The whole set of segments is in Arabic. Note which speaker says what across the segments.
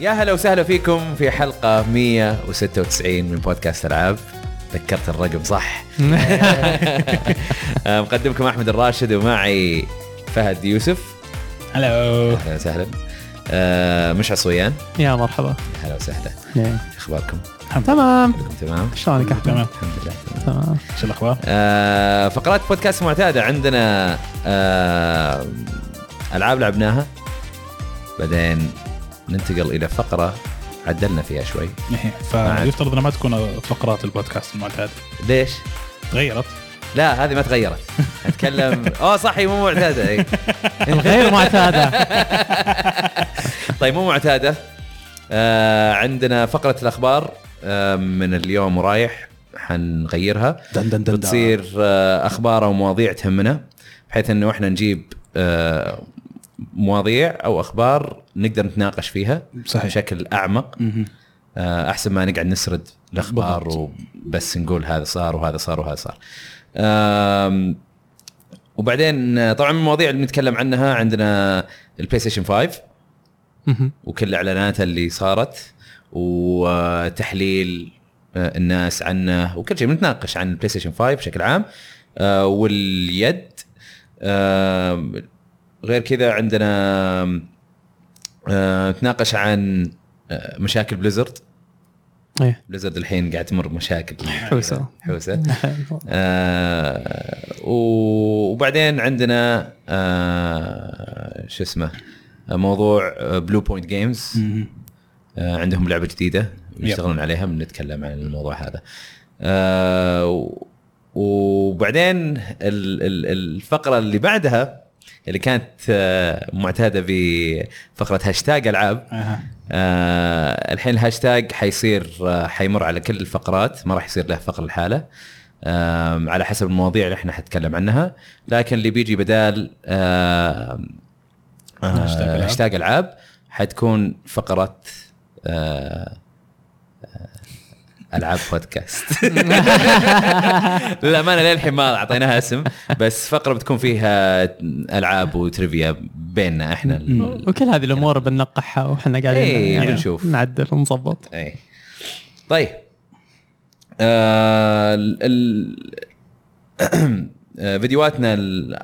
Speaker 1: يا هلا وسهلا فيكم في حلقة 196 من بودكاست العاب ذكرت الرقم صح آه، مقدمكم احمد الراشد ومعي فهد يوسف
Speaker 2: هلو
Speaker 1: اهلا وسهلا آه، مشعل صويان
Speaker 3: يا مرحبا
Speaker 1: هلا وسهلا اخباركم؟
Speaker 3: تمام
Speaker 1: كلكم تمام؟
Speaker 3: شلونك احمد
Speaker 2: تمام
Speaker 1: الحمد لله تمام.
Speaker 3: تمام
Speaker 2: شو الاخبار؟
Speaker 1: آه، فقرات بودكاست معتادة عندنا آه، العاب لعبناها بعدين ننتقل الى فقرة عدلنا فيها شوي
Speaker 2: إيه، فيفترض انها ما تكون فقرات البودكاست المعتاد
Speaker 1: ليش؟
Speaker 2: تغيرت
Speaker 1: لا هذه ما تغيرت اتكلم اه صح هي مو معتاده إي.
Speaker 3: غير معتاده
Speaker 1: طيب مو معتاده آه عندنا فقره الاخبار آه من اليوم ورايح حنغيرها
Speaker 2: دن دن دن
Speaker 1: بتصير آه اخبار او مواضيع تهمنا بحيث انه احنا نجيب آه مواضيع او اخبار نقدر نتناقش فيها
Speaker 2: صحيح.
Speaker 1: بشكل اعمق
Speaker 2: مهم.
Speaker 1: آه، احسن ما نقعد نسرد الاخبار
Speaker 2: بالضبط.
Speaker 1: وبس نقول هذا صار وهذا صار وهذا صار. آم، وبعدين آه، طبعا من المواضيع اللي بنتكلم عنها عندنا البلاي ستيشن 5
Speaker 3: مهم.
Speaker 1: وكل اعلاناتها اللي صارت وتحليل آه، الناس عنه وكل شيء بنتناقش عن البلاي ستيشن 5 بشكل عام آه، واليد آم، غير كذا عندنا آه، نتناقش عن آه، مشاكل بليزرد
Speaker 3: إيه.
Speaker 1: بليزرد الحين قاعد تمر بمشاكل
Speaker 3: حوسه
Speaker 1: حوسه آه و- وبعدين عندنا آه شو اسمه آه، موضوع بلو بوينت جيمز
Speaker 2: مهم.
Speaker 1: آه، عندهم لعبه جديده يشتغلون عليها بنتكلم عن الموضوع هذا آه و- وبعدين ال- ال- الفقره اللي بعدها اللي كانت آه، معتاده بفقره هاشتاج العاب
Speaker 2: أها.
Speaker 1: آه الحين الهاشتاج حيصير آه حيمر على كل الفقرات ما راح يصير له فقره لحاله آم، على حسب المواضيع اللي احنا حنتكلم عنها لكن اللي بيجي بدال آه آه
Speaker 2: هاشتاج ألعاب.
Speaker 1: هاشتاج العاب حتكون فقره آه آه، العاب بودكاست للامانه للحين ما اعطيناها اسم بس فقره بتكون فيها العاب وترivia بيننا احنا ال-
Speaker 3: وكل هذه الامور بننقحها واحنا قاعدين
Speaker 1: إيه،
Speaker 3: يعني
Speaker 1: بنشوف.
Speaker 3: نعدل ونظبط
Speaker 1: اي طيب آه ال ال- آه، فيديوهاتنا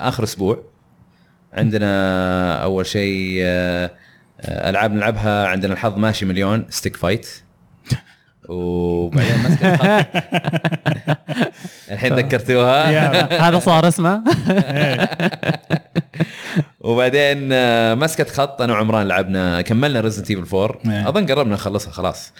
Speaker 1: اخر اسبوع عندنا اول شيء آه، آه، العاب نلعبها عندنا الحظ ماشي مليون ستيك فايت وبعدين مسك الخط. الحين ذكرتوها
Speaker 2: يا.
Speaker 3: هذا صار اسمه
Speaker 1: وبعدين آه، مسكت خط انا وعمران لعبنا كملنا ريزنت ايفل 4
Speaker 2: إيه.
Speaker 1: اظن قربنا نخلصها خلاص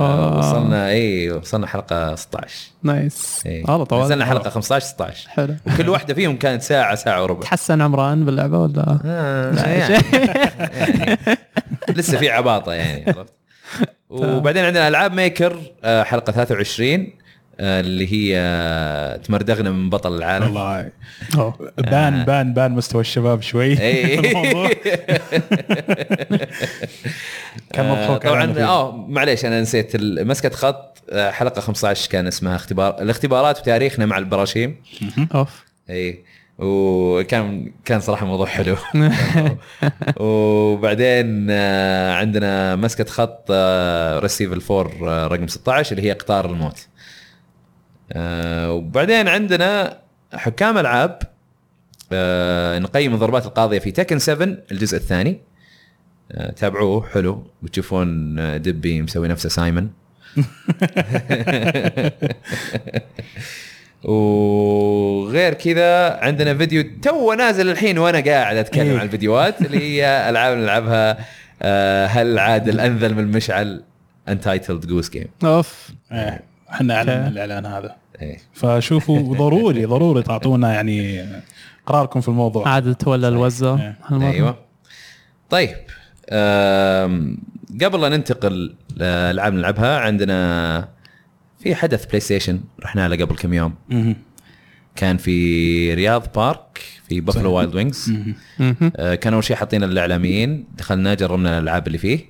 Speaker 1: آه،
Speaker 3: آه.
Speaker 1: وصلنا اي وصلنا حلقه 16
Speaker 3: نايس
Speaker 1: إيه.
Speaker 3: والله طوال
Speaker 1: نزلنا حلقه 15 16
Speaker 3: حلو
Speaker 1: وكل واحده فيهم كانت ساعه ساعه وربع
Speaker 3: تحسن عمران باللعبه ولا
Speaker 1: آه، يعني- يعني لسه في عباطه يعني عرفت وبعدين عندنا العاب ميكر آه، حلقه 23 آه، اللي هي آه، تمردغنا من بطل العالم
Speaker 2: والله
Speaker 3: أوه.
Speaker 2: بان بان بان مستوى الشباب شوي
Speaker 1: إيه.
Speaker 2: في الموضوع. كان
Speaker 1: آه،
Speaker 2: مضحوك علينا
Speaker 1: طبعا
Speaker 2: فيه.
Speaker 1: اه معليش انا نسيت ال- مسكت خط آه، حلقه 15 كان اسمها اختبار الاختبارات وتاريخنا مع البراشيم
Speaker 3: اوف
Speaker 1: اي وكان إيه. كان صراحه موضوع حلو وبعدين آه، عندنا مسكه خط ريسيف الفور آه، رقم 16 اللي هي قطار الموت آه، وبعدين عندنا حكام العاب آه، نقيم الضربات القاضيه في تكن 7 الجزء الثاني آه، تابعوه حلو وتشوفون آه، دبي مسوي نفسه سايمون وغير كذا عندنا فيديو تو نازل الحين وانا قاعد اتكلم
Speaker 2: إيه.
Speaker 1: عن الفيديوهات اللي هي العاب نلعبها آه، هل عاد الانذل من مشعل انتايتلد جوز جيم
Speaker 3: اوف
Speaker 2: إيه. احنا اعلنا الاعلان هذا
Speaker 1: ايه
Speaker 2: فشوفوا ضروري ضروري تعطونا يعني قراركم في الموضوع
Speaker 3: عاد تولى الوزه
Speaker 2: إيه.
Speaker 3: هالمرة.
Speaker 1: ايوه طيب أم، قبل لا ننتقل لالعاب نلعبها عندنا في حدث بلاي ستيشن رحنا له قبل كم يوم
Speaker 2: مهم.
Speaker 1: كان في رياض بارك في بافلو وايلد وينجز
Speaker 2: مهم.
Speaker 3: مهم.
Speaker 1: آه، كانوا اول شيء حاطين الاعلاميين دخلنا جربنا الالعاب اللي فيه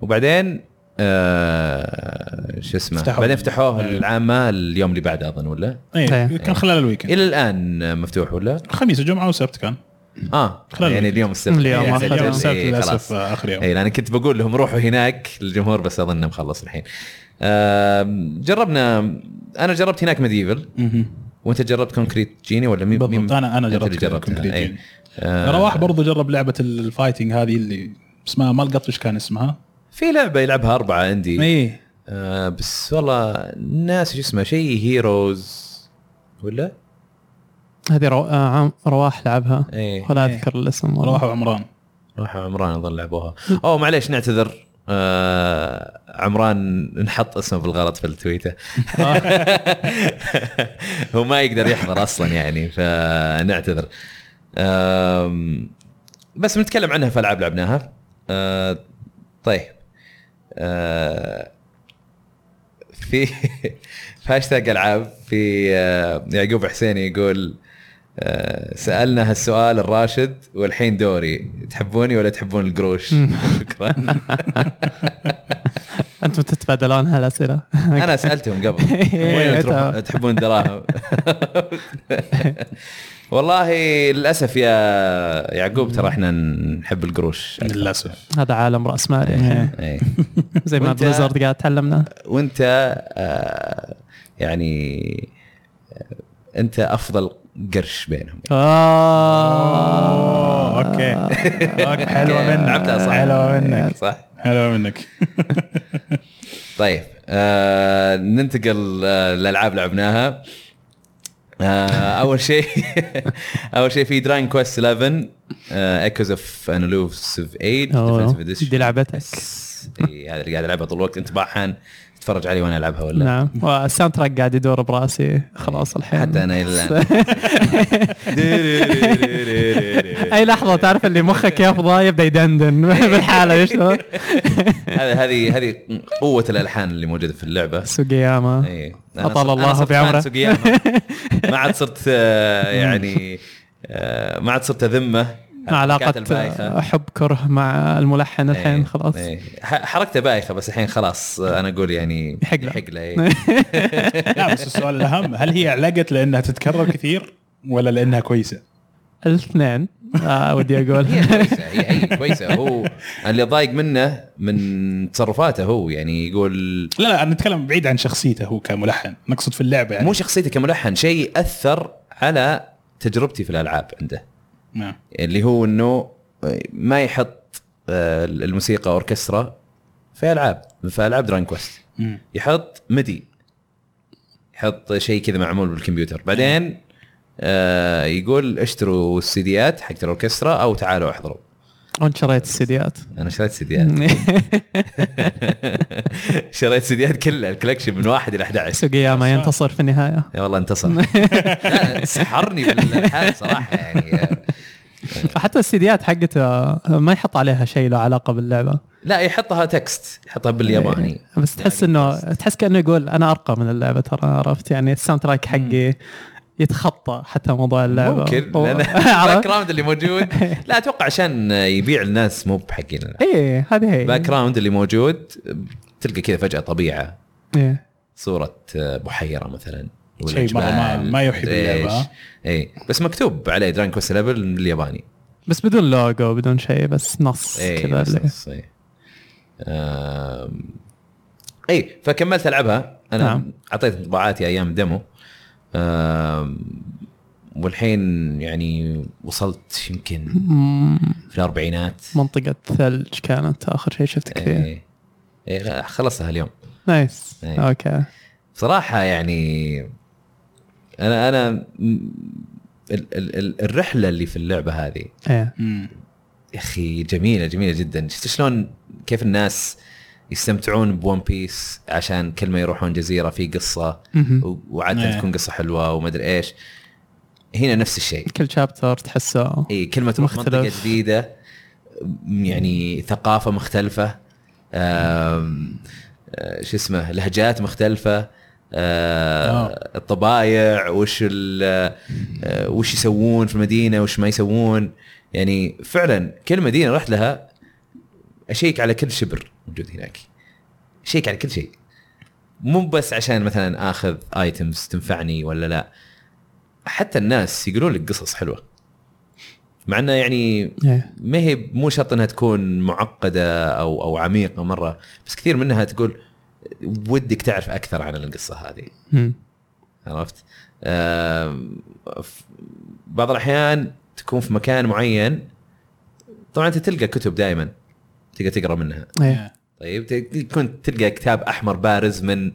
Speaker 1: وبعدين أه شو اسمه
Speaker 2: فتحوه.
Speaker 1: بعدين فتحوه
Speaker 2: إيه.
Speaker 1: العامه اليوم اللي بعده اظن ولا
Speaker 2: إيه.
Speaker 3: إيه.
Speaker 2: كان خلال الويكند
Speaker 1: الى الان مفتوح ولا
Speaker 2: الخميس وجمعه وسبت كان
Speaker 1: اه
Speaker 2: خلال
Speaker 1: يعني
Speaker 2: الويكند.
Speaker 1: اليوم السبت
Speaker 3: اليوم
Speaker 1: إيه،
Speaker 3: آخر
Speaker 1: إيه،
Speaker 2: اليوم
Speaker 3: يوم.
Speaker 2: السبت
Speaker 1: إيه، خلاص.
Speaker 2: للاسف آه، اخر يوم
Speaker 1: اي لان كنت بقول لهم روحوا هناك للجمهور بس اظن مخلص الحين آم، جربنا انا جربت هناك ميديفل
Speaker 2: مهم.
Speaker 1: وانت جربت كونكريت جيني ولا مين
Speaker 2: بالضبط
Speaker 1: مين-
Speaker 2: انا انا
Speaker 1: أنت اللي
Speaker 2: جربت
Speaker 1: جربتها،
Speaker 2: كونكريت
Speaker 1: إيه.
Speaker 2: جيني.
Speaker 1: آه،
Speaker 2: رواح برضو جرب لعبه الفايتنج هذه اللي اسمها ما لقط ايش كان اسمها إيه.
Speaker 1: في لعبه يلعبها اربعه عندي
Speaker 2: اي
Speaker 1: آه بس والله ناس شو اسمه شيء هيروز ولا؟
Speaker 3: هذه رو... آه عم... رواح لعبها
Speaker 1: ايه
Speaker 3: ولا
Speaker 2: إيه.
Speaker 3: اذكر الاسم والله
Speaker 2: رواح وعمران
Speaker 1: روح عمران اظن لعبوها او معليش نعتذر آه عمران نحط اسمه بالغلط في التويته هو ما يقدر يحضر اصلا يعني فنعتذر آم، بس بنتكلم عنها في العاب لعبناها آه، طيب آه، في في هاشتاج العاب في آه، يعقوب حسين يقول آه، سالنا هالسؤال الراشد والحين دوري تحبوني ولا تحبون القروش؟ شكرا
Speaker 3: انتم تتبادلون هالاسئله
Speaker 1: انا سالتهم قبل
Speaker 2: إيه،
Speaker 1: وين تروح- تحبون دراهم والله للاسف يا يعقوب ترى احنا نحب القروش
Speaker 2: للاسف
Speaker 3: هذا عالم راس مال يعني
Speaker 1: إيه.
Speaker 3: زي ما
Speaker 1: وأنت-
Speaker 3: بليزرد قاعد تعلمنا
Speaker 1: وانت آه، يعني آه، انت افضل قرش بينهم
Speaker 3: آه.
Speaker 2: أوه، اوكي آه، أوكي، حلوه
Speaker 1: لعبتها
Speaker 2: منك
Speaker 1: صح إيه،
Speaker 2: حلوه منك
Speaker 1: صح
Speaker 2: حلوه منك
Speaker 1: طيب آه ننتقل آه، للالعاب لعبناها آه اول شيء اول شيء في دراين كويست 11 ايكوز اوف انلوفس اوف ايد
Speaker 3: أوه. دي لعبتك
Speaker 1: اي هذا اللي قاعد العبها طول الوقت انت باحان تتفرج علي وانا العبها ولا لا.
Speaker 3: نعم والساوند تراك قاعد يدور براسي خلاص الحين
Speaker 1: حتى انا الى الان
Speaker 3: اي لحظه تعرف اللي مخك يفضى يبدا يدندن بالحاله ايش ذا؟
Speaker 1: هذه هذه هذه قوه الالحان اللي موجوده في اللعبه
Speaker 3: سوقياما
Speaker 1: اي
Speaker 3: أطال الله بعمره.
Speaker 1: ما عاد صرت آه، يعني آه، ما عاد صرت اذمه
Speaker 3: مع
Speaker 1: حركات
Speaker 3: علاقه
Speaker 1: البايخة.
Speaker 3: حب كره مع الملحن الحين
Speaker 1: إيه،
Speaker 3: خلاص
Speaker 1: إيه. ح- حركته بايخه بس الحين خلاص آه، انا اقول يعني
Speaker 3: يحق له.
Speaker 1: يحق له إيه.
Speaker 2: لا بس السؤال الاهم هل هي علقت لانها تتكرر كثير ولا لانها كويسه؟
Speaker 3: الاثنين آه ودي اقول
Speaker 1: هي كويسه هي هي كويسه هو اللي ضايق منه من تصرفاته هو يعني يقول
Speaker 2: لا لا انا نتكلم بعيد عن شخصيته هو كملحن نقصد في اللعبه يعني
Speaker 1: مو شخصيته كملحن شيء اثر على تجربتي في الالعاب عنده
Speaker 2: نعم.
Speaker 1: اللي هو انه ما يحط آه، الموسيقى اوركسترا في العاب في العاب دران كويست
Speaker 2: مم.
Speaker 1: يحط ميدي يحط شيء كذا معمول بالكمبيوتر بعدين آه، يقول اشتروا السيديات حقت الاوركسترا او تعالوا احضروا
Speaker 3: وانت شريت السيديات
Speaker 1: انا شريت سيديات شريت سيديات كلها الكولكشن من واحد الى 11
Speaker 3: سوقياما ينتصر في النهايه
Speaker 1: يا والله انتصر لا، سحرني بالحال صراحه يعني آه،
Speaker 3: فحتى السيديات حقته ما يحط عليها شيء له علاقه باللعبه
Speaker 1: لا يحطها تكست يحطها بالياباني
Speaker 3: بس تحس
Speaker 1: يعني
Speaker 3: انه تحس كانه يقول انا ارقى من اللعبه ترى عرفت يعني الساوند تراك حقي يتخطى حتى موضوع اللعبه
Speaker 1: ممكن
Speaker 3: و-
Speaker 1: لان الباك
Speaker 3: عرفت؟
Speaker 1: جراوند اللي موجود لا اتوقع عشان يبيع الناس مو بحقين الألعاب.
Speaker 3: ايه هذه هي
Speaker 1: الباك جراوند اللي موجود تلقى كذا فجاه طبيعه
Speaker 3: إيه.
Speaker 1: صوره بحيره مثلا ولا
Speaker 2: شيء مرة ما-
Speaker 1: جبال،
Speaker 2: ما يوحي
Speaker 1: مدري إيش.
Speaker 2: باللعبة.
Speaker 1: اي بس مكتوب عليه درانك كويست ليفل بالياباني
Speaker 3: بس بدون لوجو بدون شيء بس نص
Speaker 1: اي
Speaker 3: كذا
Speaker 1: بس
Speaker 3: اللي-
Speaker 1: إيه، نص، اي آم، اي فكملت العبها انا
Speaker 3: نعم.
Speaker 1: اعطيت انطباعاتي ايام ديمو آم، والحين يعني وصلت يمكن
Speaker 3: مم،
Speaker 1: في الاربعينات
Speaker 3: منطقة ثلج كانت آخر شيء شفتك فيه
Speaker 1: إيه. إيه، لا، خلصتها اليوم
Speaker 3: نايس
Speaker 1: إيه.
Speaker 3: أوكي
Speaker 1: بصراحه يعني انا انا م- ال- ال- ال- الرحله اللي في اللعبه هذه
Speaker 3: إيه
Speaker 2: مم.
Speaker 1: يا اخي جميله جميله جدا شفت شلون كيف الناس يستمتعون بون بيس عشان كل ما يروحون جزيره في قصه
Speaker 3: مهم.
Speaker 1: و- وعاده
Speaker 2: إيه.
Speaker 1: تكون قصه حلوه وما ادري ايش هنا نفس الشيء
Speaker 3: كل شابتر تحسه
Speaker 1: اي كل ما تروح
Speaker 3: مختلف.
Speaker 1: منطقه جديده م- يعني ثقافه مختلفه آم، آه، شو اسمه لهجات مختلفه آه،
Speaker 2: آه.
Speaker 1: الطبايع وش ال- آه، وش يسوون في المدينه وش ما يسوون يعني فعلا كل مدينه رحت لها اشيك على كل شبر موجود هناك اشيك على كل شيء مو بس عشان مثلا اخذ ايتمز تنفعني ولا لا حتى الناس يقولون لك قصص حلوه مع انه يعني
Speaker 3: إيه.
Speaker 1: ما هي مو شرط انها تكون معقده او او عميقه مره بس كثير منها تقول ودك تعرف اكثر عن القصه هذه
Speaker 3: مم.
Speaker 1: عرفت؟ آم، ف- بعض الاحيان تكون في مكان معين طبعا انت تلقى كتب دائما تقدر تقرا منها
Speaker 3: إيه.
Speaker 1: طيب ت- كنت تلقى كتاب احمر بارز من ال-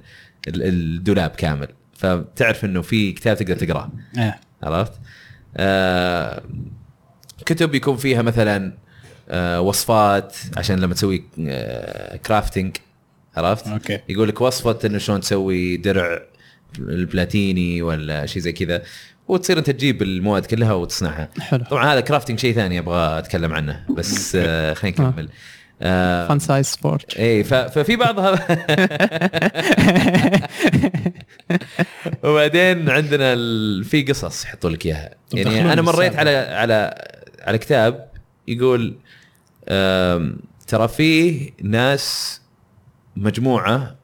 Speaker 1: الدولاب كامل فتعرف انه في كتاب تقدر تقراه
Speaker 2: إيه.
Speaker 1: عرفت؟ آه كتب يكون فيها مثلا آه وصفات عشان لما تسوي آه كرافتنج عرفت؟
Speaker 2: اوكي
Speaker 1: يقول لك وصفه انه شلون تسوي درع البلاتيني ولا شيء زي كذا وتصير انت تجيب المواد كلها وتصنعها
Speaker 3: حلو
Speaker 1: طبعا هذا كرافتنج شيء ثاني ابغى اتكلم عنه بس آه خلينا نكمل آه
Speaker 3: فان سايز سبورت
Speaker 1: اي إيه، ف- ففي بعضها وبعدين عندنا ال... في قصص يحطوا لك اياها
Speaker 2: طب
Speaker 1: يعني
Speaker 2: دخلوني
Speaker 1: انا مريت
Speaker 2: بالسالفة.
Speaker 1: على على على كتاب يقول آم، ترى فيه ناس مجموعه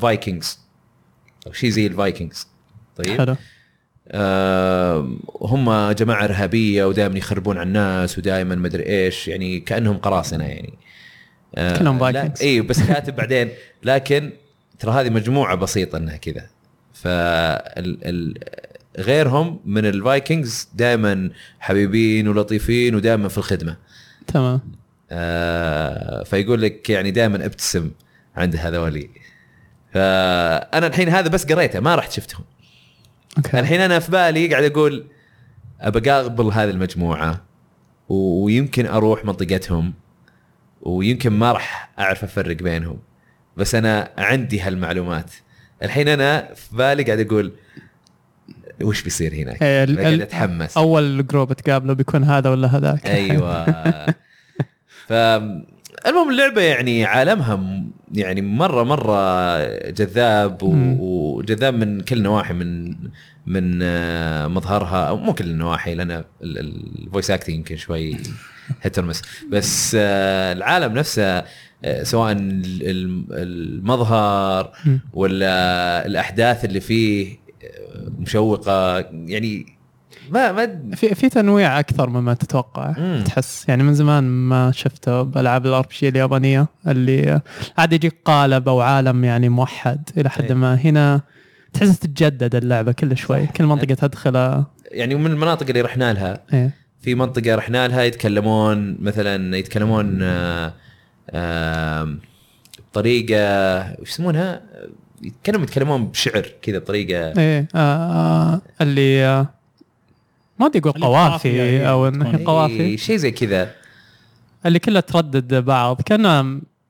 Speaker 1: فايكنجز او شيء زي الفايكنجز طيب
Speaker 3: حلو
Speaker 1: آم، آه، هم جماعه ارهابيه ودائما يخربون على الناس ودائما مدري ايش يعني كانهم قراصنه يعني آه،
Speaker 3: كلهم
Speaker 1: لا-
Speaker 3: Vikings.
Speaker 1: ايوه بس كاتب بعدين لكن ترى هذه مجموعه بسيطه انها كذا ف غيرهم من الفايكنجز دائما حبيبين ولطيفين ودائما في الخدمه
Speaker 3: تمام
Speaker 1: آه، فيقول لك يعني دائما ابتسم عند هذولي فانا الحين هذا بس قريته ما رحت شفتهم
Speaker 3: اوكي
Speaker 1: الحين انا في بالي قاعد اقول ابى اقابل هذه المجموعه و- ويمكن اروح منطقتهم ويمكن ما راح اعرف افرق بينهم بس انا عندي هالمعلومات الحين انا في بالي قاعد اقول وش بيصير هناك؟
Speaker 3: إيه، ال-
Speaker 1: قاعد
Speaker 3: ال-
Speaker 1: اتحمس
Speaker 3: اول جروب تقابله بيكون هذا ولا هذاك
Speaker 1: ايوه ف المهم اللعبه يعني عالمها م- يعني مره مره جذاب و-
Speaker 3: مم.
Speaker 1: وجذاب من كل نواحي من من آه، مظهرها او مو كل النواحي لان الفويس اكتنج يمكن شوي هيت مس بس آه، العالم نفسه آه، سواء ال- ال- المظهر
Speaker 3: مم.
Speaker 1: ولا الاحداث اللي فيه آه، مشوقه يعني ما ما
Speaker 3: في في تنويع اكثر مما تتوقع
Speaker 1: مم.
Speaker 3: تحس يعني من زمان ما شفته بالعاب الار بي اليابانيه اللي عاد يجيك قالب او عالم يعني موحد الى حد
Speaker 1: إيه.
Speaker 3: ما هنا تحس تتجدد اللعبه كل شوي كل منطقه تدخلها
Speaker 1: يعني من المناطق اللي رحنا لها
Speaker 3: ايه
Speaker 1: في منطقه رحنا لها يتكلمون مثلا يتكلمون آه، آه، بطريقه وش يسمونها؟ يتكلموا يتكلمون بشعر كذا بطريقه
Speaker 3: ايه آه آه اللي آه ما ادري اقول
Speaker 2: اللي قافية،
Speaker 3: قوافي
Speaker 2: إيه،
Speaker 3: او انه
Speaker 2: تكون-
Speaker 3: قوافي
Speaker 1: إيه، شيء زي كذا
Speaker 3: اللي كلها تردد بعض كانها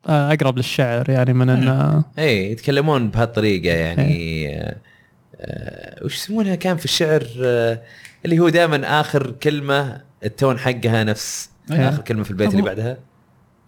Speaker 3: آه، اقرب للشعر يعني من انه
Speaker 1: اي يتكلمون بهالطريقه يعني آه، آه، وش يسمونها كان في الشعر آه، اللي هو دائما اخر كلمه التون حقها نفس
Speaker 2: إيه.
Speaker 1: اخر كلمه في البيت اللي
Speaker 3: أبو-
Speaker 1: بعدها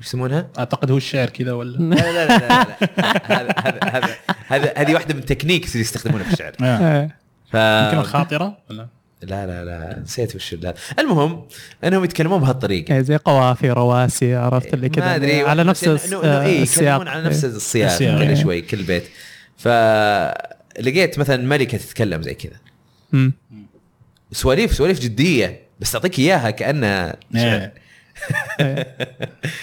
Speaker 1: وش يسمونها؟
Speaker 2: اعتقد هو الشعر كذا
Speaker 1: لا
Speaker 2: ولا
Speaker 1: لا لا لا لا. هذا- هذا هذا هذا هذه واحده من التكنيكس اللي يستخدمونها في الشعر
Speaker 2: آه.
Speaker 3: إيه.
Speaker 1: ف...
Speaker 2: يمكن الخاطره ولا
Speaker 1: لا لا لا نسيت وش لا المهم انهم يتكلمون بهالطريقه
Speaker 3: إيه، زي قوافي رواسي عرفت اللي إيه، كذا يعني
Speaker 1: ما ادري
Speaker 3: على نفس
Speaker 1: بس إنه- إنه- إنه
Speaker 3: الس- آه،
Speaker 1: إيه،
Speaker 3: السياق
Speaker 1: يتكلمون على نفس السياق
Speaker 2: السياق،
Speaker 1: كل
Speaker 2: إيه.
Speaker 1: شوي كل بيت فلقيت مثلا ملكه تتكلم زي كذا
Speaker 3: مم.
Speaker 1: سواليف سواليف جديه بس تعطيك اياها كانها شعر.
Speaker 2: إيه.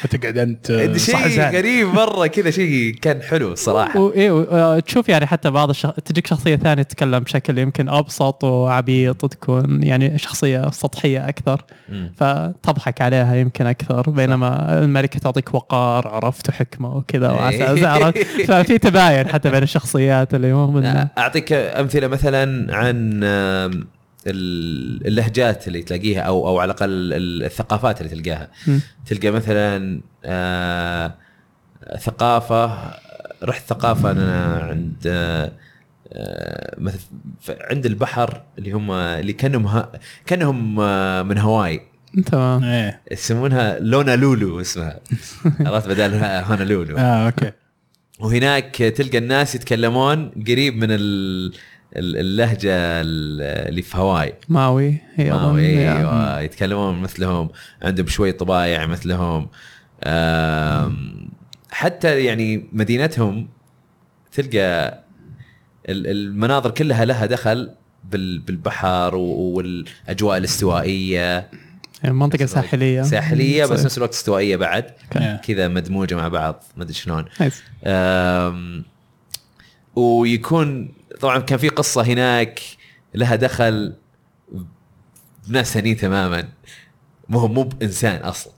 Speaker 2: وتقعد انت آه، صح
Speaker 1: شيء
Speaker 2: زعل.
Speaker 1: غريب مره كذا شيء كان حلو الصراحه
Speaker 3: وايه و- آه، تشوف يعني حتى بعض الشخ... تجيك شخصيه ثانيه تتكلم بشكل يمكن ابسط وعبيط وتكون يعني شخصيه سطحيه اكثر
Speaker 1: مم.
Speaker 3: فتضحك عليها يمكن اكثر بينما الملكه تعطيك وقار عرفت وحكمه
Speaker 1: إيه.
Speaker 3: وكذا وعساس عرفت ففي تباين حتى بين الشخصيات اللي مو من
Speaker 1: اعطيك امثله مثلا عن آم، ال- اللهجات اللي تلاقيها او او على الاقل ال- الثقافات اللي تلقاها
Speaker 3: مم.
Speaker 1: تلقى مثلا آه، ثقافه رحت ثقافه انا عند آه، آه، مثل ف- عند البحر اللي هم اللي كانهم ها- كانهم آه، من هواي
Speaker 3: تمام
Speaker 2: ايه
Speaker 1: يسمونها لونا لولو اسمها عرفت بدلها هونا لولو
Speaker 2: اه اوكي
Speaker 1: وهناك تلقى الناس يتكلمون قريب من ال- ال- اللهجه ال- اللي في هواي
Speaker 3: ماوي هي
Speaker 1: ما هو
Speaker 3: أظن، يا-
Speaker 1: ايوه يتكلمون مثلهم عندهم شوي طبايع مثلهم آم، حتى يعني مدينتهم تلقى ال- المناظر كلها لها دخل بال- بالبحر و- والاجواء الاستوائيه
Speaker 3: يعني منطقه
Speaker 1: نفس الوقت.
Speaker 3: ساحليه
Speaker 1: ساحليه بس
Speaker 3: صحيح.
Speaker 1: نفس الوقت استوائيه بعد
Speaker 2: إيه.
Speaker 1: كذا مدموجه مع بعض ما ادري شلون
Speaker 3: نايس.
Speaker 1: أم، ويكون طبعا كان في قصه هناك لها دخل بناس ثانيين تماما مو مو بانسان اصلا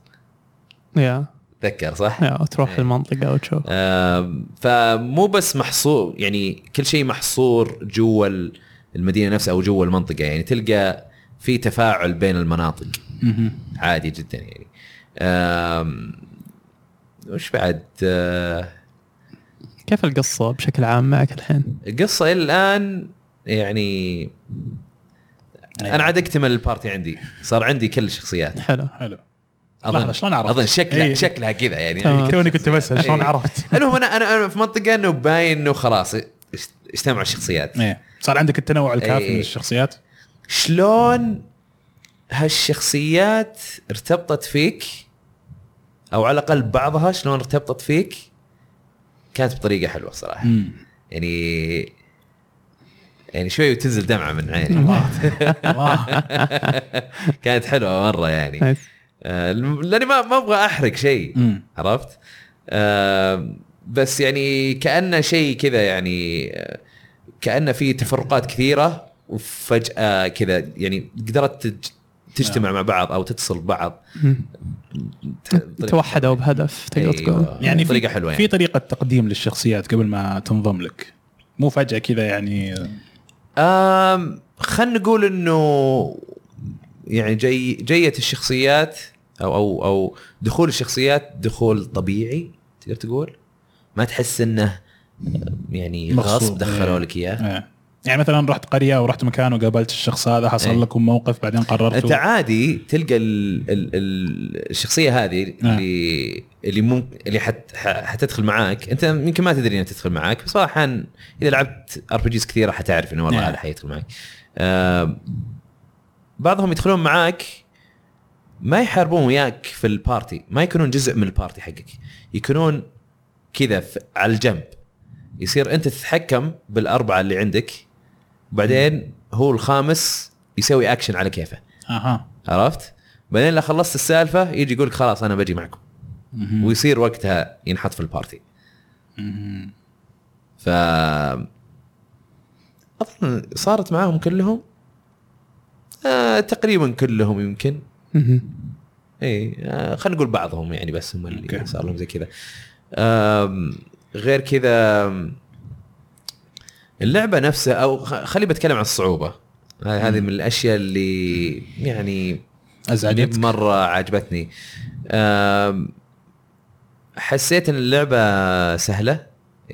Speaker 3: يا
Speaker 1: تذكر صح؟
Speaker 3: يا تروح
Speaker 1: إيه.
Speaker 3: المنطقه وتشوف
Speaker 1: آم، فمو بس محصور يعني كل شيء محصور جوا ال- المدينه نفسها او جوا المنطقه يعني تلقى في تفاعل بين المناطق
Speaker 2: مهم.
Speaker 1: عادي جدا يعني آم، وش بعد آه،
Speaker 3: كيف القصه بشكل عام معك الحين؟
Speaker 1: القصه الى الان يعني
Speaker 2: إيه.
Speaker 1: انا عاد اكتمل البارتي عندي صار عندي كل الشخصيات
Speaker 3: حلو
Speaker 2: حلو
Speaker 1: اظن
Speaker 2: لحظة، شلون عرفت؟
Speaker 1: اظن شكلها
Speaker 2: إيه.
Speaker 1: شكلها كذا يعني
Speaker 3: تمام.
Speaker 2: توني كنت بسال شلون
Speaker 1: إيه.
Speaker 2: عرفت؟
Speaker 1: المهم انا انا انا في منطقه انه باين انه خلاص اجت- اجتمعوا الشخصيات
Speaker 2: إيه. صار عندك التنوع
Speaker 1: إيه،
Speaker 2: الكافي
Speaker 1: إيه.
Speaker 2: من الشخصيات
Speaker 1: شلون هالشخصيات ارتبطت فيك او على الاقل بعضها شلون ارتبطت فيك كانت بطريقه حلوه صراحه
Speaker 2: مم.
Speaker 1: يعني يعني شوي وتنزل دمعه من عيني
Speaker 2: الله الله
Speaker 1: كانت حلوه مره
Speaker 2: إيه.
Speaker 1: يعني
Speaker 3: نايس
Speaker 1: آه، لاني ما ما ابغى احرق شيء
Speaker 2: مم.
Speaker 1: عرفت؟ آه، بس يعني كانه شيء كذا يعني آه، كانه في تفرقات كثيره وفجاه كذا يعني قدرت تج- تجتمع مع بعض او تتصل ببعض
Speaker 3: مم.
Speaker 1: ت- بطريقة-
Speaker 3: توحدوا بهدف تقدر تقول
Speaker 1: أيوة.
Speaker 2: يعني
Speaker 1: طريقه
Speaker 2: في-
Speaker 1: حلوه
Speaker 2: في
Speaker 1: يعني
Speaker 2: طريقه تقديم للشخصيات قبل ما تنضم لك مو فجاه كذا يعني
Speaker 1: خلينا نقول انه يعني جي جيه الشخصيات او او او دخول الشخصيات دخول طبيعي تقدر تقول ما تحس انه آه، يعني
Speaker 2: مغصوب.
Speaker 1: غصب دخلوا لك اياه
Speaker 2: إيه. يعني مثلا رحت قريه ورحت مكان وقابلت الشخص هذا
Speaker 1: إيه.
Speaker 2: حصل لكم موقف بعدين
Speaker 1: انت
Speaker 2: قررتوا
Speaker 1: عادي تلقى ال ال ال الشخصيه هذه
Speaker 2: نعم.
Speaker 1: اللي اللي ممكن اللي حت ح- حتدخل معاك انت يمكن ما تدري انها تدخل معاك بس صراحه اذا لعبت ار بي جيز كثيره حتعرف انه والله
Speaker 2: نعم.
Speaker 1: هذا حيدخل معك آم، بعضهم يدخلون معاك ما يحاربون وياك في البارتي ما يكونون جزء من البارتي حقك يكونون كذا في- على الجنب يصير انت تتحكم بالاربعه اللي عندك بعدين هو الخامس يسوي اكشن على كيفه
Speaker 2: اها
Speaker 1: عرفت؟ بعدين لو خلصت السالفه يجي يقول لك خلاص انا بجي معكم
Speaker 2: مهم.
Speaker 1: ويصير وقتها ينحط في البارتي
Speaker 2: مهم.
Speaker 1: ف اظن صارت معاهم كلهم آه تقريبا كلهم يمكن
Speaker 3: مهم.
Speaker 1: اي آه خلينا نقول بعضهم يعني بس هم اللي
Speaker 2: أوكي.
Speaker 1: صار لهم زي كذا آم، غير كذا آم، اللعبه نفسها او خ- خلي بتكلم عن الصعوبه هذه هذه من الاشياء اللي يعني
Speaker 2: ازعجتك
Speaker 1: مره عجبتني أم، حسيت ان اللعبه سهله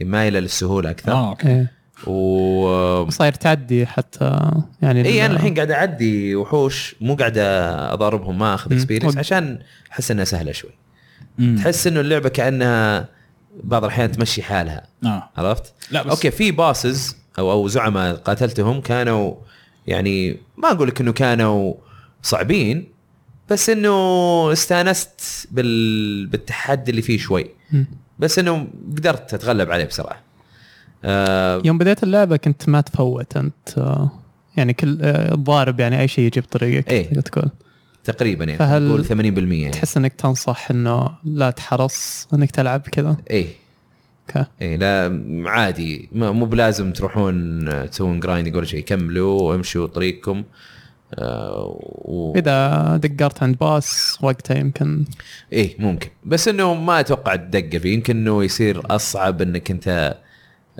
Speaker 1: مايله للسهوله اكثر
Speaker 2: اه اوكي
Speaker 3: إيه.
Speaker 1: و
Speaker 3: وصاير تعدي حتى يعني
Speaker 1: اي انا
Speaker 3: ال-
Speaker 1: إيه، الحين قاعد اعدي وحوش مو قاعد اضاربهم ما اخذ
Speaker 3: مم.
Speaker 1: اكسبيرينس
Speaker 3: وق-
Speaker 1: عشان احس انها سهله شوي
Speaker 2: مم.
Speaker 1: تحس انه اللعبه كانها بعض الاحيان تمشي حالها
Speaker 2: اه
Speaker 1: عرفت؟
Speaker 2: لا بس
Speaker 1: اوكي في باسز او او زعماء قاتلتهم كانوا يعني ما اقول لك انه كانوا صعبين بس انه استانست بال... بالتحدي اللي فيه شوي
Speaker 3: مم.
Speaker 1: بس انه قدرت اتغلب عليه بسرعه. آه
Speaker 3: يوم بديت اللعبه كنت ما تفوت انت آه، يعني كل آه، الضارب يعني اي شيء يجي بطريقك
Speaker 1: إيه.
Speaker 3: تقدر تقول
Speaker 1: تقريبا يعني
Speaker 3: فهل-
Speaker 1: نقول 80% يعني
Speaker 3: تحس انك تنصح انه لا تحرص انك تلعب كذا
Speaker 1: ايه
Speaker 3: اوكي
Speaker 1: ايه لا عادي ما- مو بلازم تروحون آه، تسوون جرايند يقول شيء كملوا وامشوا طريقكم آه و...
Speaker 3: اذا دقرت عند باس وقتها يمكن
Speaker 1: ايه ممكن بس انه ما اتوقع تدقه فيه يمكن انه يصير اصعب انك انت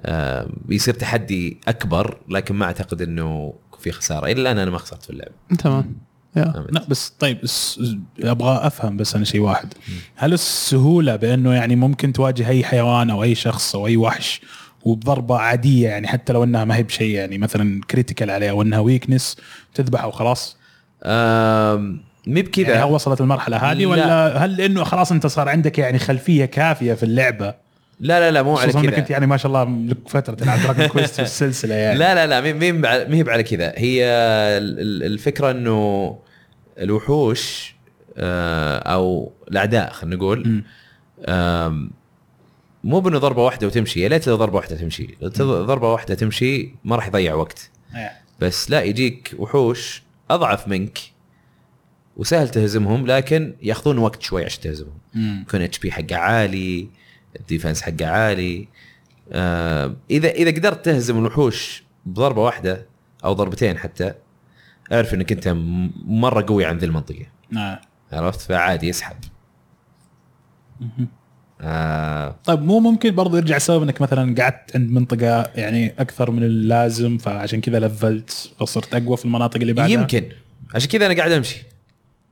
Speaker 1: آه، يصير تحدي اكبر لكن ما اعتقد انه في خساره الا الان انا ما خسرت في اللعبه
Speaker 3: تمام يا
Speaker 1: أبد.
Speaker 2: لا بس طيب الس- ابغى افهم بس انا شيء واحد هل السهوله بانه يعني ممكن تواجه اي حيوان او اي شخص او اي وحش وبضربه عاديه يعني حتى لو انها ما هي بشيء يعني مثلا كريتيكال عليها او انها ويكنس تذبحه وخلاص
Speaker 1: آم، مي بكذا
Speaker 2: يعني هل وصلت المرحله هذه
Speaker 1: لا.
Speaker 2: ولا هل انه خلاص انت صار عندك يعني خلفيه كافيه في اللعبه
Speaker 1: لا لا لا مو على
Speaker 2: خصوصا انك
Speaker 1: كذا
Speaker 2: انت يعني ما شاء الله لك فتره تلعب دراجون كويست في السلسله يعني
Speaker 1: لا لا لا مي- مي بع- مي هي على كذا هي ال- ال- الفكره انه الوحوش آه، او الاعداء خلينا نقول
Speaker 2: مم.
Speaker 1: آم، مو بانه ضربه واحده وتمشي يا ليت لو ضربه واحده تمشي لو تض- ضربه واحده تمشي ما راح يضيع وقت
Speaker 2: إيه.
Speaker 1: بس لا يجيك وحوش اضعف منك وسهل تهزمهم لكن ياخذون وقت شوي عشان تهزمهم
Speaker 2: مم.
Speaker 1: يكون اتش بي حقه عالي الديفنس حقه عالي آه اذا اذا قدرت تهزم الوحوش بضربه واحده او ضربتين حتى اعرف انك انت م- مره قوي عن ذي المنطقه
Speaker 2: آه.
Speaker 1: عرفت فعادي يسحب
Speaker 2: مهم.
Speaker 1: آه
Speaker 2: طيب مو ممكن برضو يرجع سبب انك مثلا قعدت عند منطقه يعني اكثر من اللازم فعشان كذا لفلت فصرت اقوى في المناطق اللي بعدها
Speaker 1: يمكن عشان كذا انا قاعد امشي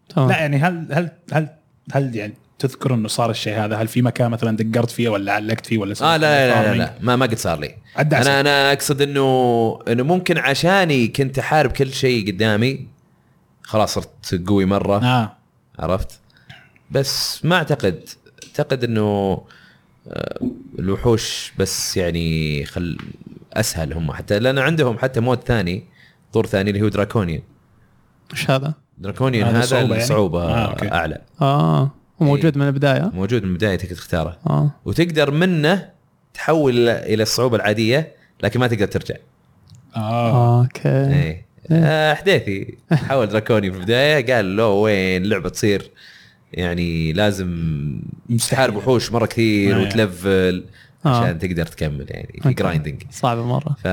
Speaker 3: تمام
Speaker 2: لا يعني هل هل هل هل يعني تذكر انه صار الشيء هذا هل في مكان مثلا دقرت فيه ولا علقت فيه ولا سويت
Speaker 1: اه لا لا لا, لا,
Speaker 2: فارمينج؟
Speaker 1: لا ما ما قد صار لي
Speaker 2: عدى
Speaker 1: انا
Speaker 2: انا
Speaker 1: انا اقصد انه انه ممكن عشاني كنت احارب كل شيء قدامي خلاص صرت قوي مره
Speaker 2: اه
Speaker 1: عرفت بس ما اعتقد اعتقد انه آه، الوحوش بس يعني خل اسهل هم حتى لان عندهم حتى مود ثاني طور ثاني اللي هو دراكونيان
Speaker 3: ايش هذا؟
Speaker 1: دراكونيان
Speaker 2: هذا
Speaker 1: هذا
Speaker 2: صعوبة يعني؟
Speaker 1: الصعوبه
Speaker 2: آه، أوكي.
Speaker 1: اعلى
Speaker 3: اه
Speaker 1: إيه.
Speaker 3: موجود من البدايه
Speaker 1: موجود من بدايتك تختاره
Speaker 3: اه
Speaker 1: وتقدر منه تحول الى الصعوبه العاديه لكن ما تقدر ترجع
Speaker 3: آه.
Speaker 2: اه
Speaker 3: اوكي
Speaker 1: ايه
Speaker 3: إيه.
Speaker 1: آه، حديثي حاول دراكوني في البدايه قال له وين لعبه تصير يعني لازم تحارب وحوش مره كثير
Speaker 2: آه.
Speaker 1: وتلفل
Speaker 3: إيه. آه.
Speaker 1: عشان تقدر تكمل يعني في
Speaker 3: أوكي.
Speaker 1: جرايندنج
Speaker 3: صعبه مره
Speaker 1: ف...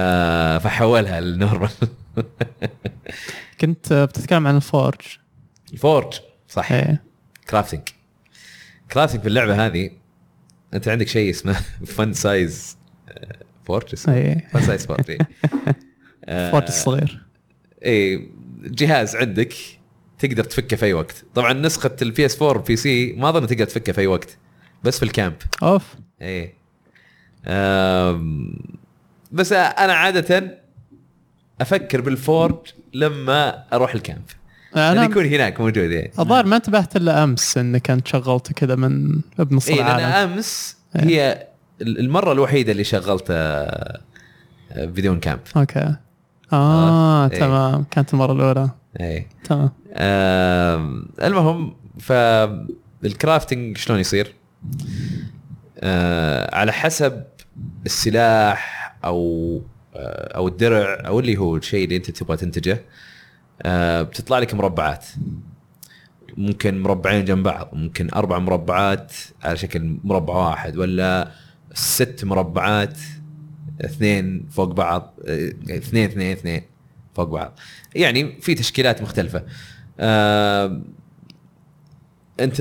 Speaker 1: فحولها للنورمال
Speaker 3: كنت آه، بتتكلم عن الفورج
Speaker 1: الفورج صح
Speaker 3: ايه
Speaker 1: كرافتنج كرافتنج في اللعبه هذه انت عندك شيء اسمه آه، فن سايز فورج اسمه
Speaker 3: ايه
Speaker 1: فن سايز فورج آه،
Speaker 3: الفورج الصغير
Speaker 1: اي إيه، جهاز عندك تقدر تفكه في اي وقت طبعا نسخه البي اس 4 بي سي ما اظن تقدر تفكه في اي وقت بس في الكامب
Speaker 3: اوف
Speaker 1: اي أم، بس انا عاده افكر بالفورج لما اروح الكامب انا
Speaker 3: انا
Speaker 1: يكون هناك موجود يعني
Speaker 3: الظاهر ما انتبهت الا امس اني كنت شغلته كذا من بنص
Speaker 1: اي لان
Speaker 3: العالم
Speaker 1: امس إيه، هي المره الوحيده اللي شغلت آه، آه، بدون كامب
Speaker 3: اوكي
Speaker 1: آه،
Speaker 3: اه
Speaker 1: إيه.
Speaker 3: تمام كانت المره الاولى
Speaker 1: اي
Speaker 3: تمام
Speaker 1: آم، المهم فالكرافتنج شلون يصير؟ آه، على حسب السلاح او آه، او الدرع او اللي هو الشيء اللي انت تبغى تنتجه آه، بتطلع لك مربعات ممكن مربعين جنب بعض ممكن اربع مربعات على شكل مربع واحد ولا ست مربعات اثنين فوق بعض اه، اثنين اثنين اثنين فوق بعض يعني في تشكيلات مختلفه آه، انت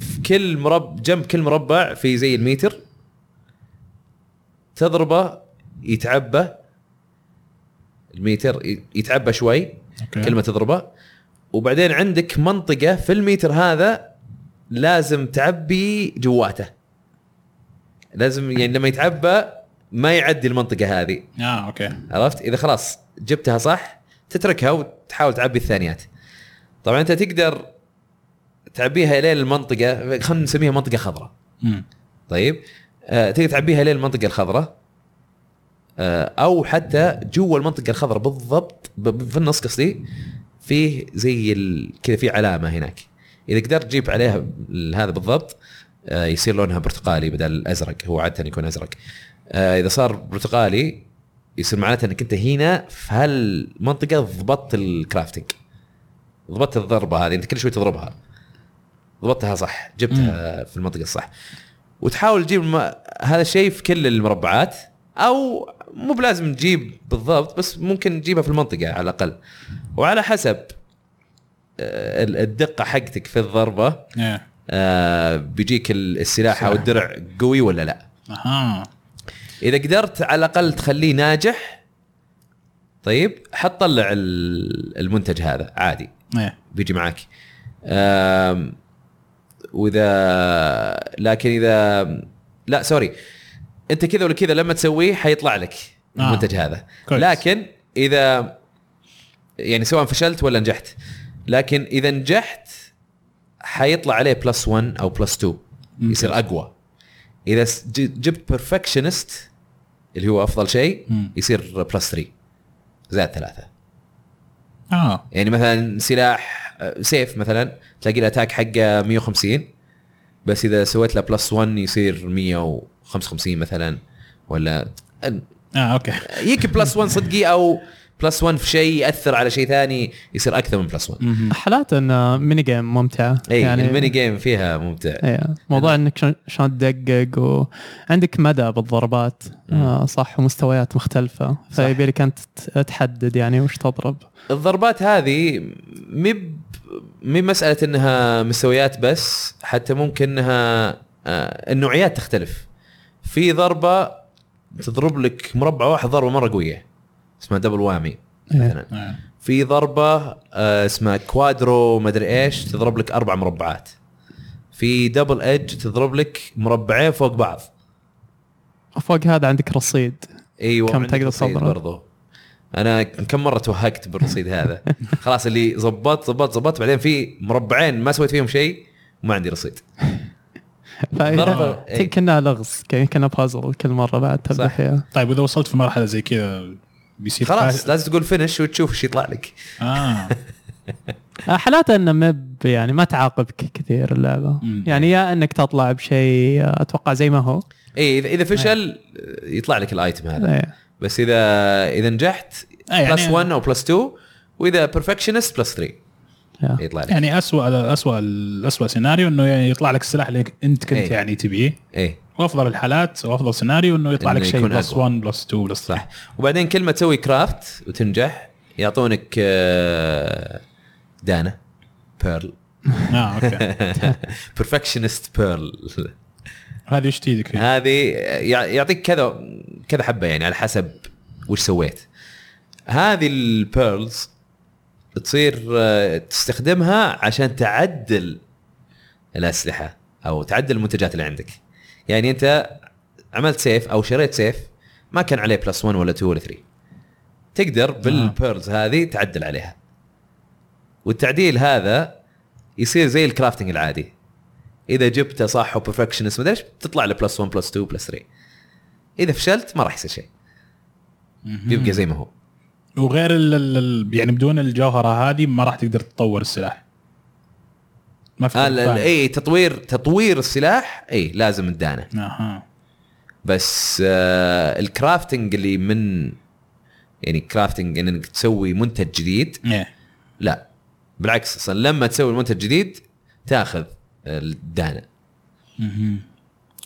Speaker 1: في كل مربع جنب كل مربع في زي الميتر تضربه يتعبى الميتر ي- يتعبى شوي
Speaker 2: اوكي
Speaker 1: كلمه تضربه وبعدين عندك منطقه في الميتر هذا لازم تعبي جواته لازم يعني لما يتعبى ما يعدي المنطقه هذه
Speaker 2: اه اوكي
Speaker 1: عرفت اذا خلاص جبتها صح تتركها وتحاول تعبي الثانيات طبعا انت تقدر تعبيها لين المنطقه خلينا نسميها منطقه خضراء
Speaker 2: مم.
Speaker 1: طيب آه تقدر تعبيها لين المنطقه الخضراء آه او حتى جوا المنطقه الخضراء بالضبط ب- ب- في النص قصدي فيه زي ال- كذا في علامه هناك اذا قدرت تجيب عليها ال- هذا بالضبط آه يصير لونها برتقالي بدل الازرق هو عاده يكون ازرق آه اذا صار برتقالي يصير معناته انك انت هنا في هالمنطقه ضبطت الكرافتنج ضبطت الضربه هذه انت كل شوي تضربها ضبطتها صح جبتها في المنطقه الصح وتحاول تجيب الم... هذا الشيء في كل المربعات او مو بلازم تجيب بالضبط بس ممكن تجيبها في المنطقه على الاقل وعلى حسب آه، ال- الدقه حقتك في الضربه
Speaker 2: ايه
Speaker 1: آه، بيجيك ال- السلاح او الدرع قوي ولا لا
Speaker 2: اها
Speaker 1: اذا قدرت على الاقل تخليه ناجح طيب حتطلع ال- المنتج هذا عادي
Speaker 2: ايه
Speaker 1: بيجي معك أم، واذا لكن اذا لا سوري انت كذا ولا كذا لما تسويه حيطلع لك
Speaker 2: آه.
Speaker 1: المنتج هذا
Speaker 2: كويس.
Speaker 1: لكن اذا يعني سواء فشلت ولا نجحت لكن اذا نجحت حيطلع عليه بلس 1 او بلس 2 يصير اقوى اذا س- ج- جبت بيرفكشنست اللي هو افضل شيء
Speaker 2: مم.
Speaker 1: يصير بلس 3 زائد ثلاثه
Speaker 2: اه
Speaker 1: يعني مثلا سلاح آه، سيف مثلا تلاقي الاتاك حقه 150 بس اذا سويت له بلس 1 يصير 155 مثلا ولا
Speaker 2: اه اوكي
Speaker 1: يجيك بلس 1 صدقي او بلس 1 في شيء ياثر على شيء ثاني يصير اكثر من بلس 1
Speaker 2: مهم.
Speaker 3: حالات ان ميني جيم ممتعه
Speaker 1: اي يعني الميني جيم فيها ممتع
Speaker 3: ايه موضوع انك شلون- شلون تدقق وعندك مدى بالضربات آه صح ومستويات مختلفه فيبي لك انت ت- تحدد يعني وش تضرب
Speaker 1: الضربات هذه مب مب مساله انها مستويات بس حتى ممكن انها آه، النوعيات تختلف في ضربه تضرب لك مربع واحد ضربه مره قويه اسمها دبل وامي مثلا
Speaker 2: آه.
Speaker 1: في ضربه آه، اسمها كوادرو مدري ايش تضرب لك اربع مربعات في دبل ايدج تضرب لك مربعين فوق بعض
Speaker 3: وفوق هذا عندك رصيد
Speaker 1: ايوه
Speaker 3: كم
Speaker 1: عندك
Speaker 3: تقدر
Speaker 1: رصيد
Speaker 3: تضرب؟
Speaker 1: برضو انا كم مره توهقت بالرصيد هذا خلاص اللي زبطت زبطت زبطت بعدين في مربعين ما سويت فيهم شيء وما عندي رصيد ضربة،
Speaker 3: ضربة
Speaker 1: إيه.
Speaker 3: كنا لغز ك- كنا بازل كل مره بعد تبدا
Speaker 1: صح.
Speaker 3: فيها
Speaker 2: طيب واذا وصلت في مرحله زي كذا بيصير
Speaker 1: خلاص
Speaker 2: فا-
Speaker 1: لازم تقول فينش وتشوف ايش يطلع لك
Speaker 2: اه
Speaker 3: آه، حالاته انه مب يعني ما تعاقبك كثير اللعبه
Speaker 2: مم.
Speaker 3: يعني يا انك تطلع بشيء آه، اتوقع زي ما هو
Speaker 1: اي اذا اذا إيه، فشل آه، يطلع لك الايتم هذا
Speaker 3: إيه.
Speaker 1: بس اذا اذا نجحت
Speaker 2: آه، يعني-
Speaker 1: بلس 1 او بلس 2 واذا بيرفكشنست بلس 3
Speaker 3: آه.
Speaker 1: يطلع لك
Speaker 2: يعني اسوء اسوء اسوء سيناريو انه يعني يطلع لك السلاح اللي انت كنت
Speaker 1: إيه.
Speaker 2: يعني تبيه
Speaker 1: ايه
Speaker 2: وافضل الحالات وافضل سيناريو انه يطلع
Speaker 1: إنه
Speaker 2: لك شيء
Speaker 1: يكون
Speaker 2: بلس
Speaker 1: أقوى.
Speaker 2: 1 بلس 2 بلس 3
Speaker 1: صح وبعدين كل ما تسوي كرافت وتنجح يعطونك آه، دانا بيرل
Speaker 2: اه اوكي
Speaker 1: بيرفكشنست بيرل
Speaker 2: هذه وش تيدك فيه؟
Speaker 1: هذه يع- يعطيك كذا كذا حبه يعني على حسب وش سويت هذه البيرلز تصير آه، تستخدمها عشان تعدل الاسلحه او تعدل المنتجات اللي عندك يعني انت عملت سيف او شريت سيف ما كان عليه بلس 1 ولا 2 ولا 3 تقدر بالبيرلز هذه تعدل عليها والتعديل هذا يصير زي الكرافتنج العادي اذا جبته صح وبرفكشنست مدري ايش تطلع له بلس 1 بلس 2 بلس 3 اذا فشلت ما راح يصير شيء بيبقى زي ما هو
Speaker 2: وغير ال ال ال يعني بدون الجوهره هذه ما راح تقدر تطور السلاح ما في
Speaker 1: آه، ال- ال-
Speaker 2: فاهم.
Speaker 1: اي تطوير تطوير السلاح اي لازم تدانه
Speaker 2: اها
Speaker 1: بس آه الكرافتنج اللي من يعني كرافتنج انك تسوي منتج جديد
Speaker 2: ايه
Speaker 1: لا بالعكس اصلا لما تسوي المنتج جديد تاخذ الدانه
Speaker 2: مهم.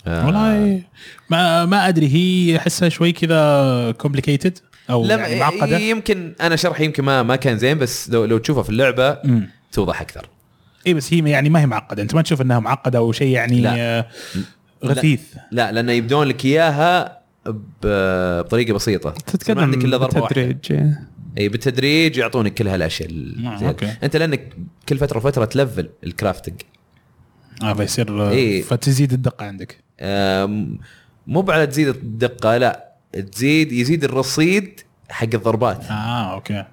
Speaker 1: آه.
Speaker 2: والله ما ما ادري هي احسها شوي كذا كومبليكيتد او
Speaker 1: لما
Speaker 2: يعني معقده
Speaker 1: إيه، يمكن انا شرحي يمكن ما ما كان زين بس لو لو تشوفه في اللعبه
Speaker 2: مم.
Speaker 1: توضح اكثر
Speaker 2: اي بس هي يعني ما هي معقده انت ما تشوف انها معقده او شيء يعني
Speaker 1: لا.
Speaker 2: آه، غثيث
Speaker 1: لا لانه يبدون لك اياها ب- بطريقه بسيطه يصير ما
Speaker 3: تتقدم
Speaker 1: عندك الا ضربه واحده
Speaker 3: بالتدريج إيه.
Speaker 1: اي بالتدريج يعطونك كل هالاشياء
Speaker 2: نعم،
Speaker 1: زين.
Speaker 2: أوكي.
Speaker 1: انت لانك كل فتره وفتره تلفل الكرافتنج
Speaker 2: اه فيصير آه،
Speaker 1: إيه.
Speaker 2: فتزيد الدقه عندك
Speaker 1: أم، مو على تزيد الدقه لا تزيد يزيد الرصيد حق الضربات
Speaker 2: اه اوكي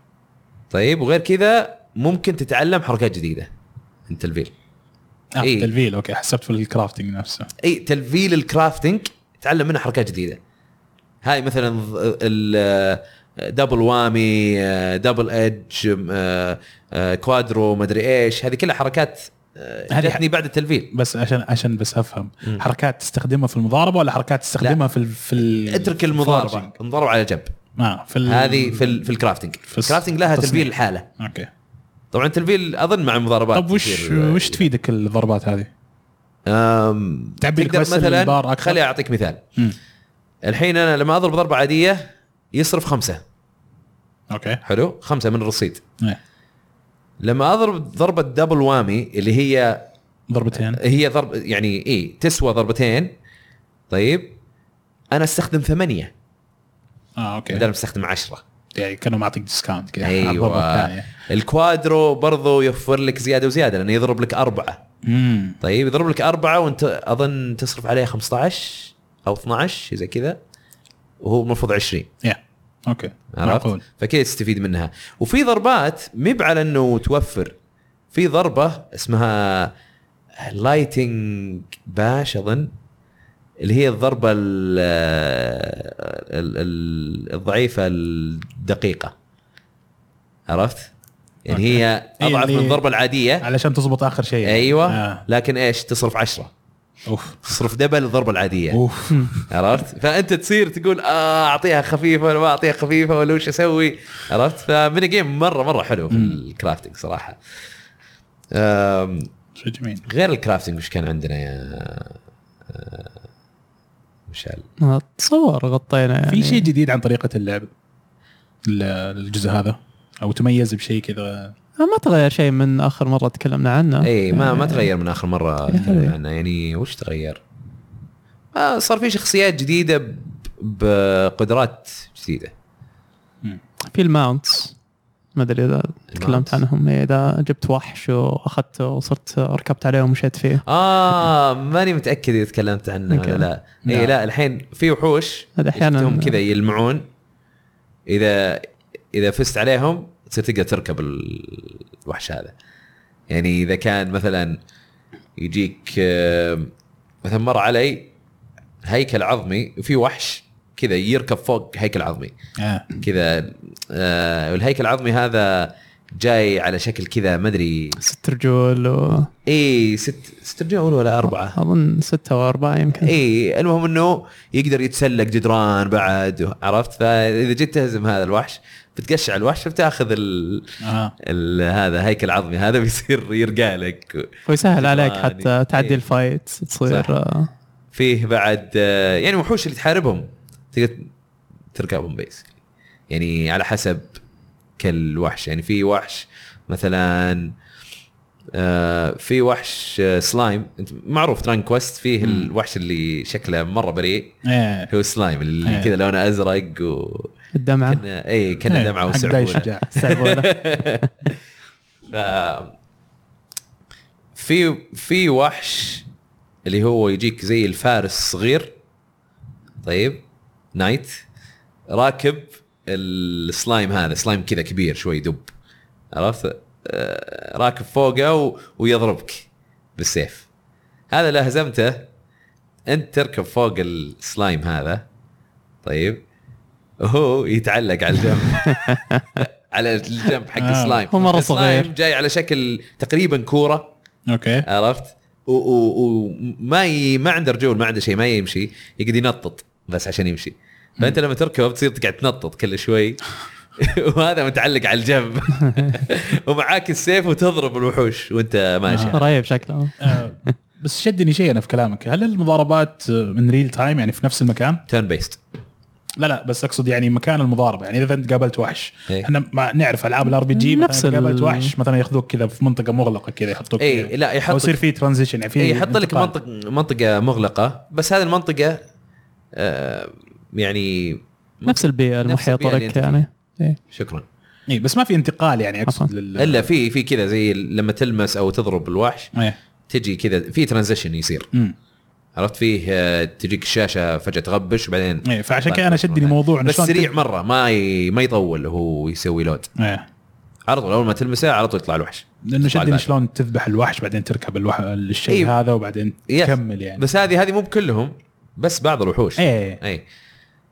Speaker 1: طيب وغير كذا ممكن تتعلم حركات جديده من تلفيل
Speaker 2: اه
Speaker 1: إيه.
Speaker 2: إيه؟ تلفيل اوكي حسبت في الكرافتنج نفسه
Speaker 1: اي تلفيل الكرافتنج تعلم منها حركات جديده هاي مثلا ض- ال دبل وامي آه، دبل ايدج آه، آه، كوادرو مدري ايش هذه كلها حركات آه،
Speaker 2: هذه
Speaker 1: جتني بعد التلفيل
Speaker 2: بس عشان عشان بس افهم
Speaker 1: مم.
Speaker 2: حركات تستخدمها في المضاربه ولا حركات تستخدمها في ال- في ال-
Speaker 1: اترك
Speaker 2: في
Speaker 1: المضاربه
Speaker 2: الفاربنج؟
Speaker 1: المضاربه على جنب
Speaker 2: اه في ال-
Speaker 1: هذه في ال في الكرافتنج
Speaker 2: في الس-
Speaker 1: الكرافتنج لها
Speaker 2: التصنيع.
Speaker 1: تلفيل الحاله
Speaker 2: اوكي
Speaker 1: طبعا تلفيل اظن مع المضاربات
Speaker 2: طب وش
Speaker 1: يصير-
Speaker 2: وش تفيدك الضربات هذه؟
Speaker 1: أم،
Speaker 2: تعبي لك
Speaker 1: تقدر
Speaker 2: بس البار
Speaker 1: مثلا
Speaker 2: أكثر؟
Speaker 1: خليني اعطيك مثال
Speaker 2: مم.
Speaker 1: الحين انا لما اضرب ضربه عاديه يصرف خمسه
Speaker 2: اوكي
Speaker 1: حلو خمسه من الرصيد
Speaker 2: إيه.
Speaker 1: لما اضرب ضربه دبل وامي اللي هي
Speaker 2: ضربتين
Speaker 1: هي ضرب يعني اي تسوى ضربتين طيب انا استخدم ثمانيه
Speaker 2: اه اوكي
Speaker 1: بدل ما استخدم عشرة
Speaker 2: يعني كانوا معطيك ديسكاونت كذا على الضربة
Speaker 1: ايوه
Speaker 2: الثانية.
Speaker 1: الكوادرو برضو يوفر لك زياده وزياده لانه يضرب لك اربعه
Speaker 2: امم
Speaker 1: طيب يضرب لك اربعه وانت اظن تصرف عليه 15 او 12 شيء زي كذا وهو المفروض 20
Speaker 2: يا اوكي
Speaker 1: عرفت؟
Speaker 2: معقول
Speaker 1: فكذا تستفيد منها وفي ضربات مب على انه توفر في ضربه اسمها لايتنج باش اظن اللي هي الضربه ال- ال- ال- الضعيفه الدقيقه عرفت؟ يعني
Speaker 2: أوكي.
Speaker 1: هي اضعف
Speaker 2: اللي-
Speaker 1: من الضربه العاديه
Speaker 2: علشان تزبط اخر شيء يعني.
Speaker 1: ايوه
Speaker 2: آه.
Speaker 1: لكن ايش تصرف عشرة
Speaker 2: اوف
Speaker 1: تصرف دبل الضربه العاديه
Speaker 2: اوف
Speaker 1: عرفت فانت تصير تقول آه اعطيها خفيفه ولا ما اعطيها خفيفه ولا وش اسوي عرفت فميني جيم مره مره حلو في
Speaker 2: مم.
Speaker 1: الكرافتنج صراحه أم،
Speaker 2: شيء جميل
Speaker 1: غير الكرافتنج وش كان عندنا يا آه، مشعل
Speaker 3: اتصور آه، غطينا يعني
Speaker 2: في شيء جديد عن طريقه اللعب ال- الجزء هذا او تميز بشيء كذا
Speaker 3: آه، ما تغير شيء من اخر مره تكلمنا عنه
Speaker 1: اي إيه، ما ما تغير من اخر مره
Speaker 3: إيه.
Speaker 1: تكلمنا عنه يعني وش تغير؟ آه صار في شخصيات جديده ب- بقدرات جديده
Speaker 3: في الماونتس ما ادري اذا
Speaker 1: الماونتس.
Speaker 3: تكلمت عنهم إيه، اذا جبت وحش واخذته وصرت ركبت عليه ومشيت فيه
Speaker 1: اه ماني متاكد اذا تكلمت عنه ولا
Speaker 3: أوكي.
Speaker 1: لا اي
Speaker 2: نعم.
Speaker 1: لا الحين في وحوش
Speaker 3: هذا يعني. أحياناً-
Speaker 1: شفتهم كذا يلمعون اذا اذا فزت عليهم تصير تقدر تركب ال- الوحش هذا يعني اذا كان مثلا يجيك آم، مثلا مر علي هيكل عظمي وفي وحش كذا يركب فوق هيكل عظمي
Speaker 2: آه.
Speaker 1: كذا آه والهيكل العظمي هذا جاي على شكل كذا ما ادري
Speaker 3: ست رجول و...
Speaker 1: اي ست ست رجال ولا اربعه
Speaker 3: اظن ستة واربعة يمكن
Speaker 1: اي إيه، المهم انه يقدر يتسلق جدران بعد عرفت فاذا جيت تهزم هذا الوحش بتقشع الوحش بتاخذ ال...
Speaker 2: آه.
Speaker 1: ال... هذا هيكل عظمي هذا بيصير يرقى لك
Speaker 3: ويسهل عليك
Speaker 1: يعني-
Speaker 3: حتى تعدي
Speaker 1: إيه.
Speaker 3: الفايت تصير
Speaker 1: صح.
Speaker 3: آه،
Speaker 1: فيه بعد آه، يعني وحوش اللي تحاربهم تقدر تركبهم بيس يعني على حسب كل وحش يعني في وحش مثلا آه، في وحش آه، سلايم أنت معروف تران كويست فيه
Speaker 2: مم.
Speaker 1: الوحش اللي شكله مره بريء
Speaker 2: ايه
Speaker 1: هو سلايم اللي
Speaker 2: إيه.
Speaker 1: كذا لونه ازرق و
Speaker 3: الدمعة
Speaker 1: كنا اي كنا
Speaker 2: إيه.
Speaker 1: دمعه
Speaker 2: حق داي
Speaker 1: وسعفونه
Speaker 2: شجاع
Speaker 3: سعبولة.
Speaker 1: ف في في وحش اللي هو يجيك زي الفارس الصغير طيب نايت راكب السلايم هذا سلايم كذا كبير شوي دب عرفت آه، راكب فوقه و... ويضربك بالسيف هذا اللي هزمته انت تركب فوق السلايم هذا طيب وهو يتعلق على الجنب على الجنب حق
Speaker 2: آه،
Speaker 1: السلايم
Speaker 3: هو مرة
Speaker 1: السلايم
Speaker 3: صغير.
Speaker 1: جاي على شكل تقريبا كوره
Speaker 2: اوكي
Speaker 1: عرفت وما ي... ما عنده رجول ما عنده شيء ما يمشي يقعد ينطط بس عشان يمشي فانت لما تركبه بتصير تقعد تنطط كل شوي وهذا متعلق على الجنب ومعاك السيف وتضرب الوحوش وانت ماشي
Speaker 2: آه.
Speaker 3: رهيب شكله
Speaker 2: آه. بس شدني شيء انا في كلامك هل المضاربات آه، من ريل تايم يعني في نفس المكان
Speaker 1: تيرن بيست
Speaker 2: لا لا بس اقصد يعني مكان المضاربه يعني اذا انت قابلت وحش
Speaker 1: إيه.
Speaker 2: احنا ما نعرف العاب الار بي جي
Speaker 3: نفس
Speaker 2: مثلا إذا قابلت
Speaker 3: ال-
Speaker 2: وحش مثلا ياخذوك كذا في منطقه مغلقه كذا يحطوك
Speaker 1: اي
Speaker 2: اي
Speaker 1: إيه، لا
Speaker 2: او
Speaker 1: يحط
Speaker 2: يصير في ترانزيشن يعني في
Speaker 1: اي يحط إيه، لك
Speaker 2: انتقال.
Speaker 1: منطق منطقه مغلقه بس هذه المنطقه آه يعني
Speaker 3: نفس البيئة
Speaker 1: نفس
Speaker 3: المحيطة
Speaker 1: البيئة
Speaker 3: لك
Speaker 1: اللي
Speaker 3: يعني
Speaker 1: شكرا
Speaker 2: اي إيه، بس ما في انتقال يعني اقصد
Speaker 3: عفوا.
Speaker 2: لل...
Speaker 1: الا في في كذا زي لما تلمس او تضرب الوحش
Speaker 2: ايه
Speaker 1: تجي كذا في ترانزيشن يصير
Speaker 2: امم
Speaker 1: عرفت فيه آه، تجيك الشاشه فجاه تغبش وبعدين
Speaker 2: ايه فعشان كذا انا شدني موضوع
Speaker 1: طيب.
Speaker 2: إنه
Speaker 1: بس
Speaker 2: شلون
Speaker 1: سريع
Speaker 2: تل-
Speaker 1: مره ما ي... ما يطول هو يسوي لود
Speaker 2: ايه
Speaker 1: على طول اول ما تلمسه على طول يطلع الوحش
Speaker 2: لانه
Speaker 1: يطلع
Speaker 2: شدني
Speaker 1: البعد.
Speaker 2: شلون تذبح الوحش بعدين تركب الوح... الشيء
Speaker 1: طيب، إيه.
Speaker 2: هذا وبعدين
Speaker 1: يس.
Speaker 2: تكمل يعني
Speaker 1: بس هذه هذه مو بكلهم بس بعض الوحوش
Speaker 2: ايه
Speaker 1: اي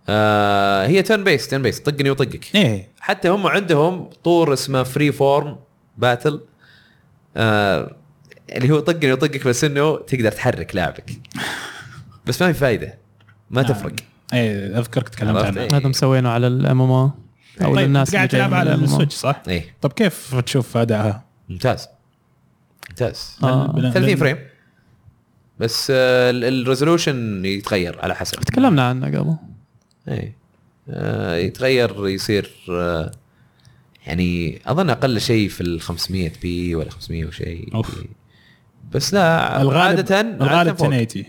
Speaker 1: آه هي تن بيس تن بيس طقني وطقك
Speaker 2: ايه
Speaker 1: حتى هم عندهم طور اسمه فري فورم باتل آه اللي هو طقني وطقك بس انه تقدر تحرك لاعبك بس ما في فايده ما
Speaker 2: نعم.
Speaker 1: تفرق
Speaker 2: ايه اذكرك تكلمت
Speaker 1: عرفت،
Speaker 2: عنه
Speaker 1: إيه.
Speaker 3: هذا مسوينه على الام ام او او
Speaker 2: طيب
Speaker 3: للناس
Speaker 2: أنت قاعد تلعب على السويتش صح؟
Speaker 1: ايه
Speaker 2: طب كيف تشوف ادائها؟
Speaker 1: ممتاز ممتاز
Speaker 3: آه،
Speaker 2: بل- بل-
Speaker 1: 30
Speaker 2: بل-
Speaker 1: فريم بس آه، ال- الريزولوشن يتغير على حسب
Speaker 3: تكلمنا عنه قبل
Speaker 1: اي آه، يتغير يصير آه، يعني اظن اقل شيء في ال 500 بي ولا 500 وشيء
Speaker 2: أوف.
Speaker 1: بس لا
Speaker 2: الغالب
Speaker 1: عاده
Speaker 2: الغالب 1080
Speaker 1: ال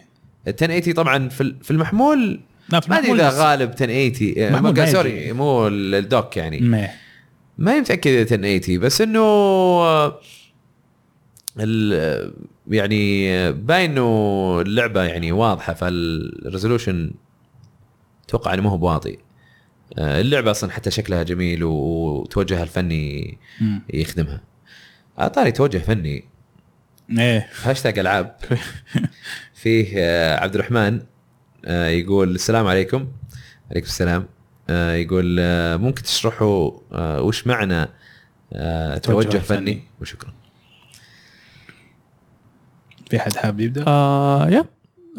Speaker 1: 1080 طبعا في ال- في المحمول
Speaker 2: لا في
Speaker 1: ما ادري
Speaker 2: المحمول
Speaker 1: اذا
Speaker 2: بس.
Speaker 1: غالب 1080 آه،
Speaker 2: محمول ما
Speaker 1: ما-
Speaker 2: يجي.
Speaker 1: سوري مو ال- الدوك يعني
Speaker 2: مم.
Speaker 1: ما متاكد اذا 1080 بس انه آه، ال آه، يعني آه، باين انه اللعبه يعني واضحه فالريزولوشن اتوقع انه ما هو بواطي آه، اللعبه اصلا حتى شكلها جميل و- وتوجهها الفني
Speaker 2: مم.
Speaker 1: يخدمها على طاري توجه فني
Speaker 2: ايه
Speaker 1: هاشتاج العاب فيه آه، عبد الرحمن آه، يقول السلام عليكم عليكم السلام آه، يقول آه، ممكن تشرحوا آه، وش معنى آه،
Speaker 2: توجه
Speaker 1: توجه
Speaker 2: فني.
Speaker 1: فني وشكرا
Speaker 2: في حد حابب يبدا؟
Speaker 3: آه يا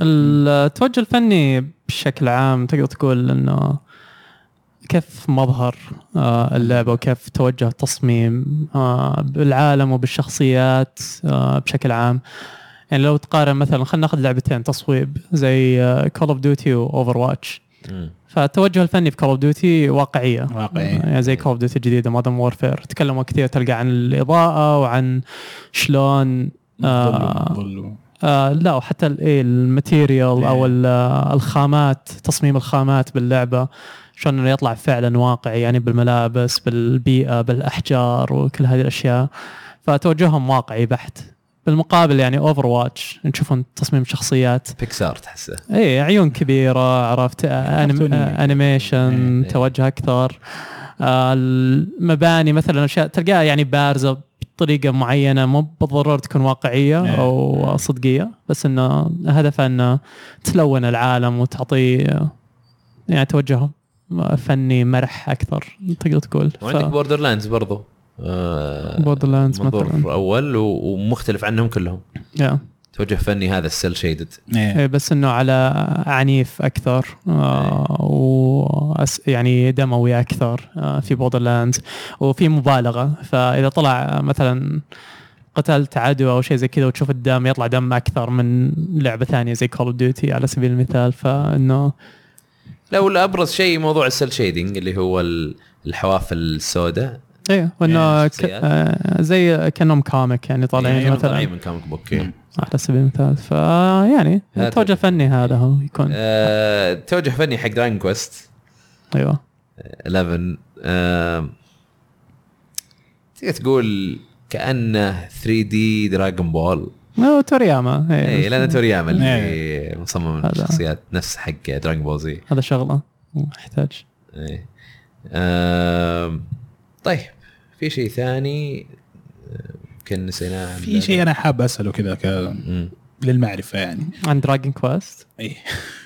Speaker 3: التوجه الفني بشكل عام تقدر تقول انه كيف مظهر آه، اللعبه وكيف توجه التصميم آه، بالعالم وبالشخصيات آه، بشكل عام يعني لو تقارن مثلا خلينا ناخذ لعبتين تصويب زي آه، كول اوف ديوتي واوفر واتش
Speaker 1: مم.
Speaker 3: فالتوجه الفني في كول اوف ديوتي واقعيه
Speaker 2: واقعية.
Speaker 3: يعني زي كول اوف ديوتي الجديده مودرن وورفير تكلموا كثير تلقى عن الاضاءه وعن شلون آه،
Speaker 2: ظلوا-
Speaker 3: آه لا وحتى ال- إيه الماتيريال
Speaker 2: إيه.
Speaker 3: او ال- آه، الخامات تصميم الخامات باللعبه شلون انه يطلع فعلا واقعي يعني بالملابس بالبيئه بالاحجار وكل هذه الاشياء فتوجههم واقعي بحت بالمقابل يعني اوفر واتش نشوفون تصميم شخصيات
Speaker 1: بيكسار تحسه
Speaker 3: اي إيه، عيون كبيره عرفت آه، أنم-
Speaker 2: كرتونية.
Speaker 3: آه، انيميشن
Speaker 1: إيه.
Speaker 3: توجه اكثر آه، المباني مثلا اشياء تلقاها يعني بارزه بطريقه معينه مو بالضروره تكون واقعيه
Speaker 2: إيه.
Speaker 3: او صدقيه بس انه هدفها انه تلون العالم وتعطيه يعني توجه فني مرح اكثر تقدر تقول
Speaker 1: وعندك بوردر لاندز برضو آه،
Speaker 3: بوردرلاندز مثلا
Speaker 1: منظور اول و- ومختلف عنهم كلهم
Speaker 3: yeah.
Speaker 1: توجه فني هذا السيل شيدد
Speaker 2: إيه.
Speaker 3: إيه، بس انه على عنيف اكثر آه، و أس- يعني دموي اكثر آه، في بوردر لاند وفي مبالغه فاذا طلع مثلا قتلت عدو او شيء زي كذا وتشوف الدم يطلع دم اكثر من لعبه ثانيه زي كول اوف ديوتي على سبيل المثال فانه
Speaker 1: لا والابرز شيء موضوع السيل شيدنج اللي هو ال- الحوافل السوداء
Speaker 3: ايه وانه
Speaker 1: إيه،
Speaker 3: ك- آه، زي كانهم كوميك يعني طالعين
Speaker 1: يعني طالعين
Speaker 3: مثلا
Speaker 1: من كوميك بوك
Speaker 2: مم.
Speaker 3: على سبيل المثال فيعني
Speaker 1: هذا
Speaker 3: توجه فني هذا هو يكون
Speaker 1: آه، توجه فني حق دراين كويست
Speaker 3: ايوه
Speaker 1: 11 آه، تقدر تقول كانه 3 دي دراجون بول
Speaker 3: أو تورياما إيه،
Speaker 2: يعني
Speaker 1: اي لان تورياما إيه،
Speaker 2: إيه.
Speaker 1: اللي مصمم
Speaker 3: هذا.
Speaker 1: الشخصيات نفس حق دراجون بول زي
Speaker 3: هذا شغله محتاج
Speaker 1: إيه. آم، طيب في شيء ثاني آه، يمكن نسيناه عن
Speaker 2: في شيء انا حاب اساله كذا ك-
Speaker 1: مم.
Speaker 2: للمعرفه يعني
Speaker 3: عن دراجون كويست
Speaker 2: ايه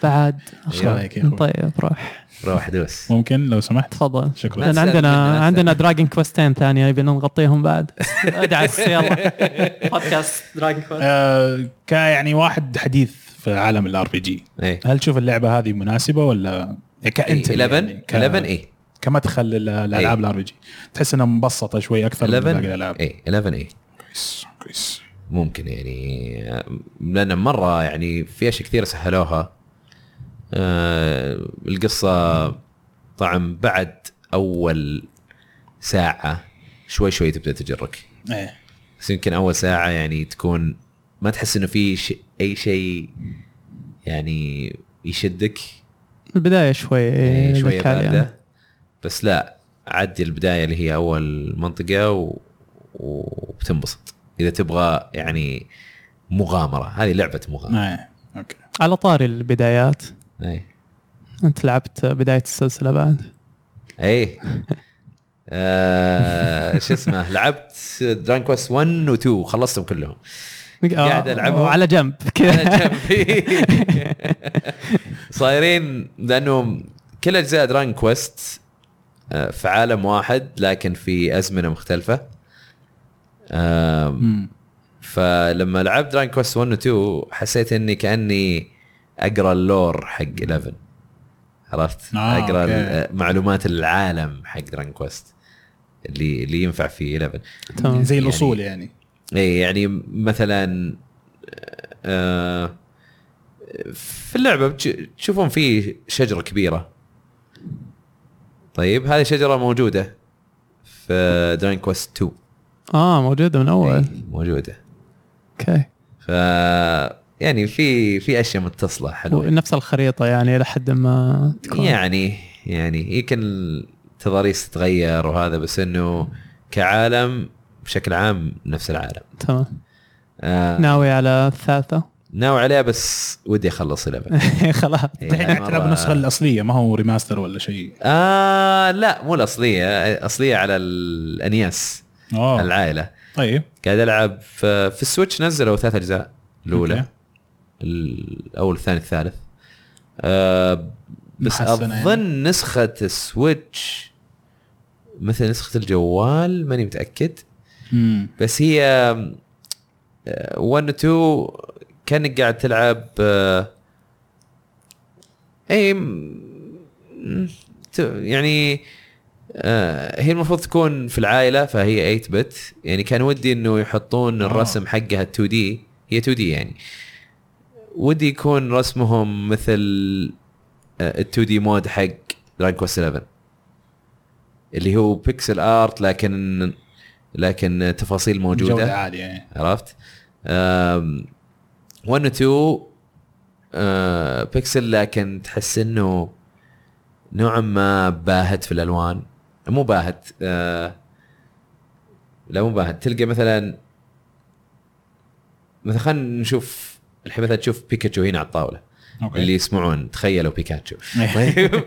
Speaker 3: بعد
Speaker 2: ايش رايك يا اخوي؟
Speaker 3: طيب روح
Speaker 1: روح دوس
Speaker 2: ممكن لو سمحت
Speaker 3: تفضل
Speaker 2: شكرا
Speaker 1: لا.
Speaker 3: لان
Speaker 1: تسأل مني،
Speaker 3: عندنا
Speaker 1: لا
Speaker 3: عندنا دراجون كويستين ثانيه يبينا نغطيهم بعد ادعس يلا بودكاست دراجون كويست
Speaker 2: آه ك يعني واحد حديث في عالم الار بي جي
Speaker 1: ايه
Speaker 2: هل تشوف اللعبه هذه مناسبه ولا
Speaker 1: إيه،
Speaker 2: كانت
Speaker 1: 11 11 اي
Speaker 2: كمدخل للالعاب
Speaker 1: إيه.
Speaker 2: الار بي جي تحس انها مبسطه شوي اكثر من باقي
Speaker 1: 11
Speaker 2: الالعاب
Speaker 1: اي 11 اي
Speaker 2: كويس كويس
Speaker 1: ممكن يعني آه، لان مره يعني في اشياء كثيره سهلوها آه القصه طبعا بعد اول ساعه شوي شوي تبدا تجرك إيه.
Speaker 2: ايه
Speaker 1: بس يمكن اول ساعه يعني تكون ما تحس انه في ش... اي شيء يعني يشدك
Speaker 3: البدايه شوي إيه،
Speaker 1: يعني شويه
Speaker 3: ذكاء يعني.
Speaker 1: بارده بس لا عدي البدايه اللي هي اول منطقه و... وبتنبسط اذا تبغى يعني مغامره هذه لعبه مغامره
Speaker 2: ايه اوكي
Speaker 3: على طاري البدايات
Speaker 1: اي
Speaker 3: انت لعبت بدايه السلسله بعد
Speaker 1: اي إيه. آه شو اسمه لعبت دران كويست 1 و 2 خلصتهم كلهم قاعد
Speaker 3: آه،
Speaker 1: ألعبهم.
Speaker 3: وعلى جنب
Speaker 1: أنا
Speaker 3: كذا
Speaker 1: جنبي. صايرين لانه كل اجزاء دران كويست آه، في عالم واحد لكن في ازمنه مختلفه آم،
Speaker 2: مم.
Speaker 1: فلما لعبت دران كويست 1 و 2 حسيت اني كاني اقرا اللور حق 11 عرفت؟
Speaker 2: آه،
Speaker 1: اقرا
Speaker 2: أوكي.
Speaker 1: ال- معلومات العالم حق دران كويست اللي اللي ينفع في 11
Speaker 3: تمام.
Speaker 2: زي
Speaker 1: يعني-
Speaker 2: الاصول يعني
Speaker 1: اي يعني مثلا آه في اللعبه بتش- تشوفون في شجره كبيره طيب هذه شجره موجوده في دران كويست 2
Speaker 3: اه موجوده من اول
Speaker 1: إي، موجوده
Speaker 3: اوكي
Speaker 1: ف يعني في في اشياء متصله حلوه
Speaker 3: ونفس الخريطه يعني الى حد ما تكون
Speaker 1: يعني يعني يمكن التضاريس تتغير وهذا بس انه كعالم بشكل عام نفس العالم
Speaker 3: تمام
Speaker 1: آه
Speaker 3: ناوي على الثالثه
Speaker 1: ناوي عليها بس ودي اخلص اللعبه
Speaker 3: خلاص
Speaker 1: إي،
Speaker 2: الحين قاعد
Speaker 1: مرة-
Speaker 2: تلعب النسخه الاصليه ما هو ريماستر ولا شيء
Speaker 1: آه لا مو الاصليه الاصليه على الانياس على
Speaker 2: اوه
Speaker 1: العائله
Speaker 2: آه. طيب
Speaker 1: قاعد العب في في السويتش نزلوا ثلاث اجزاء الاولى
Speaker 2: أوكي.
Speaker 1: الاول الثاني الثالث آه بس اظن
Speaker 2: محسنة يعني.
Speaker 1: يعني. نسخه السويتش مثل نسخه الجوال ماني متاكد
Speaker 2: مم.
Speaker 1: بس هي آه، 1 و 2 كانك قاعد تلعب آه، اي م- ت- يعني آه هي المفروض تكون في العائله فهي 8 بت يعني كان ودي انه يحطون
Speaker 2: آه.
Speaker 1: الرسم حقها 2 دي هي 2 دي يعني ودي يكون رسمهم مثل آه، ال 2 دي مود حق دراج كويست 11 اللي هو بيكسل ارت لكن لكن تفاصيل موجوده
Speaker 2: جوده عاليه يعني.
Speaker 1: عرفت؟ أم، 1 و 2 أه، بيكسل لكن تحس انه نوعا ما باهت في الالوان مو باهت أه، لا مو باهت تلقى مثلا مثلا خلينا نشوف الحين مثلا تشوف بيكاتشو هنا على الطاوله
Speaker 2: أوكي. إيه.
Speaker 1: اللي يسمعون تخيلوا بيكاتشو طيب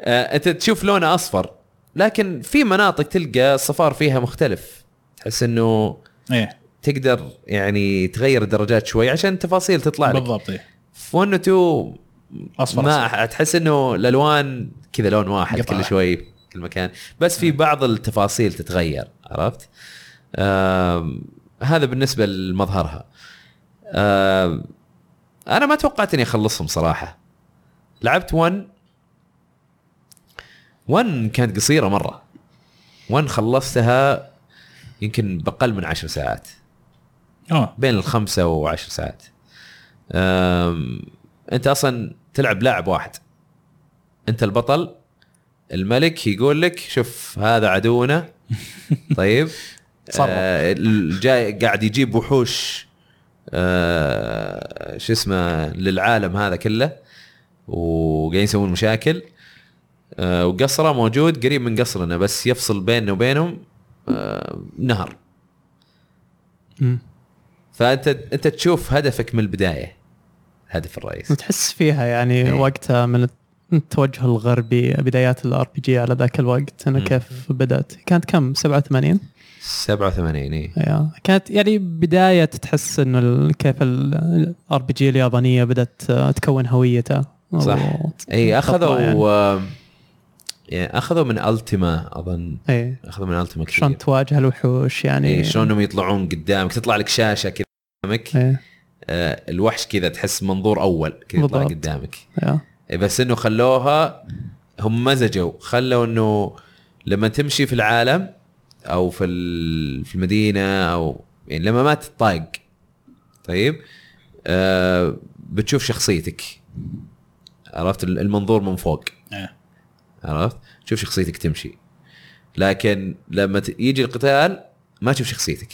Speaker 1: آه، انت تشوف لونه اصفر لكن في مناطق تلقى الصفار فيها مختلف تحس انه
Speaker 2: ايه
Speaker 1: تقدر يعني تغير الدرجات شوي عشان تفاصيل تطلع لك
Speaker 2: بالضبط إيه.
Speaker 1: في 1 و 2
Speaker 2: اصفر
Speaker 1: ما
Speaker 2: ما
Speaker 1: أح- تحس انه الالوان كذا لون واحد
Speaker 2: قطعة.
Speaker 1: كل شوي كل مكان بس في بعض التفاصيل تتغير عرفت؟ آم، هذا بالنسبه لمظهرها آم، انا ما توقعت اني اخلصهم صراحه لعبت 1 1 كانت قصيره مره 1 خلصتها يمكن بقل من 10 ساعات
Speaker 2: اه
Speaker 1: بين الخمسة وعشر ساعات أم، انت اصلا تلعب لاعب واحد انت البطل الملك يقول لك شوف هذا عدونا طيب
Speaker 2: تصرف.
Speaker 1: آه، الجاي قاعد يجيب وحوش آه، شو اسمه للعالم هذا كله وقاعدين يسوون مشاكل آه، وقصره موجود قريب من قصرنا بس يفصل بيننا وبينهم آه، نهر
Speaker 3: مم.
Speaker 1: فانت انت تشوف هدفك من البدايه الهدف الرئيسي
Speaker 3: تحس فيها يعني
Speaker 1: إيه.
Speaker 3: وقتها من التوجه الغربي بدايات الار بي جي على ذاك الوقت انه
Speaker 1: مم.
Speaker 3: كيف بدات كانت كم 87
Speaker 1: 87 اي
Speaker 3: يا. كانت يعني بدايه تحس انه ال- كيف الار بي جي اليابانيه بدات آه، تكون هويتها
Speaker 1: صح.
Speaker 3: وت-
Speaker 1: اي اخذوا
Speaker 3: تطلع يعني.
Speaker 1: يعني. إيه، يعني اخذوا من التيما اظن
Speaker 3: اي
Speaker 1: اخذوا من التيما كثير
Speaker 3: إيه. شلون تواجه الوحوش يعني
Speaker 1: اي إيه. شلون هم يطلعون قدامك تطلع لك شاشه كذا قدامك
Speaker 3: إيه.
Speaker 1: آه الوحش كذا تحس منظور اول كذا يطلع
Speaker 3: بالضبط.
Speaker 1: قدامك
Speaker 3: يا.
Speaker 1: إيه، بس انه خلوها هم مزجوا خلوا انه لما تمشي في العالم او في ال- في المدينه او يعني لما ما تطايق طيب آه بتشوف شخصيتك عرفت ال- المنظور من فوق
Speaker 2: إيه.
Speaker 1: عرفت تشوف شخصيتك تمشي لكن لما ت- يجي القتال ما تشوف شخصيتك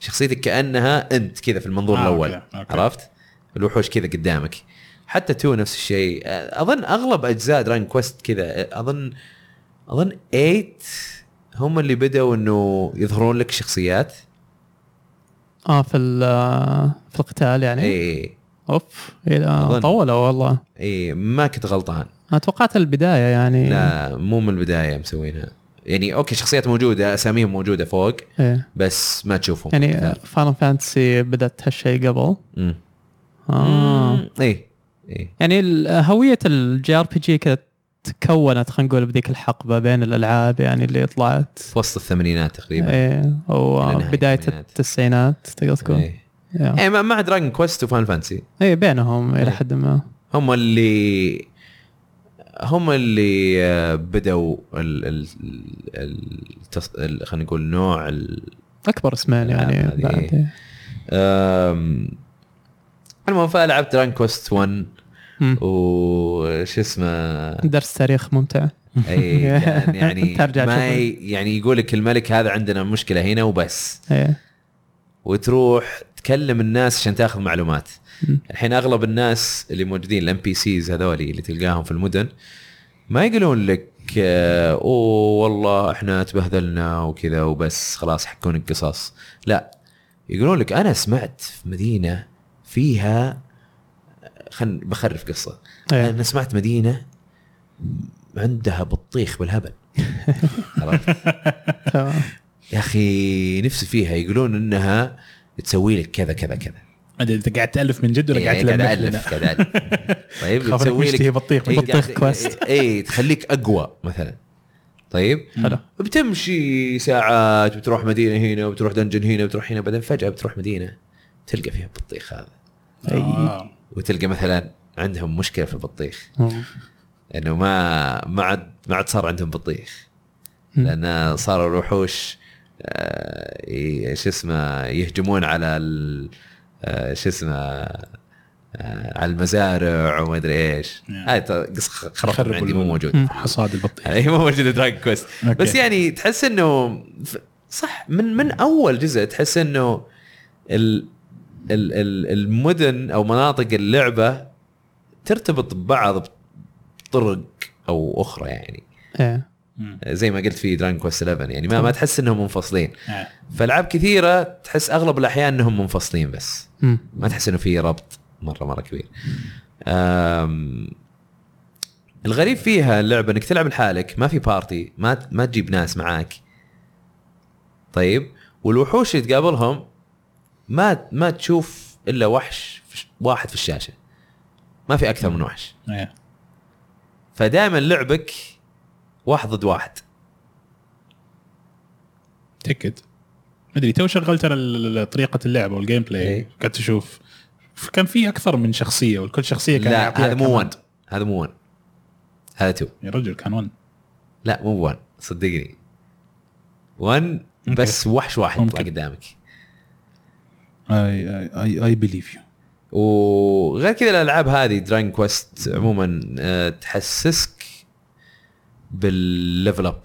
Speaker 1: شخصيتك كانها انت كذا في المنظور
Speaker 2: آه،
Speaker 1: آه الاول
Speaker 2: أوكي، أوكي.
Speaker 1: عرفت الوحوش كذا قدامك حتى تو نفس الشيء اظن اغلب اجزاء دراين كويست كذا اظن اظن 8 هم اللي بدأوا انه يظهرون لك شخصيات
Speaker 3: اه في ال- في القتال يعني
Speaker 1: اي
Speaker 3: اوف إلى-
Speaker 1: إيه. أظن.
Speaker 3: طولوا والله
Speaker 1: اي إيه، ما كنت غلطان
Speaker 3: انا توقعت البدايه يعني
Speaker 1: لا مو من البدايه مسوينها يعني اوكي شخصيات موجوده اساميهم موجوده فوق
Speaker 3: إيه.
Speaker 1: بس ما تشوفهم
Speaker 3: يعني فاينل فانتسي بدات هالشيء قبل
Speaker 1: امم
Speaker 3: اه
Speaker 1: اي اي
Speaker 3: يعني ال- هويه الجي ار بي جي كذا تكونت خلينا نقول بذيك الحقبه بين الالعاب يعني اللي طلعت
Speaker 1: في وسط الثمانينات تقريبا
Speaker 3: ايه
Speaker 1: إلى
Speaker 3: او
Speaker 1: نهاية
Speaker 3: بدايه
Speaker 1: الثمانينات. إيه.
Speaker 3: التسعينات تقدر تقول
Speaker 1: اي
Speaker 3: يا.
Speaker 1: إي، مع- مع دراجون كويست وفان فانسي
Speaker 3: ايه بينهم الى
Speaker 1: إيه.
Speaker 3: حد ما
Speaker 1: هم اللي هم اللي آه، بدوا ال ال ال- التص- ال خلينا نقول نوع ال-
Speaker 3: اكبر اسمين يعني
Speaker 1: الألعاب هذه.
Speaker 3: بعد إيه.
Speaker 1: آم، المهم فلعبت درانك كويست 1
Speaker 3: مم.
Speaker 1: وش اسمه
Speaker 3: درس تاريخ ممتع
Speaker 1: اي كان يعني
Speaker 3: ترجع
Speaker 1: ما
Speaker 3: تشوف.
Speaker 1: ي- يعني يقول لك الملك هذا عندنا مشكله هنا وبس
Speaker 3: ايه
Speaker 1: وتروح تكلم الناس عشان تاخذ معلومات
Speaker 3: مم.
Speaker 1: الحين اغلب الناس اللي موجودين الام بي سيز هذولي اللي تلقاهم في المدن ما يقولون لك آه، اوه والله احنا تبهذلنا وكذا وبس خلاص حكونك قصص لا يقولون لك انا سمعت في مدينه فيها خل بخرف قصه
Speaker 3: إيه.
Speaker 1: انا سمعت مدينه عندها بطيخ بالهبل عرفت؟
Speaker 3: تمام.
Speaker 1: يا اخي نفسي فيها يقولون انها تسوي لك كذا كذا كذا
Speaker 2: ما ادري انت قاعد تالف من جد ولا قاعد
Speaker 1: يعني قاعد
Speaker 2: تلمح لنا؟
Speaker 1: الف قاعد الف طيب
Speaker 2: خاف إنك
Speaker 1: تسوي
Speaker 2: مشتهي
Speaker 1: لك
Speaker 2: بطيخ
Speaker 1: إيه،
Speaker 2: من جد.
Speaker 3: بطيخ
Speaker 1: قاعد-
Speaker 3: كويست.
Speaker 1: اي تخليك اقوى مثلا طيب
Speaker 3: حلو
Speaker 1: بتمشي ساعات بتروح مدينه هنا وبتروح دنجن هنا وبتروح هنا بعدين فجاه بتروح مدينه تلقى فيها البطيخ هذا
Speaker 3: إيه.
Speaker 2: آه.
Speaker 1: وتلقى مثلا عندهم مشكله في البطيخ
Speaker 3: مم.
Speaker 1: انه ما ما عاد ما عاد صار عندهم بطيخ لان صاروا الوحوش آه، ي- شو اسمه يهجمون على ال- آه، شو اسمه آه، على المزارع وما ادري ايش
Speaker 2: نعم.
Speaker 1: هاي ت- قصه خرف
Speaker 2: يخرب
Speaker 1: عندي مو
Speaker 2: ال-
Speaker 1: موجود
Speaker 3: مم.
Speaker 2: حصاد البطيخ
Speaker 1: هي مو موجوده دراجون كويست
Speaker 2: أوكي.
Speaker 1: بس يعني تحس انه ف- صح من من اول جزء تحس انه ال ال ال المدن او مناطق اللعبه ترتبط ببعض بطرق او اخرى يعني
Speaker 3: ايه
Speaker 2: مم.
Speaker 1: زي ما قلت في دراجون كويست 11 يعني ما ما تحس انهم منفصلين
Speaker 2: آه.
Speaker 1: فالعاب كثيره تحس اغلب الاحيان انهم منفصلين بس
Speaker 3: مم.
Speaker 1: ما تحس انه في ربط مره مره كبير أم الغريب فيها اللعبه انك تلعب لحالك ما في بارتي ما ت- ما تجيب ناس معاك طيب والوحوش اللي تقابلهم ما ما تشوف الا وحش في ش- واحد في الشاشه ما في اكثر من وحش
Speaker 2: إيه.
Speaker 1: فدائما لعبك واحد ضد واحد
Speaker 2: تأكد مدري تو شغلت انا ال- ال- طريقه اللعب والجيم بلاي
Speaker 1: إيه.
Speaker 2: قعدت اشوف ف- كان في اكثر من شخصيه وكل شخصيه كان
Speaker 1: لا
Speaker 2: يعطيها
Speaker 1: هذا مو
Speaker 2: كمان.
Speaker 1: 1 هذا مو 1 هذا 2
Speaker 2: يا رجل كان ون
Speaker 1: لا مو 1 صدقني 1
Speaker 2: أوكي.
Speaker 1: بس وحش واحد يطلع
Speaker 2: ممكن.
Speaker 1: قدامك
Speaker 2: اي اي اي بليف يو
Speaker 1: وغير كذا الالعاب هذه دراين كويست عموما آه، تحسسك بالليفل اب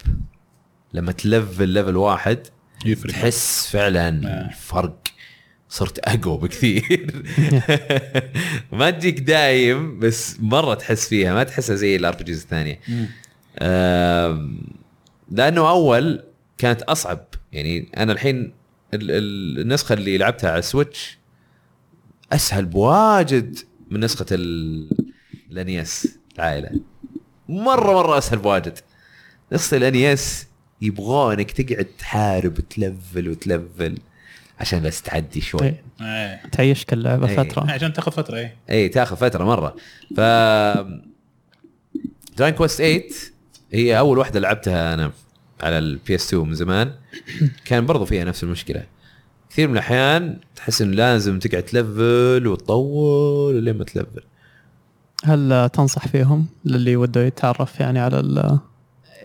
Speaker 1: لما تلفل ليفل واحد
Speaker 2: يفرق
Speaker 1: تحس فعلا
Speaker 2: آه.
Speaker 1: فرق صرت اقوى بكثير ما تجيك دايم بس مره تحس فيها ما تحسها زي الار بي جيز الثانيه
Speaker 2: مم.
Speaker 1: آم، لانه اول كانت اصعب يعني انا الحين ال- ال- النسخه اللي لعبتها على السويتش اسهل بواجد من نسخه ال- E الانيس العائله مره مره اسهل بواجد نسخه الانيس E يبغونك تقعد تحارب وتلفل وتلفل عشان بس تعدي شوي
Speaker 3: طيب.
Speaker 2: إيه.
Speaker 3: تعيشك اللعبه
Speaker 1: إيه.
Speaker 3: فتره
Speaker 2: عشان تاخذ إيه. فتره اي
Speaker 1: اي إيه، تاخذ فتره مره ف دراين كويست 8 هي اول واحده لعبتها انا على البي اس 2 من زمان كان برضو فيها نفس المشكله كثير من الاحيان تحس انه لازم تقعد تلفل وتطول لين ما تلفل
Speaker 3: هل آه، تنصح فيهم للي وده يتعرف يعني على ال-
Speaker 1: اي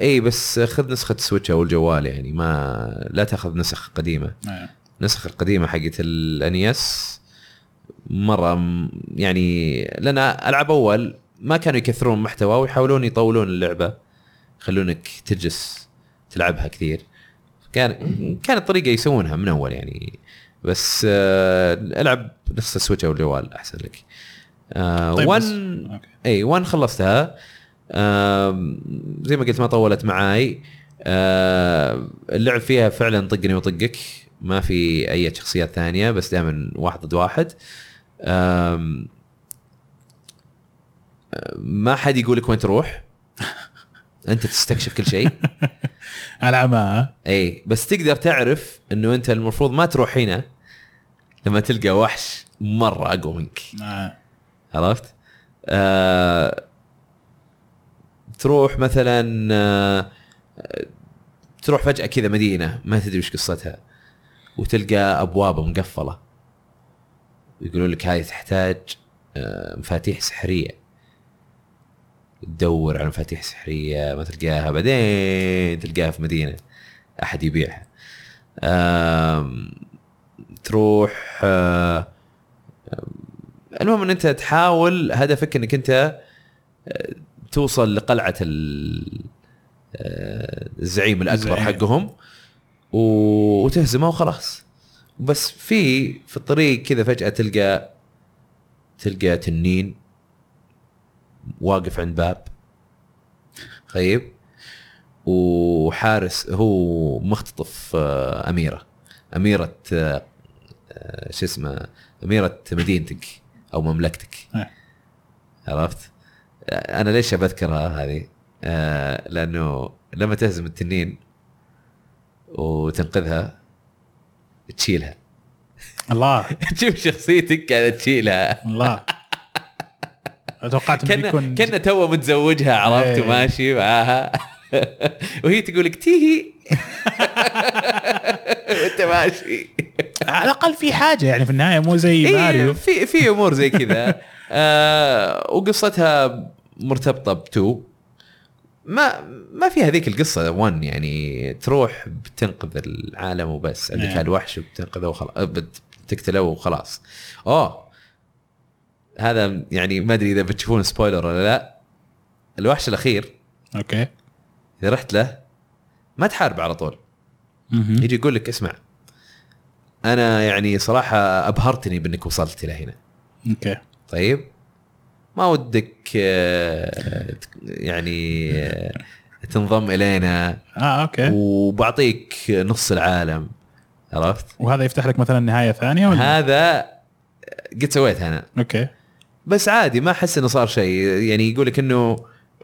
Speaker 1: إيه، بس خذ نسخه سويتش او الجوال يعني ما لا تاخذ نسخ قديمه
Speaker 2: إيه.
Speaker 1: النسخ القديمه حقت الانيس مره م- يعني لان العاب اول ما كانوا يكثرون محتوى ويحاولون يطولون اللعبه يخلونك تجلس تلعبها كثير كان كانت طريقه يسوونها من اول يعني بس آه العب نسخه السويتش او الجوال احسن لك آه
Speaker 2: طيب بس.
Speaker 1: ون
Speaker 2: اوكي
Speaker 1: اي 1 خلصتها آم، زي ما قلت ما طولت معاي آم، اللعب فيها فعلا طقني وطقك ما في اي شخصيات ثانيه بس دائما واحد ضد واحد آم، ما حد يقول لك وين تروح انت تستكشف كل شيء
Speaker 2: على عمى
Speaker 1: اي بس تقدر تعرف انه انت المفروض ما تروح هنا لما تلقى وحش مره اقوى منك
Speaker 2: آه.
Speaker 1: عرفت؟ آه تروح مثلا آه تروح فجأة كذا مدينة ما تدري وش قصتها وتلقى أبواب مقفلة يقولون لك هذه تحتاج آه مفاتيح سحرية تدور على مفاتيح سحرية ما تلقاها بعدين تلقاها في مدينة أحد يبيعها آم، تروح آه المهم ان انت تحاول هدفك انك انت آه، توصل لقلعه ال- آه، الزعيم الاكبر
Speaker 2: الزعيم.
Speaker 1: حقهم و- وتهزمه وخلاص بس في في الطريق كذا فجاه تلقى تلقى تنين واقف عند باب طيب وحارس هو مختطف آه، اميره اميره آه، آه، شو اسمه اميره مدينتك او مملكتك
Speaker 2: إيه.
Speaker 1: عرفت آه، انا ليش بذكرها هذه آه، لانه لما تهزم التنين وتنقذها تشيلها
Speaker 2: الله
Speaker 1: تشوف شخصيتك كانت تشيلها
Speaker 2: الله توقعت انه
Speaker 1: كنا
Speaker 2: بيكون
Speaker 1: كنا تو متزوجها عرفت
Speaker 2: إيه.
Speaker 1: وماشي معاها وهي تقول لك تيهي وانت ماشي
Speaker 2: على الاقل في حاجه يعني في النهايه مو زي
Speaker 1: إيه،
Speaker 2: ماريو
Speaker 1: في في امور زي كذا آه وقصتها مرتبطه بتو ما ما في هذيك القصه 1 يعني تروح بتنقذ العالم وبس عندك
Speaker 2: نعم.
Speaker 1: هالوحش بتنقذه وخلاص آه، بتقتله وخلاص اوه هذا يعني ما ادري اذا بتشوفون سبويلر ولا لا الوحش الاخير
Speaker 2: اوكي
Speaker 1: اذا رحت له ما تحارب على طول
Speaker 2: مهم.
Speaker 1: يجي يقول لك اسمع انا يعني صراحه ابهرتني بانك وصلت الى هنا
Speaker 2: اوكي
Speaker 1: طيب ما ودك آه، تك- يعني آه، تنضم الينا
Speaker 2: اه اوكي
Speaker 1: وبعطيك نص العالم عرفت؟
Speaker 2: وهذا يفتح لك مثلا نهايه ثانيه ولا
Speaker 1: هذا قد سويتها انا
Speaker 2: اوكي
Speaker 1: بس عادي ما احس انه صار شيء يعني يقول لك انه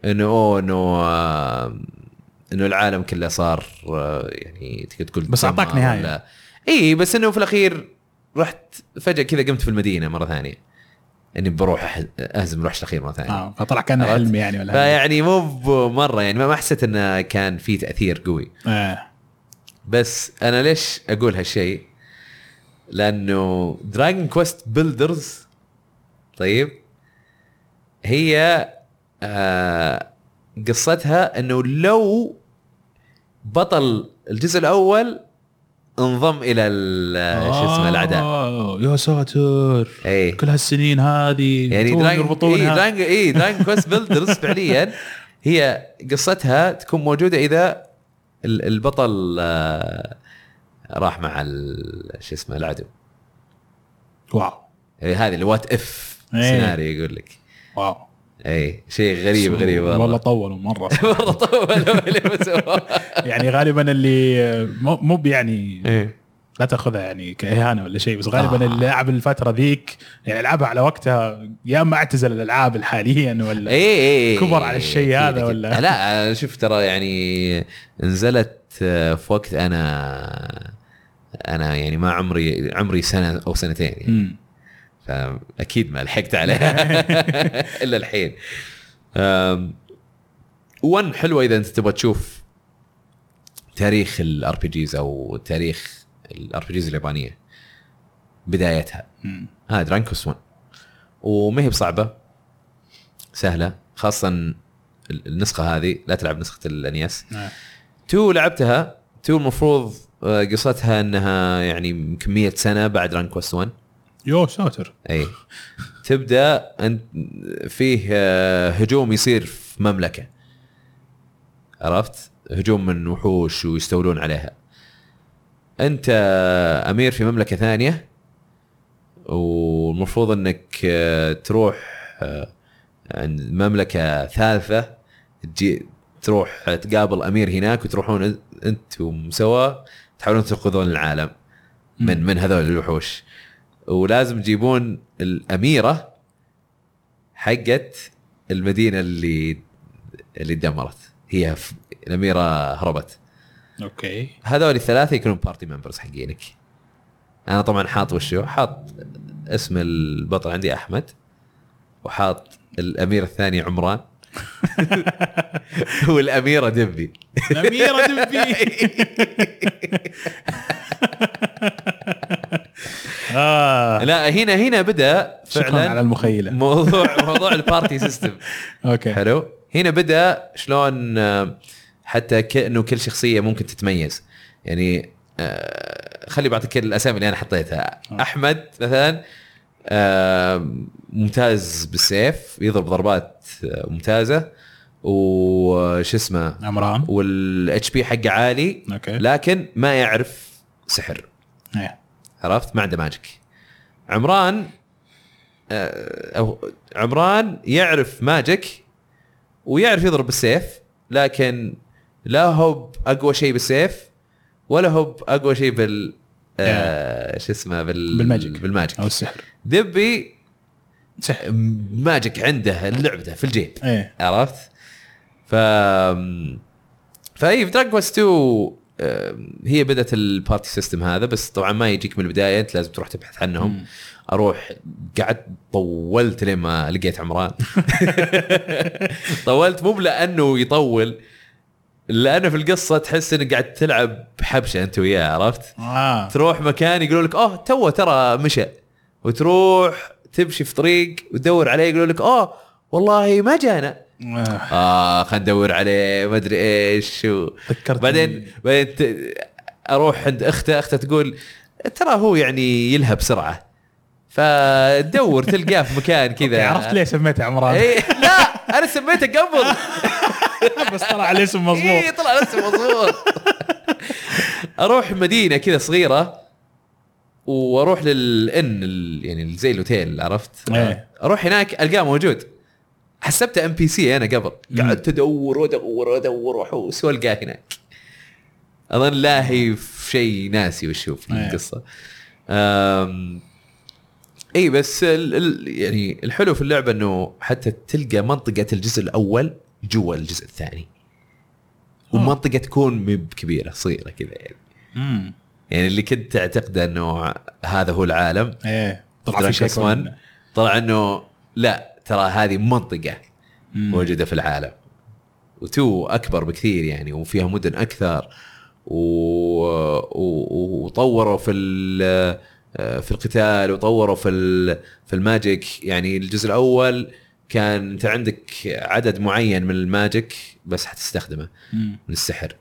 Speaker 1: انه اوه انه آه، انه العالم كله صار آه، يعني تقدر تقول
Speaker 2: بس أعطاك
Speaker 1: دمار
Speaker 2: نهاية.
Speaker 1: ولا- اي بس انه في الاخير رحت فجاه كذا قمت في المدينه مره ثانيه اني بروح أح- اهزم الوحش الاخير مره ثانيه
Speaker 2: اه فطلع كانه
Speaker 1: عرفت؟
Speaker 2: حلم يعني ولا حاجة.
Speaker 1: فيعني مو مره يعني ما ما حسيت انه كان في تاثير قوي
Speaker 2: آه.
Speaker 1: بس انا ليش اقول هالشيء؟ لانه دراجون كويست بيلدرز طيب هي آه قصتها انه لو بطل الجزء الاول انضم الى ال- شو اسمه إيه. الاعداء
Speaker 2: آه، يا ساتر
Speaker 1: اي
Speaker 2: كل هالسنين هذه
Speaker 1: يعني
Speaker 2: تو
Speaker 1: دراجون اي
Speaker 2: يربطونها
Speaker 1: دراجون اي دراجون كويست بيلدرز فعليا هي قصتها تكون موجوده اذا ال- البطل آه، راح مع ال- شو اسمه العدو
Speaker 2: واو
Speaker 1: إيه، هذه الوات اف
Speaker 2: إيه.
Speaker 1: سيناريو يقول لك
Speaker 2: واو
Speaker 1: اي شيء غريب غريب
Speaker 2: والله
Speaker 1: والله
Speaker 2: طولوا مره
Speaker 1: والله طولوا اللي بسووه.
Speaker 2: يعني غالبا اللي آه، مو مو يعني
Speaker 1: إيه.
Speaker 2: لا تاخذها يعني كاهانه ولا شيء بس غالبا
Speaker 1: آه.
Speaker 2: آه. اللي لعب الفتره ذيك يعني لعبها على وقتها يا اما اعتزل الالعاب حاليا ولا
Speaker 1: اي اي
Speaker 2: كبر على الشيء
Speaker 1: أكيد،
Speaker 2: هذا
Speaker 1: أكيد.
Speaker 2: ولا؟
Speaker 1: إيه، لا أنا شوف ترى يعني نزلت آه، في وقت انا انا يعني ما عمري عمري سنه او سنتين يعني
Speaker 2: مم.
Speaker 1: فاكيد ما لحقت عليها الا الحين أم، ون حلوه اذا انت تبغى تشوف تاريخ الار بي جيز او تاريخ الار بي جيز اليابانيه بدايتها
Speaker 2: مم.
Speaker 1: هذا رانكوس 1 وما هي بصعبه سهله خاصه ال- النسخه هذه لا تلعب نسخه الانياس
Speaker 2: آه.
Speaker 1: تو E لعبتها تو المفروض آه، قصتها انها يعني يمكن 100 سنه بعد رانكوس 1
Speaker 2: يو ساتر
Speaker 1: اي تبدا انت فيه آه، هجوم يصير في مملكه عرفت هجوم من وحوش ويستولون عليها انت آه، امير في مملكه ثانيه والمفروض انك آه، تروح آه، عند مملكه ثالثه تجي تروح تقابل امير هناك وتروحون انتم سوا تحاولون تنقذون العالم من
Speaker 2: مم.
Speaker 1: من هذول الوحوش ولازم تجيبون الاميره حقت المدينه اللي اللي دمرت هي ف- الاميره هربت
Speaker 2: اوكي
Speaker 1: هذول الثلاثه يكونون بارتي ممبرز حقينك انا طبعا حاط وشو حاط اسم البطل عندي احمد وحاط الامير الثاني عمران والاميره دبي
Speaker 2: الاميره دبي آه.
Speaker 1: لا هنا هنا بدا
Speaker 2: شكرا على
Speaker 1: فعلا
Speaker 2: المخيله
Speaker 1: موضوع موضوع البارتي سيستم
Speaker 2: اوكي
Speaker 1: حلو هنا بدا شلون آه، حتى كانه كل شخصيه ممكن تتميز يعني آه، خلي بعطيك الاسامي اللي انا حطيتها
Speaker 2: آه.
Speaker 1: احمد مثلا آه، ممتاز بالسيف يضرب ضربات آه، ممتازه وش اسمه
Speaker 2: عمران
Speaker 1: والاتش بي حقه عالي
Speaker 2: اوكي
Speaker 1: لكن ما يعرف سحر
Speaker 2: إيه.
Speaker 1: عرفت ما عنده ماجيك عمران آه، او عمران يعرف ماجيك ويعرف يضرب بالسيف لكن لا هو اقوى شيء بالسيف ولا هو اقوى شيء بال آه، شو اسمه بال
Speaker 2: بالماجيك.
Speaker 1: بالماجيك
Speaker 2: او السحر
Speaker 1: دبي
Speaker 2: سحر
Speaker 1: ماجيك عنده لعبته في الجيب
Speaker 2: ايه
Speaker 1: عرفت؟ ف فاي في دراج كويست 2 آم، هي بدات البارتي سيستم هذا بس طبعا ما يجيك من البدايه انت لازم تروح تبحث عنهم
Speaker 2: مم.
Speaker 1: اروح قعدت طولت لين ما لقيت عمران طولت مو لانه يطول لانه في القصه تحس انك قاعد تلعب حبشه انت وياه عرفت؟
Speaker 2: آه.
Speaker 1: تروح مكان يقولوا لك اه توه ترى مشى وتروح تمشي في طريق وتدور عليه يقولوا لك اه والله ما جانا
Speaker 2: آه.
Speaker 1: اه خلينا ندور عليه ما ادري ايش و...
Speaker 2: تذكرت
Speaker 1: بعدين بعدين ت- اروح عند اخته اخته تقول ترى هو يعني يلهى بسرعه فتدور تلقاه في مكان
Speaker 2: إذا
Speaker 1: كذا
Speaker 2: عرفت ليه سميته عمران
Speaker 1: إيه لا انا سميته قبل
Speaker 2: بس طلع الاسم مضبوط
Speaker 1: اي طلع نفسه مضبوط اروح مدينه كذا صغيره واروح للان ال- يعني زي الاوتيل عرفت؟
Speaker 2: إيه.
Speaker 1: اروح هناك القاه موجود حسبته ام بي سي انا قبل
Speaker 2: مم.
Speaker 1: قعدت ادور وادور وادور واحوس والقاه هناك اظن لاهي في شيء ناسي وشو في
Speaker 2: إيه.
Speaker 1: القصه أم، اي بس ال ال يعني الحلو في اللعبه انه حتى تلقى منطقه الجزء الاول جوا الجزء الثاني ومنطقه تكون مب كبيره صغيره كذا يعني
Speaker 2: مم.
Speaker 1: يعني اللي كنت تعتقده انه هذا هو العالم
Speaker 2: ايه طلع في
Speaker 1: Dragon's
Speaker 2: شيء
Speaker 1: One، طلع انه لا ترى هذه منطقه
Speaker 2: مم.
Speaker 1: موجوده في العالم وتو اكبر بكثير يعني وفيها مدن اكثر و... و... وطوروا في ال... آه، في القتال وطوروا في ال... في الماجيك يعني الجزء الاول كان انت عندك عدد معين من الماجيك بس حتستخدمه
Speaker 2: مم.
Speaker 1: من السحر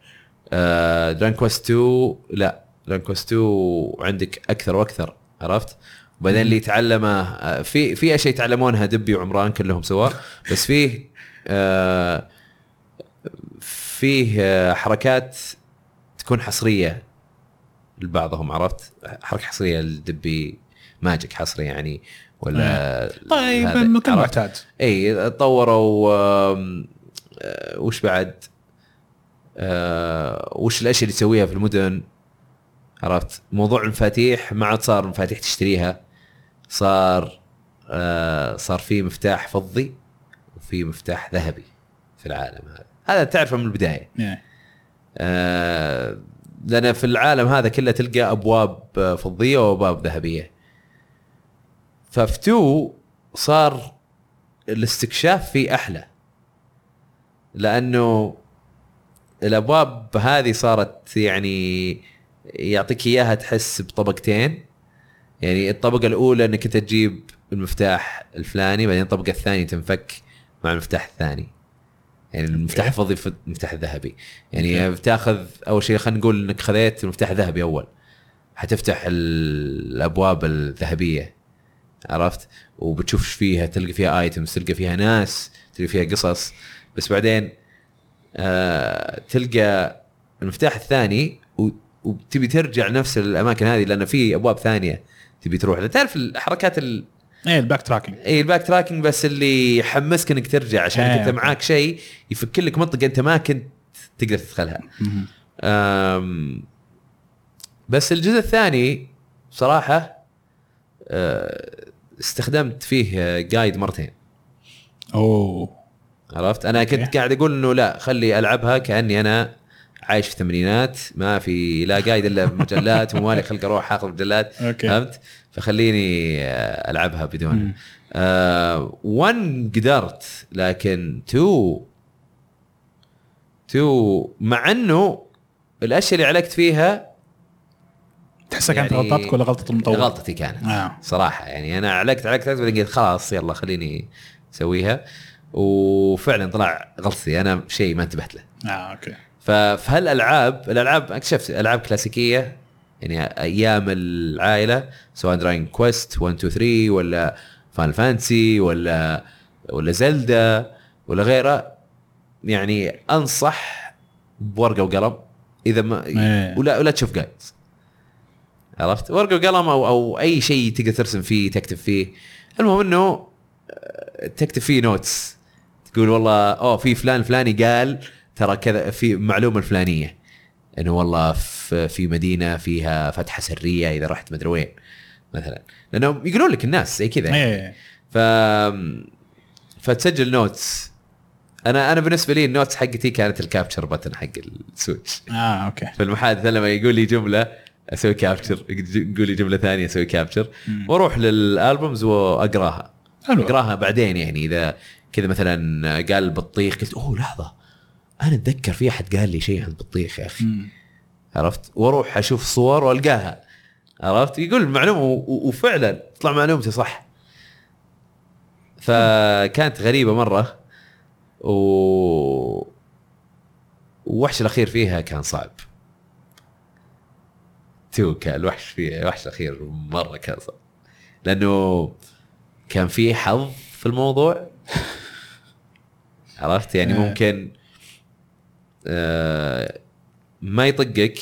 Speaker 1: آه دران كويست 2 لا دران كويست 2 عندك اكثر واكثر عرفت وبعدين اللي يتعلمه آه، في في اشياء يتعلمونها دبي وعمران كلهم سوا بس فيه آه فيه آه، حركات تكون حصريه لبعضهم عرفت حركه حصريه لدبي ماجيك حصريه يعني ولا
Speaker 2: طيب
Speaker 1: هذا،
Speaker 2: مثل
Speaker 1: عرفت؟
Speaker 2: المعتاد
Speaker 1: اي إيه، طوروا آم، آه، وش بعد آه، وش الاشياء اللي تسويها في المدن عرفت موضوع المفاتيح ما عاد صار مفاتيح تشتريها صار آه، صار في مفتاح فضي وفي مفتاح ذهبي في العالم هذا هذا تعرفه من البدايه
Speaker 2: إيه.
Speaker 1: آه، لان في العالم هذا كله تلقى ابواب آه، فضيه وابواب ذهبيه ففتو صار الاستكشاف فيه احلى لانه الابواب هذه صارت يعني يعطيك اياها تحس بطبقتين يعني الطبقه الاولى انك انت تجيب المفتاح الفلاني بعدين الطبقه الثانيه تنفك مع المفتاح الثاني يعني المفتاح الفضي في المفتاح الذهبي يعني بتاخذ اول شيء خلينا نقول انك خذيت المفتاح الذهبي اول حتفتح ال- الابواب الذهبيه عرفت وبتشوف ايش فيها تلقى فيها ايتمز تلقى فيها ناس تلقى فيها قصص بس بعدين آه تلقى المفتاح الثاني و- وتبي ترجع نفس الاماكن هذه لان في ابواب ثانيه تبي تروح لها. تعرف الحركات ال... إيه،
Speaker 2: ايه الباك تراكنج
Speaker 1: اي الباك تراكنج بس اللي يحمسك انك ترجع عشان
Speaker 2: إيه،
Speaker 1: انت
Speaker 2: أوكي.
Speaker 1: معاك شيء يفك لك منطقه انت ما كنت تقدر تدخلها
Speaker 2: مم.
Speaker 1: أم، بس الجزء الثاني بصراحه أه، استخدمت فيه جايد مرتين
Speaker 2: اوه
Speaker 1: عرفت انا كنت
Speaker 2: أوكي.
Speaker 1: قاعد اقول انه لا خلي العبها كاني انا عايش في الثمانينات ما في لا قايد الا مجلات ومالي خلق اروح اخذ مجلات
Speaker 2: اوكي
Speaker 1: فهمت فخليني آه، العبها بدون
Speaker 2: مم.
Speaker 1: آه، 1 قدرت لكن 2 2 مع انه الاشياء اللي علقت فيها
Speaker 2: تحسها كانت
Speaker 1: يعني-
Speaker 2: غلطتك ولا غلطه المطور؟
Speaker 1: غلطتي كانت
Speaker 2: آه.
Speaker 1: صراحه يعني انا علقت علقت علقت بعدين قلت خلاص يلا خليني اسويها وفعلا طلع غلطتي انا شيء ما انتبهت له
Speaker 2: اه اوكي
Speaker 1: فهالالعاب الالعاب اكتشفت العاب كلاسيكيه يعني ايام العائله سواء دراين كويست 1 2 3 ولا فان فانسي ولا ولا زلدا ولا غيره يعني انصح بورقه وقلم اذا ما
Speaker 2: إيه.
Speaker 1: ولا ولا تشوف جايد عرفت ورقه وقلم او او اي شيء تقدر ترسم فيه تكتب فيه المهم انه آه، تكتب فيه نوتس تقول والله اوه في فلان فلاني قال ترى كذا في معلومه الفلانيه انه والله في في مدينه فيها فتحه سريه اذا رحت مدري وين مثلا لانه يقولون لك الناس زي كذا يعني.
Speaker 2: ايه
Speaker 1: ف فتسجل نوتس انا انا بالنسبه لي النوتس حقتي كانت الكابتشر بتن حق السويتش
Speaker 2: اه اوكي
Speaker 1: فالمحادثه لما يقول لي جمله اسوي كابتشر يقول لي جمله ثانيه اسوي كابتشر
Speaker 2: مم.
Speaker 1: واروح للالبومز واقراها
Speaker 2: حلو
Speaker 1: اقراها بعدين يعني اذا كذا مثلا قال بطيخ قلت اوه لحظه انا اتذكر في احد قال لي شيء عن البطيخ يا اخي عرفت واروح اشوف صور والقاها عرفت يقول المعلومه و- و- وفعلا طلع معلومتي صح فكانت غريبه مره و والوحش الاخير فيها كان صعب توكا الوحش فيها الوحش الاخير مره كان صعب لانه كان في حظ في الموضوع عرفت يعني
Speaker 2: إيه.
Speaker 1: ممكن آه، ما يطقك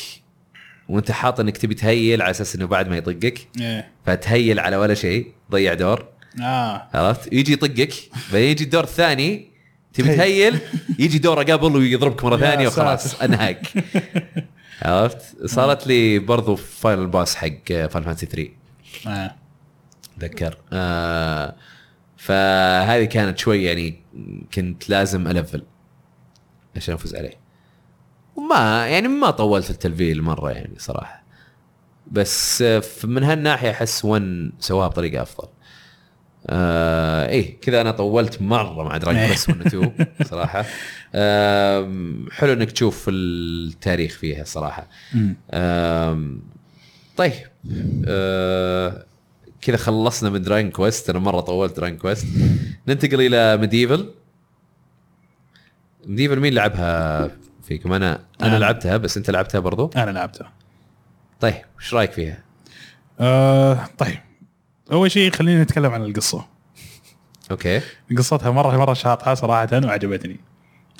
Speaker 1: وانت حاط انك تبي تهيل على اساس انه بعد ما يطقك
Speaker 2: ايه
Speaker 1: فتهيل على ولا شيء ضيع دور
Speaker 2: اه
Speaker 1: عرفت يجي يطقك بعدين يجي الدور الثاني تبي تهيل يجي دوره قبل ويضربك مره
Speaker 2: يا
Speaker 1: ثانيه وخلاص
Speaker 2: ساتر.
Speaker 1: انهاك عرفت صارت لي برضو فاينل باس حق فان فانسي 3
Speaker 2: آه.
Speaker 1: اتذكر آه فهذه كانت شوي يعني كنت لازم الفل عشان افوز عليه وما يعني ما طولت في التلفيل مره يعني صراحه بس آه، ف- من هالناحيه احس 1 سواها بطريقه افضل آه ايه كذا انا طولت مره مع دراجون
Speaker 2: إيه.
Speaker 1: بس 1 2 صراحه آه حلو انك تشوف التاريخ فيها صراحه
Speaker 2: مم.
Speaker 1: أم، طيب أه، كذا خلصنا من دراين كويست انا مره طولت دراين كويست ننتقل الى ميديفل ميديفل مين لعبها فيكم انا انا
Speaker 2: أنا.
Speaker 1: لعبتها بس انت لعبتها برضو
Speaker 2: انا لعبته
Speaker 1: طيب ايش رايك فيها
Speaker 2: آه طيب اول شيء خلينا نتكلم عن القصه
Speaker 1: اوكي
Speaker 2: قصتها مره مره شاطحه صراحه وعجبتني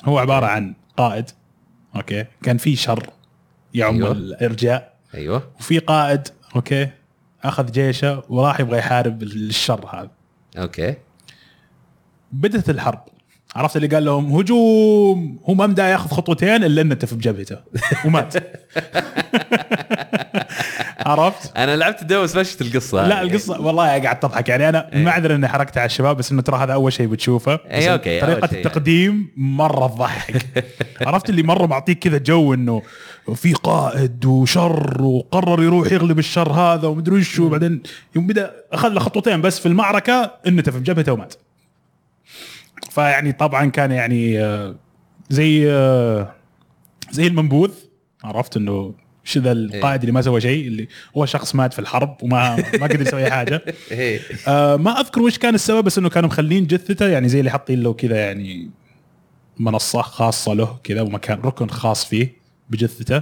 Speaker 2: هو عباره عن قائد اوكي كان في شر يعم
Speaker 1: أيوة.
Speaker 2: أيوة. الارجاء
Speaker 1: ايوه
Speaker 2: وفي قائد اوكي اخذ جيشه وراح يبغى يحارب الشر هذا
Speaker 1: اوكي
Speaker 2: بدت الحرب عرفت اللي قال لهم هجوم هو ما مدى ياخذ خطوتين الا انه في بجبهته ومات عرفت
Speaker 1: انا لعبت الدو بس ما شفت القصه
Speaker 2: لا
Speaker 1: هذه.
Speaker 2: القصه والله قاعد تضحك يعني انا
Speaker 1: إيه.
Speaker 2: معذره اني حركت على الشباب بس انه ترى هذا اول شيء بتشوفه بس
Speaker 1: إيه، أوكي، أول
Speaker 2: طريقه
Speaker 1: شيء يعني.
Speaker 2: التقديم مره تضحك عرفت اللي مره معطيك كذا جو انه في قائد وشر وقرر يروح يغلب الشر هذا ومدري وش وبعدين يوم بدا اخذ له خطوتين بس في المعركه انه في جبهته ومات فيعني طبعا كان يعني آه، زي آه، زي المنبوذ عرفت انه شو ذا
Speaker 1: إيه.
Speaker 2: القائد اللي ما سوى شيء اللي هو شخص مات في الحرب وما ما قدر يسوي أي حاجه
Speaker 1: إيه.
Speaker 2: آه ما اذكر وش كان السبب بس انه كانوا مخلين جثته يعني زي اللي حاطين له كذا يعني منصه خاصه له كذا ومكان ركن خاص فيه بجثته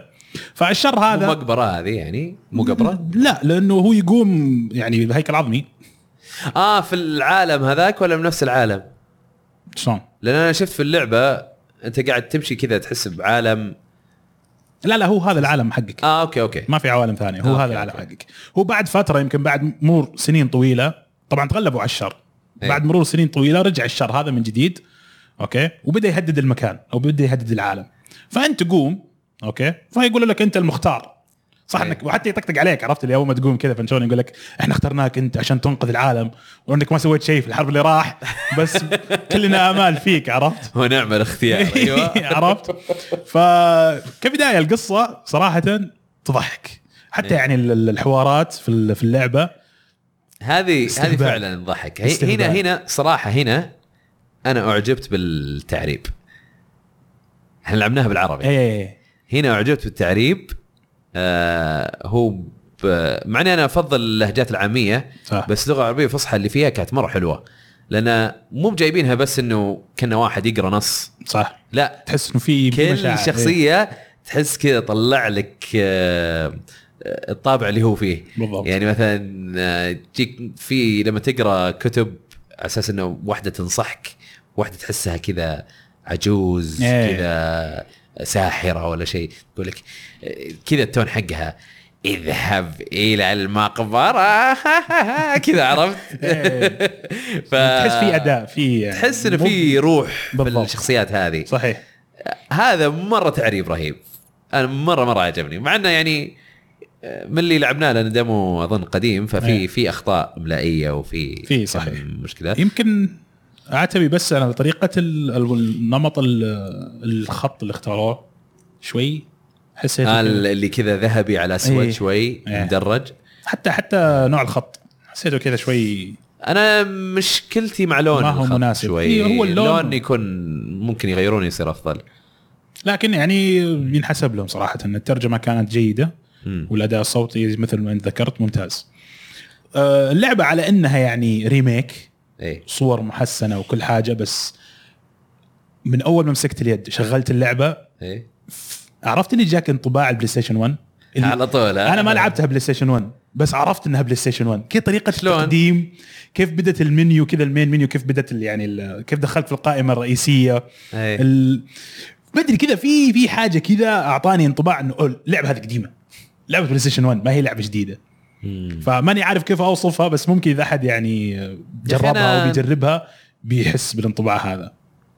Speaker 2: فالشر
Speaker 1: مو
Speaker 2: هذا
Speaker 1: مقبره هذه يعني مو قبره
Speaker 2: لا لانه هو يقوم يعني بهيكل عظمي
Speaker 1: اه في العالم هذاك ولا بنفس العالم
Speaker 2: شلون؟
Speaker 1: لان انا شفت في اللعبه انت قاعد تمشي كذا تحس بعالم
Speaker 2: لا لا هو هذا العالم حقك
Speaker 1: اه اوكي اوكي
Speaker 2: ما في عوالم ثانيه هو
Speaker 1: أوكي،
Speaker 2: هذا العالم
Speaker 1: أوكي.
Speaker 2: حقك هو بعد فتره يمكن بعد مرور سنين طويله طبعا تغلبوا على الشر
Speaker 1: إيه.
Speaker 2: بعد مرور سنين طويله رجع الشر هذا من جديد اوكي وبدا يهدد المكان او بدا يهدد العالم فانت تقوم اوكي فيقول لك انت المختار صح
Speaker 1: إيه.
Speaker 2: انك وحتى يطقطق عليك عرفت اللي اول ما تقوم كذا فنشون يقول لك احنا اخترناك انت عشان تنقذ العالم وانك ما سويت شيء في الحرب اللي راح بس كلنا امال فيك عرفت
Speaker 1: ونعم الاختيار ايوه
Speaker 2: عرفت فكبدايه القصه صراحه تضحك حتى
Speaker 1: إيه.
Speaker 2: يعني ال- ال- الحوارات في ال- في اللعبه
Speaker 1: هذه هذه
Speaker 2: استهبال.
Speaker 1: فعلا ضحك هي-
Speaker 2: استهبال.
Speaker 1: هنا هنا صراحه هنا انا اعجبت بالتعريب احنا لعبناها بالعربي
Speaker 2: ايه
Speaker 1: هنا اعجبت بالتعريب آه هو ب- مع اني انا افضل اللهجات العاميه
Speaker 2: صح
Speaker 1: بس اللغه العربيه الفصحى اللي فيها كانت مره حلوه لان مو جايبينها بس انه كنا واحد يقرا نص
Speaker 2: صح
Speaker 1: لا
Speaker 2: تحس انه في في مشاعر.
Speaker 1: كل
Speaker 2: إيه.
Speaker 1: شخصيه تحس كذا طلع لك آه، آه، الطابع اللي هو فيه
Speaker 2: بالضبط
Speaker 1: يعني مثلا آه، تجيك في لما تقرا كتب على اساس انه واحده تنصحك واحده تحسها كذا عجوز
Speaker 2: إيه.
Speaker 1: كذا ساحره ولا شيء تقول لك آه، كذا التون حقها اذهب الى المقبره كذا عرفت
Speaker 2: إيه.
Speaker 1: ف...
Speaker 2: تحس في اداء في يعني
Speaker 1: تحس انه
Speaker 2: مو-
Speaker 1: في روح
Speaker 2: بالضبط.
Speaker 1: بالشخصيات هذه
Speaker 2: صحيح
Speaker 1: هذا مره تعريب رهيب انا مره مره عجبني مع انه يعني آه، من اللي لعبناه لان ديمو اظن قديم ففي
Speaker 2: إيه.
Speaker 1: في اخطاء املائيه وفي
Speaker 2: في
Speaker 1: كم
Speaker 2: صحيح.
Speaker 1: مشكله
Speaker 2: يمكن اعتبي بس انا طريقه ال- ال- النمط ال- الخط اللي اختاروه شوي حسيت
Speaker 1: آه،
Speaker 2: إنه-
Speaker 1: اللي كذا ذهبي على اسود
Speaker 2: إيه.
Speaker 1: شوي
Speaker 2: إيه.
Speaker 1: مدرج
Speaker 2: حتى حتى نوع الخط حسيته كذا شوي
Speaker 1: انا مشكلتي مع لون
Speaker 2: ما هو
Speaker 1: الخط
Speaker 2: مناسب.
Speaker 1: شوي
Speaker 2: إيه، هو
Speaker 1: اللون
Speaker 2: اللون-
Speaker 1: يكون ممكن يغيرون يصير افضل
Speaker 2: لكن يعني ينحسب لهم صراحه ان الترجمه كانت جيده
Speaker 1: مم.
Speaker 2: والاداء الصوتي مثل ما انت ذكرت ممتاز آه، اللعبه على انها يعني ريميك
Speaker 1: ايه
Speaker 2: صور محسنه وكل حاجه بس من اول ما مسكت اليد شغلت اللعبه
Speaker 1: ايه
Speaker 2: عرفت اللي جاك انطباع البلاي ستيشن 1 اللي-
Speaker 1: على طول آه. ها؟
Speaker 2: انا ما لعبتها بلاي ستيشن 1 بس عرفت انها بلاي ستيشن 1 كيف طريقه
Speaker 1: شلون؟
Speaker 2: التقديم كيف بدت المنيو كذا المين منيو كيف بدت ال- يعني ال- كيف دخلت في القائمه الرئيسيه
Speaker 1: إيه.
Speaker 2: ال... ما ادري كذا في في حاجه كذا اعطاني انطباع انه أوه، اللعبه هذه قديمه لعبه بلاي ستيشن 1 ما هي لعبه جديده
Speaker 1: مم.
Speaker 2: فماني عارف كيف اوصفها بس ممكن اذا احد يعني جربها
Speaker 1: أنا-
Speaker 2: او بيجربها بيحس بالانطباع هذا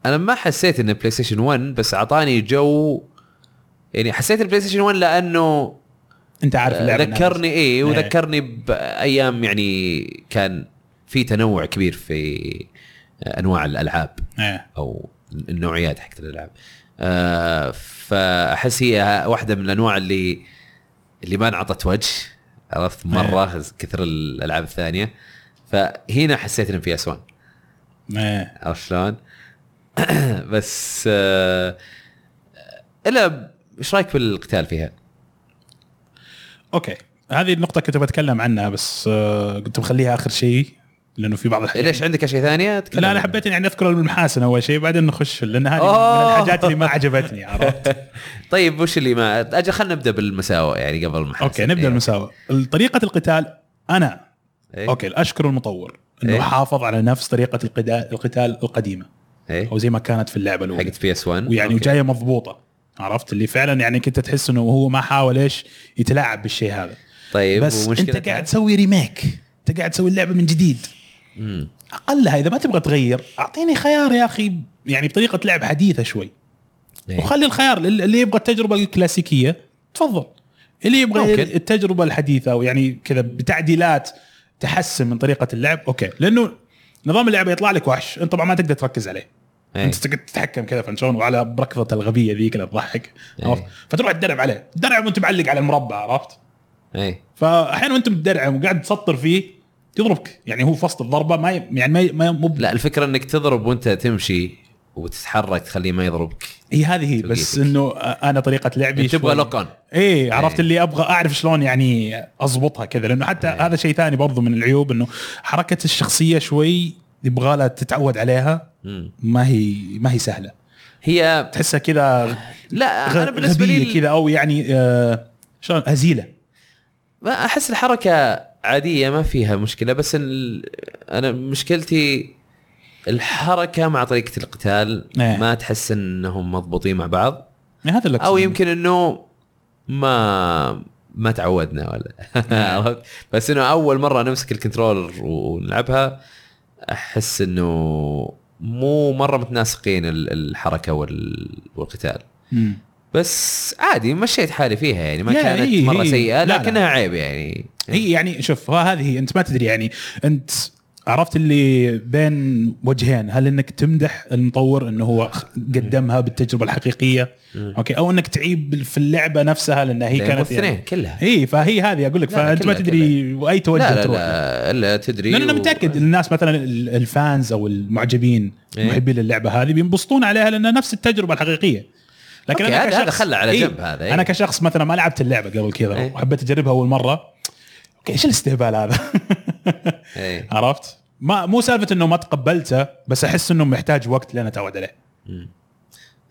Speaker 1: انا ما حسيت انه بلاي ستيشن 1 بس اعطاني جو يعني حسيت البلاي ستيشن 1 لانه
Speaker 2: انت عارف اللعبه
Speaker 1: ذكرني ايه
Speaker 2: إيه.
Speaker 1: وذكرني بايام يعني كان في تنوع كبير في آه، انواع الالعاب
Speaker 2: إيه.
Speaker 1: او النوعيات حقت الالعاب آه فاحس هي واحده من الانواع اللي اللي ما انعطت وجه عرفت
Speaker 2: إيه.
Speaker 1: مره كثر الالعاب الثانيه فهنا حسيت انه في اسوان
Speaker 2: إيه.
Speaker 1: عرفت شلون؟ بس آه الا ب- ايش رايك بالقتال فيها؟
Speaker 2: اوكي هذه النقطة كنت بتكلم عنها بس آه، كنت بخليها اخر شيء لانه في بعض الحاجات
Speaker 1: ليش عندك اشياء ثانيه؟ تكلم
Speaker 2: يعني لا انا
Speaker 1: عنها.
Speaker 2: حبيت يعني اذكر المحاسن اول شيء بعدين نخش لان هذه من
Speaker 1: أوه.
Speaker 2: الحاجات اللي ما عجبتني عرفت؟
Speaker 1: طيب وش اللي ما اجل خلينا نبدا بالمساوئ يعني قبل المحاسن
Speaker 2: اوكي نبدا
Speaker 1: إيه.
Speaker 2: المساوئ طريقة القتال انا
Speaker 1: إيه.
Speaker 2: اوكي اشكر المطور انه
Speaker 1: إيه.
Speaker 2: حافظ على نفس طريقة القدا- القتال القديمة
Speaker 1: إيه.
Speaker 2: او زي ما كانت في اللعبة الاولى
Speaker 1: حقت بي اس 1
Speaker 2: ويعني وجايه مضبوطه عرفت اللي فعلا يعني كنت تحس انه هو ما حاول ايش يتلاعب بالشيء هذا
Speaker 1: طيب
Speaker 2: بس
Speaker 1: ومشكلة-
Speaker 2: انت قاعد تسوي ريميك انت قاعد تسوي اللعبه من جديد
Speaker 1: مم.
Speaker 2: اقلها اذا ما تبغى تغير اعطيني خيار يا اخي يعني بطريقه لعب حديثه شوي
Speaker 1: إيه.
Speaker 2: وخلي الخيار لل- اللي يبغى التجربه الكلاسيكيه تفضل اللي يبغى
Speaker 1: ممكن.
Speaker 2: التجربه الحديثه او يعني كذا بتعديلات تحسن من طريقه اللعب اوكي لانه نظام اللعبه يطلع لك وحش انت طبعا ما تقدر تركز عليه
Speaker 1: إيه.
Speaker 2: انت تقعد تتحكم كذا فهمت شلون وعلى بركضه الغبيه ذيك اللي تضحك
Speaker 1: إيه.
Speaker 2: عرفت فتروح تدرع عليه تدرع وانت معلق على المربع عرفت
Speaker 1: ايه
Speaker 2: فاحيانا وانت متدرعم وقاعد تسطر فيه تضربك يعني هو فصل الضربه ما ي- يعني ما ي- ما ي- مو
Speaker 1: لا الفكره انك تضرب وانت تمشي وتتحرك تخليه ما يضربك
Speaker 2: هي هذه هي بس
Speaker 1: توقيتك.
Speaker 2: انه انا طريقه لعبي
Speaker 1: تبغى
Speaker 2: شوي-
Speaker 1: لوك اون
Speaker 2: ايه عرفت
Speaker 1: إيه.
Speaker 2: اللي ابغى اعرف شلون يعني اضبطها كذا لانه حتى
Speaker 1: إيه.
Speaker 2: هذا شيء ثاني برضو من العيوب انه حركه الشخصيه شوي يبغى لها تتعود عليها
Speaker 1: مم.
Speaker 2: ما هي ما هي سهله
Speaker 1: هي
Speaker 2: تحسها كذا
Speaker 1: لا انا
Speaker 2: غ-
Speaker 1: بالنسبه
Speaker 2: غبية
Speaker 1: لي
Speaker 2: كذا او يعني آه شلون هزيله
Speaker 1: ما احس الحركه عاديه ما فيها مشكله بس ال... انا مشكلتي الحركه مع طريقه القتال
Speaker 2: إيه.
Speaker 1: ما تحس انهم مضبوطين مع بعض
Speaker 2: يعني هذا اللي
Speaker 1: او
Speaker 2: أقصده.
Speaker 1: يمكن انه ما ما تعودنا ولا
Speaker 2: نعم.
Speaker 1: عرفت؟ بس انه اول مره نمسك الكنترولر ونلعبها احس انه مو مره متناسقين ال- الحركه وال... والقتال
Speaker 2: مم.
Speaker 1: بس عادي مشيت حالي فيها يعني ما
Speaker 2: يا
Speaker 1: كانت
Speaker 2: هي-
Speaker 1: مره
Speaker 2: هي.
Speaker 1: سيئه
Speaker 2: لا، لا.
Speaker 1: لكنها عيب يعني
Speaker 2: هي يعني شوف ها- هذه هي، انت ما تدري يعني انت عرفت اللي بين وجهين هل انك تمدح المطور انه هو خ- قدمها بالتجربه الحقيقيه
Speaker 1: مم.
Speaker 2: اوكي او انك تعيب في اللعبه نفسها لانها هي
Speaker 1: لأن
Speaker 2: كانت
Speaker 1: الاثنين
Speaker 2: يعني
Speaker 1: كلها
Speaker 2: اي فهي هذه اقول لك
Speaker 1: لا، لا،
Speaker 2: فانت ما
Speaker 1: كلها-
Speaker 2: تدري واي توجه
Speaker 1: لا لا
Speaker 2: تروح
Speaker 1: لا الا تدري
Speaker 2: لان انا
Speaker 1: و-
Speaker 2: متاكد الناس مثلا ال- الفانز او المعجبين
Speaker 1: إيه.
Speaker 2: محبين للعبه هذه بينبسطون عليها لانها نفس التجربه الحقيقيه لكن
Speaker 1: أوكي،
Speaker 2: انا
Speaker 1: هذا-
Speaker 2: كشخص
Speaker 1: هذا خله على
Speaker 2: إيه،
Speaker 1: جنب هذا، إيه.
Speaker 2: انا كشخص مثلا ما لعبت اللعبه قبل كذا
Speaker 1: إيه.
Speaker 2: وحبيت اجربها اول مره اوكي ايش الاستهبال هذا
Speaker 1: إيه.
Speaker 2: عرفت ما مو سالفه انه ما تقبلته بس احس انه محتاج وقت لين اتعود عليه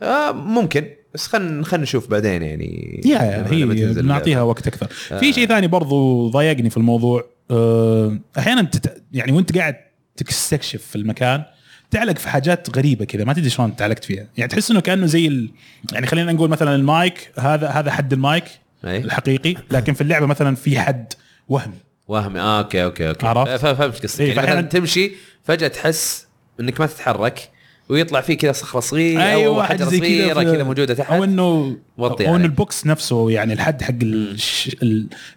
Speaker 1: آه ممكن بس خلينا خلينا نشوف بعدين يعني
Speaker 2: يا
Speaker 1: لما-
Speaker 2: هي
Speaker 1: لما تنزل آه.
Speaker 2: بنعطيها uh, وقت اكثر في شيء ثاني برضو ضايقني في الموضوع أه، احيانا تت... يعني وانت قاعد تستكشف في المكان تعلق في حاجات غريبه كذا ما تدري شلون تعلقت فيها يعني تحس انه كانه زي ال... يعني خلينا نقول مثلا المايك هذا هذا حد المايك
Speaker 1: إيه.
Speaker 2: الحقيقي لكن في اللعبه مثلا في حد وهمي
Speaker 1: وهم اه اوكي اوكي اوكي
Speaker 2: عرفت؟
Speaker 1: آه، فا- فهمت قصتك
Speaker 2: إيه،
Speaker 1: يعني مثلا
Speaker 2: فأحياناً-
Speaker 1: تمشي فجاه تحس انك ما تتحرك ويطلع فيه كذا صخره صغيره او حجره
Speaker 2: حاجة أيوة، زي
Speaker 1: صغيره
Speaker 2: في-
Speaker 1: كذا موجوده تحت
Speaker 2: او انه
Speaker 1: وطي
Speaker 2: او
Speaker 1: عليه.
Speaker 2: انه البوكس نفسه يعني الحد حق الش...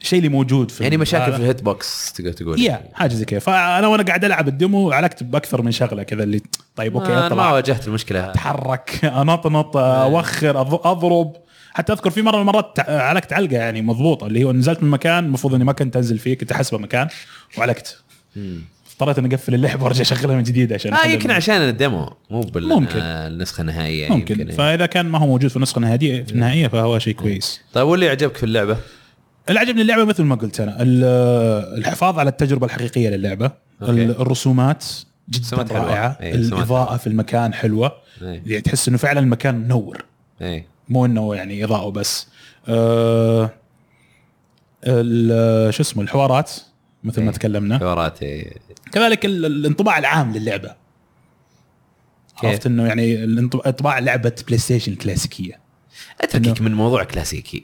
Speaker 2: الشيء اللي موجود في
Speaker 1: يعني مشاكل
Speaker 2: هذا.
Speaker 1: في الهيت بوكس تقدر تقول آه،
Speaker 2: يا حاجه زي كذا فانا وانا قاعد العب الديمو علقت باكثر من شغله كذا اللي طيب اوكي
Speaker 1: آه، ما, آه. أنا ما
Speaker 2: اطلع
Speaker 1: واجهت المشكله هذه
Speaker 2: اتحرك انطنط اوخر أض- اضرب حتى اذكر في مره من المرات تع- علقت علقه يعني مضبوطه اللي هو نزلت من مكان المفروض اني ما كنت انزل فيه كنت احسبه مكان وعلقت اضطريت اني اقفل اللعبه وارجع اشغلها من جديد عشان
Speaker 1: آه
Speaker 2: أحلل
Speaker 1: يمكن
Speaker 2: الم-
Speaker 1: عشان الديمو مو بال
Speaker 2: ممكن.
Speaker 1: آه، النسخه النهائيه
Speaker 2: ممكن
Speaker 1: يمكن. إيه.
Speaker 2: فاذا كان ما هو موجود في النسخه النهائيه في النهائيه فهو شيء كويس
Speaker 1: طيب واللي عجبك في اللعبه؟
Speaker 2: اللي عجبني اللعبه مثل ما قلت انا ال- الحفاظ على التجربه الحقيقيه للعبه
Speaker 1: أوكي.
Speaker 2: ال- الرسومات جدا
Speaker 1: رسومات حلوة.
Speaker 2: رائعه
Speaker 1: إيه، رسومات
Speaker 2: الاضاءه في المكان حلوه
Speaker 1: ايه
Speaker 2: يعني تحس انه فعلا المكان منور
Speaker 1: ايه
Speaker 2: مو انه يعني اضاءه بس أه ال- شو اسمه الحوارات مثل ما
Speaker 1: إيه.
Speaker 2: تكلمنا
Speaker 1: حوارات إيه.
Speaker 2: كذلك ال- الانطباع العام للعبه
Speaker 1: كيف؟
Speaker 2: عرفت انه يعني الانط- انطباع لعبه بلاي ستيشن الكلاسيكيه
Speaker 1: اتركك
Speaker 2: إنه-
Speaker 1: من موضوع كلاسيكي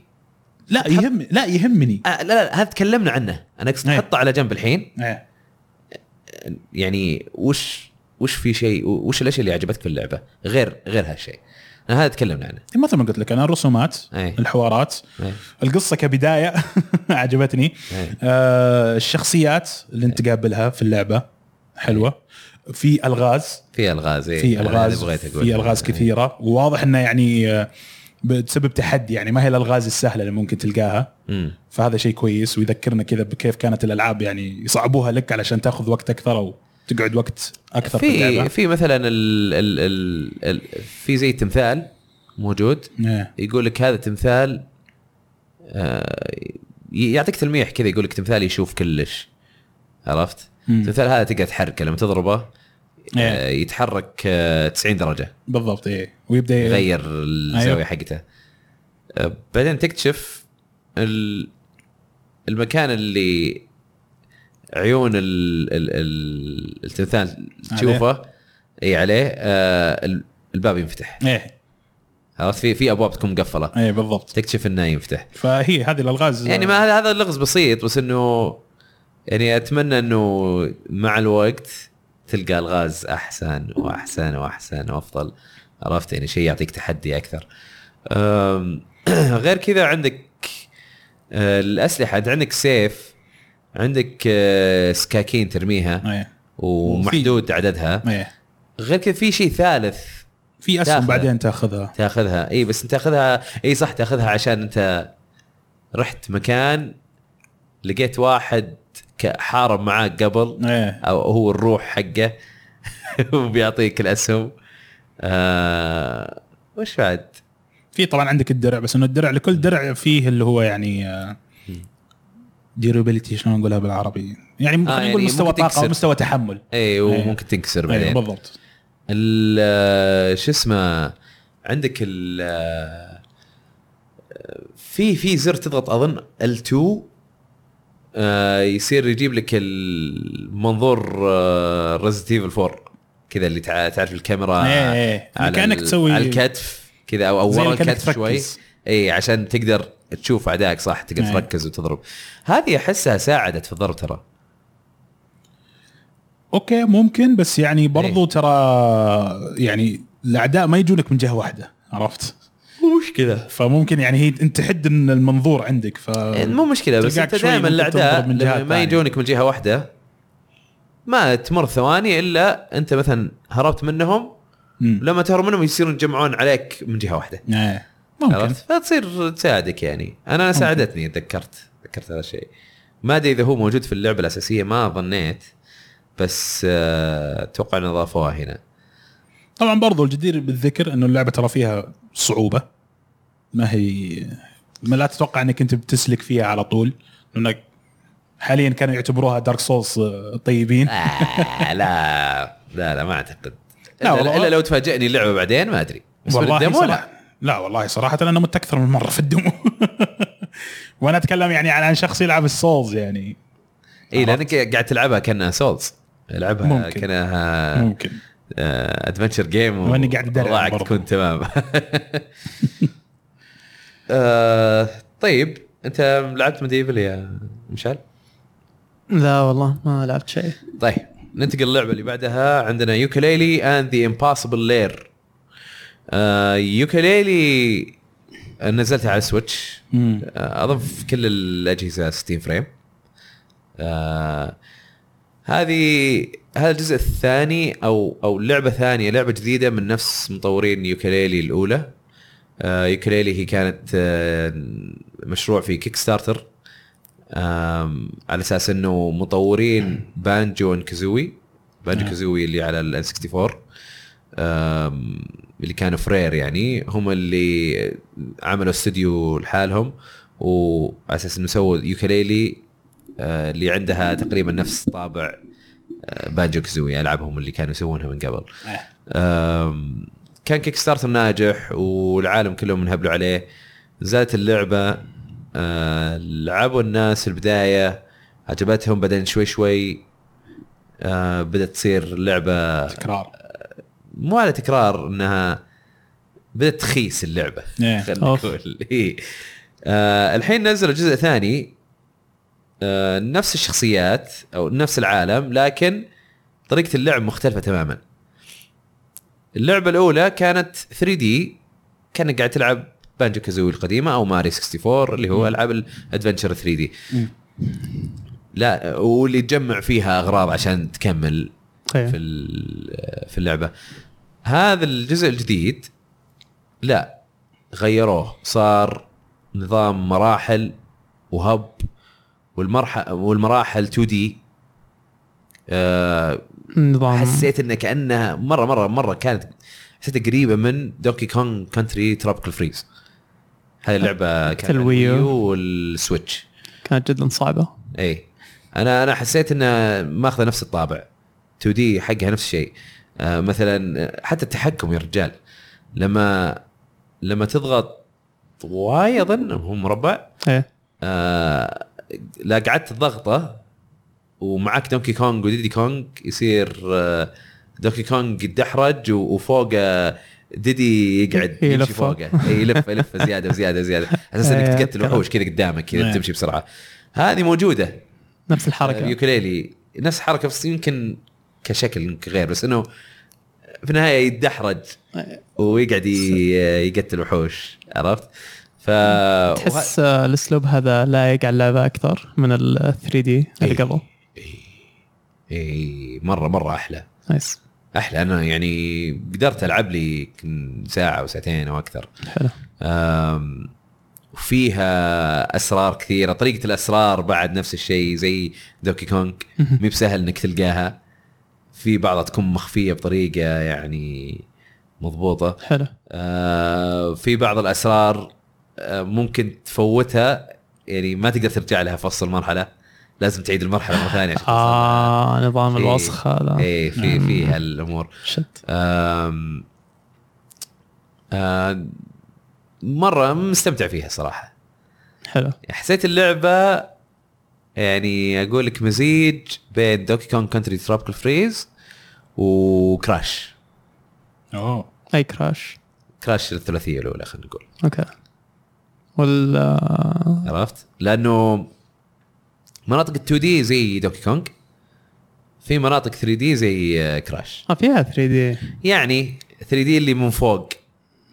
Speaker 2: لا يهم لا يهمني
Speaker 1: آه لا لا هذا تكلمنا عنه انا اقصد
Speaker 2: إيه.
Speaker 1: حطه على جنب الحين
Speaker 2: إيه.
Speaker 1: يعني وش وش في شيء وش الاشياء اللي عجبتك في اللعبه غير غير هالشيء أنا هذا تكلمنا عنه
Speaker 2: مثل ما قلت لك انا الرسومات
Speaker 1: إيه.
Speaker 2: الحوارات
Speaker 1: إيه.
Speaker 2: القصه كبدايه عجبتني
Speaker 1: إيه.
Speaker 2: آه الشخصيات اللي انت تقابلها في اللعبه حلوه في الغاز
Speaker 1: في الغاز إيه.
Speaker 2: في
Speaker 1: أنا هذا
Speaker 2: الغاز
Speaker 1: بغيت اقول
Speaker 2: في الغاز
Speaker 1: إيه.
Speaker 2: كثيره وواضح انه يعني آه، بتسبب تحدي يعني ما هي الالغاز السهله اللي ممكن تلقاها
Speaker 1: مم.
Speaker 2: فهذا شيء كويس ويذكرنا كذا بكيف كانت الالعاب يعني يصعبوها لك علشان تاخذ وقت اكثر او تقعد وقت اكثر في,
Speaker 1: في
Speaker 2: اللعبه
Speaker 1: في مثلا ال ال ال ال في زي تمثال موجود
Speaker 2: إيه.
Speaker 1: يقول لك هذا تمثال آه، ي- يعطيك تلميح كذا يقول لك تمثال يشوف كلش عرفت؟
Speaker 2: مم.
Speaker 1: التمثال هذا تقدر تحركه لما تضربه
Speaker 2: إيه.
Speaker 1: آه، يتحرك آه، 90 درجه
Speaker 2: بالضبط ايه ويبدا
Speaker 1: يغير الزاويه
Speaker 2: أيوه.
Speaker 1: حقته آه، بعدين تكتشف ال- المكان اللي عيون ال- ال- ال- التمثال تشوفه اي عليه آه، ال- الباب ينفتح
Speaker 2: ايه
Speaker 1: عرفت في في ابواب تكون مقفله
Speaker 2: ايه بالضبط
Speaker 1: تكتشف انه ينفتح
Speaker 2: فهي هذه الالغاز
Speaker 1: يعني ما هذا هذا اللغز بسيط بس انه يعني اتمنى انه مع الوقت تلقى الغاز احسن واحسن واحسن وافضل عرفت يعني شيء يعطيك تحدي اكثر أم، غير كذا عندك أه، الاسلحه أنت عندك سيف عندك أه، سكاكين ترميها
Speaker 2: ايه
Speaker 1: ومحدود عددها
Speaker 2: ايه
Speaker 1: غير كذا في شيء ثالث
Speaker 2: في اسهم
Speaker 1: تاخذها.
Speaker 2: بعدين تاخذها
Speaker 1: تاخذها اي بس تاخذها اي صح تاخذها عشان انت رحت مكان لقيت واحد ك- حارب معاك قبل
Speaker 2: ايه
Speaker 1: او هو الروح حقه وبيعطيك الاسهم آه وش بعد؟
Speaker 2: في طبعا عندك الدرع بس انه الدرع لكل درع فيه اللي هو يعني ديورابيلتي شلون نقولها بالعربي يعني خلينا
Speaker 1: يعني
Speaker 2: نقول مستوى
Speaker 1: ممكن
Speaker 2: طاقه
Speaker 1: تكسر.
Speaker 2: ومستوى تحمل
Speaker 1: اي وممكن تنكسر
Speaker 2: ايه
Speaker 1: بعدين
Speaker 2: بالضبط
Speaker 1: ال- آه، شو اسمه عندك ال آه، في في زر تضغط اظن ال2 آه، يصير يجيب لك آه، المنظور ريزنت ايفل 4 كذا اللي تع- تعرف الكاميرا
Speaker 2: إيه، إيه.
Speaker 1: آه، على
Speaker 2: كأنك
Speaker 1: ال-
Speaker 2: تسوي-
Speaker 1: على الكتف كذا او او
Speaker 2: زي
Speaker 1: ورا
Speaker 2: اللي كأنك
Speaker 1: الكتف شوي
Speaker 2: تركز.
Speaker 1: اي عشان تقدر تشوف اعدائك صح تقدر
Speaker 2: إيه.
Speaker 1: تركز وتضرب هذه احسها ساعدت في الضرب ترى
Speaker 2: اوكي ممكن بس يعني برضو
Speaker 1: إيه.
Speaker 2: ترى يعني الاعداء ما يجونك من جهه واحده عرفت
Speaker 1: وش كذا إيه،
Speaker 2: فممكن يعني هي انت تحد إن المنظور عندك ف
Speaker 1: يعني مو مشكله بس
Speaker 2: تلقاك
Speaker 1: انت
Speaker 2: شوي
Speaker 1: دائما
Speaker 2: ممكن
Speaker 1: الاعداء
Speaker 2: تضرب من جهات
Speaker 1: لما ما
Speaker 2: ثانية.
Speaker 1: يجونك من جهه واحده ما تمر ثواني الا انت مثلا هربت منهم
Speaker 2: مم.
Speaker 1: لما تهرب منهم يصيرون يجمعون عليك من جهه واحده
Speaker 2: إيه. ممكن
Speaker 1: عرفت فتصير تساعدك يعني انا ساعدتني تذكرت تذكرت هذا الشيء ما ادري اذا هو موجود في اللعبه الاساسيه ما ظنيت بس آه، اتوقع ان اضافوها هنا
Speaker 2: طبعا برضو الجدير بالذكر انه اللعبه ترى فيها صعوبه ما هي ما لا تتوقع انك انت بتسلك فيها على طول لانك حاليا كانوا يعتبروها دارك سولز طيبين
Speaker 1: آه لا لا لا ما اعتقد
Speaker 2: لا
Speaker 1: الا,
Speaker 2: والله.
Speaker 1: إلا لو تفاجئني اللعبه بعدين ما ادري بس من الديمو لا
Speaker 2: صراحة لا والله صراحة انا مت اكثر من مرة في الدمو وانا اتكلم يعني عن عن شخص يلعب السولز يعني
Speaker 1: اي لانك إيه، قاعد تلعبها كانها سولز العبها
Speaker 2: ممكن.
Speaker 1: كانها
Speaker 2: ممكن
Speaker 1: ادفنشر جيم
Speaker 2: وإني قاعد أدرع برضو.
Speaker 1: تكون تمام آه، طيب انت لعبت مديفل يا مشعل؟
Speaker 3: لا والله ما لعبت شيء
Speaker 1: طيب ننتقل للعبه اللي بعدها عندنا يوكليلي اند ذا امباسبل لير يوكليلي آه، نزلتها على سويتش
Speaker 2: مم.
Speaker 1: اظن في كل الاجهزه 60 فريم آه، هذه هذا الجزء الثاني او او لعبه ثانيه لعبه جديده من نفس مطورين يوكليلي الاولى آه، يوكليلي هي كانت آه، مشروع في كيك ستارتر آم، على اساس انه مطورين بانجو ان كازوي بانجو
Speaker 2: آه.
Speaker 1: كازوي اللي على ال 64 آم، اللي كانوا فرير يعني هم اللي عملوا استوديو لحالهم وعلى اساس انه سووا يوكليلي آه، اللي عندها تقريبا نفس طابع آه، بانجو كازوي العابهم اللي كانوا يسوونها من قبل
Speaker 2: آه.
Speaker 1: آم، كان كيك ستارتر ناجح والعالم كلهم انهبلوا عليه نزلت اللعبه آه، لعبوا الناس في البدايه عجبتهم بعدين شوي شوي آه، بدات تصير لعبه
Speaker 2: تكرار
Speaker 1: مو على تكرار انها بدات تخيس اللعبه
Speaker 2: إيه.
Speaker 1: خلينا
Speaker 3: أوف.
Speaker 1: نقول إيه. آه الحين نزلوا جزء ثاني آه نفس الشخصيات او نفس العالم لكن طريقه اللعب مختلفه تماما اللعبه الاولى كانت 3 دي كانك قاعد تلعب بانجو كازوي القديمه او ماري 64 اللي هو العاب الادفنشر 3 دي
Speaker 2: مم.
Speaker 1: لا واللي تجمع فيها اغراض عشان تكمل في
Speaker 3: إيه.
Speaker 1: ال- في اللعبه هذا الجزء الجديد لا غيروه صار نظام مراحل وهب والمرحله والمراحل 2 دي
Speaker 3: نظام
Speaker 1: حسيت انه كانها مره مره مره كانت حسيتها قريبه من دوكي كونغ كونتري تروبيكال فريز هذه اللعبه كانت على
Speaker 3: الويو.
Speaker 1: الويو والسويتش
Speaker 3: كانت جدا صعبه
Speaker 1: اي انا انا إيه. حسيت انها ماخذه نفس الطابع 2 دي حقها نفس الشيء آه مثلا آه، حتى التحكم يا رجال لما لما تضغط واي اظن هو مربع
Speaker 3: ايه
Speaker 1: آه لا قعدت الضغطه ومعك دونكي كونج وديدي كونج يصير آه دونكي كونج يتدحرج و- وفوقه ديدي يقعد
Speaker 3: إيه،
Speaker 1: يمشي
Speaker 3: يلفه.
Speaker 1: فوقه إيه، يلف يلف زياده وزياده وزياده اساس انك
Speaker 3: إيه،
Speaker 1: تقتل وحوش كذا قدامك كذا
Speaker 2: إيه.
Speaker 1: تمشي بسرعه هذه موجوده
Speaker 3: نفس الحركه
Speaker 1: اليوكليلي آه، نفس الحركه بس يمكن كشكل يمكن غير بس انه في النهايه يتدحرج ويقعد ي- يقتل وحوش عرفت؟ ف وه-
Speaker 3: تحس آه، الاسلوب هذا لايق على اللعبه اكثر من ال 3 دي اللي
Speaker 1: إيه.
Speaker 3: قبل
Speaker 1: اي مره مره احلى
Speaker 3: نايس
Speaker 1: احلى انا يعني قدرت العب لي يمكن ساعه او ساعتين او اكثر
Speaker 3: حلو
Speaker 1: أم، وفيها اسرار كثيره طريقه الاسرار بعد نفس الشيء زي دوكي كونج
Speaker 3: مهم.
Speaker 1: مي بسهل انك تلقاها في بعضها تكون مخفيه بطريقه يعني مضبوطه
Speaker 3: حلو
Speaker 1: آه، في بعض الاسرار آه، ممكن تفوتها يعني ما تقدر ترجع لها في وسط المرحله لازم تعيد المرحله مره ثانيه عشان توصل
Speaker 3: اه نظام
Speaker 1: آه، إيه.
Speaker 3: الوسخ هذا
Speaker 1: ايه في
Speaker 2: مم.
Speaker 1: في هالامور
Speaker 3: شت
Speaker 1: آم، آه، مره مستمتع فيها صراحه
Speaker 3: حلو
Speaker 1: حسيت اللعبه يعني اقول لك مزيج بين دوكي كونج كونتري ترابكل فريز وكراش
Speaker 2: اوه
Speaker 3: اي كراش
Speaker 1: كراش الثلاثيه الاولى خلينا نقول
Speaker 3: اوكي وال آه،
Speaker 1: عرفت؟ لانه مناطق 2 دي زي دوكي كونج في مناطق 3 دي زي آه، كراش
Speaker 3: آه، فيها 3 دي
Speaker 1: يعني 3 دي اللي من فوق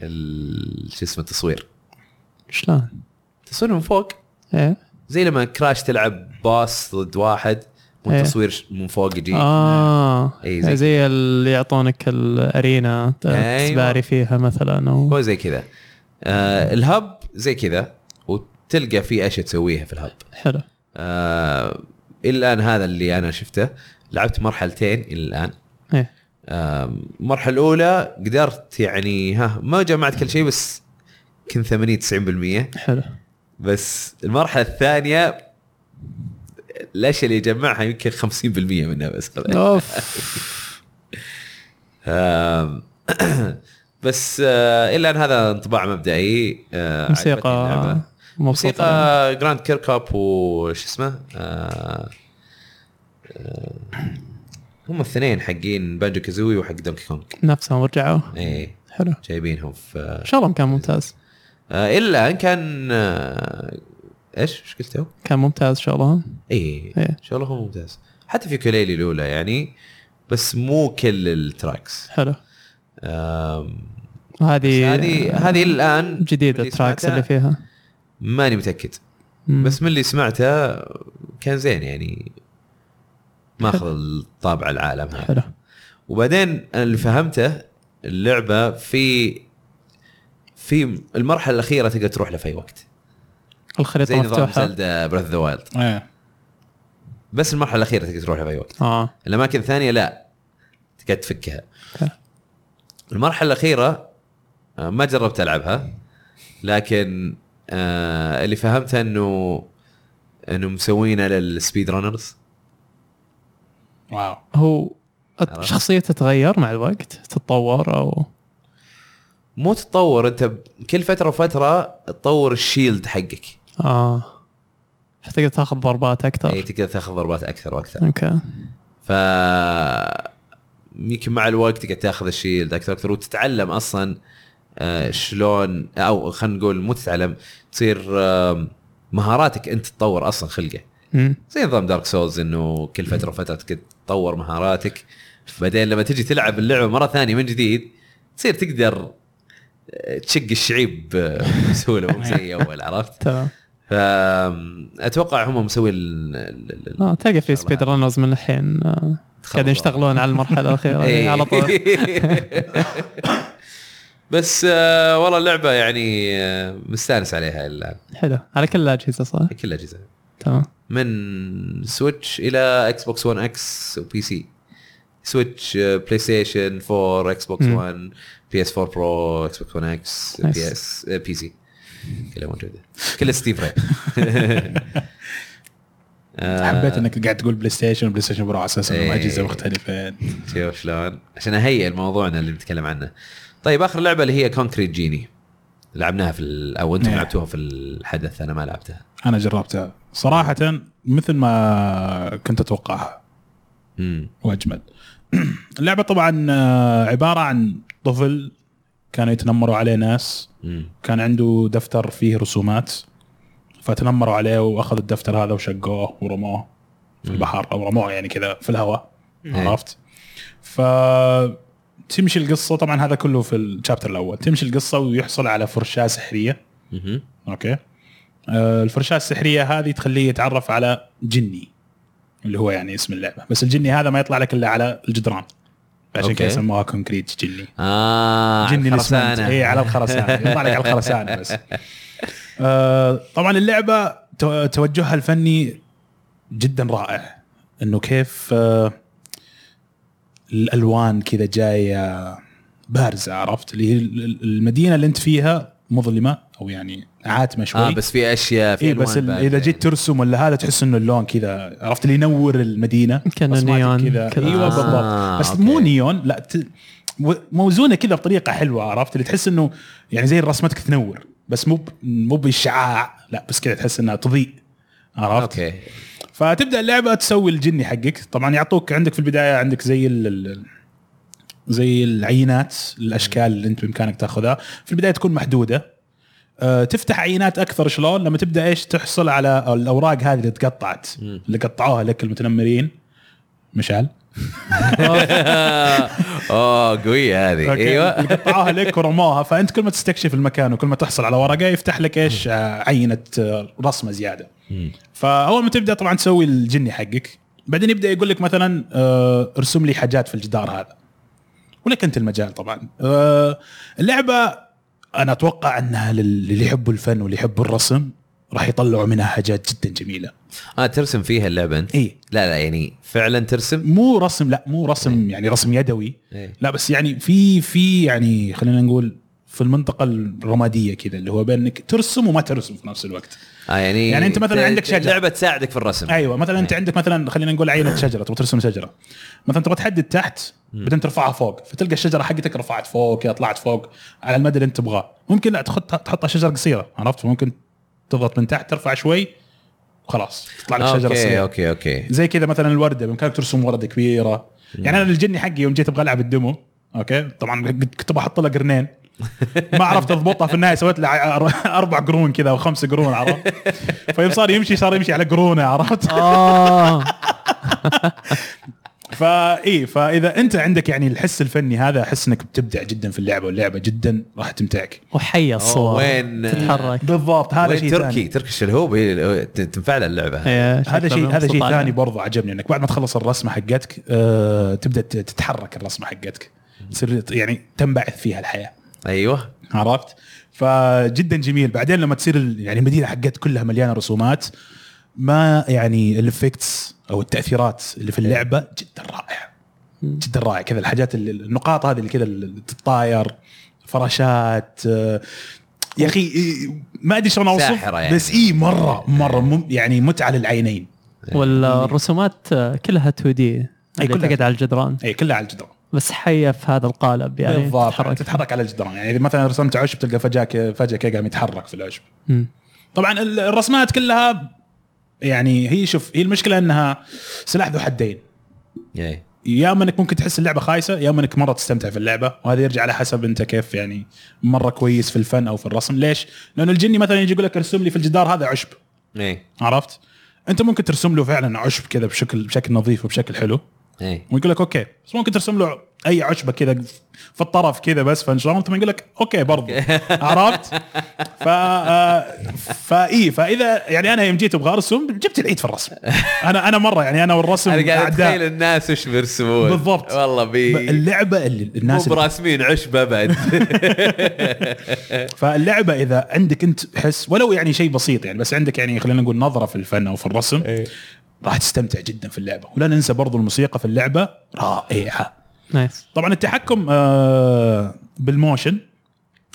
Speaker 1: ال- شو اسمه التصوير
Speaker 3: شلون؟
Speaker 1: التصوير من فوق
Speaker 3: ايه
Speaker 1: زي لما كراش تلعب باص ضد واحد
Speaker 3: إيه.
Speaker 1: والتصوير ش- من فوق يجي
Speaker 3: اه
Speaker 1: إيه، زي
Speaker 3: زي اللي يعطونك الارينا ت-
Speaker 1: أيوة.
Speaker 3: تسباري فيها مثلا و...
Speaker 1: هو زي كذا آه الهب زي كذا وتلقى في اشياء تسويها في الهب
Speaker 3: حلو
Speaker 1: آه الى الان هذا اللي انا شفته لعبت مرحلتين الى الان
Speaker 3: ايه
Speaker 1: آم، المرحله الاولى قدرت يعني ها ما جمعت كل شيء بس كنت 80 90%
Speaker 3: حلو
Speaker 1: بس المرحله الثانيه الاشياء اللي يجمعها يمكن 50% منها بس
Speaker 3: اوف
Speaker 1: آم، بس آه، الا ان هذا انطباع مبدئي آه، عجبتني
Speaker 3: موسيقى
Speaker 1: اللعبة.
Speaker 3: مبسوطة يعني.
Speaker 1: موسيقى جراند كيركوب وش اسمه آه، آه، هم الاثنين حقين بانجو كازوي وحق دونكي كونج
Speaker 3: نفسهم ورجعوا
Speaker 1: ايه
Speaker 3: حلو
Speaker 1: جايبينهم في آه،
Speaker 3: شغلهم كان ممتاز
Speaker 1: آه، الا ان كان آه، ايش ايش قلت تو؟
Speaker 3: كان ممتاز شغلهم
Speaker 1: اي
Speaker 3: إيه.
Speaker 1: شغلهم ممتاز حتى في كوليلي الاولى يعني بس مو كل التراكس
Speaker 3: حلو
Speaker 1: آم، بس
Speaker 3: هذه
Speaker 1: هذه هذه الان
Speaker 3: جديدة
Speaker 1: اللي
Speaker 3: التراكس
Speaker 1: سمعتها-
Speaker 3: اللي فيها
Speaker 1: ماني متاكد
Speaker 3: مم.
Speaker 1: بس من اللي سمعته كان زين يعني ماخذ الطابع العالم هذا
Speaker 3: حلو
Speaker 1: وبعدين أنا اللي فهمته اللعبه في في المرحله الاخيره تقدر تروح لها في اي وقت زي
Speaker 3: الخريطه
Speaker 1: نظام
Speaker 3: مفتوحه
Speaker 1: زلدا بريث ذا وايلد
Speaker 2: ايه
Speaker 1: بس المرحله الاخيره تقدر تروح في اي وقت
Speaker 3: اه
Speaker 1: الاماكن الثانيه لا تقعد تفكها
Speaker 3: حلو.
Speaker 1: المرحله الاخيره آه، ما جربت العبها لكن آه، اللي فهمته انه انه مسوينها للسبيد رانرز
Speaker 2: واو
Speaker 3: هو
Speaker 1: عرفت.
Speaker 3: شخصية تتغير مع الوقت تتطور او
Speaker 1: مو تتطور انت ب- كل فتره وفتره تطور الشيلد حقك
Speaker 3: اه فتقدر تاخذ ضربات
Speaker 1: يعني
Speaker 3: اكثر
Speaker 1: تقدر تاخذ ضربات اكثر واكثر
Speaker 3: اوكي
Speaker 1: ف يمكن مع الوقت تقعد تاخذ الشيلد اكثر اكثر وتتعلم اصلا آه، شلون او خلينا نقول مو تتعلم تصير آم، مهاراتك انت تطور اصلا خلقه
Speaker 3: مم.
Speaker 1: زي نظام دارك سولز انه كل فتره وفتره تقعد تطور مهاراتك بعدين لما تجي تلعب اللعبه مره ثانيه من جديد تصير تقدر آه، تشق الشعيب آه، بسهوله مو زي اول عرفت؟
Speaker 3: تمام
Speaker 1: فاتوقع هم مسوي ال- ال- ال- ال-
Speaker 3: آه تلقى في سبيد رانرز من الحين آه، قاعدين يشتغلون على المرحلة الأخيرة
Speaker 1: إيه.
Speaker 3: يعني على طول
Speaker 1: بس آه والله اللعبه يعني آه مستانس عليها الان
Speaker 3: حلو على كل الأجهزة صح؟
Speaker 2: إيه.
Speaker 1: كل الاجهزه
Speaker 3: تمام
Speaker 1: من سويتش الى اكس بوكس 1 اكس وبي سي سويتش آه، بلاي ستيشن 4 اكس بوكس
Speaker 3: مم.
Speaker 1: 1 بي اس 4 برو اكس بوكس 1 اكس
Speaker 3: Nice.
Speaker 1: بي اس آه، بي سي كلها موجوده كلها ستيف ري
Speaker 2: حبيت انك قاعد تقول بلاي ستيشن وبلاي ستيشن برو على اساس انهم
Speaker 1: آه. إيه.
Speaker 2: اجهزه مختلفه
Speaker 1: شوف شلون عشان اهيئ الموضوعنا اللي بنتكلم عنه طيب اخر لعبه اللي هي كونكريت جيني لعبناها في ال... او انتم
Speaker 2: نعم.
Speaker 1: لعبتوها في الحدث انا ما لعبتها
Speaker 2: انا جربتها صراحه مثل ما كنت اتوقعها
Speaker 1: امم
Speaker 2: واجمل اللعبه طبعا آه، عباره عن طفل كانوا يتنمروا عليه ناس
Speaker 1: امم
Speaker 2: كان عنده دفتر فيه رسومات فتنمروا عليه واخذ الدفتر هذا وشقوه ورموه في
Speaker 1: مم.
Speaker 2: البحر او رموه يعني كذا في الهواء
Speaker 1: إيه.
Speaker 2: عرفت ف تمشي القصه طبعا هذا كله في الشابتر الاول تمشي القصه ويحصل على فرشاه سحريه
Speaker 1: مهم.
Speaker 2: اوكي آه، الفرشاه السحريه هذه تخليه يتعرف على جني اللي هو يعني اسم اللعبه بس الجني هذا ما يطلع لك الا على الجدران عشان
Speaker 1: أوكي.
Speaker 2: كذا سموها كونكريت جني
Speaker 1: اه
Speaker 2: جني الاسمنت
Speaker 1: الخرسانة.
Speaker 2: اي إيه، على الخرسانه يطلع لك على الخرسانه بس آه، طبعا اللعبه تو- توجهها الفني جدا رائع انه كيف آه، الالوان كذا جايه بارزه عرفت اللي هي ال- ال- المدينه اللي انت فيها مظلمه او يعني عاتمه شوي
Speaker 1: اه بس في اشياء في
Speaker 2: اي بس
Speaker 1: ألوان
Speaker 2: ال-
Speaker 1: باردة
Speaker 2: اذا جيت
Speaker 1: يعني.
Speaker 2: ترسم ولا هذا تحس انه اللون كذا عرفت اللي ينور المدينه
Speaker 3: كأنه
Speaker 2: بصماتك
Speaker 3: نيون
Speaker 2: كذا
Speaker 3: كذا.
Speaker 2: ايوه
Speaker 3: آه،
Speaker 2: بالضبط بس
Speaker 1: أوكي.
Speaker 2: مو نيون لا ت... و- موزونه كذا بطريقه حلوه عرفت اللي تحس انه يعني زي رسمتك تنور بس مو ب... مو باشعاع لا بس كذا تحس انها تضيء عرفت
Speaker 1: اوكي
Speaker 2: فتبدا اللعبه تسوي الجني حقك طبعا يعطوك عندك في البدايه عندك زي ال ال- زي العينات الاشكال اللي انت بامكانك تاخذها في البدايه تكون محدوده أه، تفتح عينات اكثر شلون لما تبدا ايش تحصل على الاوراق هذه اللي تقطعت
Speaker 1: مم.
Speaker 2: اللي قطعوها لك المتنمرين مشعل
Speaker 1: اوه قويه هذه
Speaker 2: أوكي،
Speaker 1: ايوه
Speaker 2: اللي قطعوها لك ورموها فانت كل ما تستكشف المكان وكل ما تحصل على ورقه يفتح لك ايش آه، عينه آه، رسمه زياده
Speaker 1: مم.
Speaker 2: فاول ما تبدا طبعا تسوي الجني حقك بعدين يبدا يقول لك مثلا آه، ارسم لي حاجات في الجدار هذا ولك انت المجال طبعا آه، اللعبه انا اتوقع انها لل- للي يحبوا الفن واللي يحبوا الرسم راح يطلعوا منها حاجات جدا جميله
Speaker 1: اه ترسم فيها اللعبه انت
Speaker 2: اي
Speaker 1: لا لا يعني فعلا ترسم
Speaker 2: مو رسم لا مو رسم يعني رسم يدوي
Speaker 1: إيه.
Speaker 2: لا بس يعني في في يعني خلينا نقول في المنطقه الرماديه كذا اللي هو بينك ترسم وما ترسم في نفس الوقت
Speaker 1: اه يعني
Speaker 2: يعني أنت مثلاً
Speaker 1: ت-
Speaker 2: عندك شجرة.
Speaker 1: لعبه تساعدك في الرسم
Speaker 2: ايوه مثلا انت عندك مثلا خلينا نقول عينه شجره تبغى ترسم شجره مثلا تبغى تحدد تحت بعدين ترفعها فوق فتلقى الشجره حقتك رفعت فوق كذا طلعت فوق على المدى اللي انت تبغاه ممكن لا تحط تحطها شجره قصيره عرفت ممكن تضغط من تحت ترفع شوي وخلاص تطلع لك شجره
Speaker 1: اوكي
Speaker 2: صغيره
Speaker 1: اوكي اوكي
Speaker 2: زي كذا مثلا الورده بامكانك ترسم ورده كبيره يعني انا الجني حقي يوم جيت ابغى العب الدمو اوكي طبعا كنت بحط له قرنين ما عرفت اضبطها في النهايه سويت له ع- اربع قرون كذا او خمس قرون عرفت فيوم صار يمشي صار يمشي على قرونه عرفت
Speaker 3: اه
Speaker 2: فاي فاذا انت عندك يعني الحس الفني هذا احس انك بتبدع جدا في اللعبه واللعبه جدا راح تمتعك آه،
Speaker 3: وحية الصور
Speaker 1: أوه، وين
Speaker 3: تتحرك
Speaker 2: بالضبط هذا
Speaker 1: وين
Speaker 2: شيء
Speaker 1: تركي
Speaker 2: ثاني
Speaker 1: تركي الشلهوب هي ال- ت- تنفع لها اللعبه هذه.
Speaker 3: إيه،
Speaker 2: هذا
Speaker 3: شكله
Speaker 2: شيء هذا شيء
Speaker 3: مبسوط
Speaker 2: ثاني
Speaker 3: عليه.
Speaker 2: برضو عجبني انك بعد ما تخلص الرسمه حقتك آه تبدا ت- تتحرك الرسمه حقتك تصير يعني تنبعث فيها الحياه
Speaker 1: ايوه
Speaker 2: عرفت فجدا جميل بعدين لما تصير ال- يعني المدينه حقت كلها مليانه رسومات ما يعني الافكتس او التاثيرات اللي في اللعبه جدا رائعه جدا رائع كذا الحاجات اللي النقاط هذه اللي كذا اللي تتطاير فراشات آه، يا اخي إيه، ما ادري شلون اوصف
Speaker 1: ساحرة يعني.
Speaker 2: بس اي مره مره مم يعني متعه للعينين
Speaker 3: والرسومات كلها 2 دي اللي
Speaker 2: إيه، كلها.
Speaker 3: تقعد على الجدران
Speaker 2: اي كلها على الجدران
Speaker 3: بس حيه في هذا القالب يعني
Speaker 2: بالضبط
Speaker 3: تتحرك.
Speaker 2: تتحرك. على الجدران يعني اذا مثلا رسمت عشب تلقى فجاه ك- فجاه كذا قام يتحرك في العشب
Speaker 3: مم.
Speaker 2: طبعا ال- الرسمات كلها يعني هي شوف هي المشكله انها سلاح ذو حدين
Speaker 1: إيه.
Speaker 2: يا اما انك ممكن تحس اللعبه خايسه يا اما انك مره تستمتع في اللعبه وهذا يرجع على حسب انت كيف يعني مره كويس في الفن او في الرسم ليش؟ لانه الجني مثلا يجي يقول لك ارسم لي في الجدار هذا عشب
Speaker 1: ايه
Speaker 2: عرفت؟ انت ممكن ترسم له فعلا عشب كذا بشكل بشكل نظيف وبشكل حلو
Speaker 1: ايه
Speaker 2: ويقول لك اوكي بس ممكن ترسم له اي عشبه كذا في الطرف كذا بس فانشلون ثم يقول لك اوكي برضو عرفت؟ ف آه، فاي فاذا يعني انا يوم جيت ابغى ارسم جبت العيد في الرسم انا انا مره يعني انا والرسم
Speaker 1: انا قاعد
Speaker 2: أعداء.
Speaker 1: اتخيل الناس وش بيرسمون
Speaker 2: بالضبط.
Speaker 1: والله بي
Speaker 2: اللعبه اللي
Speaker 1: مو
Speaker 2: الناس
Speaker 1: براسمين عشبه بعد
Speaker 2: فاللعبه اذا عندك انت حس ولو يعني شيء بسيط يعني بس عندك يعني خلينا نقول نظره في الفن او في الرسم راح تستمتع جدا في اللعبه ولا ننسى برضو الموسيقى في اللعبه رائعه
Speaker 3: نايس
Speaker 2: طبعا التحكم آه بالموشن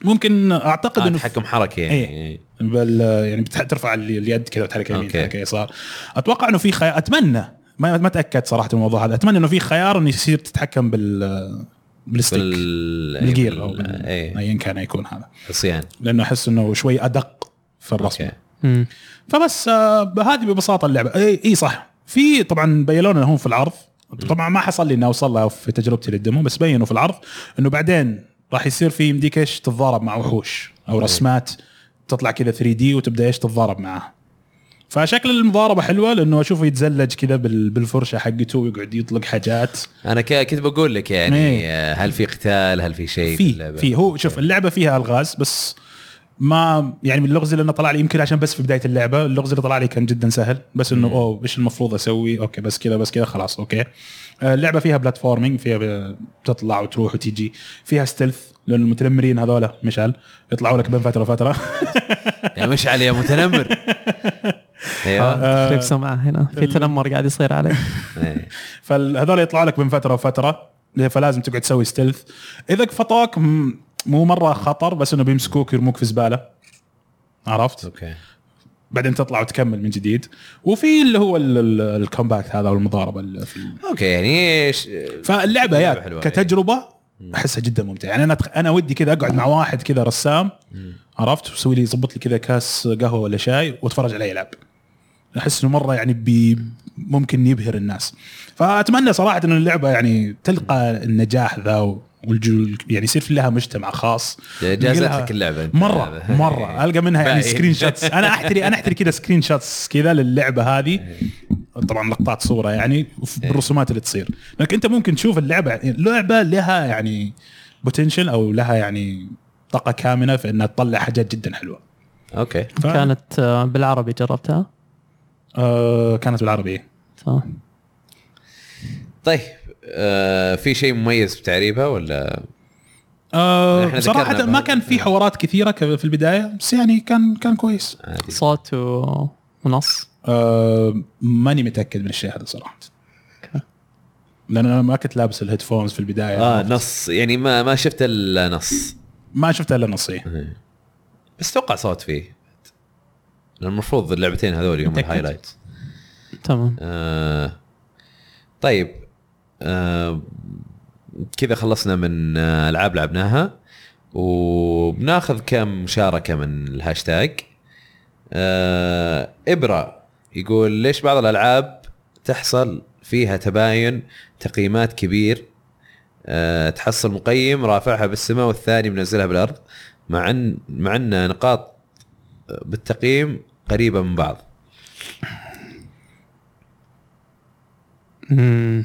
Speaker 2: ممكن اعتقد
Speaker 1: آه،
Speaker 2: انه
Speaker 1: تحكم حركي يعني
Speaker 2: إيه.
Speaker 1: إيه.
Speaker 2: بال يعني بتح- ترفع ال- اليد كذا وتحرك يمين
Speaker 1: أوكي.
Speaker 2: تحرك يسار اتوقع انه في خيار اتمنى ما ما تاكدت صراحه من الموضوع هذا اتمنى انه في خيار انه يصير تتحكم بال بالستيك
Speaker 1: بال
Speaker 2: بالجير او بال-
Speaker 1: بال- ايه
Speaker 2: ايا كان يكون هذا
Speaker 1: عصيان إيه.
Speaker 2: لانه احس انه شوي ادق في الرسم
Speaker 1: أوكي.
Speaker 3: مم.
Speaker 2: فبس آه، هذه ببساطه اللعبه اي إيه صح في طبعا بينونا هم في العرض طبعا ما حصل لي انه اوصل له في تجربتي للدمو بس بينوا في العرض انه بعدين راح يصير في يمديك ايش تتضارب مع وحوش او رسمات تطلع كذا 3 دي وتبدا ايش تتضارب معاه فشكل المضاربه حلوه لانه اشوفه يتزلج كذا بال- بالفرشه حقته ويقعد يطلق حاجات
Speaker 1: انا ك- كنت بقول لك يعني
Speaker 2: إيه.
Speaker 1: آه، هل في قتال هل في شيء
Speaker 2: في
Speaker 1: اللعبة؟
Speaker 2: في هو شوف اللعبه فيها الغاز بس ما يعني من اللغز اللي انا طلع لي يمكن عشان بس في بدايه اللعبه اللغز اللي طلع لي كان جدا سهل بس انه اوه ايش المفروض اسوي اوكي بس كذا بس كذا خلاص اوكي آه، اللعبه فيها بلاتفورمينج فيها ب- تطلع وتروح وتيجي فيها ستيلث لان المتنمرين هذولا مشعل يطلعوا لك بين فتره وفتره
Speaker 1: يا مشعل يعني يا متنمر
Speaker 2: آه.
Speaker 1: ايوه
Speaker 3: تخرب سمعه هنا في تنمر قاعد يصير عليه
Speaker 1: إيه.
Speaker 2: فهذول يطلعوا لك بين فتره وفتره فلازم تقعد تسوي ستيلث اذا قفطوك م- مو مره خطر بس انه بيمسكوك يرموك في زباله عرفت؟
Speaker 1: اوكي
Speaker 2: بعدين تطلع وتكمل من جديد وفي اللي هو ال- ال- الكومباكت هذا او المضاربه ال- في ال-
Speaker 1: اوكي يعني إيش-
Speaker 2: فاللعبه
Speaker 1: لعبة
Speaker 2: يا
Speaker 1: حلوة، إيه.
Speaker 2: كتجربه احسها جدا ممتعه يعني انا أتخ- انا ودي كذا اقعد مع واحد كذا رسام عرفت وسوي لي يظبط لي كذا كاس قهوه ولا شاي واتفرج عليه يلعب احس انه مره يعني بي ممكن يبهر الناس فاتمنى صراحه ان اللعبه يعني تلقى النجاح ذا والجو يعني يصير في لها مجتمع خاص
Speaker 1: يعني جازتك اللعبه أنت.
Speaker 2: مره مره القى منها يعني
Speaker 1: باين.
Speaker 2: سكرين شوتس انا احتري انا احتري كذا سكرين شوتس كذا للعبه هذه طبعا لقطات صوره يعني وف-
Speaker 1: إيه.
Speaker 2: بالرسومات اللي تصير لانك انت ممكن تشوف اللعبه يعني لعبه لها يعني بوتنشل او لها يعني طاقه كامنه في انها تطلع حاجات جدا حلوه
Speaker 1: اوكي
Speaker 2: ف...
Speaker 3: كانت آه، بالعربي جربتها
Speaker 2: آه كانت بالعربي
Speaker 3: تمام.
Speaker 2: إيه.
Speaker 1: طيب آه في شيء مميز بتعريبها ولا إحنا
Speaker 2: آه
Speaker 1: ذكرنا إيه.
Speaker 2: صراحه ما
Speaker 1: بهذا.
Speaker 2: كان في حوارات كثيره ك- في البدايه بس يعني كان كان كويس
Speaker 1: عادي؟
Speaker 3: صوت و- ونص
Speaker 2: آه، ماني متاكد من الشيء هذا صراحه لان انا ما كنت لابس الهيدفونز في البدايه
Speaker 1: اه نص يعني ما ما شفت الا نص
Speaker 2: ما شفت الا نصي
Speaker 1: بس اتوقع صوت فيه المفروض اللعبتين هذول هم
Speaker 3: متأكد؟
Speaker 1: الهايلايت
Speaker 3: تمام
Speaker 1: آه طيب آه كذا خلصنا من آه، العاب لعبناها وبناخذ كم مشاركه من الهاشتاج آه ابرا يقول ليش بعض الالعاب تحصل فيها تباين تقييمات كبير آه تحصل مقيم رافعها بالسماء والثاني منزلها بالارض مع ان مع ان نقاط بالتقييم قريبه من بعض
Speaker 3: مم.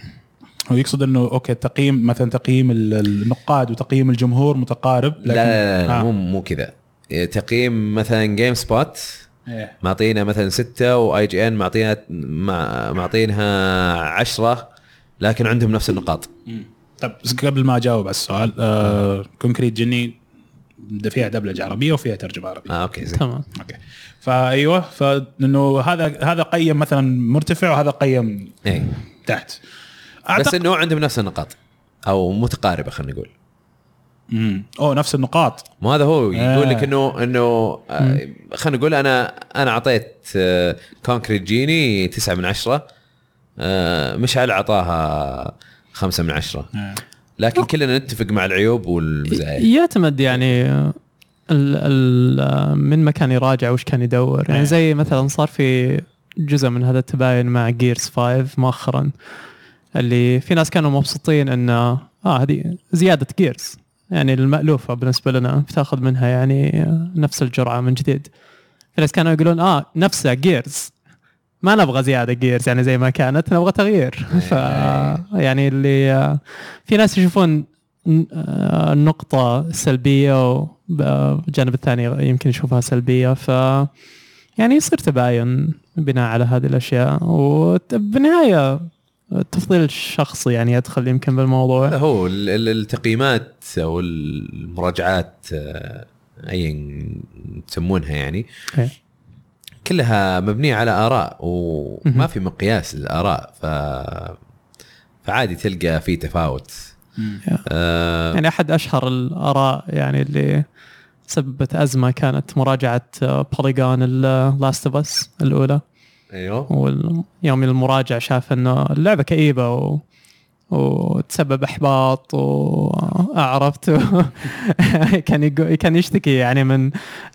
Speaker 2: هو يقصد انه اوكي تقييم مثلا تقييم ال- النقاد وتقييم الجمهور متقارب
Speaker 1: لا لا لا, لا
Speaker 2: آه.
Speaker 1: مو مو كذا إيه، تقييم مثلا جيم سبوت
Speaker 2: إيه.
Speaker 1: معطينا مثلا ستة واي جي ان معطينا مع- معطينها عشرة لكن عندهم نفس النقاط
Speaker 2: طب بس قبل ما اجاوب على السؤال آه كونكريت جني د- فيها دبلجه عربيه وفيها ترجمه عربيه
Speaker 1: اه اوكي زين
Speaker 3: تمام
Speaker 2: اوكي فايوه فانه هذا هذا قيم مثلا مرتفع وهذا قيم
Speaker 1: إيه.
Speaker 2: تحت
Speaker 1: بس
Speaker 2: اعتقد
Speaker 1: انه عندهم نفس النقاط او متقاربه خلينا نقول
Speaker 2: مم. اوه نفس النقاط
Speaker 1: ما هذا هو يقول
Speaker 2: آه.
Speaker 1: لك انه انه آه، خلينا نقول انا انا اعطيت كونكريت جيني آه، تسعة من عشرة آه، مشعل اعطاها خمسة من عشرة
Speaker 2: آه.
Speaker 1: لكن كلنا نتفق مع العيوب والمزايا
Speaker 3: يعتمد يعني ال ال من مكان يراجع وش كان يدور
Speaker 2: إيه.
Speaker 3: يعني زي مثلا صار في جزء من هذا التباين مع جيرز 5 مؤخرا اللي في ناس كانوا مبسوطين انه اه هذه زياده جيرز يعني المألوفة بالنسبة لنا بتاخذ منها يعني نفس الجرعة من جديد في ناس كانوا يقولون اه نفسها جيرز ما نبغى زيادة جيرز يعني زي ما كانت نبغى تغيير ف يعني اللي آه، في ناس يشوفون ن- آه، نقطة سلبية والجانب الثاني يمكن يشوفها سلبية ف يعني يصير تباين بناء على هذه الأشياء وبالنهاية التفضيل الشخصي يعني يدخل يمكن بالموضوع
Speaker 1: هو ال- ال- التقييمات او المراجعات آه، ايا تسمونها يعني
Speaker 3: إيه.
Speaker 1: كلها مبنيه على اراء وما
Speaker 3: مهم.
Speaker 1: في مقياس للاراء ف فعادي تلقى في تفاوت
Speaker 2: مم.
Speaker 1: آه،
Speaker 3: يعني أحد أشهر الآراء يعني اللي سببت أزمة كانت مراجعة آه، بوليجون اللاست اوف اس الأولى
Speaker 1: ايوه
Speaker 3: ويوم المراجع شاف انه اللعبه كئيبه و... وتسبب احباط وعرفت كان يقو... كان يشتكي يعني من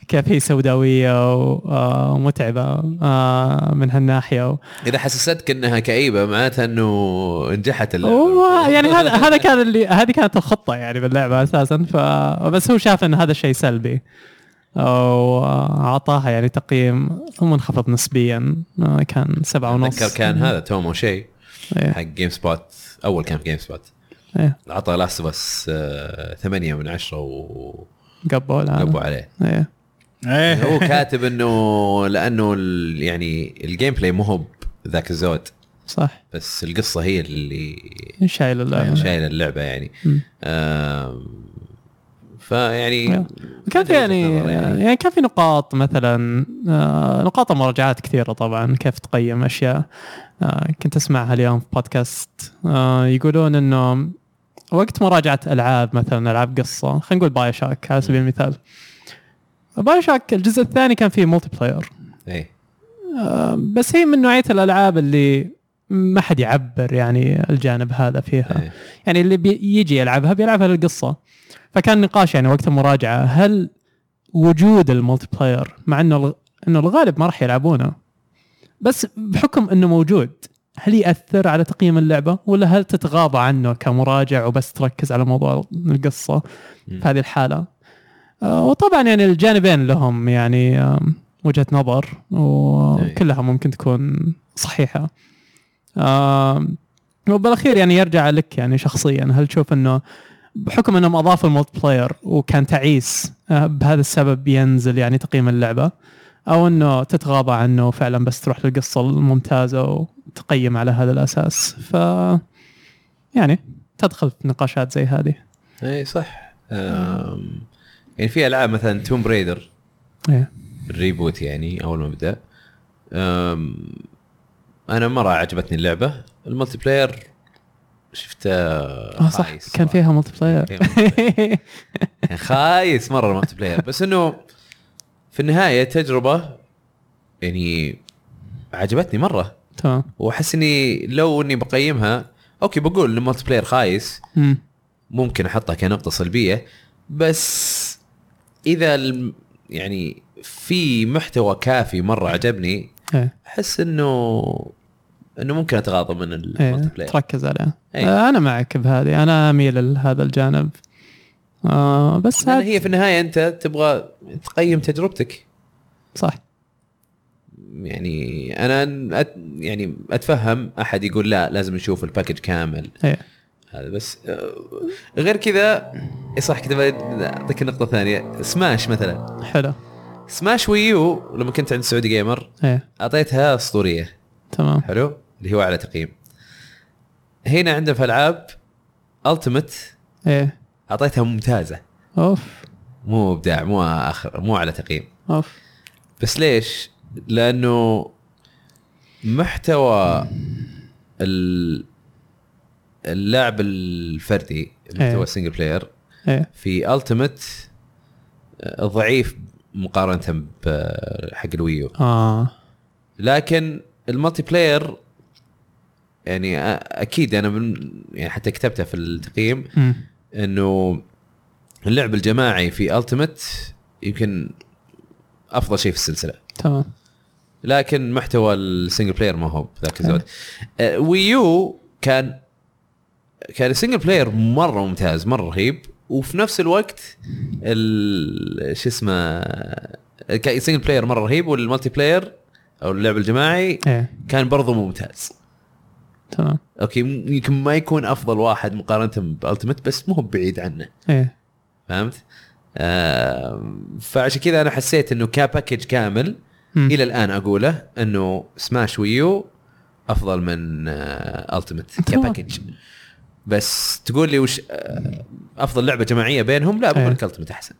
Speaker 3: كيف هي سوداويه ومتعبه آه، من هالناحيه و...
Speaker 1: اذا حسستك انها كئيبه معناتها انه نجحت
Speaker 3: و-
Speaker 1: اللعبه
Speaker 3: يعني هذا هذا كان اللي هذه كانت الخطه يعني باللعبه اساسا ف بس هو شاف ان هذا الشيء سلبي واعطاها يعني تقييم منخفض نسبيا آه، كان سبعة ونص
Speaker 1: اتذكر كان هذا تومو شيء
Speaker 3: إيه.
Speaker 1: حق جيم سبوت اول كان في جيم سبوت
Speaker 3: إيه.
Speaker 1: عطى لاست بس آه، ثمانية من عشرة وقبوا
Speaker 3: قبوا العالم
Speaker 1: عليه
Speaker 3: ايه
Speaker 2: ايه
Speaker 1: هو كاتب انه لانه ال- يعني الجيم بلاي مو هو ذاك الزود
Speaker 3: صح
Speaker 1: بس القصه هي اللي
Speaker 3: أيوة، شايل اللعبه
Speaker 1: شايله اللعبه يعني
Speaker 3: مم.
Speaker 1: آم، فيعني
Speaker 3: يا. كان في يعني يعني كان في نقاط مثلا آه، نقاط مراجعات كثيره طبعا كيف تقيم اشياء آه، كنت اسمعها اليوم في بودكاست آه، يقولون انه وقت مراجعه العاب مثلا العاب قصه خلينا نقول باي شاك على سبيل المثال باي شاك الجزء الثاني كان فيه مولتي بلاير
Speaker 1: ايه
Speaker 3: آه، بس هي من نوعيه الالعاب اللي ما حد يعبر يعني الجانب هذا فيها
Speaker 1: إيه.
Speaker 3: يعني اللي بيجي يلعبها بيلعبها للقصه فكان نقاش يعني وقت المراجعه هل وجود الملتي بلاير مع انه الغ- انه الغالب ما راح يلعبونه بس بحكم انه موجود هل ياثر على تقييم اللعبه ولا هل تتغاضى عنه كمراجع وبس تركز على موضوع القصه
Speaker 1: مم.
Speaker 3: في هذه الحاله آه، وطبعا يعني الجانبين لهم يعني آم، وجهه نظر وكلها ممكن تكون صحيحه آم، وبالاخير يعني يرجع لك يعني شخصيا هل تشوف انه بحكم انهم اضافوا الملتي بلاير وكان تعيس آه، بهذا السبب ينزل يعني تقييم اللعبه او انه تتغاضى عنه فعلا بس تروح للقصه الممتازه وتقيم على هذا الاساس ف يعني تدخل في نقاشات زي هذه
Speaker 1: اي إيه، صح آم، يعني في العاب مثلا توم بريدر
Speaker 3: إيه.
Speaker 1: الريبوت يعني اول ما بدا آم، انا مره عجبتني اللعبه الملتي بلاير شفته
Speaker 3: اه صح
Speaker 1: خايس
Speaker 3: كان
Speaker 1: صراحة.
Speaker 3: فيها ملتي بلاير
Speaker 1: كان يعني خايس مره الملتي بلاير بس انه في النهايه تجربه يعني عجبتني مره
Speaker 3: تمام
Speaker 1: واحس اني لو اني بقيمها اوكي بقول ان الملتي بلاير خايس
Speaker 3: مم.
Speaker 1: ممكن احطها كنقطه سلبيه بس اذا الم- يعني في محتوى كافي مره عجبني
Speaker 3: إيه.
Speaker 1: احس انه انه ممكن اتغاضى من
Speaker 3: إيه،
Speaker 1: الملتي بلاير
Speaker 3: تركز عليه
Speaker 1: إيه.
Speaker 3: آه، انا معك بهذه انا اميل لهذا الجانب آه بس
Speaker 1: لان
Speaker 3: هاد-
Speaker 1: هي في النهايه انت تبغى تقيم تجربتك
Speaker 3: صح
Speaker 1: يعني انا أت يعني اتفهم احد يقول لا لازم نشوف الباكج كامل
Speaker 3: إيه.
Speaker 1: هذا بس آه، غير كذا إيه صح كنت بد- اعطيك نقطه ثانيه سماش مثلا
Speaker 3: حلو
Speaker 1: سماش ويو لما كنت عند سعودي جيمر
Speaker 3: ايه
Speaker 1: اعطيتها اسطوريه
Speaker 3: تمام
Speaker 1: حلو اللي هو اعلى تقييم هنا عندنا في العاب التيمت
Speaker 3: ايه
Speaker 1: اعطيتها ممتازه
Speaker 3: اوف
Speaker 1: مو ابداع مو اخر مو على تقييم
Speaker 3: اوف
Speaker 1: بس ليش؟ لانه محتوى ال- اللعب الفردي
Speaker 3: إيه.
Speaker 1: محتوى السنجل بلاير
Speaker 3: ايه
Speaker 1: في التيمت ضعيف مقارنه ب- حق الويو
Speaker 3: اه
Speaker 1: لكن الملتي بلاير يعني أ- اكيد انا من يعني حتى كتبتها في التقييم
Speaker 3: مم.
Speaker 1: انه اللعب الجماعي في التيمت يمكن افضل شيء في السلسله
Speaker 3: تمام
Speaker 1: لكن محتوى السنجل بلاير ما هو ذاك الزود
Speaker 3: حلو.
Speaker 1: آه، ويو كان كان السنجل بلاير مره ممتاز مره رهيب وفي نفس الوقت ال- شو اسمه كان السنجل بلاير مره رهيب والمالتي بلاير او اللعب الجماعي
Speaker 3: ايه
Speaker 1: كان برضه ممتاز
Speaker 3: تمام
Speaker 1: اوكي م- يمكن ما يكون افضل واحد مقارنه بالتمت بس مو هو بعيد عنه
Speaker 3: ايه
Speaker 1: فهمت؟ آه فعشان كذا انا حسيت انه كباكج كامل
Speaker 3: مم.
Speaker 1: الى الان اقوله انه سماش ويو افضل من التيمت
Speaker 3: تمام.
Speaker 1: كباكج بس تقول لي وش آه، افضل لعبه جماعيه بينهم لا بقول
Speaker 3: إيه.
Speaker 1: لك التيمت احسن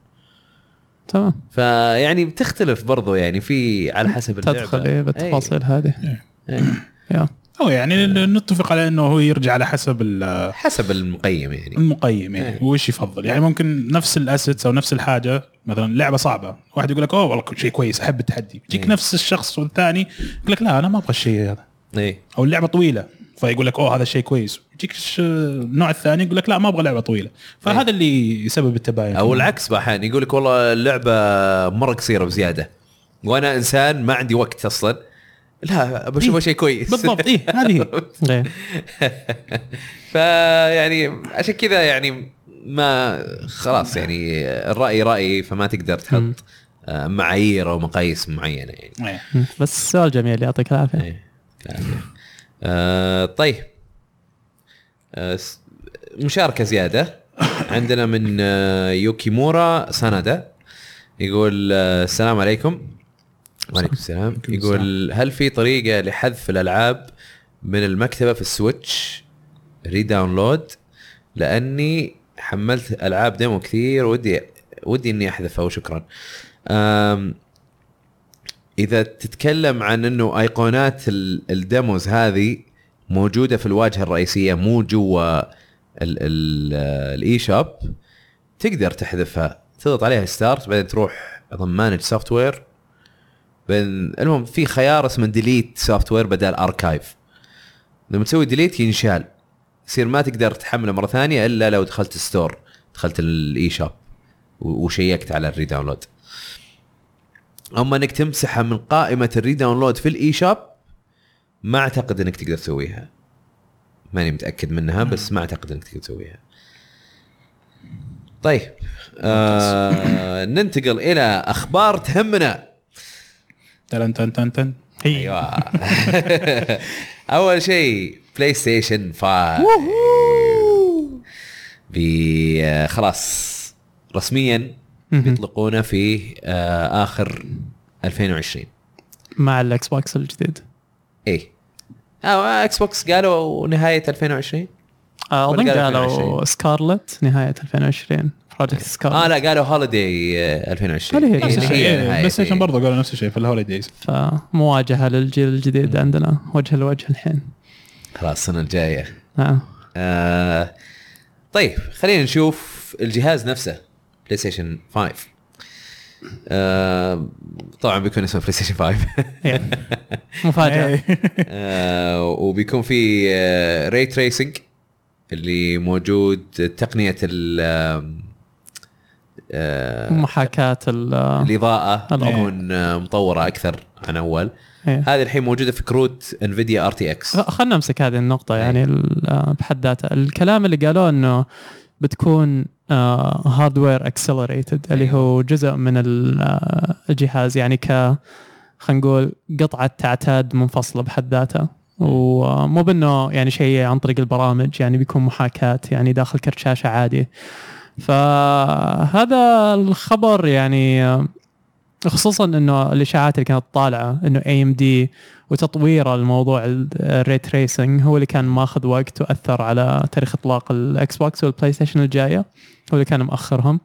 Speaker 3: تمام
Speaker 1: فيعني بتختلف برضو يعني في على حسب اللعبه
Speaker 3: تدخل ايه بالتفاصيل هذه
Speaker 1: إيه، إيه.
Speaker 3: يا
Speaker 2: او يعني نتفق على انه هو يرجع على حسب ال
Speaker 1: حسب المقيم يعني
Speaker 2: المقيم يعني
Speaker 1: إيه.
Speaker 2: وش يفضل يعني ممكن نفس الاسيتس او نفس الحاجه مثلا لعبه صعبه واحد يقول لك اوه والله كل شيء كويس احب التحدي يجيك
Speaker 1: إيه.
Speaker 2: نفس الشخص والثاني يقول لك لا انا ما ابغى الشيء هذا
Speaker 1: اي
Speaker 2: او اللعبه طويله فيقول لك اوه هذا الشيء كويس يجيك الش- النوع الثاني يقول لك لا ما ابغى لعبه طويله فهذا
Speaker 1: إيه.
Speaker 2: اللي يسبب التباين
Speaker 1: او العكس احيانا يقول لك والله اللعبه مره قصيره بزياده وانا انسان ما عندي وقت اصلا لا
Speaker 3: إيه.
Speaker 1: بشوفها شيء كويس
Speaker 2: بالضبط اي هذه هي.
Speaker 3: ايه
Speaker 1: فيعني عشان كذا يعني ما خلاص يعني الراي رايي فما تقدر
Speaker 3: مم.
Speaker 1: تحط آه، معايير او مقاييس معينه يعني
Speaker 2: إيه.
Speaker 3: مم. بس سؤال جميل يعطيك العافيه
Speaker 1: إيه. آه، طيب آه، س- مشاركه زياده عندنا من آه، يوكيمورا سانادا يقول آه، السلام عليكم وعليكم السلام
Speaker 2: وعليكم
Speaker 1: يقول هل في طريقه لحذف الالعاب من المكتبه في السويتش ريداونلود لاني حملت العاب ديمو كثير ودي ودي اني احذفها وشكرا أم، اذا تتكلم عن انه ايقونات ال- الديموز هذه موجوده في الواجهه الرئيسيه مو جوا ال- ال- الاي شوب تقدر تحذفها تضغط عليها ستارت بعدين تروح اظن مانج سوفت وير بعدين المهم في خيار اسمه ديليت سوفت وير بدل اركايف لما تسوي ديليت ينشال يصير ما تقدر تحمله مره ثانيه الا لو دخلت ستور دخلت الاي شوب وشيكت على الريداونلود اما انك تمسحها من قائمه الريداونلود في الاي شوب ما اعتقد انك تقدر تسويها ماني متاكد منها بس ما اعتقد انك تقدر تسويها طيب آه ننتقل الى اخبار تهمنا
Speaker 2: تلن تن تن تن
Speaker 3: ايوه
Speaker 1: ايوه اول شيء بلاي ستيشن 5 بي آه، خلاص رسميا بيطلقونه في آه، اخر 2020
Speaker 3: مع الاكس بوكس الجديد
Speaker 1: اي إيه. آه اكس بوكس قالوا نهايه 2020
Speaker 3: آه، اظن
Speaker 1: ولا قال
Speaker 3: قالوا
Speaker 1: 2020.
Speaker 3: سكارلت نهايه 2020 بروجكت
Speaker 1: اه
Speaker 3: سكارلت
Speaker 1: لا قالوا هوليدي 2020
Speaker 3: هذه هي
Speaker 1: إيه،
Speaker 2: نفس
Speaker 3: نفس
Speaker 1: اللي
Speaker 2: الشيء
Speaker 1: هي
Speaker 2: إيه،
Speaker 1: نهاية،
Speaker 2: بلاي ستيشن
Speaker 1: إيه.
Speaker 2: برضه قالوا نفس الشيء في الهوليديز
Speaker 3: فمواجهه للجيل الجديد عندنا وجه لوجه الحين
Speaker 1: خلاص السنه الجايه
Speaker 3: نعم
Speaker 1: آه طيب خلينا نشوف الجهاز نفسه بلاي ستيشن 5 آه طبعا بيكون اسمه بلاي ستيشن 5
Speaker 3: إيه. مفاجاه
Speaker 1: إيه. آه، وبيكون في ري تريسنج اللي موجود تقنيه ال آه، آه،
Speaker 3: محاكاه ال
Speaker 1: الاضاءه
Speaker 3: الأضاءة.
Speaker 1: تكون آه، مطوره اكثر عن اول
Speaker 3: إيه.
Speaker 1: هذه الحين موجوده في كروت انفيديا ار تي اكس
Speaker 3: خ- آه، خلنا نمسك هذه النقطة يعني ال- آه، بحد ذاتها الكلام اللي قالوه انه بتكون هاردوير اكسلريتد اللي هو جزء من ال- آه، الجهاز يعني ك خلينا نقول قطعة تعتاد منفصلة بحد ذاتها ومو بانه يعني شيء عن طريق البرامج يعني بيكون محاكاة يعني داخل كرت شاشة عادي فهذا الخبر يعني آه، خصوصا انه الاشاعات اللي كانت طالعه انه اي ام دي وتطوير الموضوع الري تريسنج هو اللي كان ماخذ وقت واثر على تاريخ اطلاق الاكس بوكس والبلاي ستيشن الجايه هو اللي كان مأخرهم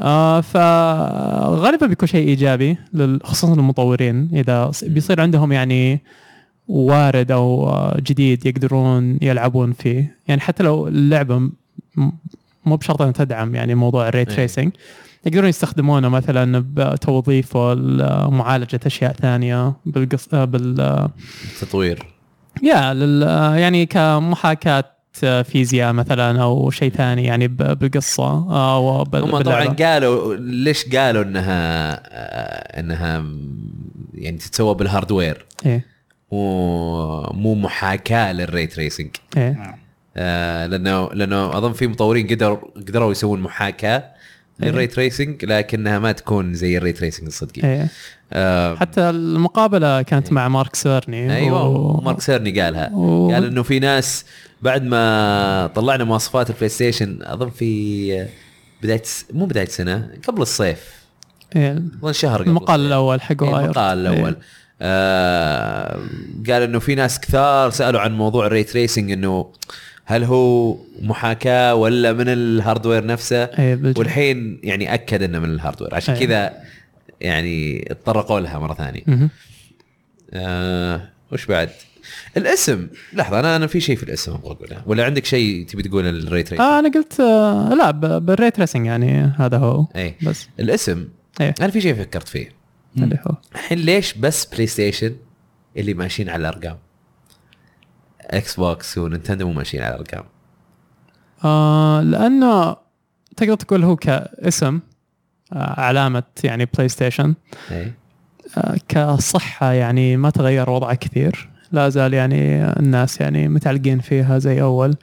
Speaker 3: آه، فغالبا بيكون شيء ايجابي لل- خصوصا المطورين اذا س- بيصير عندهم يعني وارد او آه، جديد يقدرون يلعبون فيه يعني حتى لو اللعبه م- مو بشرط انها تدعم يعني موضوع الريت
Speaker 1: إيه.
Speaker 3: تريسنج يقدرون يستخدمونه مثلا بتوظيفه لمعالجه اشياء ثانيه بالقص... آه، بال آه،
Speaker 1: تطوير
Speaker 3: يا لل... آه، يعني كمحاكاه آه، فيزياء مثلا او شيء ثاني يعني ب- بالقصه او بال...
Speaker 1: هم
Speaker 3: باللعبة.
Speaker 1: طبعا قالوا ليش قالوا انها آه، انها م- يعني تتسوى بالهاردوير
Speaker 3: ايه
Speaker 1: ومو محاكاه للري تريسنج
Speaker 3: ايه
Speaker 1: آه، لانه لانه اظن في مطورين قدروا قدروا يسوون محاكاه للري تريسنج لكنها ما تكون زي الري تريسنج الصدقي
Speaker 3: ايه
Speaker 1: آه،
Speaker 3: حتى المقابله كانت مع مارك سيرني
Speaker 1: ايوه
Speaker 3: و-
Speaker 1: ومارك سيرني قالها
Speaker 3: و-
Speaker 1: قال انه في ناس بعد ما طلعنا مواصفات البلاي ستيشن اظن في بدايه س- مو بدايه سنه قبل الصيف
Speaker 3: إيه،
Speaker 1: اظن شهر قبل
Speaker 3: المقال
Speaker 1: الصيف.
Speaker 3: الاول حق
Speaker 1: إيه،
Speaker 3: واير
Speaker 1: المقال الاول آه قال انه في ناس كثار سالوا عن موضوع الري تريسنج انه هل هو محاكاه ولا من الهاردوير نفسه
Speaker 3: إيه، بالج-
Speaker 1: والحين يعني اكد انه من الهاردوير عشان
Speaker 3: إيه.
Speaker 1: كذا يعني اتطرقوا لها مره ثانيه
Speaker 3: مهم.
Speaker 1: آه وش بعد؟ الاسم لحظه انا انا في شيء في الاسم ابغى اقوله ولا عندك شيء تبي تقوله للري تريسنج؟
Speaker 3: آه انا قلت آه لا ب- بالري تريسنج يعني هذا هو
Speaker 1: ايه
Speaker 3: بس
Speaker 1: الاسم
Speaker 3: ايه
Speaker 1: انا في شيء فكرت فيه
Speaker 3: هذا هو
Speaker 1: الحين ليش بس بلاي ستيشن اللي ماشيين على الارقام؟ اكس بوكس ونينتندو مو ماشيين على الارقام
Speaker 3: آه لانه تقدر تقول هو كاسم آه علامه يعني بلاي ستيشن
Speaker 1: ايه
Speaker 3: آه كصحه يعني ما تغير وضعه كثير لا زال يعني الناس يعني متعلقين فيها زي اول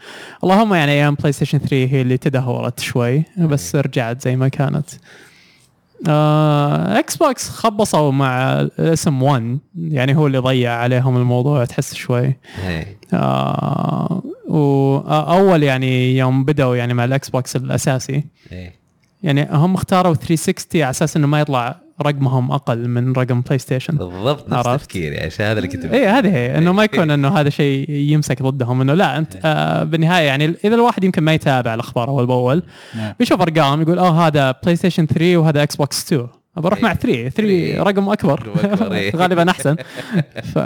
Speaker 3: اللهم يعني ايام بلاي ستيشن 3 هي اللي تدهورت شوي بس رجعت زي ما كانت آه، اكس بوكس خبصوا مع الاسم 1 يعني هو اللي ضيع عليهم الموضوع تحس شوي
Speaker 1: ايه
Speaker 3: آه، واول يعني يوم بدأوا يعني مع الاكس بوكس الاساسي
Speaker 1: ايه
Speaker 3: يعني هم اختاروا 360 على اساس انه ما يطلع رقمهم اقل من رقم بلاي ستيشن
Speaker 1: بالضبط نفس
Speaker 3: عرفت.
Speaker 1: تفكيري عشان هذا اللي كنت
Speaker 3: اي هذه هي انه ما
Speaker 1: إيه.
Speaker 3: يكون انه هذا شيء يمسك ضدهم انه لا انت آه بالنهايه يعني اذا الواحد يمكن ما يتابع الاخبار اول باول
Speaker 2: نعم.
Speaker 3: بيشوف ارقام يقول اوه هذا بلاي ستيشن 3 وهذا اكس بوكس 2 بروح
Speaker 1: إيه.
Speaker 3: مع 3
Speaker 1: إيه.
Speaker 3: 3 رقم اكبر
Speaker 1: رقم أكبر، إيه.
Speaker 3: غالبا احسن ف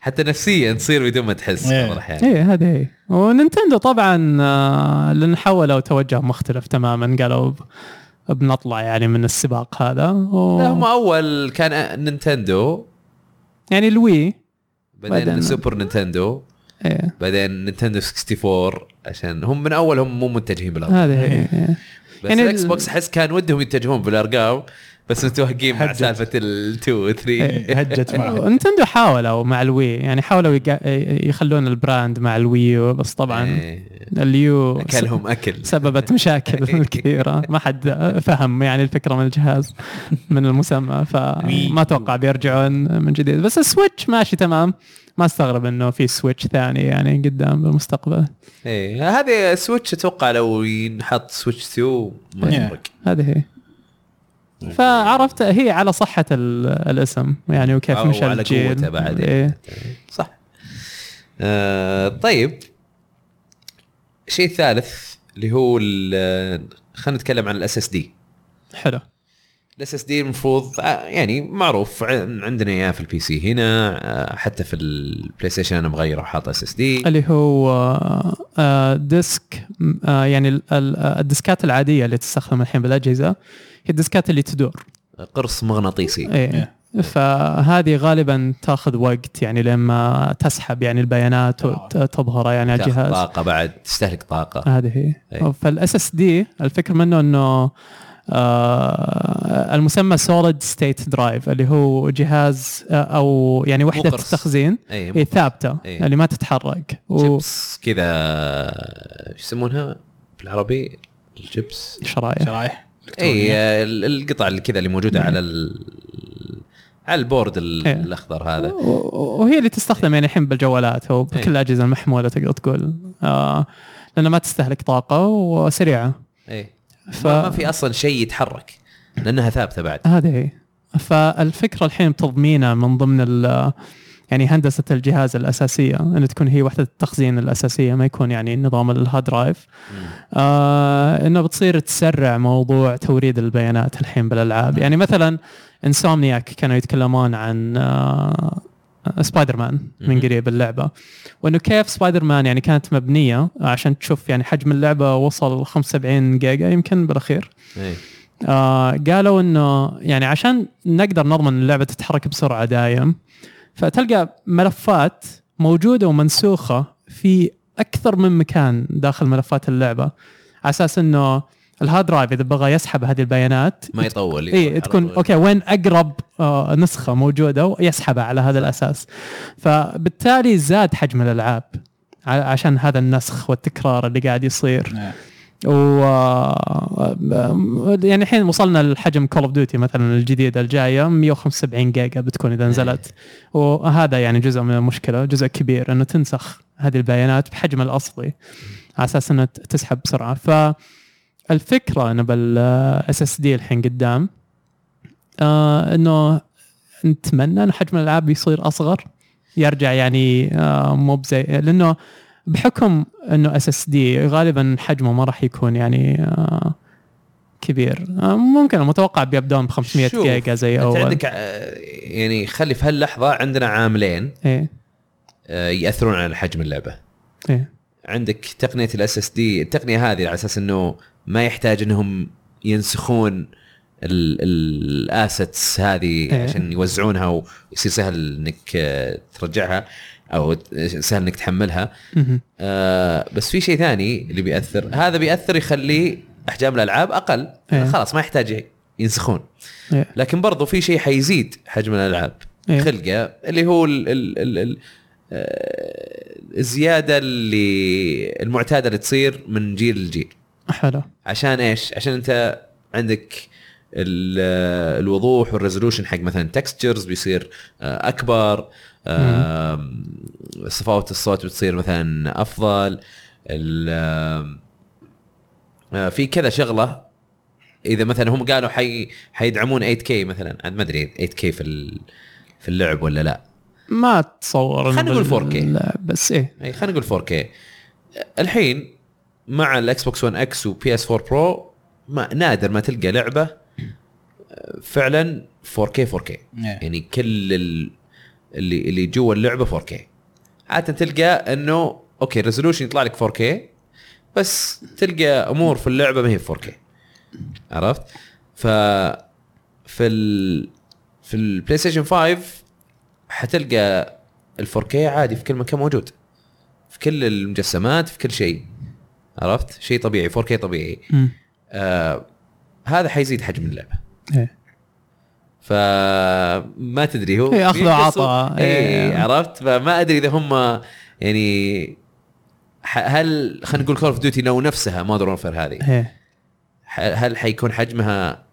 Speaker 1: حتى نفسيا تصير بدون ما تحس
Speaker 2: إيه.
Speaker 1: بعض الاحيان
Speaker 3: اي هذه هي ونينتندو طبعا آه، لان حولوا توجه مختلف تماما قالوا ب- بنطلع يعني من السباق هذا و...
Speaker 1: لا هم اول كان نينتندو
Speaker 3: يعني الوي
Speaker 1: بعدين
Speaker 3: بعدين-
Speaker 1: سوبر نينتندو
Speaker 3: إيه.
Speaker 1: بعدين نينتندو 64 عشان هم من اول هم مو متجهين بالارقام
Speaker 3: هذه هي إيه.
Speaker 1: بس
Speaker 3: يعني
Speaker 1: يعني
Speaker 3: ال-
Speaker 1: الاكس بوكس احس كان ودهم يتجهون بالارقام بس متوهقين مع
Speaker 2: هدد.
Speaker 1: سالفه ال 2 و 3
Speaker 2: إيه، هجت معه
Speaker 3: نتندو حاولوا مع الوي يعني حاولوا يق- يخلون البراند مع الويو بس طبعا
Speaker 1: إيه.
Speaker 3: اليو
Speaker 1: اكلهم اكل
Speaker 3: سببت مشاكل كثيره ما حد فهم يعني الفكره من الجهاز من المسمى فما اتوقع بيرجعون من جديد بس السويتش ماشي تمام ما استغرب انه في سويتش ثاني يعني قدام بالمستقبل
Speaker 1: ايه هذه سويتش اتوقع لو ينحط سويتش 2 ما
Speaker 2: Yeah.
Speaker 1: يفرق
Speaker 3: هذه هي فعرفت هي على صحه ال- الاسم يعني وكيف
Speaker 1: أو
Speaker 3: مشى
Speaker 1: على
Speaker 3: الجيل
Speaker 1: قوته بعد.
Speaker 3: إيه.
Speaker 1: صح آه طيب الشيء الثالث اللي هو ال- آه، خلينا نتكلم عن الاس اس دي
Speaker 3: حلو
Speaker 1: الاس اس دي المفروض آه، يعني معروف عن- عندنا اياه في البي سي هنا آه، حتى في البلاي ستيشن انا مغيره وحاط اس اس دي
Speaker 3: اللي هو آه، آه، ديسك م- آه، يعني ال- ال- آه، الديسكات العاديه اللي تستخدم الحين بالاجهزه هي الديسكات اللي تدور
Speaker 1: قرص مغناطيسي
Speaker 3: ايه
Speaker 1: إيه.
Speaker 3: فهذه غالبا تاخذ وقت يعني لما تسحب يعني
Speaker 1: آه.
Speaker 3: البيانات وتظهرها يعني على
Speaker 1: تاخذ
Speaker 3: الجهاز
Speaker 1: طاقه بعد تستهلك طاقه
Speaker 3: هذه
Speaker 1: إيه.
Speaker 3: هي فالاس اس دي الفكره منه انه آه المسمى سوليد ستيت درايف اللي هو جهاز آه، او يعني وحده
Speaker 1: قرص.
Speaker 3: تخزين إيه،
Speaker 1: اي
Speaker 3: ثابته
Speaker 1: إيه.
Speaker 3: اللي ما تتحرك و-
Speaker 1: شيبس كذا شو يسمونها بالعربي الجبس
Speaker 3: شرايح
Speaker 2: شرايح
Speaker 1: اي
Speaker 2: إلكترونية.
Speaker 1: آه، ال- القطع اللي كذا اللي موجوده على ال... على البورد ال...
Speaker 3: إيه.
Speaker 1: الاخضر هذا
Speaker 3: و- و- وهي اللي تستخدم يعني الحين بالجوالات او
Speaker 1: إيه.
Speaker 3: بكل الاجهزه المحموله تقدر تقول آه لانها ما تستهلك طاقه وسريعه
Speaker 1: اي ف...
Speaker 3: ف- آه.
Speaker 1: إيه. ما ما في اصلا شيء يتحرك لانها ثابته بعد
Speaker 3: هذه هي فالفكره الحين بتضمينها من ضمن ال يعني هندسه الجهاز الاساسيه ان تكون هي وحده التخزين الاساسيه ما يكون يعني نظام الهارد درايف آه انه بتصير تسرع موضوع توريد البيانات الحين بالالعاب يعني مثلا انسومنياك كانوا يتكلمون عن آه سبايدر مان من
Speaker 1: مم.
Speaker 3: قريب اللعبه وانه كيف سبايدر مان يعني كانت مبنيه عشان تشوف يعني حجم اللعبه وصل 75 جيجا يمكن بالاخير
Speaker 1: إيه.
Speaker 3: آه قالوا انه يعني عشان نقدر نضمن إن اللعبه تتحرك بسرعه دايم فتلقى ملفات موجوده ومنسوخه في اكثر من مكان داخل ملفات اللعبه على اساس انه الهارد درايف اذا بغى يسحب هذه البيانات
Speaker 1: ما يطول يروح
Speaker 3: اي
Speaker 1: على
Speaker 3: إيه، تكون
Speaker 1: طول.
Speaker 3: اوكي وين اقرب آه، نسخه موجوده ويسحبها على هذا الاساس فبالتالي زاد حجم الالعاب ع- عشان هذا النسخ والتكرار اللي قاعد يصير
Speaker 2: إيه.
Speaker 3: و آه، يعني الحين وصلنا لحجم كول اوف ديوتي مثلا الجديده الجايه 175 جيجا بتكون اذا نزلت وهذا يعني جزء من المشكله جزء كبير انه تنسخ هذه البيانات بحجم الاصلي على اساس انها ت- تسحب بسرعه فالفكره انه بالاس اس دي الحين قدام آه انه نتمنى انه حجم الالعاب يصير اصغر يرجع يعني آه مو بزي لانه بحكم انه اس اس دي غالبا حجمه ما راح يكون يعني آه، كبير آه، ممكن متوقع بيبدون ب 500
Speaker 1: شوف،
Speaker 3: جيجا زي
Speaker 1: انت
Speaker 3: اول
Speaker 1: عندك آه، يعني خلي في هاللحظه عندنا عاملين
Speaker 3: ايه
Speaker 1: آه، ياثرون على حجم اللعبه
Speaker 3: ايه
Speaker 1: عندك تقنيه الاس اس دي التقنيه هذه على اساس انه ما يحتاج انهم ينسخون الاسيتس هذه
Speaker 3: إيه.
Speaker 1: عشان يوزعونها ويصير سهل انك آه، ترجعها او ت- سهل انك تحملها
Speaker 3: مهم.
Speaker 1: آه، بس في شيء ثاني اللي بياثر هذا بياثر يخليه احجام الالعاب اقل
Speaker 3: إيه.
Speaker 1: خلاص ما يحتاج ينسخون
Speaker 3: إيه.
Speaker 1: لكن برضو في شيء حيزيد حجم الالعاب
Speaker 3: إيه.
Speaker 1: خلقه اللي هو ال ال ال ال آه، الزياده اللي المعتاده اللي تصير من جيل لجيل
Speaker 3: حلو
Speaker 1: عشان ايش؟ عشان انت عندك ال- آه، الوضوح والريزولوشن حق مثلا تكستشرز بيصير آه، اكبر آم، صفاوه الصوت بتصير مثلا افضل ال- آم، آه، في كذا شغله اذا مثلا هم قالوا حي حيدعمون 8K مثلا انا ما ادري 8K في ال- في اللعب ولا لا
Speaker 3: ما اتصور إنه
Speaker 1: خلينا نقول
Speaker 3: بال-
Speaker 1: 4K.
Speaker 3: لا، بس ايه
Speaker 1: اي إيه، خلينا نقول 4K الحين مع الاكس بوكس 1 اكس وبي اس 4 برو ما نادر ما تلقى آه، لعبه فعلا 4K 4K
Speaker 2: إيه.
Speaker 1: يعني كل ال- اللي اللي جوا اللعبه 4K عاده تلقى انه اوكي الريزولوشن يطلع لك 4K بس تلقى امور في اللعبه ما هي 4K عرفت؟ ف في ال في البلاي ستيشن 5 حتلقى ال 4K عادي في كل مكان موجود في كل المجسمات في كل شيء عرفت؟ شيء طبيعي 4K طبيعي
Speaker 3: مم.
Speaker 1: آه هذا حيزيد حجم اللعبه
Speaker 3: إيه.
Speaker 1: فما تدري هو
Speaker 3: إيه، أخذ
Speaker 1: في قصة-
Speaker 3: وعطاء، إيه.
Speaker 1: إيه عرفت فما ادري اذا هم يعني ح- هل خلينا نقول كول اوف ديوتي لو نفسها مودرن وورفير هذه
Speaker 3: ايه
Speaker 1: ح- هل حيكون حجمها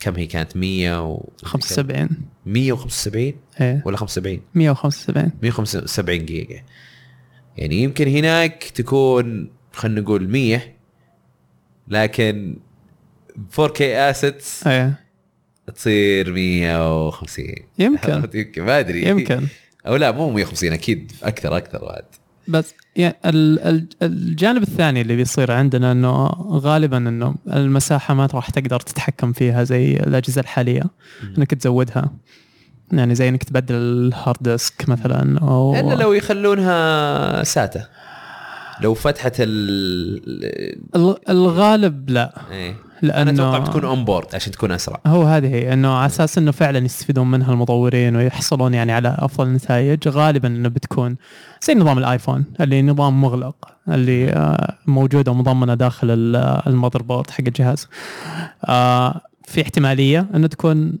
Speaker 1: كم هي كانت 100 و
Speaker 3: 75
Speaker 1: 175
Speaker 3: ايه
Speaker 1: ولا 75
Speaker 3: 175
Speaker 1: 175 جيجا يعني يمكن هناك تكون خلينا نقول 100 لكن 4K assets
Speaker 3: ايه
Speaker 1: تصير 150
Speaker 3: يمكن
Speaker 1: يمكن ما ادري
Speaker 3: يمكن
Speaker 1: او لا مو 150 اكيد اكثر اكثر بعد
Speaker 3: بس يعني ال- ال- الجانب الثاني اللي بيصير عندنا انه غالبا انه المساحه ما راح تقدر تتحكم فيها زي الاجهزه الحاليه انك تزودها يعني زي انك تبدل الهارد ديسك مثلا او
Speaker 1: الا لو يخلونها ساتا لو فتحت ال
Speaker 3: ال- الغالب لا
Speaker 1: ايه انا اتوقع
Speaker 3: لانه
Speaker 1: بتكون اون بورد عشان تكون اسرع
Speaker 3: هو هذه هي انه على اساس انه فعلا يستفيدون منها المطورين ويحصلون يعني على افضل نتائج غالبا انه بتكون زي نظام الايفون اللي نظام مغلق اللي آه، موجوده ومضمنه داخل المذر بورد حق الجهاز. آه، في احتماليه انه تكون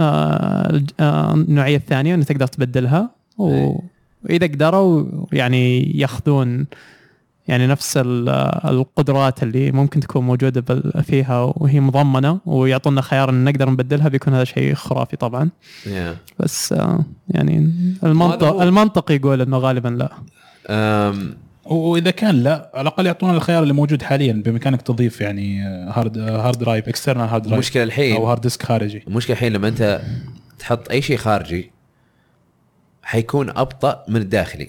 Speaker 3: آه، الج- آه، النوعيه الثانيه انه تقدر تبدلها و...
Speaker 1: إيه.
Speaker 3: واذا قدروا يعني ياخذون يعني نفس ال- القدرات اللي ممكن تكون موجوده بال- فيها وهي مضمنه ويعطونا خيار ان نقدر نبدلها بيكون هذا شيء خرافي طبعا
Speaker 1: yeah.
Speaker 3: بس آه، يعني
Speaker 1: وهذا هو.
Speaker 3: المنطق المنطق يقول انه غالبا لا
Speaker 1: أم
Speaker 2: واذا كان لا على الاقل يعطونا الخيار اللي موجود حاليا بامكانك تضيف يعني آه، هارد آه، هارد درايف اكسترنال هارد درايف
Speaker 1: المشكله الحين
Speaker 2: او هارد ديسك خارجي
Speaker 1: المشكله الحين لما انت تحط اي شيء خارجي حيكون ابطا من الداخلي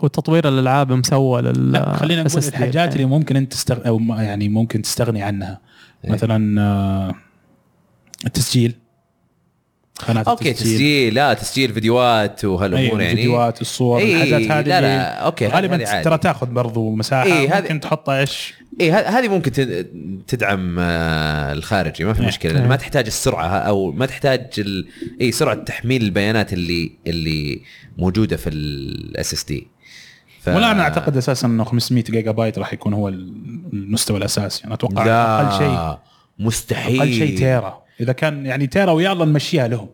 Speaker 3: وتطوير الالعاب مسوى لل
Speaker 2: لا خلينا نقول
Speaker 3: SSD.
Speaker 2: الحاجات اللي ممكن انت تستغني او ما- يعني ممكن تستغني عنها
Speaker 1: إيه.
Speaker 2: مثلا آه، التسجيل قناه
Speaker 1: اوكي تسجيل لا تسجيل فيديوهات وهالامور
Speaker 2: أيوة
Speaker 1: يعني
Speaker 2: الفيديوهات الصور
Speaker 1: إيه،
Speaker 2: الحاجات هذه
Speaker 1: لا، لا،
Speaker 2: اللي
Speaker 1: أوكي، هذه
Speaker 2: غالبا
Speaker 1: عادي.
Speaker 2: ترى تاخذ برضو مساحه
Speaker 1: إيه،
Speaker 2: إيه
Speaker 1: هذه-
Speaker 2: ممكن تحطها ايش
Speaker 1: اي إيه، ه- هذه ممكن تد- تدعم آه، الخارجي ما في
Speaker 2: إيه.
Speaker 1: مشكله لان ما
Speaker 3: إيه.
Speaker 1: تحتاج السرعه ه- او ما تحتاج ال... اي سرعه تحميل البيانات اللي اللي موجوده في الاس اس دي ف...
Speaker 2: ولا انا اعتقد اساسا انه 500 جيجا بايت راح يكون هو المستوى الاساسي انا اتوقع
Speaker 1: لا
Speaker 2: اقل شيء
Speaker 1: مستحيل
Speaker 2: اقل شيء تيرا اذا كان يعني تيرا ويلا نمشيها لهم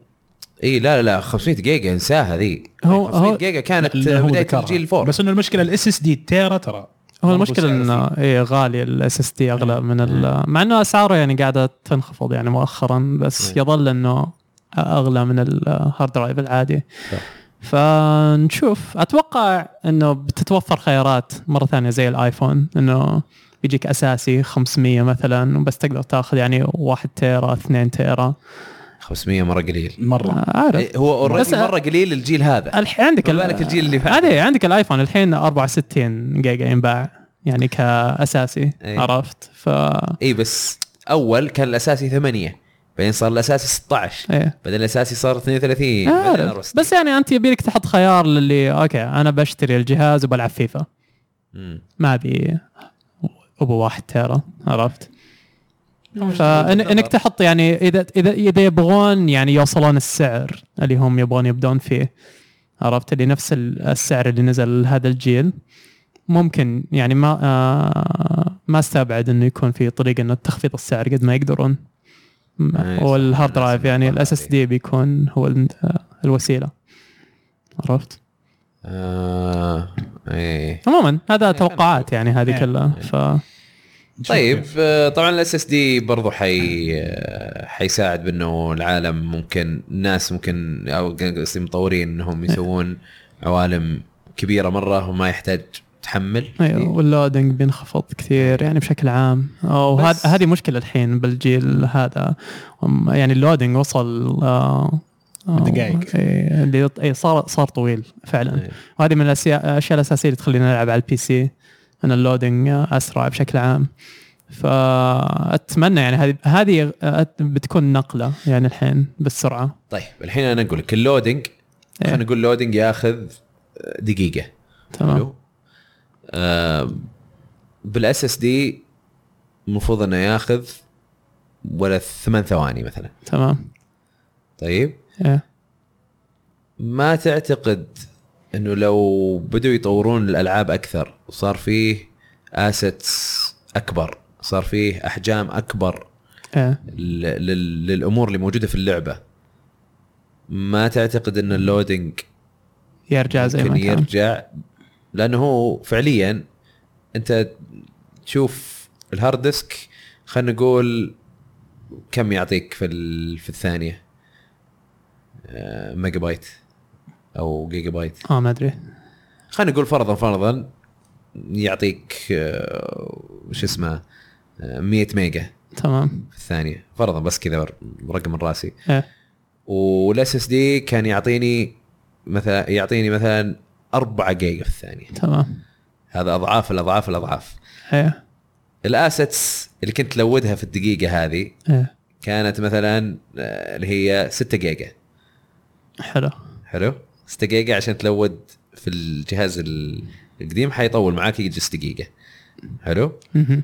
Speaker 1: اي إيه، لا لا لا 500 جيجا انساها ذي
Speaker 3: هو-
Speaker 1: 500
Speaker 3: هو-
Speaker 1: جيجا كانت
Speaker 2: اللي هو
Speaker 1: بدايه
Speaker 2: ذكرها.
Speaker 1: الجيل الفور
Speaker 2: بس انه المشكله الاس اس دي التيرا ترى
Speaker 3: هو
Speaker 2: برضو
Speaker 3: المشكله
Speaker 2: سعره
Speaker 3: انه ايه غالي الاس اس دي
Speaker 1: إيه.
Speaker 3: اغلى من ال مع انه اسعاره يعني قاعده تنخفض يعني مؤخرا بس
Speaker 1: إيه.
Speaker 3: يظل انه اغلى من الهارد درايف العادي
Speaker 1: صح.
Speaker 3: فنشوف اتوقع انه بتتوفر خيارات مره ثانيه زي الايفون انه بيجيك اساسي 500 مثلا بس تقدر تاخذ يعني 1 تيرا 2 تيرا
Speaker 1: 500 مره قليل
Speaker 2: مره
Speaker 3: آه، عارف
Speaker 1: إيه، هو
Speaker 3: بس-
Speaker 1: اوريدي مره قليل الجيل هذا
Speaker 3: الحين عندك
Speaker 1: ما بالك الجيل اللي فات.
Speaker 3: عليه عندك الايفون الحين 64 جيجا ينباع يعني كاساسي
Speaker 1: أي.
Speaker 3: عرفت ف
Speaker 1: اي إيه، بس اول كان الاساسي 8 بعدين صار الاساسي 16
Speaker 3: ايه
Speaker 1: بعدين الاساسي صار 32 إيه، بعدين
Speaker 3: عارف
Speaker 1: 64
Speaker 3: آه، بس يعني انت يبيلك تحط خيار للي اوكي انا بشتري الجهاز وبلعب فيفا
Speaker 1: مم.
Speaker 3: ما ابي ابو واحد تيرا عرفت
Speaker 1: وجهة
Speaker 3: فانك
Speaker 1: نظر.
Speaker 3: تحط يعني اذا اذا اذا يبغون يعني يوصلون السعر اللي هم يبغون يبدون فيه عرفت اللي نفس ال- السعر اللي نزل هذا الجيل ممكن يعني ما آه ما استبعد انه يكون في طريقه انه تخفيض السعر قد ما يقدرون م-
Speaker 1: إيه، صح.
Speaker 3: والهارد
Speaker 1: لازم
Speaker 3: درايف يعني
Speaker 1: يكون
Speaker 3: الاس اس دي بيكون هو ال- آه، الوسيله عرفت
Speaker 1: آه. ايه
Speaker 3: عموما هذا توقعات يعني هذه
Speaker 2: إيه.
Speaker 3: كلها ف
Speaker 2: نشوف
Speaker 1: طيب
Speaker 2: كيف.
Speaker 1: آه، طبعا الاس اس دي برضه حي آه، حيساعد بانه العالم ممكن ناس ممكن او قصدي مطورين انهم
Speaker 3: إيه.
Speaker 1: يسوون عوالم كبيره مره وما يحتاج تحمل إيه.
Speaker 3: ايوه واللودنج بينخفض كثير يعني بشكل عام وهذه
Speaker 1: بس-
Speaker 3: هذه مشكله الحين بالجيل هذا هم- يعني اللودنج وصل آه، آه،
Speaker 2: دقايق.
Speaker 3: إيه، اللي اي صار صار طويل فعلا
Speaker 1: إيه.
Speaker 3: وهذه من الأسيا- الاشياء الاساسيه اللي تخلينا نلعب على البي سي ان اللودنج اسرع آه، بشكل عام فاتمنى يعني هذه هذه أت- بتكون نقله يعني الحين بالسرعه
Speaker 1: طيب الحين انا اقول لك اللودنج
Speaker 3: إيه.
Speaker 1: خلينا نقول اللودنج ياخذ دقيقه
Speaker 3: تمام
Speaker 1: حلو آه بالاس اس دي المفروض انه ياخذ ولا ثمان ثواني مثلا
Speaker 3: تمام
Speaker 1: طيب
Speaker 3: إيه.
Speaker 1: ما تعتقد انه لو بدوا يطورون الالعاب اكثر وصار فيه اسيتس اكبر صار فيه احجام اكبر
Speaker 3: إيه.
Speaker 1: لل- لل- للامور اللي موجوده في اللعبه ما تعتقد ان اللودنج
Speaker 3: يرجع زي ما
Speaker 1: ممكن
Speaker 3: كان
Speaker 1: يرجع لانه هو فعليا انت تشوف الهارد ديسك خلينا نقول كم يعطيك في ال- في الثانيه آه، ميجا بايت او جيجا بايت
Speaker 3: اه ما ادري
Speaker 1: خلينا نقول فرضا فرضا يعطيك آه، شو اسمه آه، 100 ميجا
Speaker 3: تمام
Speaker 1: في الثانيه فرضا بس كذا رقم من راسي
Speaker 3: إيه.
Speaker 1: والاس اس دي كان يعطيني مثلا يعطيني مثلا 4 جيجا في الثانيه
Speaker 3: تمام
Speaker 1: هذا اضعاف الاضعاف الاضعاف
Speaker 3: ايه
Speaker 1: الاسيتس اللي كنت تلودها في الدقيقه هذه
Speaker 3: ايه
Speaker 1: كانت مثلا آه، اللي هي 6 جيجا
Speaker 3: حلو
Speaker 1: حلو 6 جيجا عشان تلود في الجهاز ال- القديم حيطول معاك يجي 6 جيجا حلو
Speaker 3: مهم.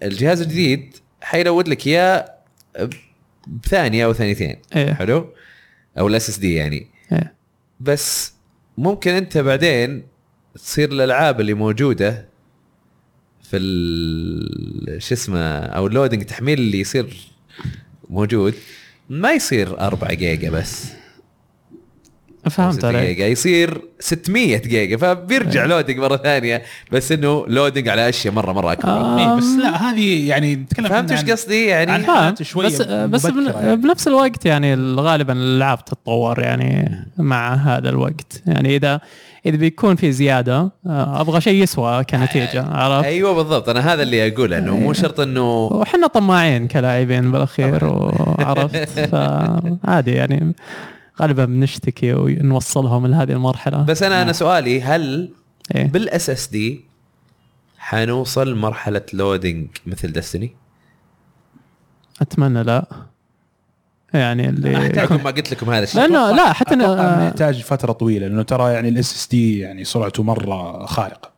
Speaker 1: فالجهاز الجديد حيلود لك اياه بثانيه او ثانيتين
Speaker 3: ايه
Speaker 1: حلو او الاس اس دي يعني
Speaker 3: إيه.
Speaker 1: بس ممكن انت بعدين تصير الالعاب اللي موجوده في ال شو اسمه او اللودنج تحميل اللي يصير موجود ما يصير 4 جيجا بس
Speaker 3: فهمت
Speaker 1: 6
Speaker 3: عليك
Speaker 1: جيجا يصير 600 جيجا فبيرجع لودنج مره ثانيه بس انه لودنج على اشياء مره مره اكبر
Speaker 3: آه.
Speaker 2: إيه، بس لا هذه يعني نتكلم
Speaker 1: فهمت ايش قصدي يعني
Speaker 2: عن-
Speaker 3: فاهم
Speaker 2: حالات شوية
Speaker 3: بس آه، بس بن-
Speaker 2: مبكرة يعني.
Speaker 3: بنفس الوقت يعني غالبا الالعاب تتطور يعني مع هذا الوقت يعني اذا اذا بيكون في زياده آه، ابغى شيء يسوى كنتيجه عرفت
Speaker 1: ايوه بالضبط انا هذا اللي اقوله انه مو شرط انه
Speaker 3: وحنا طماعين كلاعبين بالاخير وعرفت فعادي يعني غالبا بنشتكي ونوصلهم لهذه المرحله
Speaker 1: بس انا انا سؤالي هل
Speaker 3: إيه.
Speaker 1: بالاس اس دي حنوصل مرحله لودينج مثل دستني؟
Speaker 3: اتمنى لا يعني اللي
Speaker 1: عقب ما قلت لكم هذا الشيء
Speaker 3: لانه لا حتى
Speaker 2: أتوقع إنه
Speaker 3: أنا
Speaker 2: يحتاج فتره طويله لانه ترى يعني الاس اس دي يعني سرعته مره خارقه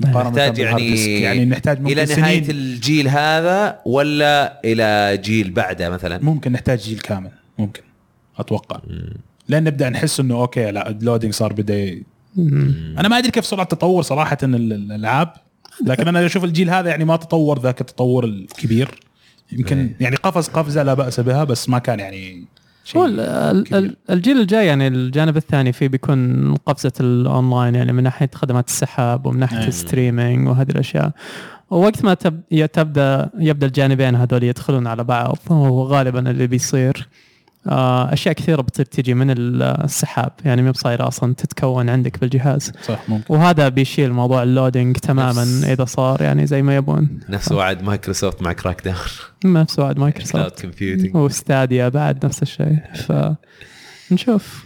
Speaker 2: مقارنة
Speaker 1: نحتاج
Speaker 2: بالهارد
Speaker 1: يعني-
Speaker 2: ديسك. يعني نحتاج ممكن
Speaker 1: الى نهايه
Speaker 2: سنين
Speaker 1: الجيل هذا ولا الى جيل بعده مثلا
Speaker 2: ممكن نحتاج جيل كامل ممكن اتوقع لان نبدا نحس انه اوكي لا اللودينج صار بدا ي-
Speaker 3: مم.
Speaker 2: انا ما ادري كيف سرعه تطور صراحه ال- ال- الالعاب لكن انا اشوف الجيل هذا يعني ما تطور ذاك التطور الكبير
Speaker 1: إيه.
Speaker 2: يمكن يعني قفز قفزه لا باس بها بس ما كان يعني
Speaker 3: هو
Speaker 2: شيء
Speaker 3: ال- ال-
Speaker 2: كبير.
Speaker 3: ال- الجيل الجاي يعني الجانب الثاني فيه بيكون قفزه الاونلاين يعني من ناحيه خدمات السحاب ومن ناحيه
Speaker 2: أيوة.
Speaker 3: الستريمينج وهذه الاشياء ووقت ما تب ي- تبدا يبدا الجانبين هذول يدخلون على بعض وغالبا اللي بيصير آه، اشياء كثيره بتصير تجي من السحاب يعني ما بصايره اصلا تتكون عندك بالجهاز
Speaker 2: صح ممكن
Speaker 3: وهذا بيشيل موضوع اللودينج تماما
Speaker 1: نفس-
Speaker 3: اذا صار يعني زي ما يبون
Speaker 1: نفس وعد مايكروسوفت مع كراك داون
Speaker 3: نفس وعد
Speaker 1: كلاود
Speaker 3: مايكروسوفت
Speaker 1: كومبيوتنج
Speaker 3: وستاديا بعد نفس الشيء فنشوف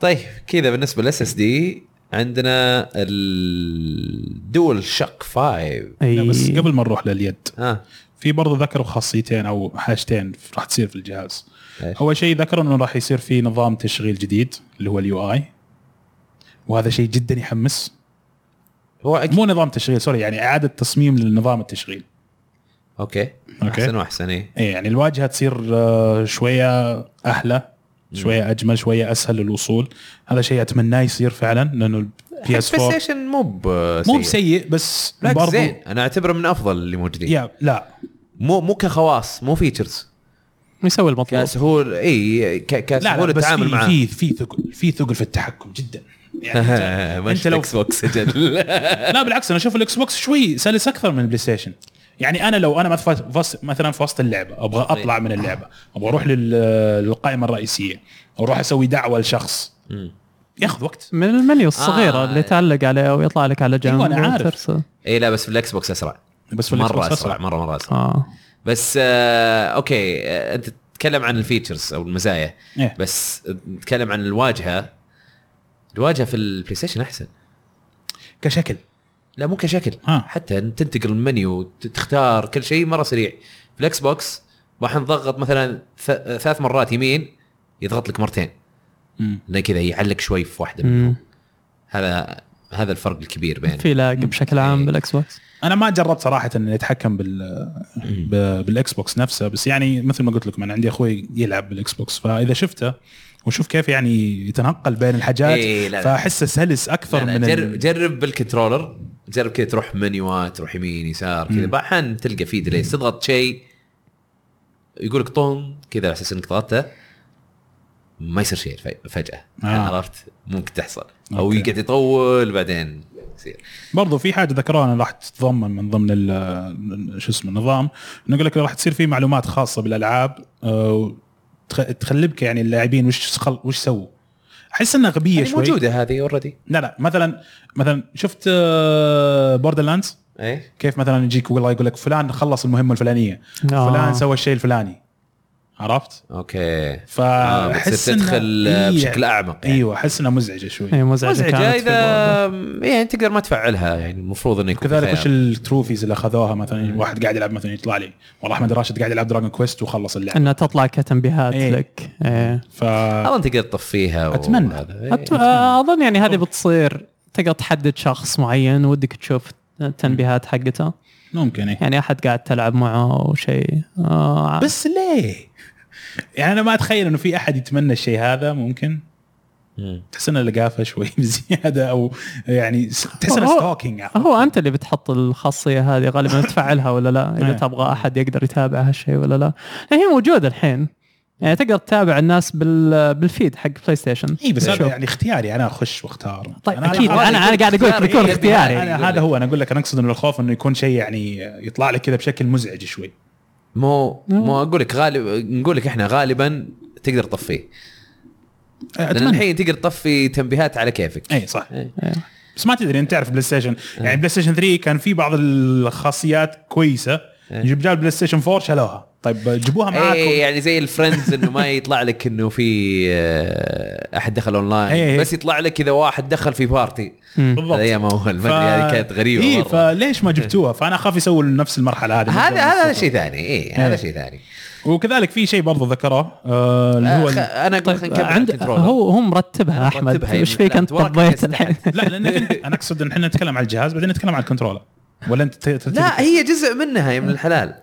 Speaker 1: طيب كذا بالنسبه للاس اس دي عندنا الدول شق 5
Speaker 2: لا،
Speaker 3: اي
Speaker 1: إيه.
Speaker 2: بس قبل ما نروح لليد
Speaker 1: ها
Speaker 2: في برضه ذكروا خاصيتين او حاجتين راح تصير في الجهاز
Speaker 1: إيش؟
Speaker 2: اول شيء ذكروا انه راح يصير في نظام تشغيل جديد اللي هو اليو اي وهذا شيء جدا يحمس
Speaker 1: هو أكيد.
Speaker 2: مو نظام تشغيل سوري يعني اعاده تصميم لنظام التشغيل
Speaker 1: اوكي
Speaker 2: أوكي.
Speaker 1: احسن واحسن ايه
Speaker 2: اي يعني الواجهه تصير آه، شويه احلى شويه اجمل شويه اسهل للوصول هذا شيء اتمناه يصير فعلا لانه البي اس 4
Speaker 1: ستيشن مو ب-
Speaker 2: مو
Speaker 1: سيء.
Speaker 2: بسيء بس
Speaker 1: بالعكس
Speaker 2: برضو
Speaker 1: زين انا اعتبره من افضل اللي موجودين
Speaker 2: يا لا
Speaker 1: مو مو كخواص مو فيتشرز
Speaker 3: يسوي المطلوب
Speaker 1: كسهول اي ك-
Speaker 2: لا لا
Speaker 1: كسهوله
Speaker 2: بس
Speaker 1: التعامل
Speaker 2: في
Speaker 1: معاه
Speaker 2: في في ثقل في ثقل في التحكم جدا يعني أنت- انت لو
Speaker 1: اكس بوكس اجل
Speaker 2: لا بالعكس انا اشوف الاكس بوكس شوي سلس اكثر من البلاي ستيشن يعني انا لو انا مثلا في وسط- مثلا في وسط اللعبه ابغى اطلع من اللعبه ابغى اروح لل- للقائمه الرئيسيه اروح اسوي دعوه لشخص ياخذ وقت
Speaker 3: من المنيو الصغيره
Speaker 1: آه.
Speaker 3: آه. اللي تعلق عليه ويطلع لك على جنب
Speaker 2: أيوة، أنا عارف.
Speaker 3: وترسل.
Speaker 1: اي لا بس في الاكس بوكس اسرع
Speaker 2: بس في الإكس
Speaker 1: مره
Speaker 2: بوكس
Speaker 1: اسرع, مره مره اسرع
Speaker 3: اه
Speaker 1: بس آه اوكي آه انت تتكلم عن الفيتشرز او المزايا
Speaker 2: إيه.
Speaker 1: بس نتكلم عن الواجهه الواجهه في البلاي ستيشن احسن
Speaker 2: كشكل
Speaker 1: لا مو كشكل
Speaker 2: ها.
Speaker 1: حتى إن تنتقل المنيو ت- تختار كل شيء مره سريع في الاكس بوكس راح نضغط مثلا ث- ثلاث مرات يمين يضغط لك مرتين
Speaker 2: مم.
Speaker 1: لأن كذا يعلق شوي في واحده منهم.
Speaker 3: مم.
Speaker 1: هذا هذا الفرق الكبير بين
Speaker 3: في لاج بشكل
Speaker 1: إيه.
Speaker 3: عام بالاكس بوكس
Speaker 2: انا ما جربت صراحه اني اتحكم بال ب- بالاكس بوكس نفسه بس يعني مثل ما قلت لكم انا عندي اخوي يلعب بالاكس بوكس فاذا شفته وشوف كيف يعني يتنقل بين الحاجات
Speaker 1: إيه، لا، لا.
Speaker 2: فاحسه سلس
Speaker 1: لا
Speaker 2: اكثر
Speaker 1: لا
Speaker 2: من
Speaker 1: جرب,
Speaker 2: ال-
Speaker 1: جرب بالكنترولر جرب كذا تروح منيوات تروح يمين يسار كذا
Speaker 2: مم.
Speaker 1: بعدين تلقى في ديليز تضغط شيء يقول لك طن كذا على اساس انك ضغطته ما يصير شيء ف- فجاه
Speaker 2: آه.
Speaker 1: آه. عرفت ممكن تحصل او
Speaker 2: أوكي.
Speaker 1: يقعد يطول بعدين يصير
Speaker 2: برضو في حاجه ذكروها راح تتضمن من ضمن ال- شو اسمه النظام انه يقول لك راح تصير في معلومات خاصه بالالعاب آه، تخ- تخلبك يعني اللاعبين وش خل... وش سووا احس انها غبيه
Speaker 1: يعني
Speaker 2: شوي
Speaker 1: موجوده هذه اوريدي
Speaker 2: لا لا مثلا مثلا شفت آه، بوردر لاندز
Speaker 1: ايه
Speaker 2: كيف مثلا يجيك والله يقول لك فلان خلص المهمه الفلانيه
Speaker 3: آه.
Speaker 2: فلان سوى الشيء الفلاني عرفت
Speaker 1: اوكي آه
Speaker 2: فاحس
Speaker 1: بتصير
Speaker 2: إنه-
Speaker 1: تدخل
Speaker 2: إيه،
Speaker 1: بشكل اعمق يعني.
Speaker 2: ايوه احس انها مزعجه شوي
Speaker 3: اي مزعجه,
Speaker 1: مزعجه
Speaker 3: إيه، كانت في
Speaker 1: اذا
Speaker 3: برضه.
Speaker 1: يعني تقدر ما تفعلها يعني المفروض انه يكون
Speaker 2: كذلك وش
Speaker 1: خيار.
Speaker 2: التروفيز اللي اخذوها مثلا واحد قاعد يلعب مثلا يطلع لي والله احمد راشد قاعد يلعب دراجون كويست وخلص اللعبه
Speaker 3: انها تطلع كتنبيهات
Speaker 2: إيه.
Speaker 3: لك إيه.
Speaker 2: ف
Speaker 1: اظن تقدر تطفيها
Speaker 2: أتمنى.
Speaker 1: وهذا. إيه.
Speaker 3: أت- آه، اظن يعني هذه بتصير تقدر تحدد شخص معين ودك تشوف التنبيهات حقته
Speaker 2: ممكن إيه.
Speaker 3: يعني احد قاعد تلعب معه او شيء آه
Speaker 2: بس ليه؟ يعني انا ما اتخيل انه في احد يتمنى الشيء هذا ممكن
Speaker 1: مم.
Speaker 2: تحس انها لقافه شوي بزياده او يعني س- تحس انها
Speaker 3: هو-
Speaker 2: ستوكينج
Speaker 3: هو انت اللي بتحط الخاصيه هذه غالبا تفعلها ولا لا اذا
Speaker 2: إيه.
Speaker 3: تبغى احد يقدر يتابع هالشيء ولا لا يعني هي موجوده الحين يعني تقدر تتابع الناس بال بالفيد حق بلاي ستيشن
Speaker 2: اي بس هذا
Speaker 3: شوف.
Speaker 2: يعني اختياري انا اخش واختار
Speaker 3: طيب
Speaker 2: أنا-
Speaker 3: اكيد
Speaker 2: أنا-
Speaker 3: انا انا قاعد اقول لك بيكون
Speaker 1: إيه،
Speaker 3: اختياري
Speaker 1: يعني
Speaker 2: أنا
Speaker 1: يقول
Speaker 2: هذا
Speaker 1: لك.
Speaker 2: هو انا اقول لك انا اقصد انه الخوف انه يكون شيء يعني يطلع لك كذا بشكل مزعج شوي
Speaker 1: مو مو اقول لك غالب نقول لك احنا غالبا تقدر تطفيه لان
Speaker 2: اتمنى
Speaker 1: الحين تقدر تطفي تنبيهات على كيفك
Speaker 2: اي صح
Speaker 1: إيه.
Speaker 2: بس ما تدري انت تعرف بلاي ستيشن يعني بلاي ستيشن 3 كان في بعض الخاصيات كويسه
Speaker 1: إيه.
Speaker 2: جيب جاء البلاي ستيشن 4 شالوها طيب جيبوها
Speaker 1: اي
Speaker 2: معاكم
Speaker 1: يعني زي الفرندز انه ما يطلع لك انه في آه، احد دخل
Speaker 2: إيه، إيه.
Speaker 1: اونلاين بس يطلع لك اذا واحد دخل في بارتي
Speaker 3: مم.
Speaker 2: بالضبط. إيه،
Speaker 1: ايام اول ما ادري هذه كانت غريبه
Speaker 2: اي
Speaker 1: مرة.
Speaker 2: فليش ما جبتوها فانا اخاف يسووا نفس المرحله هذه
Speaker 1: هذا هذا شيء ثاني اي
Speaker 2: إيه.
Speaker 1: هذا شيء ثاني
Speaker 2: وكذلك في شيء برضه ذكره آه اللي
Speaker 1: آه،
Speaker 2: هو
Speaker 1: خ-
Speaker 2: ال-
Speaker 1: انا اقول
Speaker 3: طيب
Speaker 1: خلينا نكمل
Speaker 3: عند
Speaker 1: الكنترولر.
Speaker 3: هو هو مرتبها احمد
Speaker 1: مرتبها،
Speaker 3: ايش
Speaker 1: يعني
Speaker 3: فيك انت
Speaker 1: الأدوار
Speaker 3: طبيت
Speaker 1: كانت
Speaker 3: الحين
Speaker 2: لا لانك أنت- انا اقصد ان احنا نتكلم عن الجهاز بعدين نتكلم عن الكنترولر ولا انت ت- ترتبط؟
Speaker 1: لا هي جزء منها
Speaker 2: إيه.
Speaker 1: يا من الحلال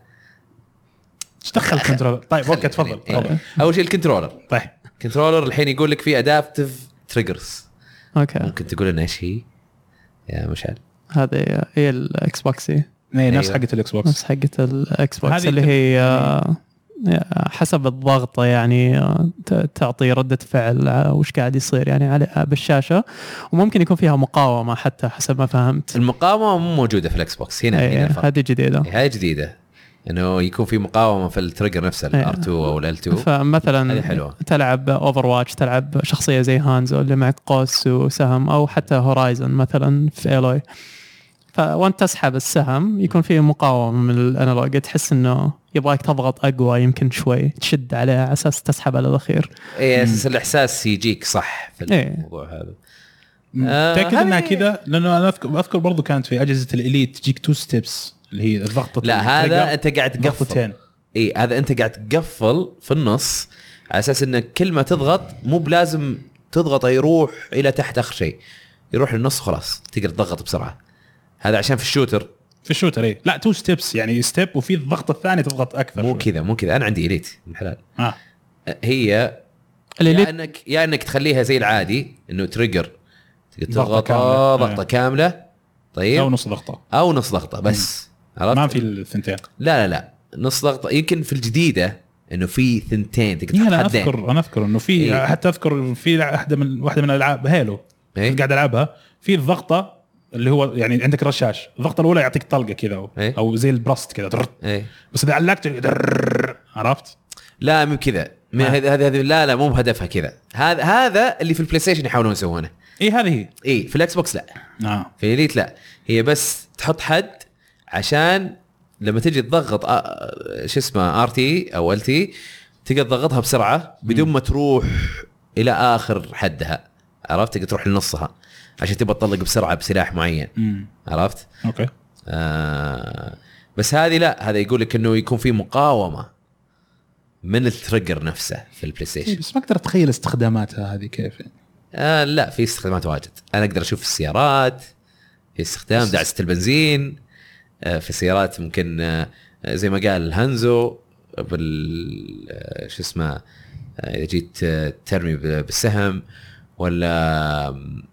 Speaker 2: ايش دخل الكنترولر طيب اوكي
Speaker 1: خلي-
Speaker 2: تفضل
Speaker 1: خلي- إيه.
Speaker 2: تفضل
Speaker 1: اول شيء الكنترولر
Speaker 2: طيب
Speaker 1: الكنترولر الحين يقول لك في ادابتيف تريجرز
Speaker 3: اوكي
Speaker 1: ممكن تقول لنا ايش هي يا مشعل
Speaker 3: هذه هي الاكس بوكس هي.
Speaker 2: إيه، نفس
Speaker 1: أيوة.
Speaker 2: حقه الاكس بوكس
Speaker 3: نفس حقة الاكس بوكس
Speaker 2: هذه
Speaker 3: اللي
Speaker 2: تب-
Speaker 3: هي آه، حسب الضغط يعني آه، ت- تعطي ردة فعل على وش قاعد يصير يعني على بالشاشة وممكن يكون فيها مقاومة حتى حسب ما فهمت
Speaker 1: المقاومه مو موجوده في الاكس بوكس هنا
Speaker 3: إيه،
Speaker 1: هنا الفرق.
Speaker 3: هذه جديدة
Speaker 1: هذه جديده انه يكون في مقاومه في التريجر نفسه
Speaker 3: إيه.
Speaker 1: الار 2 او الال 2 هذه
Speaker 3: فمثلا
Speaker 1: حلوة.
Speaker 3: تلعب اوفر واتش تلعب شخصيه زي هانزو اللي معك قوس وسهم او حتى هورايزن مثلا في ايلوي فوانت تسحب السهم يكون في مقاومه من الانالوج تحس انه يبغاك تضغط اقوى يمكن شوي تشد عليه على اساس تسحب على الاخير
Speaker 1: اي اساس الاحساس يجيك صح في
Speaker 3: إيه.
Speaker 1: الموضوع هذا آه،
Speaker 2: متاكد انها
Speaker 1: هذه-
Speaker 2: كذا لانه انا اذكر اذكر برضه كانت في اجهزه الاليت تجيك تو ستيبس اللي هي الضغطه
Speaker 1: لا هذا انت قاعد تقفل
Speaker 2: ضغطتين
Speaker 1: اي هذا انت قاعد تقفل في النص على اساس انك كل ما تضغط مو بلازم تضغطه يروح الى تحت اخر شيء يروح للنص خلاص تقدر تضغط بسرعه هذا عشان في الشوتر
Speaker 2: في الشوتر اي لا تو ستيبس يعني ستيب وفي الضغط الثاني تضغط اكثر
Speaker 1: مو
Speaker 2: شوي.
Speaker 1: كذا مو كذا انا عندي اليت من حلال
Speaker 2: آه.
Speaker 1: هي يا يعني
Speaker 3: اللي
Speaker 1: انك يا انك تخليها زي العادي انه تريجر تقدر
Speaker 2: ضغطة
Speaker 1: تضغط
Speaker 2: كاملة.
Speaker 1: آه،
Speaker 2: أيوة.
Speaker 1: ضغطه كامله
Speaker 2: او
Speaker 1: طيب
Speaker 2: نص ضغطه
Speaker 1: او نص ضغطه بس عرفت؟
Speaker 2: ما في الثنتين
Speaker 1: لا لا لا نص ضغطه يمكن في الجديده انه في ثنتين تقدر
Speaker 2: إيه انا
Speaker 1: تحط حدين
Speaker 2: اذكر انا اذكر انه في
Speaker 1: إيه.
Speaker 2: حتى اذكر في واحده من واحده من الالعاب هيلو
Speaker 1: إيه.
Speaker 2: كنت قاعد العبها في الضغطه اللي هو يعني عندك رشاش الضغطه الاولى يعطيك طلقه كذا أو-
Speaker 1: إيه.
Speaker 2: او زي البرست كذا درر.
Speaker 1: إيه.
Speaker 2: بس اذا علقت درر. عرفت؟
Speaker 1: لا مو بكذا من
Speaker 2: آه.
Speaker 1: هذه هذه هذه- لا لا مو بهدفها كذا هذا هذا اللي في البلاي ستيشن يحاولون يسوونه
Speaker 2: اي إيه، هذه هي
Speaker 1: اي في الاكس بوكس لا
Speaker 2: آه.
Speaker 1: في اليت لا هي بس تحط حد عشان لما تجي تضغط آه، شو اسمه ار تي او ال تي تقدر تضغطها بسرعه بدون ما تروح الى اخر حدها عرفت تقدر تروح لنصها عشان تبغى تطلق بسرعه بسلاح معين
Speaker 2: مم.
Speaker 1: عرفت
Speaker 2: اوكي
Speaker 1: آه بس هذه لا هذا يقول لك انه يكون في مقاومه من التريجر نفسه في البلاي ستيشن
Speaker 2: بس ما اقدر اتخيل استخداماتها هذه كيف يعني
Speaker 1: آه لا في استخدامات واجد انا اقدر اشوف السيارات في استخدام دعسه البنزين آه في السيارات ممكن آه زي ما قال هانزو بال آه، شو اسمه آه، اذا جيت آه، ترمي ب- بالسهم ولا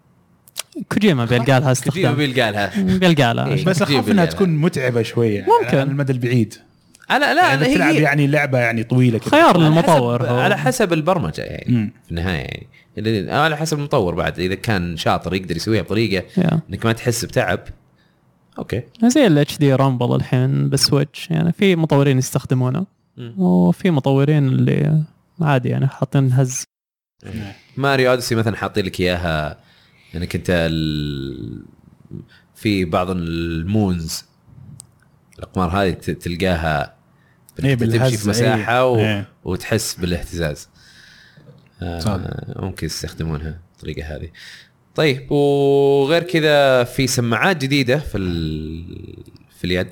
Speaker 3: كوجيما بيلقى لها
Speaker 1: كوجيما
Speaker 3: استخدام
Speaker 1: بيل قالها
Speaker 3: بيلقى لها
Speaker 1: إيه.
Speaker 2: بس اخاف
Speaker 1: جيب
Speaker 2: انها
Speaker 1: اللي
Speaker 2: تكون متعبه شويه يعني
Speaker 3: ممكن.
Speaker 2: على المدى البعيد
Speaker 1: انا لا
Speaker 2: يعني
Speaker 1: هي-
Speaker 2: تلعب يعني لعبه يعني طويله كذا
Speaker 3: خيار
Speaker 1: على حسب-
Speaker 3: للمطور هو.
Speaker 1: على حسب البرمجه يعني
Speaker 2: مم.
Speaker 1: في النهايه يعني اللي- على حسب المطور بعد اذا كان شاطر يقدر يسويها بطريقه
Speaker 3: يا.
Speaker 1: انك ما تحس بتعب اوكي
Speaker 3: زي الاتش دي رامبل الحين بالسويتش يعني في مطورين يستخدمونه
Speaker 1: مم.
Speaker 3: وفي مطورين اللي عادي يعني حاطين هز
Speaker 1: ماريو اوديسي مثلا حاطين لك اياها انك انت ال... في بعض المونز الاقمار هذه ت- تلقاها
Speaker 2: إيه،
Speaker 1: إنك تمشي
Speaker 2: بالهزة،
Speaker 1: في مساحه
Speaker 2: إيه.
Speaker 1: و...
Speaker 2: إيه.
Speaker 1: وتحس بالاهتزاز
Speaker 2: صح.
Speaker 1: آه ممكن يستخدمونها بالطريقه هذه طيب وغير كذا في سماعات جديده في ال... في اليد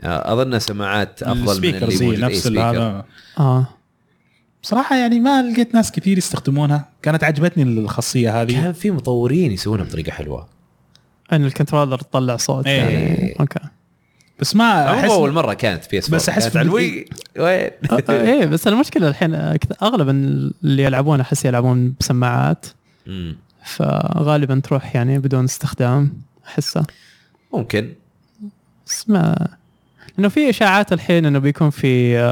Speaker 1: آه، اظن سماعات افضل من
Speaker 2: السبيكر
Speaker 1: اللي
Speaker 2: زي
Speaker 1: موجود إيه،
Speaker 2: نفس
Speaker 1: سبيكر.
Speaker 2: هذا
Speaker 3: اه
Speaker 2: بصراحه يعني ما لقيت ناس كثير يستخدمونها كانت عجبتني الخاصيه هذه
Speaker 1: كان في مطورين يسوونها بطريقه حلوه
Speaker 3: ان الكنترولر تطلع صوت
Speaker 2: إيه.
Speaker 3: يعني اوكي
Speaker 2: بس ما
Speaker 1: أحس
Speaker 2: احس
Speaker 1: اول مره كانت بي اس
Speaker 2: بس أحس
Speaker 1: كانت
Speaker 2: في
Speaker 1: على الوي
Speaker 2: البداية-
Speaker 1: وين
Speaker 3: آه، آه، ايه بس المشكله الحين أكث- اغلب اللي يلعبون احس يلعبون بسماعات
Speaker 1: مم.
Speaker 3: فغالبا تروح يعني بدون استخدام احسه
Speaker 1: ممكن
Speaker 3: بس ما انه في اشاعات الحين انه بيكون في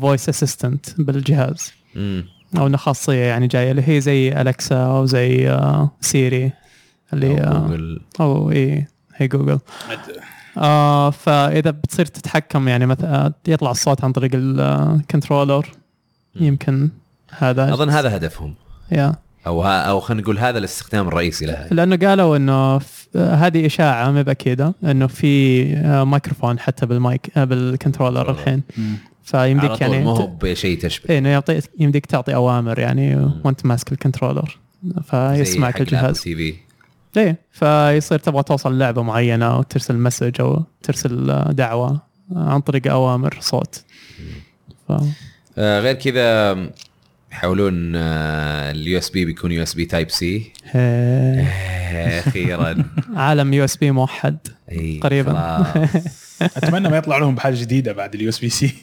Speaker 3: فويس اسيستنت بالجهاز
Speaker 1: مم.
Speaker 3: او انه خاصيه يعني جايه اللي هي زي الكسا او زي آه، سيري اللي
Speaker 1: أو
Speaker 3: آه،
Speaker 1: جوجل.
Speaker 3: او اي هي جوجل آه فاذا بتصير تتحكم يعني مثلا يطلع الصوت عن طريق الكنترولر يمكن هذا
Speaker 1: اظن هذا هدفهم
Speaker 3: يا
Speaker 1: او ها او خلينا نقول هذا الاستخدام الرئيسي لها
Speaker 3: لانه قالوا انه ف- آه، هذه اشاعه ما باكيده انه في آه، مايكروفون حتى بالمايك آه، بالكنترولر الحين
Speaker 2: مم.
Speaker 1: على
Speaker 3: فيمديك
Speaker 1: طول
Speaker 3: يعني
Speaker 1: ما هو
Speaker 3: انت-
Speaker 1: بشيء تشبه
Speaker 3: إيه، انه يعطيك يمديك تعطي اوامر يعني وانت ماسك الكنترولر فيسمعك الجهاز
Speaker 1: تي في
Speaker 3: ايه فيصير تبغى توصل لعبه معينه او ترسل مسج او ترسل آه، دعوه عن طريق اوامر صوت ف...
Speaker 1: آه غير كذا يحاولون آه، اليو اس بي بيكون يو اس بي تايب سي
Speaker 3: إيه،
Speaker 1: اخيرا
Speaker 3: عالم يو اس بي موحد
Speaker 1: إي،
Speaker 3: قريباً.
Speaker 1: خلاص.
Speaker 2: اتمنى ما يطلع لهم بحاجه جديده بعد اليو اس بي سي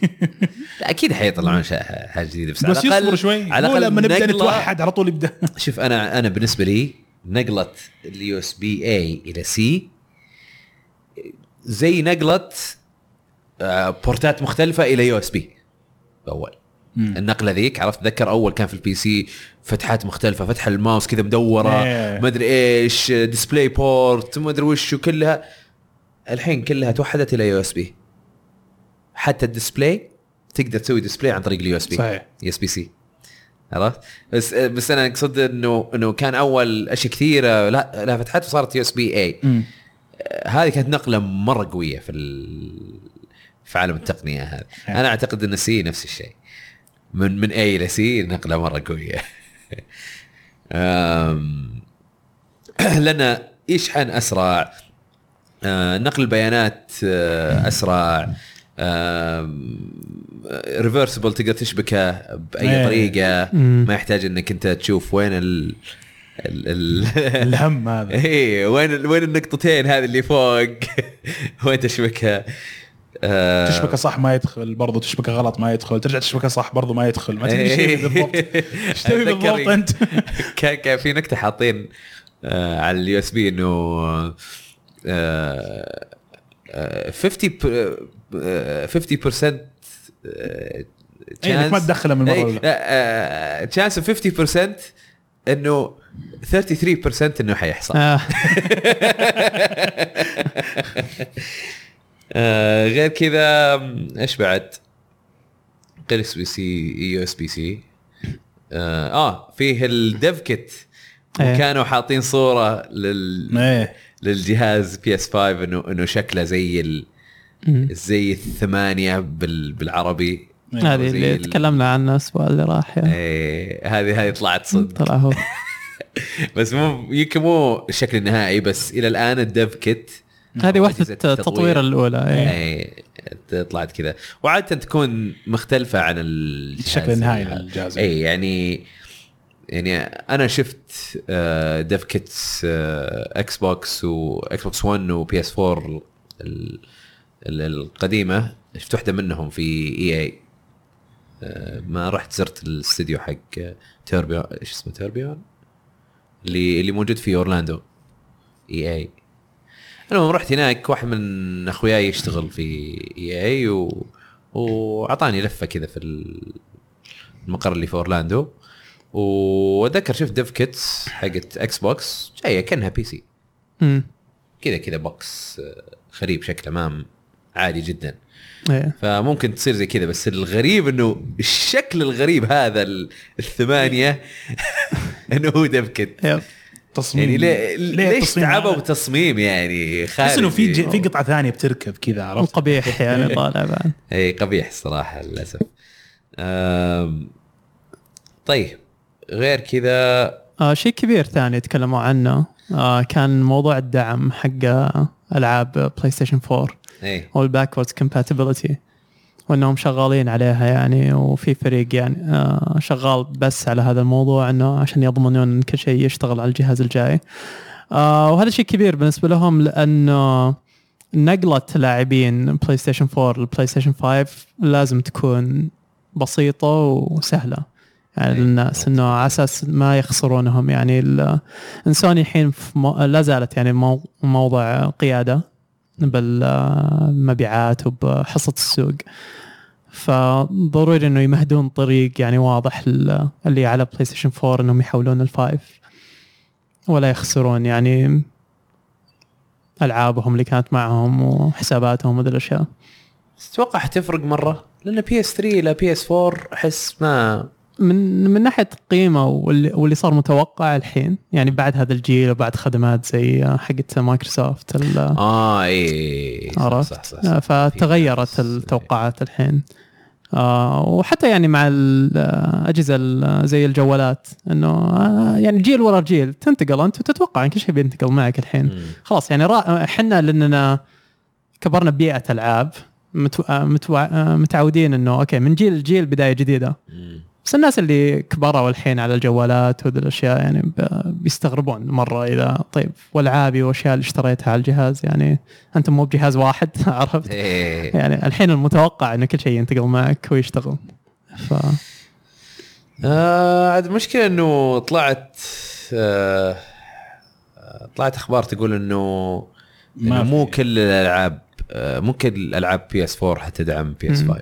Speaker 1: لا اكيد حيطلعون شا- حاجه جديده بس,
Speaker 2: بس
Speaker 1: على الاقل
Speaker 2: يصبر شوي
Speaker 1: على
Speaker 2: على
Speaker 1: الاقل
Speaker 2: لما نبدا
Speaker 1: نقلة-
Speaker 2: نتوحد على طول يبدا
Speaker 1: شوف انا انا بالنسبه لي نقله اليو اس بي اي الى سي زي نقله آه، بورتات مختلفه الى يو اس بي اول النقله ذيك عرفت اتذكر اول كان في البي سي فتحات مختلفه فتح الماوس كذا مدوره
Speaker 2: إيه.
Speaker 1: ما ادري ايش ديسبلاي بورت ما ادري وش وكلها الحين كلها توحدت الى يو اس بي حتى الديسبلاي تقدر تسوي ديسبلاي عن طريق اليو اس بي
Speaker 2: صحيح
Speaker 1: يو اس بي سي عرفت بس بس انا اقصد انه انه كان اول اشياء كثيره لا لها فتحات وصارت يو اس بي إيه. اي
Speaker 2: مم.
Speaker 1: هذه كانت نقله مره قويه في ال... في عالم التقنيه هذا انا اعتقد ان سي نفس الشيء من من اي الى سي نقله مره قويه أم، لان يشحن اسرع آه، نقل البيانات آه، اسرع ريفرسبل تقدر تشبكه باي
Speaker 2: إيه.
Speaker 1: طريقه
Speaker 3: مم.
Speaker 1: ما يحتاج انك انت تشوف وين ال ال- ال-
Speaker 2: الهم هذا
Speaker 1: ايه وين وين النقطتين هذه اللي فوق وين تشبكها آه،
Speaker 2: تشبكه صح ما يدخل برضو تشبكه غلط ما يدخل ترجع تشبكه صح برضو ما يدخل ما تدري شيء بالضبط ايش تبي
Speaker 1: إيه. أتذكر
Speaker 2: بالضبط انت
Speaker 1: كان كان في نكته حاطين آه، على اليو اس بي انه آه، آه، 50 ب- آه، 50% آه،
Speaker 2: إيه، إنك ما
Speaker 1: chance-
Speaker 2: تدخله من
Speaker 1: إيه،
Speaker 2: المره الاولى
Speaker 1: آه، آه، chance of 50% انه 33% انه حيحصل
Speaker 3: آه.
Speaker 1: آه، غير كذا م، ايش بعد؟ غير اس بي سي يو اس بي سي اه فيه الديف كيت
Speaker 3: إيه.
Speaker 1: وكانوا حاطين صوره لل...
Speaker 2: ايه
Speaker 1: للجهاز بي اس 5 انه انه شكله زي ال...
Speaker 3: مم.
Speaker 1: زي الثمانيه بال... بالعربي
Speaker 2: إيه.
Speaker 1: زي
Speaker 3: هذه اللي
Speaker 1: ال-
Speaker 3: تكلمنا عنها الاسبوع اللي راح يا.
Speaker 1: إيه، هذه هذه طلعت صدق
Speaker 3: طلع هو
Speaker 1: بس مو يمكن مو الشكل النهائي بس الى الان الديف كيت
Speaker 3: هذه
Speaker 1: أجهزة
Speaker 3: وحده
Speaker 1: التطوير.
Speaker 3: التطوير الاولى إيه.
Speaker 1: اي طلعت كذا وعاده تكون مختلفه عن الجهاز
Speaker 2: الشكل النهائي للجهاز
Speaker 1: اي يعني يعني انا شفت آه، ديف كيتس آه، اكس بوكس واكس بوكس 1 وبي اس 4 ال- ال- القديمه شفت واحده منهم في اي اي ما رحت زرت الاستديو حق تيربيون ايش اسمه تيربيون اللي اللي موجود في اورلاندو اي اي المهم رحت هناك واحد من اخوياي يشتغل في اي اي و... واعطاني لفه كذا في ال- المقر اللي في اورلاندو واتذكر شفت ديف كيتس حقت اكس بوكس جايه كانها بي سي
Speaker 3: مم.
Speaker 1: كذا كذا بوكس آه، خريب شكله ما عادي جدا
Speaker 3: إيه.
Speaker 1: فممكن تصير زي كذا بس الغريب انه الشكل الغريب هذا ال- الثمانيه انه هو ديف كيت
Speaker 3: يب.
Speaker 2: تصميم
Speaker 1: يعني ليه ليش
Speaker 2: التصميم
Speaker 1: تعبوا
Speaker 2: هذا؟
Speaker 1: تصميم يعني خارجي
Speaker 2: تحس انه في ج- في قطعه ثانيه بتركب كذا عرفت
Speaker 3: القبيح يعني طالع بعد
Speaker 1: اي إيه، قبيح الصراحه للاسف أم، طيب غير كذا
Speaker 3: آه شيء كبير ثاني تكلموا عنه آه كان موضوع الدعم حق آه، العاب بلاي ستيشن 4
Speaker 1: اي
Speaker 3: او الباكوردز كومباتيبلتي وانهم شغالين عليها يعني وفي فريق يعني آه، شغال بس على هذا الموضوع انه عشان يضمنون ان كل شيء يشتغل على الجهاز الجاي آه، وهذا شيء كبير بالنسبه لهم لانه نقله لاعبين بلاي ستيشن 4 لبلاي ستيشن 5 لازم تكون بسيطه وسهله يعني
Speaker 1: أي.
Speaker 3: للناس انه على اساس ما يخسرونهم يعني ال- إن سوني الحين في مو... لا زالت يعني مو... موضع قياده بالمبيعات وبحصه السوق فضروري انه يمهدون طريق يعني واضح لل- اللي على بلاي ستيشن 4 انهم يحولون الفايف ولا يخسرون يعني العابهم اللي كانت معهم وحساباتهم وذي الاشياء
Speaker 1: اتوقع حتفرق مره لان بي اس 3 الى بي اس 4 احس ما
Speaker 3: من من ناحيه قيمه واللي, واللي صار متوقع الحين يعني بعد هذا الجيل وبعد خدمات زي حقت مايكروسوفت ال-
Speaker 1: اه اي صح
Speaker 3: عرفت؟
Speaker 1: صح, صح, صح.
Speaker 3: آه، فتغيرت
Speaker 1: في ناس- إيه.
Speaker 3: التوقعات الحين آه، وحتى يعني مع الاجهزه ال- آه، زي الجوالات انه آه، يعني جيل ورا جيل تنتقل انت وتتوقع ان كل شيء بينتقل معك الحين
Speaker 1: مم.
Speaker 3: خلاص يعني را- احنا لاننا كبرنا ببيئه العاب متو... آه، متوع... آه، متعودين انه اوكي من جيل لجيل بدايه جديده
Speaker 1: مم.
Speaker 3: بس الناس اللي كبروا الحين على الجوالات وذي الاشياء يعني ب- بيستغربون مره اذا طيب والعابي والاشياء اللي اشتريتها على الجهاز يعني انت مو بجهاز واحد عرفت؟
Speaker 1: إيه.
Speaker 3: يعني الحين المتوقع انه كل شيء ينتقل معك ويشتغل ف
Speaker 1: آه عاد المشكله انه طلعت آه آه، طلعت اخبار تقول انه
Speaker 2: ما
Speaker 1: إنه مو
Speaker 2: في.
Speaker 1: كل الالعاب آه، مو كل الالعاب بي اس 4 حتدعم بي اس
Speaker 3: مم.
Speaker 1: 5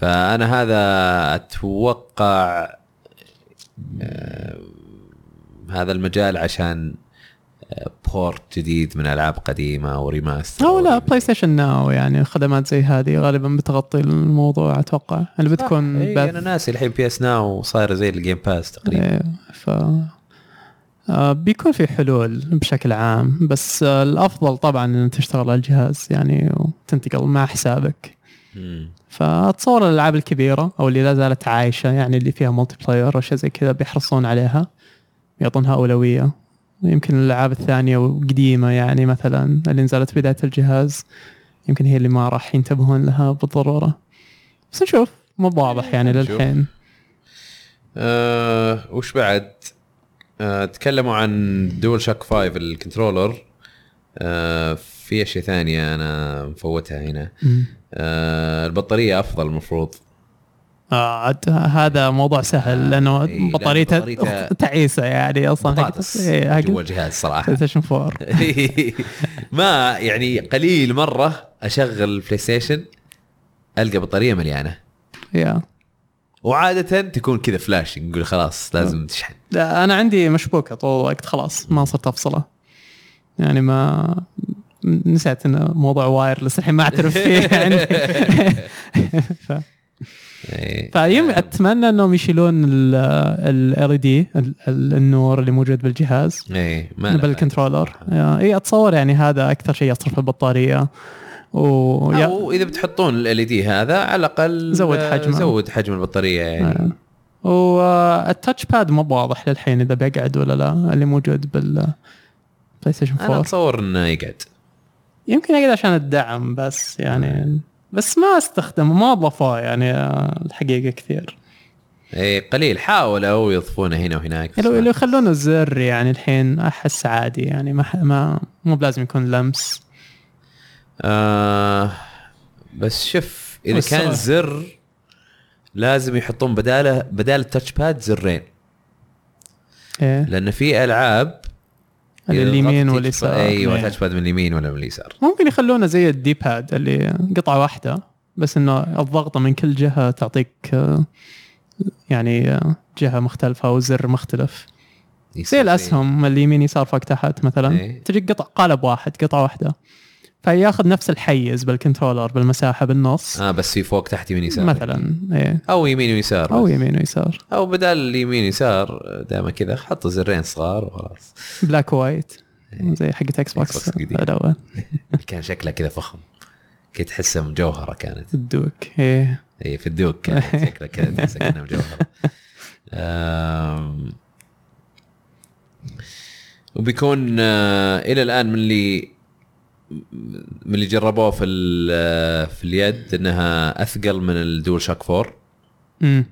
Speaker 1: فانا هذا اتوقع آه، هذا المجال عشان آه، بورت جديد من العاب قديمه وريماستر
Speaker 3: او لا
Speaker 1: وريميك.
Speaker 3: بلاي ستيشن ناو يعني خدمات زي هذه غالبا بتغطي الموضوع اتوقع اللي بتكون
Speaker 1: إيه،
Speaker 3: بث
Speaker 1: انا ناسي الحين بي اس ناو صاير زي الجيم باس تقريبا
Speaker 3: إيه، ف آه، بيكون في حلول بشكل عام بس آه، الافضل طبعا ان تشتغل على الجهاز يعني وتنتقل مع حسابك
Speaker 1: مم.
Speaker 3: فاتصور الالعاب الكبيره او اللي لا زالت عايشه يعني اللي فيها ملتي بلاير واشياء زي كذا بيحرصون عليها يعطونها اولويه يمكن الالعاب الثانيه وقديمه يعني مثلا اللي نزلت بدايه الجهاز يمكن هي اللي ما راح ينتبهون لها بالضروره بس نشوف مو واضح يعني
Speaker 1: نشوف.
Speaker 3: للحين
Speaker 1: آه وش بعد؟ آه تكلموا عن دول شاك 5 الكنترولر آه في اشياء ثانيه انا مفوتها هنا
Speaker 3: مم.
Speaker 1: آه البطاريه افضل المفروض
Speaker 3: آه عاد هذا موضوع سهل لانه
Speaker 1: إيه، لأن
Speaker 3: بطاريته
Speaker 1: بطاريته
Speaker 3: تعيسه يعني اصلا
Speaker 1: بطاطس
Speaker 3: إيه، حق
Speaker 1: جوا الجهاز صراحه
Speaker 3: بلايستيشن 4
Speaker 1: ما يعني قليل مره اشغل بلاي ستيشن القى بطاريه مليانه
Speaker 3: يا
Speaker 1: وعاده تكون كذا فلاش نقول خلاص لازم تشحن
Speaker 3: لا انا عندي مشبوكه طول الوقت خلاص ما صرت افصله يعني ما نسيت انه موضوع وايرلس الحين ما اعترف فيه يعني ف...
Speaker 1: إيه.
Speaker 3: فيم اتمنى انهم يشيلون ال دي النور اللي موجود بالجهاز
Speaker 1: ايه ما له فائدة.
Speaker 3: بالكنترولر اي اتصور يعني هذا اكثر شيء يصرف البطاريه و يا-
Speaker 1: او اذا بتحطون ال LED هذا على الاقل
Speaker 3: زود
Speaker 1: آه،
Speaker 3: حجمه. آه،
Speaker 1: زود حجم البطاريه يعني
Speaker 3: والتاتش باد مو واضح للحين اذا بيقعد ولا لا اللي موجود بال بلاي ستيشن
Speaker 1: انا
Speaker 3: 4
Speaker 1: اتصور انه يقعد
Speaker 3: يمكن اقعد عشان الدعم بس يعني بس ما استخدمه ما ضفاه يعني آه، الحقيقه كثير
Speaker 1: اي إيه، قليل حاولوا يضفونه هنا وهناك
Speaker 3: لو لو يخلونه زر يعني الحين احس عادي يعني ما ح- ما مو بلازم يكون لمس
Speaker 1: آه بس شوف اذا
Speaker 2: بس
Speaker 1: كان
Speaker 2: صراحة.
Speaker 1: زر لازم يحطون بداله بدال التاتش باد زرين
Speaker 3: ايه
Speaker 1: لان في العاب إذا
Speaker 3: اللي اليمين
Speaker 1: ضغطت
Speaker 3: واليسار نعم.
Speaker 1: ايوه
Speaker 2: إيه.
Speaker 1: تاتش باد من اليمين ولا من اليسار
Speaker 3: ممكن يخلونه زي الدي باد اللي قطعه واحده بس انه الضغطه من كل جهه تعطيك آه، يعني آه، جهه مختلفه او زر مختلف
Speaker 1: يصير
Speaker 3: زي الاسهم اليمين يسار فوق تحت مثلا
Speaker 1: إيه.
Speaker 3: تجيك قطع قالب واحد قطعه واحده فياخذ نفس الحيز بالكنترولر بالمساحه بالنص
Speaker 1: اه بس في فوق تحت يمين يسار
Speaker 3: مثلا ايه
Speaker 1: او يمين ويسار
Speaker 3: او
Speaker 1: بس.
Speaker 3: يمين ويسار
Speaker 1: او بدال اليمين يسار دائما كذا حط زرين صغار وخلاص
Speaker 3: بلاك وايت
Speaker 1: إيه.
Speaker 3: زي حقت اكس
Speaker 1: Xbox
Speaker 3: بوكس
Speaker 1: القديم.
Speaker 3: الاول
Speaker 1: كان شكلها كذا فخم كنت تحسها مجوهره كانت
Speaker 3: الدوك ايه
Speaker 1: اي في الدوق كانت شكلها كذا تحسها كانها مجوهره آم، وبيكون آه، الى الان من اللي من اللي جربوه في ال- آه، في اليد انها اثقل من الدول شاك 4
Speaker 3: امم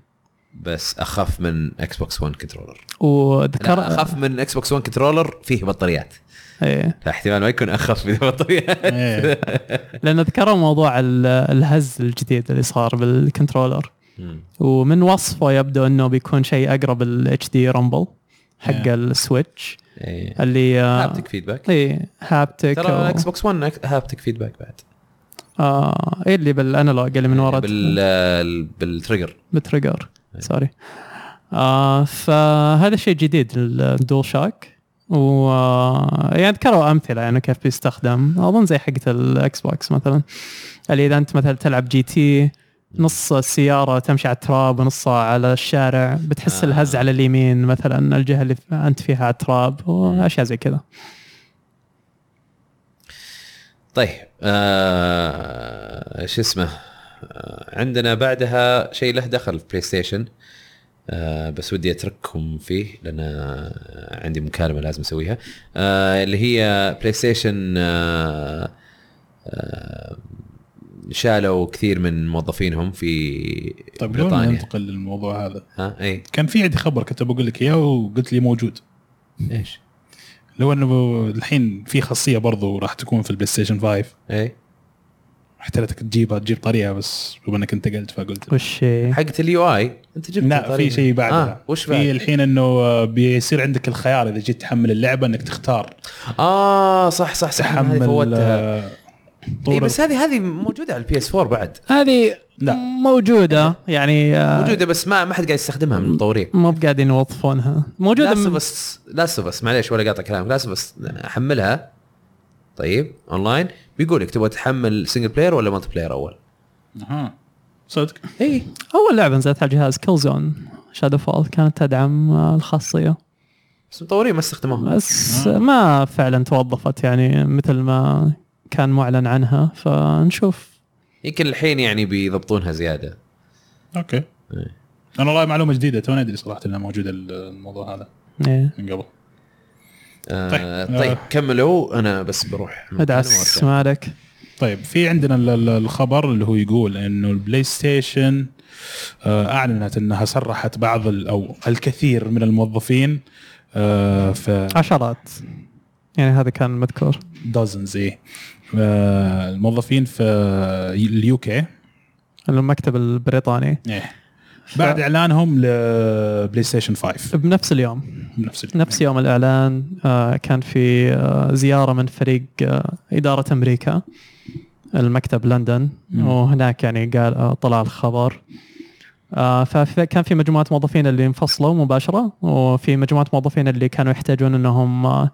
Speaker 1: بس اخف من اكس بوكس 1 كنترولر لا،
Speaker 3: وذكر
Speaker 1: اخف من اكس بوكس 1 كنترولر فيه بطاريات
Speaker 3: ايه
Speaker 1: فاحتمال ما يكون اخف من البطاريات
Speaker 2: إيه.
Speaker 3: لان ذكروا موضوع ال- الهز الجديد اللي صار بالكنترولر
Speaker 1: مم.
Speaker 3: ومن وصفه يبدو انه بيكون شيء اقرب الاتش دي رامبل حق
Speaker 2: إيه.
Speaker 3: السويتش
Speaker 1: إيه.
Speaker 3: اللي آه،
Speaker 1: هابتك فيدباك
Speaker 3: اي هابتك
Speaker 1: ترى
Speaker 3: ترى
Speaker 1: اكس بوكس 1 هابتك فيدباك بعد
Speaker 3: آه إيه اللي بالانالوج اللي من ورا
Speaker 1: بال آه، ال- بالتريجر
Speaker 3: بالتريجر
Speaker 1: إيه.
Speaker 3: سوري آه فهذا شيء جديد الدول شاك و آه، يعني ذكروا امثله يعني كيف بيستخدم اظن زي حقه الاكس بوكس مثلا اللي اذا انت مثلا تلعب جي تي نص السياره تمشي على التراب ونصها على الشارع بتحس
Speaker 1: آه.
Speaker 3: آه. الهز على اليمين مثلا الجهه اللي انت فيها على التراب واشياء زي كذا
Speaker 1: طيب آه شو اسمه آه عندنا بعدها شيء له دخل في بلاي ستيشن آه بس ودي اترككم فيه لان آه، عندي مكالمه لازم اسويها آه اللي هي بلاي ستيشن آه آه شالوا كثير من موظفينهم في
Speaker 2: طيب لو
Speaker 1: بريطانيا
Speaker 2: ننتقل للموضوع هذا
Speaker 1: ها إيه. اي
Speaker 2: كان في عندي خبر كنت بقول لك اياه وقلت لي موجود
Speaker 1: ايش؟
Speaker 2: لو انه الحين في خاصيه برضو راح تكون في البلاي ستيشن 5
Speaker 1: اي
Speaker 2: احتلتك تجيبها تجيب طريقه بس بما انك انتقلت فقلت
Speaker 3: وش
Speaker 1: حقت اليو اي انت جبت
Speaker 2: لا في
Speaker 1: طريقة.
Speaker 2: شيء بعدها
Speaker 1: آه وش
Speaker 2: في
Speaker 1: بعد؟
Speaker 2: الحين انه آه، بيصير عندك الخيار اذا جيت تحمل اللعبه انك تختار
Speaker 1: اه صح صح صح أنا هذه
Speaker 2: تحمل
Speaker 1: آه، فوتها
Speaker 2: آه،
Speaker 1: اي
Speaker 2: طور
Speaker 1: بس هذه هذه موجوده على البي اس 4 بعد
Speaker 3: هذه
Speaker 2: لا.
Speaker 3: موجوده يعني آه،
Speaker 1: موجوده بس ما ما حد قاعد يستخدمها من المطورين
Speaker 3: مو بقاعدين يوظفونها موجوده
Speaker 1: لاست
Speaker 3: من-
Speaker 1: بس لاست بس معليش ولا قاطع كلامك لاست بس حملها طيب اونلاين بيقول لك تبغى تحمل سنجل بلاير ولا مالتي بلاير اول
Speaker 2: أها. آه، صدق
Speaker 1: اي
Speaker 3: اول لعبه نزلت على الجهاز كيل زون شادو فول كانت تدعم آه، الخاصيه
Speaker 1: بس المطورين ما استخدموها
Speaker 3: بس ما فعلا توظفت يعني مثل ما كان معلن عنها فنشوف
Speaker 1: يمكن الحين يعني بيضبطونها زياده
Speaker 2: اوكي
Speaker 1: إيه.
Speaker 2: انا والله معلومه جديده تو ادري صراحه انها موجوده الموضوع هذا
Speaker 3: إيه.
Speaker 2: من قبل
Speaker 1: آه
Speaker 2: طيب.
Speaker 1: طيب
Speaker 2: آه.
Speaker 1: كملوا انا بس بروح
Speaker 3: ادعس ما عليك
Speaker 2: طيب في عندنا ال- ال- الخبر اللي هو يقول انه البلاي ستيشن آه، اعلنت انها سرحت بعض ال- او الكثير من الموظفين آه، في
Speaker 3: عشرات يعني هذا كان مذكور
Speaker 2: دوزنز ايه آه، الموظفين في اليو كي
Speaker 3: المكتب البريطاني
Speaker 2: إيه. بعد اعلانهم لبلاي ستيشن 5
Speaker 3: بنفس اليوم
Speaker 2: بنفس اليوم.
Speaker 3: نفس يوم الاعلان آه، كان في آه، زياره من فريق آه، اداره امريكا المكتب لندن
Speaker 2: مم.
Speaker 3: وهناك يعني قال آه، طلع الخبر آه، فكان في مجموعه موظفين اللي انفصلوا مباشره وفي مجموعه موظفين اللي كانوا يحتاجون انهم آه،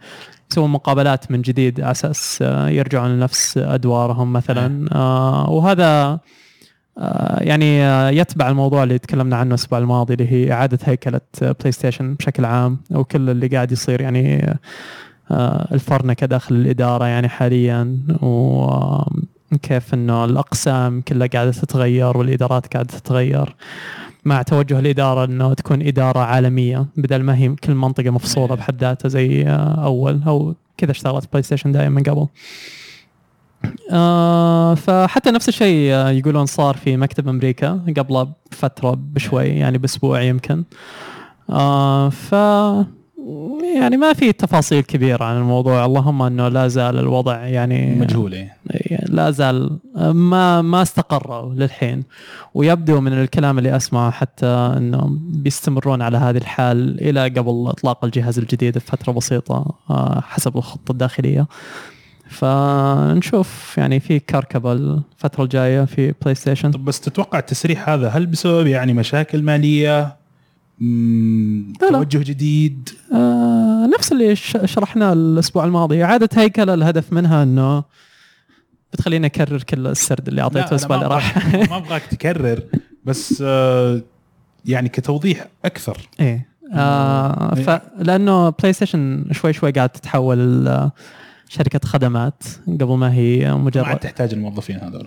Speaker 3: يسوون مقابلات من جديد على اساس آه، يرجعون لنفس ادوارهم مثلا آه، وهذا آه، يعني آه، يتبع الموضوع اللي تكلمنا عنه الاسبوع الماضي اللي هي اعاده هيكله آه، بلاي ستيشن بشكل عام وكل اللي قاعد يصير يعني آه، الفرنكه داخل الاداره يعني حاليا وكيف انه الاقسام كلها قاعده تتغير والادارات قاعده تتغير مع توجه الاداره انه تكون اداره عالميه بدل ما هي كل منطقه مفصوله بحد ذاتها زي آه، اول او كذا اشتغلت بلاي ستيشن دائما من قبل آه فحتى نفس الشيء آه، يقولون صار في مكتب امريكا قبله بفتره بشوي يعني باسبوع يمكن آه ف يعني ما في تفاصيل كبيره عن الموضوع اللهم انه لا زال الوضع يعني
Speaker 2: مجهول إيه.
Speaker 3: لا زال ما ما استقروا للحين ويبدو من الكلام اللي اسمعه حتى انهم بيستمرون على هذه الحال الى قبل اطلاق الجهاز الجديد بفتره بسيطه آه، حسب الخطه الداخليه فنشوف يعني في كركبه الفتره الجايه في بلاي ستيشن
Speaker 2: طب بس تتوقع التسريح هذا هل بسبب يعني مشاكل ماليه مم،
Speaker 3: لا لا.
Speaker 2: توجه جديد
Speaker 3: آه، نفس اللي ش- شرحناه الاسبوع الماضي اعاده هيكله الهدف منها انه بتخليني اكرر كل السرد اللي
Speaker 2: لا،
Speaker 3: اعطيته
Speaker 2: أنا
Speaker 3: الاسبوع
Speaker 2: ما
Speaker 3: اللي راح
Speaker 2: أبغاك- ما ابغاك تكرر بس آه، يعني كتوضيح اكثر
Speaker 3: ايه آه
Speaker 2: إيه.
Speaker 3: ف... لانه بلاي ستيشن شوي شوي قاعد تتحول ل شركه خدمات قبل ما هي
Speaker 2: ما عاد
Speaker 3: مجرد
Speaker 2: تحتاج الموظفين هذول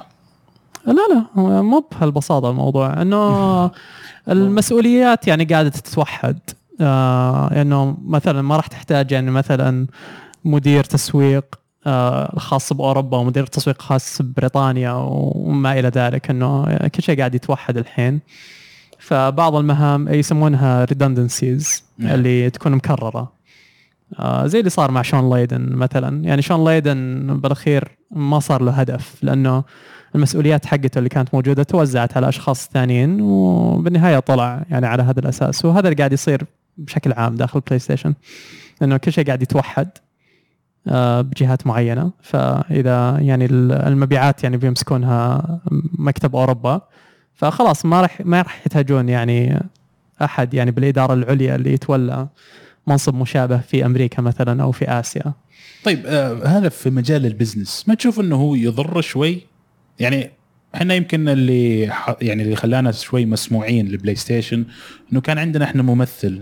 Speaker 3: لا لا هو مو بهالبساطه الموضوع انه المسؤوليات يعني قاعده تتوحد آه انه مثلا ما راح تحتاج يعني مثلا مدير تسويق آه، خاص باوروبا ومدير تسويق خاص ببريطانيا وما الى ذلك انه كل شيء قاعد يتوحد الحين فبعض المهام يسمونها redundancies
Speaker 2: نعم.
Speaker 3: اللي تكون مكرره آه، زي اللي صار مع شون ليدن مثلا يعني شون ليدن بالاخير ما صار له هدف لانه المسؤوليات حقته اللي كانت موجوده توزعت على اشخاص ثانيين وبالنهايه طلع يعني على هذا الاساس وهذا اللي قاعد يصير بشكل عام داخل بلاي ستيشن انه كل شيء قاعد يتوحد آه، بجهات معينه فاذا يعني ال- المبيعات يعني بيمسكونها مكتب اوروبا فخلاص ما راح ما راح يحتاجون يعني احد يعني بالاداره العليا اللي يتولى منصب مشابه في امريكا مثلا او في اسيا
Speaker 2: طيب آه، هذا في مجال البزنس ما تشوف انه هو يضر شوي يعني احنا يمكن اللي ح- يعني اللي خلانا شوي مسموعين للبلاي ستيشن انه كان عندنا احنا ممثل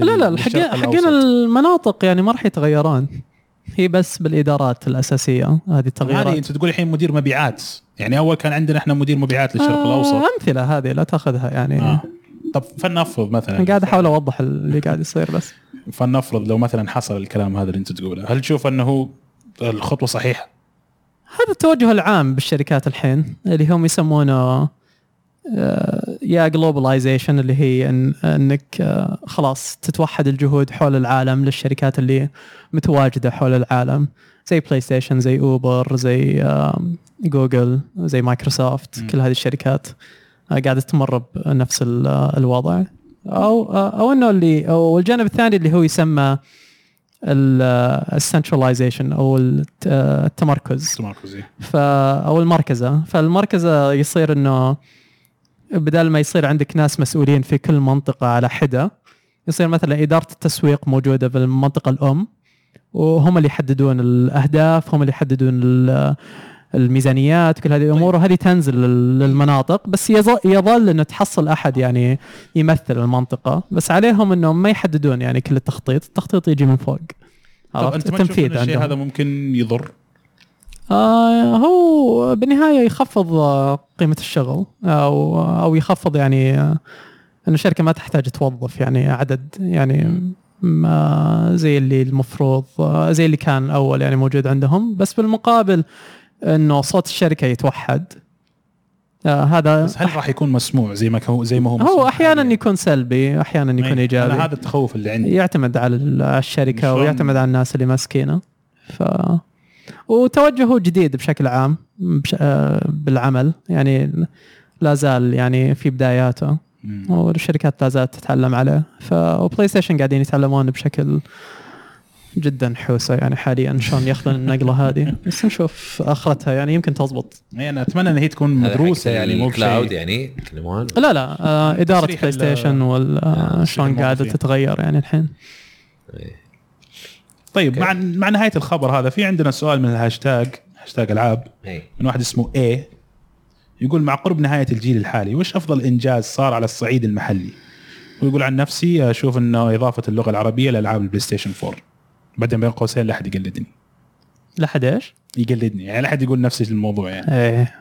Speaker 3: لا لا
Speaker 2: لل-
Speaker 3: حقين
Speaker 2: للشرق
Speaker 3: حقين
Speaker 2: الأوسط.
Speaker 3: المناطق يعني ما راح يتغيران هي بس بالادارات الاساسيه هذه
Speaker 2: هذه
Speaker 3: التغييرات
Speaker 2: انت تقول الحين مدير مبيعات يعني اول كان عندنا احنا مدير مبيعات للشرق
Speaker 3: آه،
Speaker 2: الاوسط
Speaker 3: امثله هذه لا تاخذها يعني
Speaker 2: آه. طب فلنفرض مثلا
Speaker 3: انا قاعد احاول اوضح اللي قاعد يصير بس
Speaker 2: فلنفرض لو مثلا حصل الكلام هذا اللي انت تقوله هل تشوف انه هو الخطوه صحيحه
Speaker 3: هذا التوجه العام بالشركات الحين اللي هم يسمونه آه، يا جلوبلايزيشن اللي هي إن انك آه، خلاص تتوحد الجهود حول العالم للشركات اللي متواجده حول العالم زي بلاي ستيشن زي اوبر زي آم، جوجل زي مايكروسوفت
Speaker 2: مم.
Speaker 3: كل هذه الشركات آه، قاعده تمر بنفس ال- آه، الوضع او آه، او انه اللي او الجانب الثاني اللي هو يسمى آه، السنتراليزيشن او الت- آه، التمركز
Speaker 2: تمركزي
Speaker 3: ف او المركزه فالمركزه يصير انه بدل ما يصير عندك ناس مسؤولين في كل منطقه على حده يصير مثلا اداره التسويق موجوده في المنطقه الام وهم اللي يحددون الاهداف هم اللي يحددون ال- الميزانيات كل هذه الامور
Speaker 2: طيب.
Speaker 3: وهذه تنزل لل- للمناطق بس يظل, يظل انه تحصل احد يعني يمثل المنطقه بس عليهم انهم ما يحددون يعني كل التخطيط التخطيط يجي من فوق
Speaker 2: طب
Speaker 3: عرفت؟
Speaker 2: انت ما تشوف إن الشيء هذا ممكن يضر
Speaker 3: آه هو بالنهايه يخفض آه، قيمه الشغل او او يخفض يعني آه، ان الشركه ما تحتاج توظف يعني عدد يعني ما زي اللي المفروض آه، زي اللي كان اول يعني موجود عندهم بس بالمقابل انه صوت الشركه يتوحد آه هذا
Speaker 2: بس هل راح يكون مسموع زي ما كو زي ما هو مسموع يعني
Speaker 3: هو احيانا
Speaker 2: حالياً؟
Speaker 3: يكون سلبي احيانا يكون
Speaker 2: أي.
Speaker 3: ايجابي
Speaker 2: إيه. أنا هذا التخوف اللي عندي
Speaker 3: يعتمد على ال- على الشركه
Speaker 2: شلون-
Speaker 3: ويعتمد على الناس اللي ماسكينه ف وتوجهه جديد بشكل عام بش... آه، بالعمل يعني لا زال يعني في بداياته
Speaker 2: مم.
Speaker 3: والشركات لا زالت تتعلم عليه ف وبلاي ستيشن قاعدين يتعلمون بشكل جدا حوسه يعني حاليا شلون ياخذون النقله هذه بس نشوف اخرتها يعني يمكن تزبط
Speaker 2: يعني انا اتمنى ان هي تكون مدروسه
Speaker 1: يعني
Speaker 2: يعني مو
Speaker 1: الكلاود
Speaker 2: بشيء
Speaker 1: يعني يتكلمون
Speaker 3: لا لا آه، اداره
Speaker 2: تصريح
Speaker 3: بلاي
Speaker 2: ال- آه،
Speaker 3: ستيشن وال آه، شلون قاعده
Speaker 2: الموظفين.
Speaker 3: تتغير يعني الحين
Speaker 2: طيب مع مع نهايه الخبر هذا في عندنا سؤال من الهاشتاج هاشتاج العاب
Speaker 1: إيه.
Speaker 2: من واحد اسمه اي يقول مع قرب نهايه الجيل الحالي وش افضل انجاز صار على الصعيد المحلي ويقول عن نفسي اشوف انه اضافه اللغه العربيه لالعاب البلاي ستيشن 4 بعدين بين قوسين لا احد يقلدني
Speaker 3: لحد ايش؟
Speaker 2: يقلدني يعني لا احد يقول نفس الموضوع يعني
Speaker 3: ايه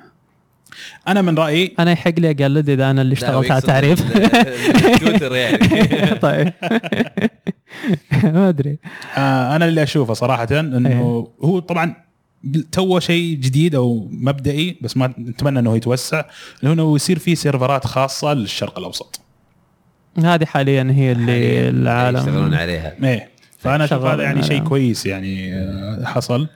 Speaker 2: انا من رايي
Speaker 3: انا يحق لي اقلد اذا انا اللي
Speaker 1: لا، هو
Speaker 3: اشتغلت على
Speaker 1: يقصد
Speaker 3: التعريف
Speaker 1: ال- تويتر يعني
Speaker 3: طيب ما ادري
Speaker 2: آه انا اللي اشوفه صراحه انه هو طبعا تو شيء جديد او مبدئي بس ما نتمنى انه يتوسع اللي هو انه يصير فيه سيرفرات خاصه للشرق الاوسط
Speaker 3: هذه حاليا هي
Speaker 2: يعني
Speaker 3: اللي
Speaker 1: إيه، يشتغلون
Speaker 3: العالم
Speaker 1: عليها
Speaker 2: ايه فانا اشوف
Speaker 3: شغال
Speaker 2: هذا يعني
Speaker 3: على-
Speaker 2: شيء كويس يعني آه، حصل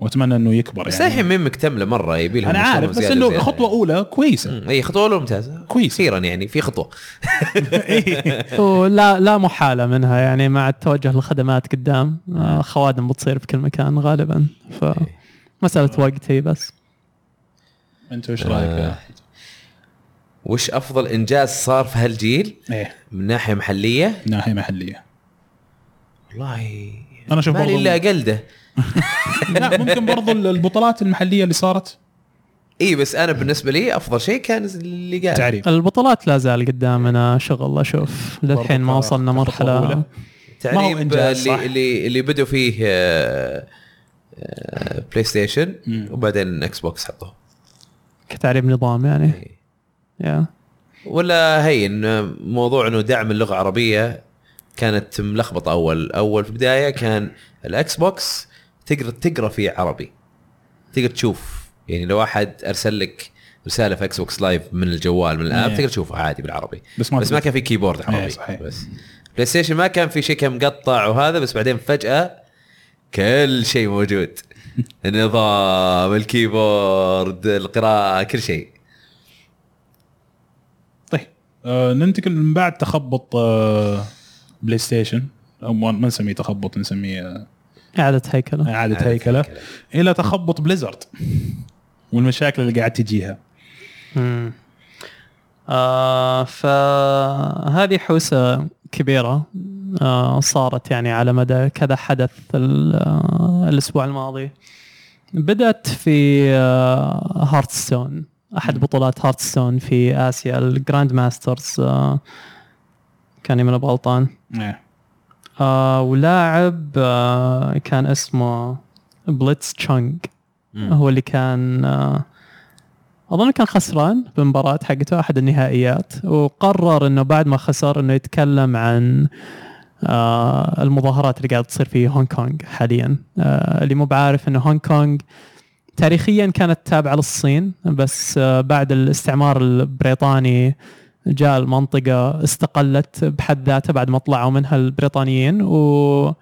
Speaker 2: واتمنى انه يكبر
Speaker 1: بس
Speaker 2: يعني
Speaker 1: الحين مين مكتمله مره يبي لهم
Speaker 2: انا
Speaker 1: يشتغلون
Speaker 2: عارف بس
Speaker 1: زيادة
Speaker 2: انه
Speaker 1: زيادة.
Speaker 2: خطوه اولى كويسه
Speaker 1: مم، اي خطوه اولى ممتازه
Speaker 2: كويس.
Speaker 1: اخيرا يعني في خطوه
Speaker 2: إيه.
Speaker 3: ولا لا محاله منها يعني مع التوجه للخدمات قدام آه، خوادم بتصير بكل مكان غالبا ف مساله وقت هي بس
Speaker 2: انت ايش رايك
Speaker 1: آه.
Speaker 2: آه.
Speaker 1: وش افضل انجاز صار في هالجيل
Speaker 2: ايه
Speaker 1: من ناحيه محليه
Speaker 2: من ناحيه محليه
Speaker 1: والله
Speaker 2: أنا أشوف
Speaker 1: مالي
Speaker 2: برضو-
Speaker 1: الا اقلده
Speaker 2: لا ممكن برضو البطولات المحليه اللي صارت
Speaker 1: اي بس انا بالنسبه لي افضل شيء كان اللي قال
Speaker 2: تعريف
Speaker 3: البطولات لا زال قدامنا شغل اشوف للحين ما
Speaker 2: برضو
Speaker 3: وصلنا
Speaker 2: كخطوة
Speaker 3: مرحله
Speaker 2: أولى. ما هو
Speaker 1: تعريب
Speaker 2: إنجاز، صح.
Speaker 1: اللي, اللي اللي بدوا فيه آه، آه، بلاي ستيشن
Speaker 2: مم.
Speaker 1: وبعدين اكس بوكس حطوه
Speaker 3: كتعريب نظام يعني
Speaker 1: إي.
Speaker 3: يا.
Speaker 1: ولا هي ان موضوع انه دعم اللغه العربيه كانت ملخبطه اول اول في البدايه كان الاكس بوكس تقدر تقرا فيه عربي تقدر تشوف يعني لو احد ارسل لك رساله في اكس بوكس لايف من الجوال من الاب
Speaker 2: إيه.
Speaker 1: تقدر تشوفها عادي بالعربي
Speaker 2: بس ما
Speaker 1: بس ما كان في كيبورد
Speaker 2: إيه،
Speaker 1: عربي
Speaker 2: صحيح.
Speaker 1: بس بلاي ستيشن ما كان في شيء كان مقطع وهذا بس بعدين فجاه كل شيء موجود النظام الكيبورد القراءه كل شيء
Speaker 2: طيب آه ننتقل من بعد تخبط آه بلاي ستيشن او ما ما نسميه تخبط نسميه آه،
Speaker 3: اعاده هيكله
Speaker 2: اعاده هيكله
Speaker 1: هيكلة.
Speaker 2: الى تخبط بليزرد والمشاكل اللي قاعد تجيها
Speaker 3: مم. آه فهذه حوسه كبيره آه صارت يعني على مدى كذا حدث ال- آه، الاسبوع الماضي بدات في هارتستون احد بطولات هارتستون في اسيا الجراند ماسترز آه، كان من غلطان
Speaker 1: نعم.
Speaker 2: إيه.
Speaker 3: آه، ولاعب آه، كان اسمه بليتس تشونغ هو اللي كان آه، اظن كان خسران بالمباراه حقته احد النهائيات وقرر انه بعد ما خسر انه يتكلم عن آه، المظاهرات اللي قاعد تصير في هونغ كونغ حاليا آه، اللي مو بعارف انه هونغ كونغ تاريخيا كانت تابعه للصين بس آه، بعد الاستعمار البريطاني جاء المنطقه استقلت بحد ذاتها بعد ما طلعوا منها البريطانيين و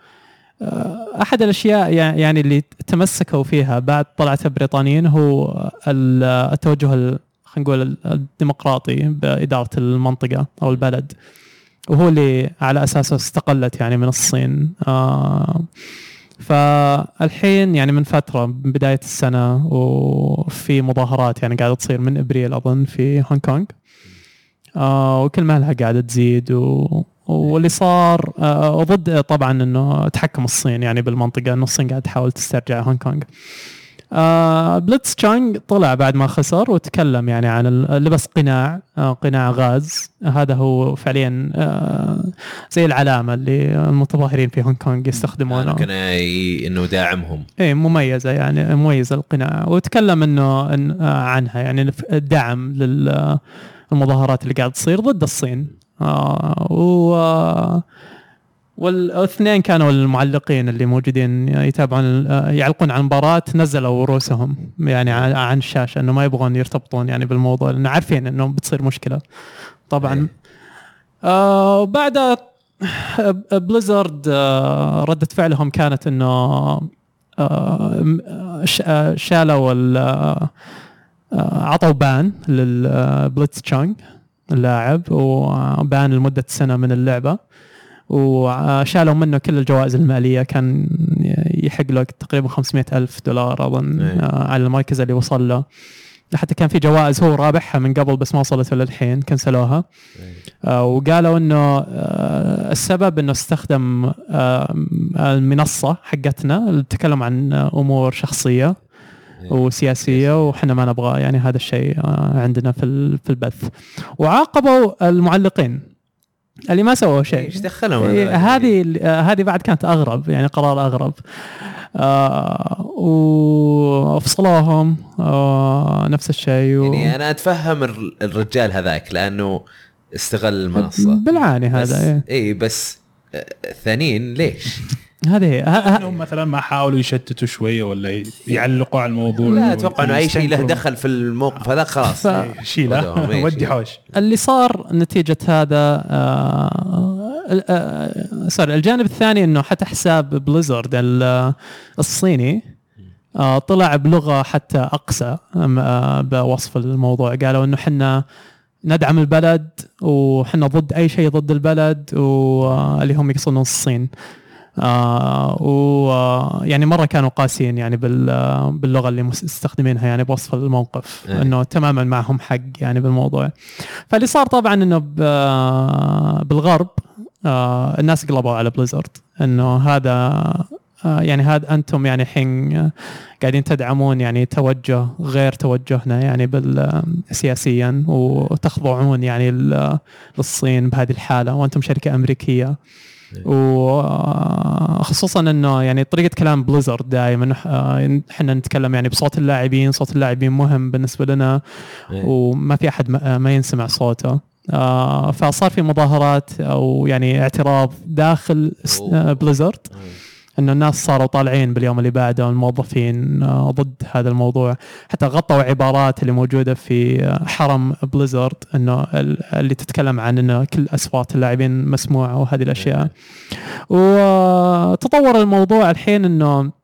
Speaker 3: احد الاشياء يع- يعني اللي تمسكوا فيها بعد طلعت البريطانيين هو ال- التوجه ال- خلينا نقول ال- الديمقراطي باداره المنطقه او البلد وهو اللي على اساسه استقلت يعني من الصين آه، فالحين يعني من فتره من بدايه السنه وفي مظاهرات يعني قاعده تصير من ابريل اظن في هونغ كونغ آه، وكل مالها قاعده تزيد و واللي صار آه، ضد طبعا انه تحكم الصين يعني بالمنطقه انه الصين قاعد تحاول تسترجع هونغ كونغ. آه، بليتس تشانغ طلع بعد ما خسر وتكلم يعني عن ال- لبس قناع آه، قناع غاز هذا هو فعليا آه، زي العلامه اللي المتظاهرين في هونغ كونغ يستخدمونه
Speaker 1: كان ي- انه داعمهم
Speaker 3: ايه مميزه يعني مميزه القناع وتكلم انه إن آه، عنها يعني الف- الدعم للمظاهرات اللي قاعد تصير ضد الصين آه، و آه، والاثنين كانوا المعلقين اللي موجودين يتابعون ال- آه، يعلقون على المباراه نزلوا رؤوسهم يعني عن عن الشاشه انه ما يبغون يرتبطون يعني بالموضوع لانه عارفين انه بتصير مشكله طبعا
Speaker 1: إيه.
Speaker 3: آه وبعدها بليزرد آه ردة فعلهم كانت انه آه، م- آه، ش- آه، شالوا ال- آه، آه، عطوا بان للبليتس تشانج اللاعب وبان لمدة سنة من اللعبة وشالوا منه كل الجوائز المالية كان يحق له تقريبا 500 ألف دولار أظن
Speaker 1: إيه.
Speaker 3: آه، على المركز اللي وصل له حتى كان في جوائز هو رابحها من قبل بس ما وصلت له للحين كنسلوها آه، وقالوا انه آه، السبب انه استخدم آه، المنصه حقتنا للتكلم عن آه، امور شخصيه
Speaker 1: إيه،
Speaker 3: وسياسيه وحنا ما نبغى يعني هذا الشيء آه، عندنا في ال- في البث وعاقبوا المعلقين اللي ما سووا شيء
Speaker 1: ايش دخلهم
Speaker 3: إيه،
Speaker 1: هذا؟
Speaker 3: هذه ال- آه، هذه بعد كانت اغرب يعني قرار اغرب آه، وافصلوهم آه، نفس الشيء و...
Speaker 1: يعني انا اتفهم الر- الرجال هذاك لانه استغل المنصه
Speaker 3: بالعاني
Speaker 1: بس
Speaker 3: هذا إيه.
Speaker 1: اي بس آه، الثانيين ليش؟
Speaker 3: هذه هي. ه- ه-
Speaker 2: انهم مثلا آه، ما حاولوا يشتتوا شويه ولا ي- يعلقوا على الموضوع
Speaker 1: لا اتوقع انه اي شيء له دخل في الموقف هذا خلاص
Speaker 3: ف-
Speaker 2: إيه، شيله
Speaker 1: ودهم، إيه،
Speaker 2: ودي
Speaker 1: شيله.
Speaker 2: حوش
Speaker 3: اللي صار نتيجة هذا آه، ال- آه، سوري الجانب الثاني انه حتى حساب بليزرد ال- آه، الصيني آه، طلع بلغة حتى أقسى أم- آه، بوصف الموضوع قالوا انه حنا ندعم البلد وحنا ضد أي شيء ضد البلد واللي هم يقصدون الصين آه ويعني مره كانوا قاسيين يعني بال آه، باللغه اللي مس- مستخدمينها يعني بوصف الموقف
Speaker 1: إيه.
Speaker 3: انه تماما معهم حق يعني بالموضوع فاللي صار طبعا انه ب- آه، بالغرب آه الناس قلبوا على بليزرد انه هذا آه يعني هذا انتم يعني الحين قاعدين تدعمون يعني توجه غير توجهنا يعني بال سياسيا وتخضعون يعني ال- للصين بهذه الحاله وانتم شركه امريكيه وخصوصا انه آه، يعني طريقه كلام بليزرد دائما احنا نتكلم يعني بصوت اللاعبين صوت اللاعبين مهم بالنسبه لنا
Speaker 1: إيه.
Speaker 3: وما في احد ما ما ينسمع صوته آه، فصار في مظاهرات او يعني اعتراض داخل س-
Speaker 1: أوه.
Speaker 3: آه، بليزرد انه الناس صاروا طالعين باليوم اللي بعده الموظفين آه، ضد هذا الموضوع حتى غطوا عبارات اللي موجوده في آه، حرم بليزرد انه ال- اللي تتكلم عن انه كل اصوات اللاعبين مسموعه وهذه الاشياء وتطور الموضوع الحين انه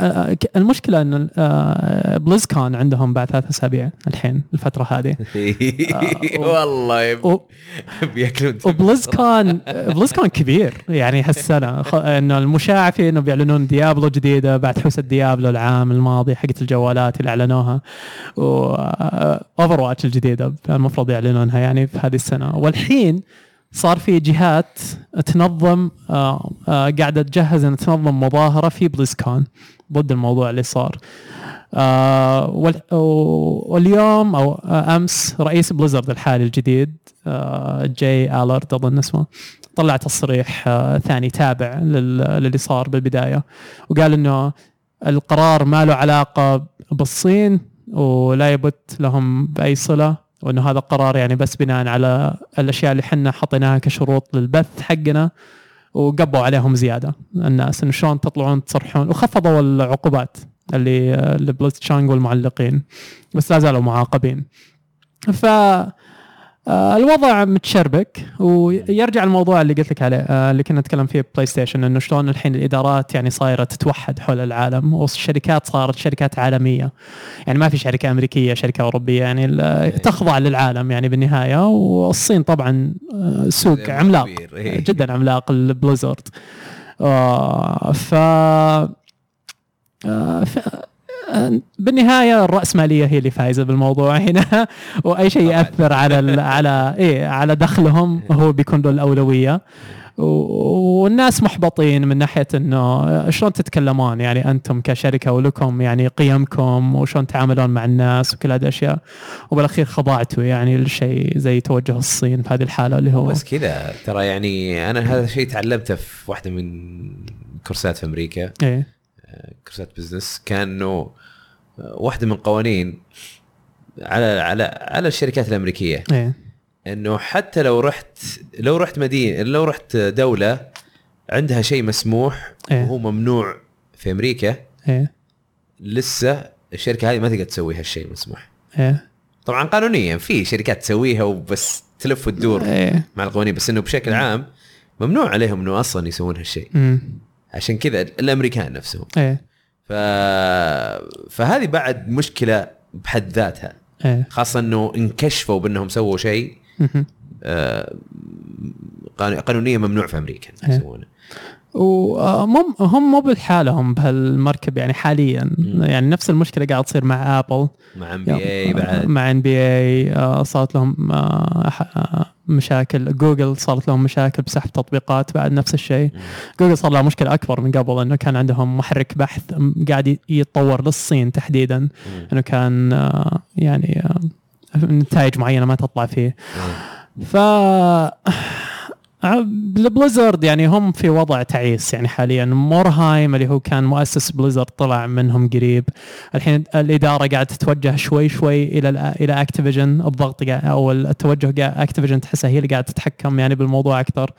Speaker 3: آه، ك- المشكله انه آه، بليزكون عندهم بعد ثلاث اسابيع الحين الفتره هذه آه، و-
Speaker 1: والله يب-
Speaker 3: و-
Speaker 1: بياكلون دم.
Speaker 3: وبلزكون بلزكون كبير يعني هالسنه خ- انه المشاع فيه انه بيعلنون ديابلو جديده بعد حوسه ديابلو العام الماضي حقت الجوالات اللي اعلنوها و اوفر واتش الجديده المفروض يعلنونها يعني في هذه السنه والحين صار في جهات تنظم آه، آه، قاعده تجهز ان تنظم مظاهره في بليزكون ضد الموضوع اللي صار آه، وال- واليوم او آه، امس رئيس بليزرد الحالي الجديد آه، جاي الارت اظن اسمه طلع تصريح آه، ثاني تابع لل- للي صار بالبدايه وقال انه القرار ما له علاقه بالصين ولا يبت لهم باي صله وانه هذا قرار يعني بس بناء على الاشياء اللي حنا حطيناها كشروط للبث حقنا وقبوا عليهم زياده الناس انه شلون تطلعون تصرحون وخفضوا العقوبات اللي اللي بلوت تشانغ والمعلقين بس لا زالوا معاقبين ف آه، الوضع متشربك ويرجع الموضوع اللي قلت لك عليه آه، اللي كنا نتكلم فيه بلاي ستيشن انه شلون الحين الادارات يعني صايره تتوحد حول العالم والشركات صارت شركات عالميه يعني ما في شركه امريكيه شركه اوروبيه يعني ال- تخضع للعالم يعني بالنهايه والصين طبعا آه، سوق عملاق
Speaker 1: كبير، إيه.
Speaker 3: جدا عملاق البليزرد آه، ف آه، ف- آه، بالنهايه الراسماليه هي اللي فايزه بالموضوع هنا واي شيء
Speaker 1: طبعاً. إيه.
Speaker 3: ياثر على ال- على ايه على دخلهم هو بيكون له الاولويه و- والناس محبطين من ناحيه انه شلون تتكلمون يعني انتم كشركه ولكم يعني قيمكم وشلون تعاملون مع الناس وكل هذه الاشياء وبالاخير خضعتوا يعني لشيء زي توجه الصين في هذه الحاله اللي هو
Speaker 1: بس كذا ترى يعني انا هذا الشيء تعلمته في واحده من كورسات في امريكا
Speaker 3: ايه
Speaker 1: كورسات بزنس كان انه واحده من قوانين على على على الشركات الامريكيه
Speaker 3: ايه
Speaker 1: انه حتى لو رحت لو رحت مدينه لو رحت دوله عندها شيء مسموح
Speaker 3: إيه.
Speaker 1: وهو ممنوع في امريكا
Speaker 3: ايه
Speaker 1: لسه الشركه هذه ما تقدر تسوي هالشيء المسموح
Speaker 3: ايه
Speaker 1: طبعا قانونيا في شركات تسويها وبس تلف وتدور
Speaker 3: ايه
Speaker 1: مع القوانين بس انه بشكل عام ممنوع عليهم انه اصلا يسوون هالشيء
Speaker 3: أمم.
Speaker 1: عشان كذا الامريكان نفسهم
Speaker 3: ايه
Speaker 1: ف... فهذه بعد مشكله بحد ذاتها
Speaker 3: ايه
Speaker 1: خاصه انه انكشفوا بانهم سووا شيء
Speaker 3: مهم.
Speaker 1: آه، قانو- قانونيا ممنوع في امريكا
Speaker 3: إيه.
Speaker 1: يسوونه
Speaker 3: وهم هم مو بحالهم بهالمركب يعني حاليا
Speaker 1: مم.
Speaker 3: يعني نفس المشكله قاعد تصير مع ابل
Speaker 1: مع ام بي اي
Speaker 3: يعني
Speaker 1: بعد
Speaker 3: مع ان بي اي صارت لهم آه، ح- آه، مشاكل جوجل صارت لهم مشاكل بسحب تطبيقات بعد نفس الشيء
Speaker 1: مم.
Speaker 3: جوجل صار لها مشكله اكبر من قبل انه كان عندهم محرك بحث م- قاعد ي- يتطور للصين تحديدا
Speaker 1: مم.
Speaker 3: انه كان آه، يعني آه، نتائج معينه ما تطلع فيه
Speaker 1: إيه.
Speaker 3: ف البليزرد آه، يعني هم في وضع تعيس يعني حاليا مورهايم اللي هو كان مؤسس بليزرد طلع منهم قريب الحين الاداره قاعده تتوجه شوي شوي الى الأ- الى اكتيفيجن الضغط قاعد- او التوجه قاعد اكتيفيجن تحسها هي اللي قاعده تتحكم يعني بالموضوع اكثر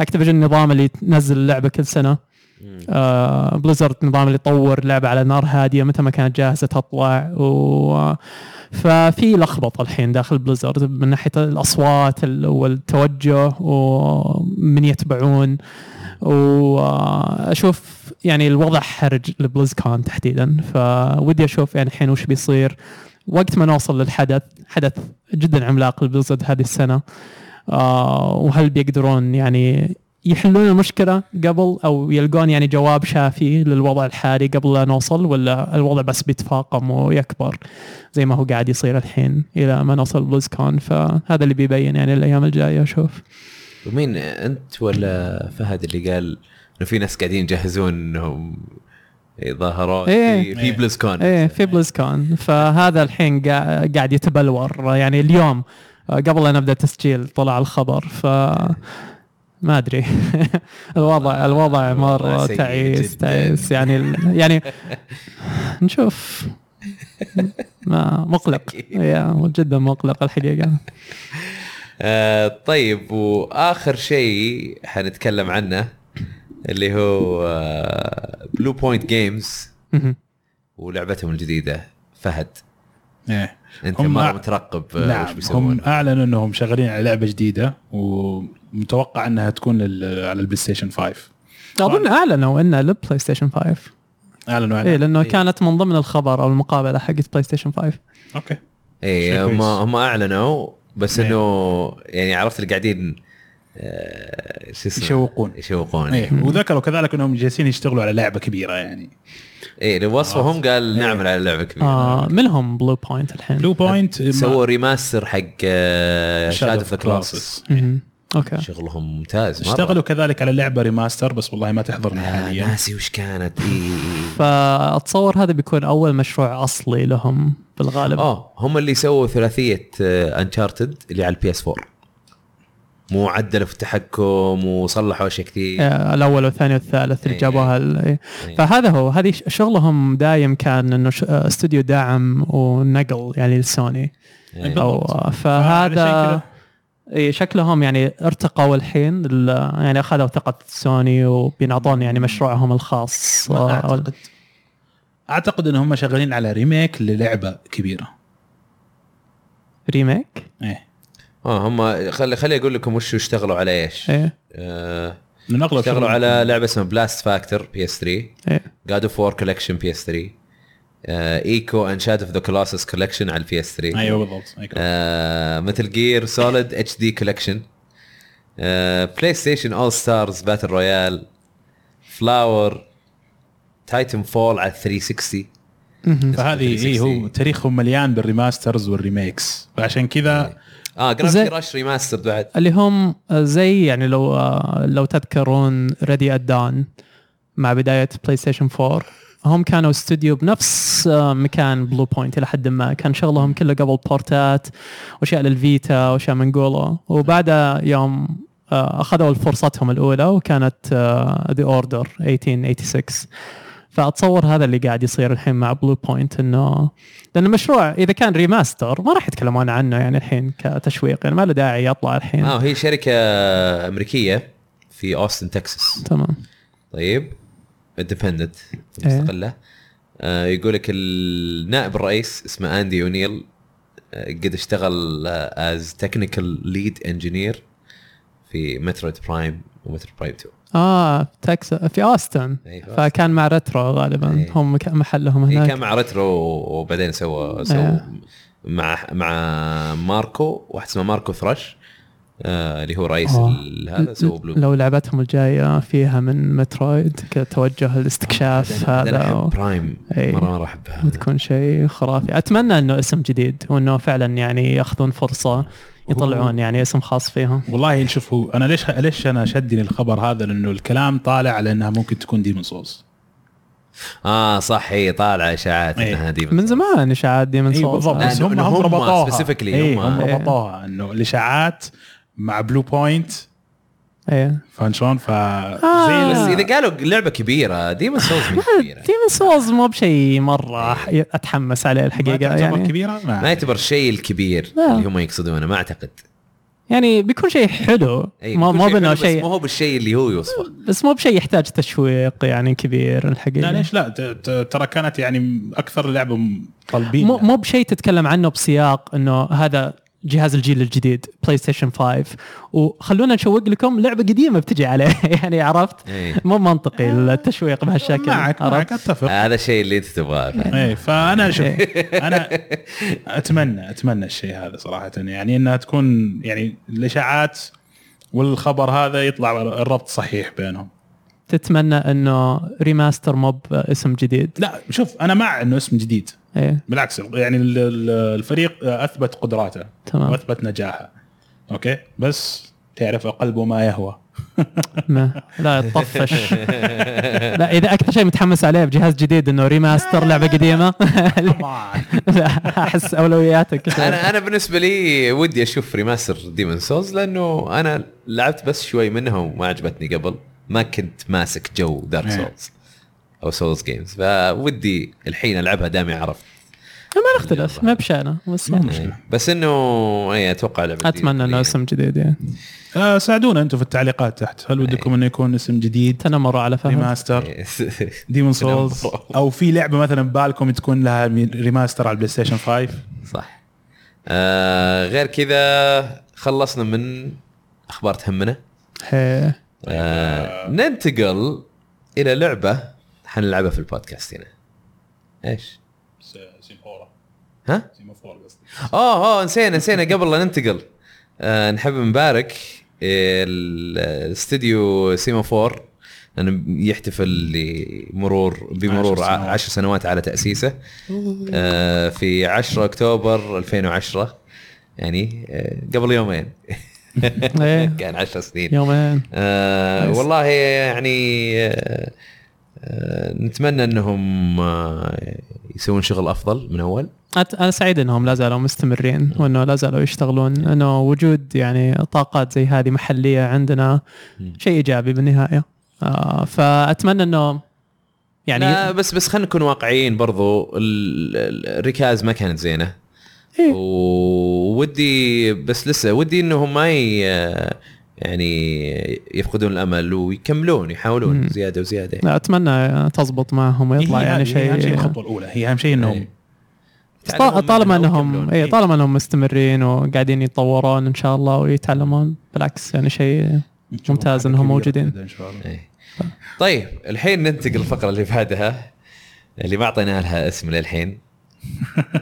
Speaker 3: اكتيفيجن النظام اللي تنزل اللعبه كل سنه
Speaker 1: مم.
Speaker 3: آه، بليزرد نظام اللي يطور لعبه على نار هاديه متى ما كانت جاهزه تطلع و ففي لخبطه الحين داخل بليزرد من ناحيه الاصوات ال- والتوجه ومن يتبعون واشوف يعني الوضع حرج لبليز كون تحديدا فودي اشوف يعني الحين وش بيصير وقت ما نوصل للحدث حدث جدا عملاق لبليزرد هذه السنه آه، وهل بيقدرون يعني يحلون المشكله قبل او يلقون يعني جواب شافي للوضع الحالي قبل لا نوصل ولا الوضع بس بيتفاقم ويكبر زي ما هو قاعد يصير الحين الى ما نوصل بلوزكون فهذا اللي بيبين يعني الايام الجايه اشوف
Speaker 1: ومين انت ولا فهد اللي قال انه في ناس قاعدين يجهزون انهم يظاهرون
Speaker 3: إيه.
Speaker 1: في- في بلزكون
Speaker 3: ايه في بلوزكون فهذا الحين قا- قاعد يتبلور يعني اليوم آه، قبل لا نبدا تسجيل طلع الخبر ف ما ادري الوضع الوضع
Speaker 1: الوضع
Speaker 3: مره
Speaker 1: سيء
Speaker 3: تعيس
Speaker 1: جداً.
Speaker 3: تعيس يعني ال- يعني نشوف ما مقلق يا جدا مقلق الحقيقه
Speaker 1: آه طيب واخر شيء حنتكلم عنه اللي هو آه بلو بوينت جيمز
Speaker 3: مهم.
Speaker 1: ولعبتهم الجديده فهد نعم.
Speaker 2: إيه.
Speaker 1: انت
Speaker 2: هم
Speaker 1: مره
Speaker 2: أع-
Speaker 1: مترقب آه،
Speaker 2: نعم
Speaker 1: وش
Speaker 2: هم
Speaker 1: بيسوون
Speaker 2: اعلنوا انهم شغالين على لعبه جديده ومتوقع انها تكون لل- على البلاي ستيشن 5
Speaker 1: طيب.
Speaker 3: اظن اعلنوا انه للبلاي ستيشن 5
Speaker 2: اعلنوا
Speaker 3: اي
Speaker 2: عنها
Speaker 3: لانه
Speaker 1: إيه.
Speaker 3: كانت من ضمن الخبر او المقابله حقت بلاي ستيشن 5
Speaker 1: إيه.
Speaker 2: اوكي
Speaker 1: اي
Speaker 2: شيء
Speaker 1: هم
Speaker 2: كويس.
Speaker 1: هم اعلنوا بس
Speaker 2: نعم.
Speaker 1: انه يعني عرفت اللي قاعدين آه، شو اسمه
Speaker 2: يشوقون.
Speaker 1: يشوقون
Speaker 2: إيه.
Speaker 1: اي
Speaker 2: وذكروا كذلك انهم جالسين يشتغلوا على لعبه كبيره يعني
Speaker 1: إيه وصفهم قال
Speaker 2: إيه.
Speaker 1: نعمل على نعم. لعبه كبيره
Speaker 3: آه منهم بلو بوينت الحين
Speaker 2: بلو بوينت
Speaker 1: سووا ريماستر حق شاد اوف ذا
Speaker 2: كلاسز
Speaker 1: كلاسس
Speaker 3: مهم. اوكي
Speaker 1: شغلهم ممتاز مرة.
Speaker 2: اشتغلوا كذلك على لعبه ريماستر بس والله ما تحضرني
Speaker 1: آه
Speaker 2: حاليا
Speaker 1: ناسي وش كانت إيه، اي إي، إي.
Speaker 3: فاتصور هذا بيكون اول مشروع اصلي لهم بالغالب
Speaker 1: اه هم اللي سووا ثلاثيه انشارتد اللي على البي اس 4 مو عدلوا في التحكم وصلحوا اشياء كثير
Speaker 3: آه، الاول والثاني والثالث اللي
Speaker 1: إيه.
Speaker 3: جابوها ال- إيه.
Speaker 1: إيه.
Speaker 3: فهذا هو هذه ش- شغلهم دايم كان انه ش- آه، استوديو دعم ونقل يعني لسوني
Speaker 1: إيه.
Speaker 3: او آه،
Speaker 2: علشان
Speaker 3: فهذا
Speaker 2: كذا-
Speaker 3: إيه، شكلهم يعني ارتقوا الحين ال- يعني اخذوا ثقه سوني وبينعطون يعني مشروعهم الخاص
Speaker 2: ما
Speaker 3: آه، أو-
Speaker 2: اعتقد اعتقد ان هم شغالين على ريميك للعبه كبيره
Speaker 3: ريميك
Speaker 2: ايه
Speaker 1: اه هم خلي خلي اقول لكم وش اشتغلوا على ايش
Speaker 2: إيه.
Speaker 3: ايه
Speaker 1: آه،
Speaker 2: من اغلب
Speaker 1: اشتغلوا
Speaker 2: شغلهم-
Speaker 1: على لعبه اسمها بلاست فاكتور بي اس 3
Speaker 3: ايه
Speaker 1: جاد اوف وور كولكشن بي اس 3 ايكو اند شاد اوف ذا كلاسس كولكشن على البي اس 3
Speaker 2: ايوه بالضبط
Speaker 1: آه،
Speaker 2: أيوة.
Speaker 1: مثل جير سوليد اتش دي كولكشن بلاي ستيشن اول ستارز باتل رويال فلاور تايتن فول على 360
Speaker 3: مهم.
Speaker 2: فهذه اي هو
Speaker 1: 360.
Speaker 2: تاريخهم مليان بالريماسترز والريميكس فعشان كذا
Speaker 1: اه
Speaker 3: زي-
Speaker 1: جرافيتي راش ريماستر بعد
Speaker 3: اللي هم زي يعني لو لو تذكرون ريدي دان مع بدايه بلاي ستيشن 4 هم كانوا استوديو بنفس آه، مكان بلو بوينت الى حد ما كان شغلهم كله قبل بورتات واشياء للفيتا واشياء من جولا وبعدها يوم آه، اخذوا فرصتهم الاولى وكانت آه، ذا اوردر 1886 فاتصور هذا اللي قاعد يصير الحين مع بلو بوينت انه لان المشروع اذا كان ريماستر ما راح يتكلمون عنه يعني الحين كتشويق يعني ما له داعي يطلع الحين
Speaker 1: اه هي شركه امريكيه في اوستن تكساس
Speaker 3: تمام
Speaker 1: طيب اندبندنت
Speaker 3: إيه.
Speaker 1: مستقله آه يقول لك النائب الرئيس اسمه اندي اونيل آه، قد اشتغل آه، از تكنيكال ليد انجينير في مترويد برايم ومترويد برايم 2
Speaker 3: اه في تكساس في اوستن
Speaker 1: إيه، في أوستن.
Speaker 3: فكان مع ريترو غالبا
Speaker 1: إيه.
Speaker 3: هم ك- محلهم
Speaker 1: هي
Speaker 3: هناك
Speaker 1: كان مع ريترو وبعدين سوى سوى
Speaker 3: آه.
Speaker 1: مع مع ماركو واحد اسمه ماركو ثرش آه اللي هو رئيس
Speaker 3: آه.
Speaker 1: ال- هذا سوى بلو
Speaker 3: لو لعبتهم الجايه فيها من مترويد كتوجه الاستكشاف
Speaker 1: أنا- أنا
Speaker 3: هذا
Speaker 1: احب
Speaker 3: و-
Speaker 1: برايم
Speaker 3: إيه.
Speaker 1: مره مره احبها
Speaker 3: بتكون شيء خرافي اتمنى انه اسم جديد وانه فعلا يعني ياخذون فرصه يطلعون يعني اسم خاص فيهم
Speaker 2: والله شوف هو انا ليش ليش انا شدني الخبر هذا لانه الكلام طالع على انها ممكن تكون ديمون سولز
Speaker 1: اه صح هي طالعه اشاعات
Speaker 2: إيه.
Speaker 1: انها دي
Speaker 3: من زمان اشاعات ديمن
Speaker 2: اي إيه، بالضبط
Speaker 1: لا،
Speaker 2: بس
Speaker 1: إنه-
Speaker 2: هم
Speaker 1: إنه
Speaker 2: هم
Speaker 1: هم
Speaker 2: ربطوها
Speaker 1: specifically
Speaker 2: إيه،
Speaker 1: هم-
Speaker 2: هم
Speaker 3: إيه.
Speaker 2: ربطوها انه الاشاعات مع بلو بوينت
Speaker 3: ايه
Speaker 2: فاهم شلون؟ ف زي
Speaker 1: بس
Speaker 2: ال-
Speaker 1: اذا قالوا لعبه كبيره ديمون سولز مو كبيره
Speaker 3: ديمن سولز مو بشيء مره ح- اتحمس عليه الحقيقه
Speaker 2: ما تعتبر
Speaker 3: يعني
Speaker 2: كبيره ما
Speaker 1: ما يعتبر الشيء الكبير
Speaker 3: لا.
Speaker 1: اللي هم يقصدونه ما اعتقد
Speaker 3: يعني بيكون شيء حلو
Speaker 2: إيه،
Speaker 1: أي،
Speaker 3: ما
Speaker 1: بيكون
Speaker 3: مو
Speaker 1: شيء حلو
Speaker 3: بانه
Speaker 1: بس
Speaker 3: شيء
Speaker 1: مو هو بالشيء اللي هو يوصفه
Speaker 3: بس مو بشيء يحتاج تشويق يعني كبير الحقيقه
Speaker 2: لا ليش لا ت- ت- ترى كانت يعني اكثر لعبه مطلبين
Speaker 3: مو مو بشيء تتكلم عنه بسياق انه هذا جهاز الجيل الجديد بلاي ستيشن 5 وخلونا نشوق لكم لعبه قديمه بتجي عليه يعني عرفت
Speaker 1: إيه.
Speaker 3: مو منطقي التشويق بهالشكل
Speaker 2: آه، معك معك
Speaker 3: عرفت
Speaker 2: اتفق
Speaker 1: هذا الشيء اللي انت تبغاه
Speaker 3: إيه.
Speaker 2: ايه فانا شوف انا اتمنى اتمنى الشيء هذا صراحه يعني انها تكون يعني الاشاعات والخبر هذا يطلع الربط صحيح بينهم
Speaker 3: تتمنى انه ريماستر موب اسم جديد
Speaker 2: لا شوف انا مع انه اسم جديد
Speaker 3: ايه
Speaker 2: بالعكس يعني ال- ال- الفريق اثبت قدراته
Speaker 3: تمام
Speaker 2: واثبت نجاحه اوكي بس تعرف قلبه ما يهوى
Speaker 3: ما. لا تطفش لا اذا اكثر شيء متحمس عليه بجهاز جديد انه ريماستر لعبه قديمه
Speaker 2: طبعا
Speaker 3: لا احس اولوياتك
Speaker 1: انا انا بالنسبه لي ودي اشوف ريماستر ديمون سولز لانه انا لعبت بس شوي منها وما عجبتني قبل ما كنت ماسك جو دارك
Speaker 2: إيه.
Speaker 1: سولز او سولز جيمز فودي الحين العبها دامي عرفت
Speaker 3: ما نختلف ما بشأنه بس
Speaker 2: ما
Speaker 3: يعني
Speaker 2: مشكله
Speaker 1: إيه. بس إيه، انه اي اتوقع لعبه
Speaker 3: اتمنى انه اسم جديد يعني
Speaker 2: آه، ساعدونا انتم في التعليقات تحت هل ودكم انه يكون اسم جديد
Speaker 3: تنمروا على فهد
Speaker 1: إيه.
Speaker 2: ريماستر ديمون سولز او في لعبه مثلا بالكم تكون لها ريماستر على البلاي ستيشن 5
Speaker 1: صح آه غير كذا خلصنا من اخبار تهمنا
Speaker 3: هي.
Speaker 1: آه ننتقل الى لعبه حنلعبها في البودكاست هنا ايش ها اوه اوه آه، نسينا نسينا قبل لا ننتقل آه نحب نبارك ال- الاستديو سيما 4 لانه يحتفل لمرور بمرور
Speaker 2: عشر سنوات.
Speaker 1: 10 سنوات على تاسيسه آه في 10 اكتوبر 2010 يعني آه قبل يومين
Speaker 3: إيه.
Speaker 1: كان 10 سنين
Speaker 3: يومين
Speaker 1: آه
Speaker 3: كويس.
Speaker 1: والله يعني آه آه نتمنى انهم آه يسوون شغل افضل من اول
Speaker 3: أت- انا سعيد انهم لا زالوا مستمرين وانه لا زالوا يشتغلون لانه وجود يعني طاقات زي هذه محليه عندنا
Speaker 1: مم.
Speaker 3: شيء ايجابي بالنهايه آه فاتمنى انه يعني
Speaker 1: لا بس بس خلينا نكون واقعيين برضو ال- ال- الركاز ما كانت زينه
Speaker 3: إيه.
Speaker 1: وودي بس لسه ودي انهم ما ي- يعني يفقدون الامل ويكملون يحاولون يعني
Speaker 3: مم.
Speaker 1: زياده وزياده
Speaker 3: لا اتمنى تزبط معهم ويطلع
Speaker 2: هي
Speaker 3: يعني
Speaker 2: إيه، هذه- هي اهم شيء
Speaker 3: شيء
Speaker 2: الخطوه الاولى هي اهم شيء انهم
Speaker 1: إيه.
Speaker 3: بس
Speaker 1: تعلمون
Speaker 3: طال- طالما
Speaker 1: منها
Speaker 3: انهم
Speaker 1: ويكملون.
Speaker 3: اي
Speaker 2: إيه.
Speaker 3: طالما انهم مستمرين وقاعدين يتطورون ان شاء الله ويتعلمون بالعكس يعني شيء ممتاز إنهم
Speaker 2: حاجة كبيرة
Speaker 3: موجودين.
Speaker 2: جداً إن شاء الله.
Speaker 1: إيه. طيب الحين ننتقل الفقره اللي بعدها اللي ما اعطينا لها اسم للحين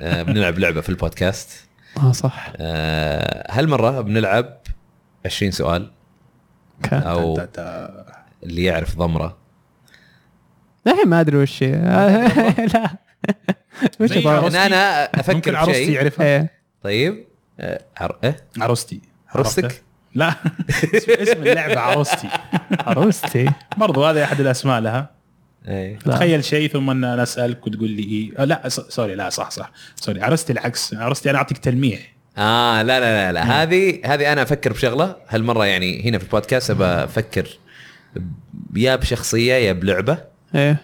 Speaker 1: آه، بنلعب لعبه في البودكاست
Speaker 3: اه صح
Speaker 1: آه، هالمره بنلعب 20 سؤال
Speaker 3: اوكي
Speaker 1: او
Speaker 2: تا- تا-
Speaker 1: اللي يعرف ضمره
Speaker 3: الحين ما ادري وش هي. لا وش
Speaker 2: زي
Speaker 3: الضرر؟
Speaker 2: عروستي.
Speaker 1: هنا انا
Speaker 2: ممكن
Speaker 1: افكر
Speaker 2: عروستي يعني.
Speaker 1: شيء
Speaker 2: يعرفها
Speaker 3: إيه.
Speaker 1: طيب آه، عر... إيه؟
Speaker 2: عروستي
Speaker 1: عروستك
Speaker 2: عرفتها؟ لا اسم اسم اللعبه عروستي
Speaker 3: عروستي
Speaker 2: برضو هذا احد الاسماء لها
Speaker 1: إيه.
Speaker 3: لا.
Speaker 2: تخيل شيء ثم إن انا اسالك وتقول لي إيه. آه، لا س- سوري لا صح صح سوري عروستي العكس عروستي انا اعطيك تلميح
Speaker 1: اه لا لا لا لا هذه هذه انا افكر بشغله هالمره يعني هنا في البودكاست ابى افكر ب- يا بشخصيه يا بلعبه
Speaker 3: ايه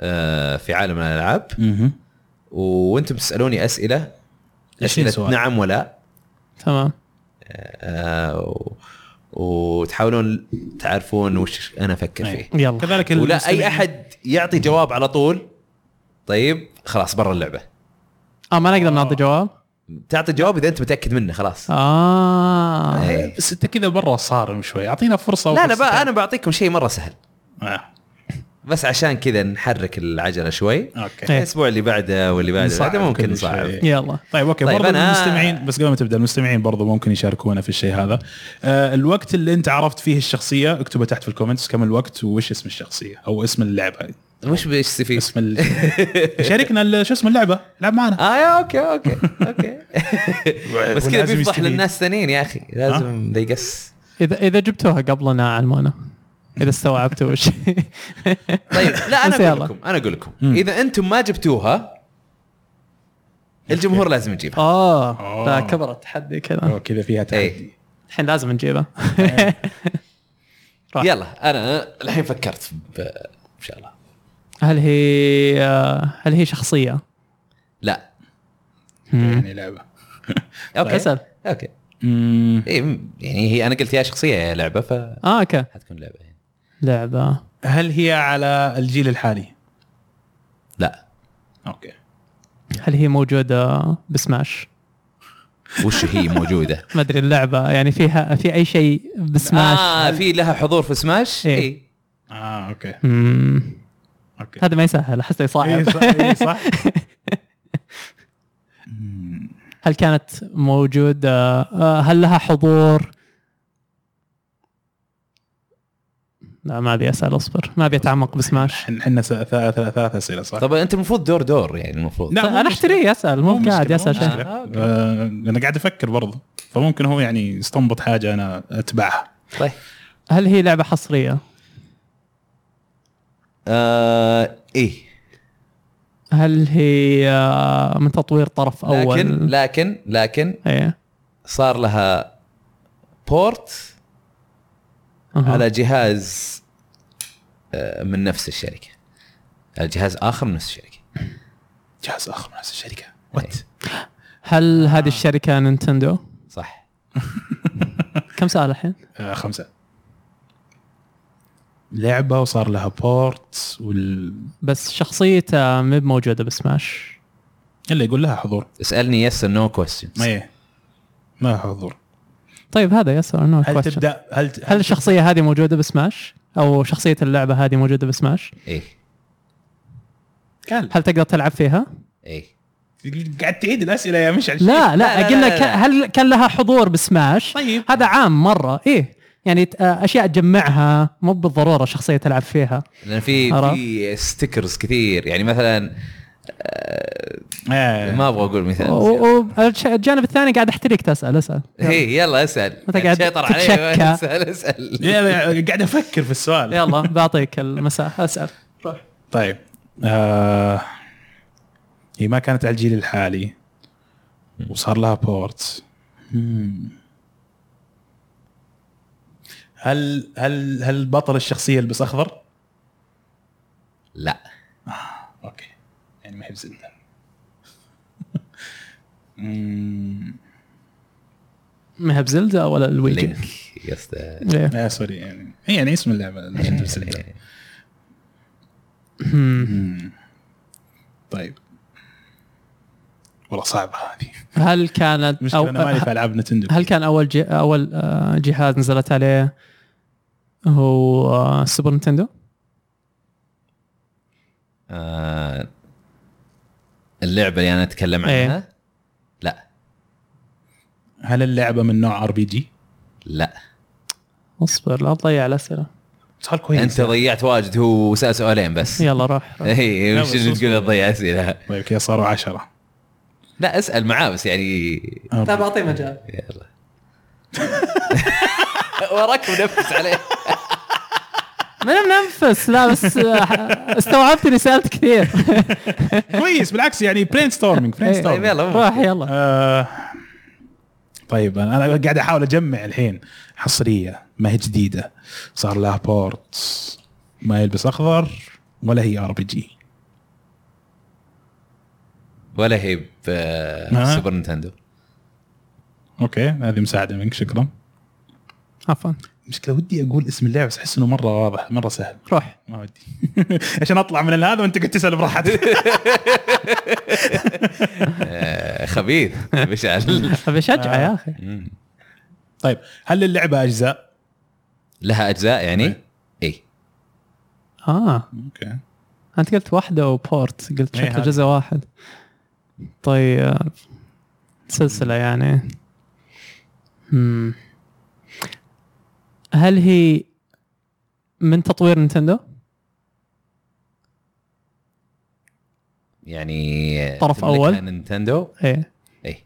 Speaker 1: آه، في عالم الالعاب وانتم تسالوني اسئله
Speaker 2: 20
Speaker 1: اسئله
Speaker 2: سؤال.
Speaker 1: نعم ولا
Speaker 3: تمام
Speaker 1: آه، و- وتحاولون تعرفون وش انا افكر
Speaker 2: أي.
Speaker 1: فيه
Speaker 3: يلا
Speaker 2: كذلك
Speaker 1: ولا
Speaker 2: إيه. المستمعين-
Speaker 1: اي احد يعطي جواب على طول طيب خلاص برا اللعبه
Speaker 3: اه ما نقدر نعطي جواب
Speaker 1: تعطي جواب اذا انت متاكد منه خلاص
Speaker 2: آه،
Speaker 3: اه
Speaker 1: إيه.
Speaker 2: بس انت آه، كذا برا صارم شوي اعطينا فرصه
Speaker 1: لا لا
Speaker 2: وفرصتين.
Speaker 1: بقى انا بعطيكم شيء مره سهل
Speaker 2: آه.
Speaker 1: بس عشان كذا نحرك العجله شوي
Speaker 2: اوكي
Speaker 3: إيه.
Speaker 1: الاسبوع اللي بعده واللي بعده
Speaker 2: نصعب
Speaker 1: بعده ممكن
Speaker 2: كل
Speaker 1: نصعب
Speaker 2: شيء.
Speaker 3: يلا
Speaker 2: طيب اوكي
Speaker 1: طيب،
Speaker 2: طيب برضو
Speaker 1: أنا-
Speaker 2: المستمعين بس قبل ما تبدا المستمعين برضو ممكن يشاركونا في الشيء هذا آه الوقت اللي انت عرفت فيه الشخصيه اكتبه تحت في الكومنتس كم الوقت وش اسم الشخصيه او اسم اللعبه
Speaker 1: وش بيستفيد؟
Speaker 2: اسم ال... شاركنا ال- شو اسم اللعبه العب معنا
Speaker 1: اه يا اوكي اوكي اوكي بس كذا
Speaker 2: طيب، ولازم آه.
Speaker 1: بيفضح
Speaker 2: يشتري.
Speaker 1: للناس ثانيين يا اخي لازم ذي قس
Speaker 3: اذا اذا جبتوها قبلنا علمونا اذا استوعبتوا وش
Speaker 1: طيب لا
Speaker 3: بس
Speaker 1: انا اقول
Speaker 3: يلا.
Speaker 1: لكم انا اقول لكم
Speaker 2: مم.
Speaker 1: اذا انتم ما جبتوها الجمهور لازم يجيبها
Speaker 3: اه لا
Speaker 2: آه.
Speaker 3: كبر التحدي كذا
Speaker 2: أوه، كذا
Speaker 1: إيه.
Speaker 2: فيها تحدي
Speaker 3: الحين لازم نجيبه
Speaker 2: آه.
Speaker 3: راح.
Speaker 1: يلا انا الحين فكرت ب- ان شاء الله
Speaker 3: هل هي آه، هل هي شخصيه؟
Speaker 1: لا
Speaker 2: يعني لعبه طيب،
Speaker 1: اوكي
Speaker 3: اسال
Speaker 1: اوكي
Speaker 2: مم،
Speaker 1: إيه م- يعني هي انا قلت يا شخصيه يا لعبه فحتكون
Speaker 3: اه اوكي
Speaker 1: لعبه يعني
Speaker 3: لعبه
Speaker 2: هل هي على الجيل الحالي؟
Speaker 1: لا
Speaker 2: اوكي
Speaker 3: هل هي موجوده بسماش؟
Speaker 1: وش هي موجوده
Speaker 3: ما ادري اللعبه يعني فيها في اي شيء بسماش
Speaker 2: آه.
Speaker 1: اه في لها حضور في سماش
Speaker 3: إيه.
Speaker 1: اي
Speaker 2: اه اوكي
Speaker 3: مم.
Speaker 2: اوكي
Speaker 3: هذا ما يسهل احسه
Speaker 2: إيه،
Speaker 3: يصعب
Speaker 2: صح, إيه، صح. مم،
Speaker 3: هل كانت موجودة آه، هل لها حضور لا ما ابي اسال اصبر ما ابي اتعمق بسماش
Speaker 2: احنا احنا س- ثلاث ثلاث اسئله صح؟
Speaker 1: طبعا انت المفروض دور دور يعني المفروض
Speaker 2: لا، مو
Speaker 3: انا
Speaker 2: مشكلة.
Speaker 3: اشتريه اسال مو قاعد
Speaker 2: مشكلة،
Speaker 3: اسال
Speaker 2: مو
Speaker 3: شيء
Speaker 2: مشكلة.
Speaker 1: آه، أوكي.
Speaker 2: آه، انا قاعد افكر برضه فممكن هو يعني يستنبط حاجه انا اتبعها
Speaker 1: طيب
Speaker 3: هل هي لعبه حصريه؟
Speaker 1: آه ايه
Speaker 3: هل هي آه، من تطوير طرف اول؟
Speaker 1: لكن لكن لكن
Speaker 3: ايه
Speaker 1: صار لها بورت
Speaker 3: أها.
Speaker 1: على جهاز آه، من نفس الشركه على جهاز اخر من نفس الشركه
Speaker 2: جهاز اخر من نفس الشركه
Speaker 1: إيه.
Speaker 2: وات
Speaker 1: آه.
Speaker 3: هل هذه الشركه نينتندو؟
Speaker 1: صح
Speaker 3: كم سؤال الحين؟
Speaker 2: آه خمسه لعبه وصار لها بورت وال
Speaker 3: بس شخصيته مب موجوده بسماش
Speaker 2: الا يقول لها حضور
Speaker 1: اسالني يس نو كويستشنز
Speaker 2: ما ما حضور
Speaker 3: طيب هذا يس نو
Speaker 2: هل تبدا هل ت...
Speaker 3: هل الشخصيه هذه موجوده بسماش؟ او شخصيه اللعبه هذه موجوده بسماش؟
Speaker 1: ايه
Speaker 2: قال
Speaker 3: هل تقدر تلعب فيها؟
Speaker 1: ايه
Speaker 2: قاعد تعيد الاسئله يا مشعل
Speaker 1: لا،
Speaker 3: لا لا قلنا
Speaker 1: لا،
Speaker 3: ك-
Speaker 1: لا.
Speaker 3: هل كان لها حضور بسماش؟
Speaker 2: طيب.
Speaker 3: هذا عام مره ايه يعني ت- آه، اشياء تجمعها مو بالضروره شخصيه تلعب فيها
Speaker 1: لان في
Speaker 3: عرفت؟
Speaker 1: في ستيكرز كثير يعني مثلا
Speaker 2: إيه.
Speaker 1: ما ابغى اقول مثال زيادة.
Speaker 3: والجانب الثاني قاعد احتريك تسال اسال
Speaker 1: هي يلا اسال
Speaker 3: متى قاعد
Speaker 1: شيطر علي
Speaker 3: تتشكى؟
Speaker 1: اسال اسال
Speaker 2: يلا، قاعد افكر في السؤال
Speaker 3: يلا بعطيك المساحه اسال
Speaker 2: طيب آه هي ما كانت على الجيل الحالي وصار لها بورت مم. هل هل هل بطل الشخصيه يلبس اخضر؟
Speaker 1: لا
Speaker 2: اوكي يعني ما هي بزنة مم.
Speaker 3: ما هي بزلدا ولا الويجي
Speaker 1: لينك يسطا
Speaker 3: إيه.
Speaker 2: لا سوري يعني هي يعني اسم اللعبه Legend of Zelda.
Speaker 1: إيه.
Speaker 2: مم. طيب والله صعبه هذه
Speaker 3: هل كانت
Speaker 2: مشكله
Speaker 3: او
Speaker 2: انا مالي في العاب نتندو
Speaker 3: هل كان اول جي اول آه، جهاز نزلت عليه هو آه، سوبر نينتندو؟
Speaker 1: آه، اللعبه اللي انا اتكلم
Speaker 3: إيه.
Speaker 1: عنها لا
Speaker 2: هل اللعبه من نوع ار بي جي؟
Speaker 1: لا
Speaker 3: اصبر لا تضيع الاسئله
Speaker 2: سؤال كويس
Speaker 1: انت ضيعت واجد هو سال سؤالين بس
Speaker 3: إيه، يلا روح روح.
Speaker 1: اي
Speaker 2: لا،
Speaker 1: وش
Speaker 2: بس
Speaker 1: اللي
Speaker 2: اصبر.
Speaker 1: تقول تضيع اسئله
Speaker 2: طيب كذا صاروا عشرة
Speaker 1: لا اسال معاه بس يعني
Speaker 3: لا بعطيه مجال
Speaker 1: يلا وراك منفس عليه
Speaker 3: من منفس لا بس آه، استوعبت اني سالت كثير
Speaker 2: كويس بالعكس يعني برين ستورمينج برين
Speaker 1: طيب
Speaker 3: إيه.
Speaker 2: ستورمينج
Speaker 1: يلا
Speaker 3: روح يلا
Speaker 2: طيب انا أنا قاعد احاول اجمع الحين حصريه ما هي جديده صار لها بورت ما يلبس اخضر ولا هي ار بي جي
Speaker 1: ولا هي
Speaker 3: آه.
Speaker 2: ها؟
Speaker 1: بسوبر نينتندو
Speaker 2: اوكي هذه مساعده منك شكرا
Speaker 3: عفوا
Speaker 2: مشكله ودي اقول اسم اللعبه بس احس انه مره واضح مره سهل
Speaker 3: روح
Speaker 2: ما ودي عشان اطلع من هذا وانت قاعد تسال براحتك
Speaker 1: آه، خبيث مشعل
Speaker 3: ابي اشجع يا اخي
Speaker 2: طيب هل اللعبه اجزاء؟
Speaker 1: لها اجزاء
Speaker 3: إيه.
Speaker 1: يعني؟ اي
Speaker 3: اه
Speaker 2: اوكي
Speaker 3: انت قلت واحده وبورت قلت
Speaker 2: إيه،
Speaker 3: شكله
Speaker 2: هذه.
Speaker 3: جزء واحد طيب سلسله يعني مم. هل هي من تطوير نينتندو
Speaker 1: يعني آه،
Speaker 3: طرف
Speaker 1: تملكها
Speaker 3: أول؟
Speaker 1: نينتندو إيه.
Speaker 3: ايه
Speaker 1: اي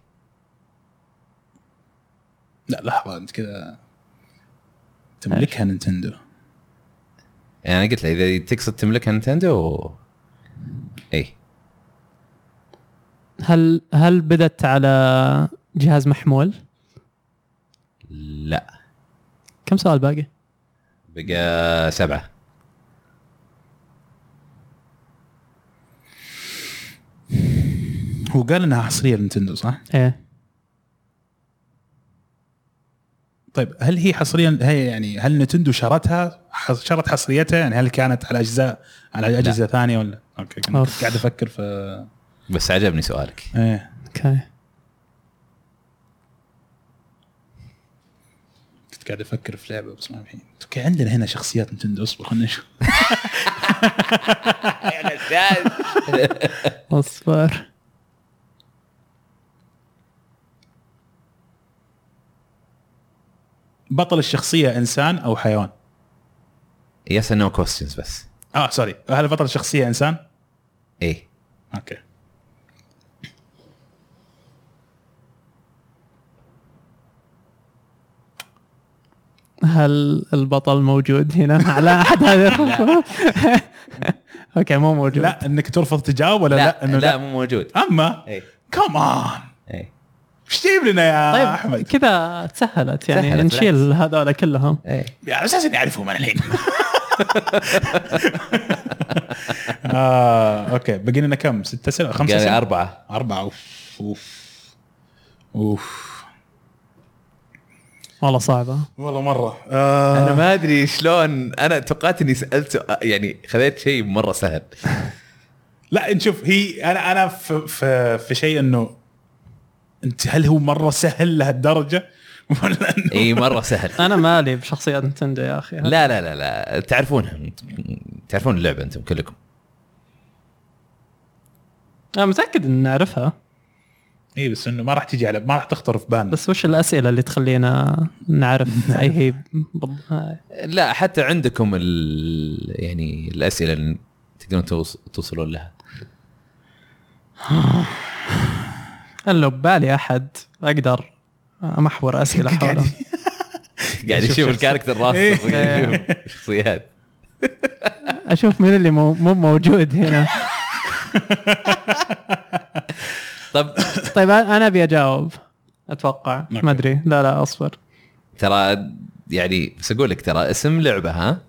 Speaker 2: لا لحظه انت كذا تملكها نينتندو
Speaker 1: يعني انا قلت له اذا تقصد تملكها نينتندو إيه. اي
Speaker 3: هل هل بدت على جهاز محمول
Speaker 1: لا
Speaker 3: كم سؤال باقي
Speaker 1: بقى سبعه
Speaker 2: هو قال انها حصريه لنتندو صح؟
Speaker 3: ايه
Speaker 2: طيب هل هي حصريا هي يعني هل نتندو شرتها حص- شرت حصريتها يعني هل كانت على اجزاء على اجهزه ثانيه ولا اوكي كنت
Speaker 3: أوف.
Speaker 2: قاعد افكر في
Speaker 1: بس عجبني سؤالك
Speaker 2: ايه
Speaker 3: اوكي
Speaker 2: كنت قاعد افكر في لعبه بس ما الحين اوكي عندنا هنا شخصيات نتندو اصبر خلينا نشوف
Speaker 3: اصبر
Speaker 2: بطل الشخصيه انسان او حيوان؟
Speaker 1: يس نو كوستشنز بس
Speaker 2: اه سوري هل بطل الشخصيه انسان؟
Speaker 1: اي
Speaker 2: اوكي
Speaker 3: هل البطل موجود هنا على احد هذه اوكي مو موجود
Speaker 2: لا انك ترفض تجاوب ولا لا,
Speaker 1: لا
Speaker 2: انه
Speaker 1: لا
Speaker 2: لا, آه.
Speaker 1: مو موجود إيه.
Speaker 2: اما
Speaker 1: اي
Speaker 2: كمان
Speaker 1: اي
Speaker 2: ايش جايب لنا يا طيب.
Speaker 3: طيب
Speaker 2: احمد؟
Speaker 3: كذا تسهلت يعني
Speaker 1: تسهلت،
Speaker 3: نشيل هذول كلهم
Speaker 1: اي
Speaker 2: على اساس اني اعرفهم انا الحين آه، اوكي بقي لنا كم؟ ست اسئله خمسة
Speaker 1: قال
Speaker 2: اسئله
Speaker 1: اربعه
Speaker 2: اربعه اوف اوف اوف
Speaker 3: والله صعبه
Speaker 2: والله مره
Speaker 1: انا
Speaker 2: آه
Speaker 1: ما ادري شلون انا توقعت اني سالت سؤال- يعني خذيت شيء مره سهل
Speaker 2: لا نشوف هي انا انا في في, في شيء انه انت هل هو مره سهل لهالدرجه ولا انه
Speaker 1: اي مره إيه، سهل
Speaker 3: انا مالي بشخصيات نتندو يا اخي
Speaker 1: لا لا لا لا تعرفونها تعرفون اللعبه انتم كلكم
Speaker 3: انا متاكد ان نعرفها
Speaker 2: اي إيه، بس انه ما راح تجي على ما راح تخطر في بالنا
Speaker 3: بس وش الاسئله اللي تخلينا نعرف اي هي بال- هاي.
Speaker 1: لا حتى عندكم ال... يعني الاسئله اللي تقدرون توص- توصلون لها
Speaker 3: انا لو ببالي احد اقدر امحور اسئله حوله
Speaker 1: قاعد يشوف الكاركتر راسه
Speaker 3: إيه.
Speaker 1: شخصيات
Speaker 3: اشوف مين اللي مو مو موجود هنا
Speaker 1: طب
Speaker 3: طيب انا ابي اجاوب اتوقع ما ادري لا لا اصبر
Speaker 1: ترى يعني بس اقول لك ترى اسم لعبه ها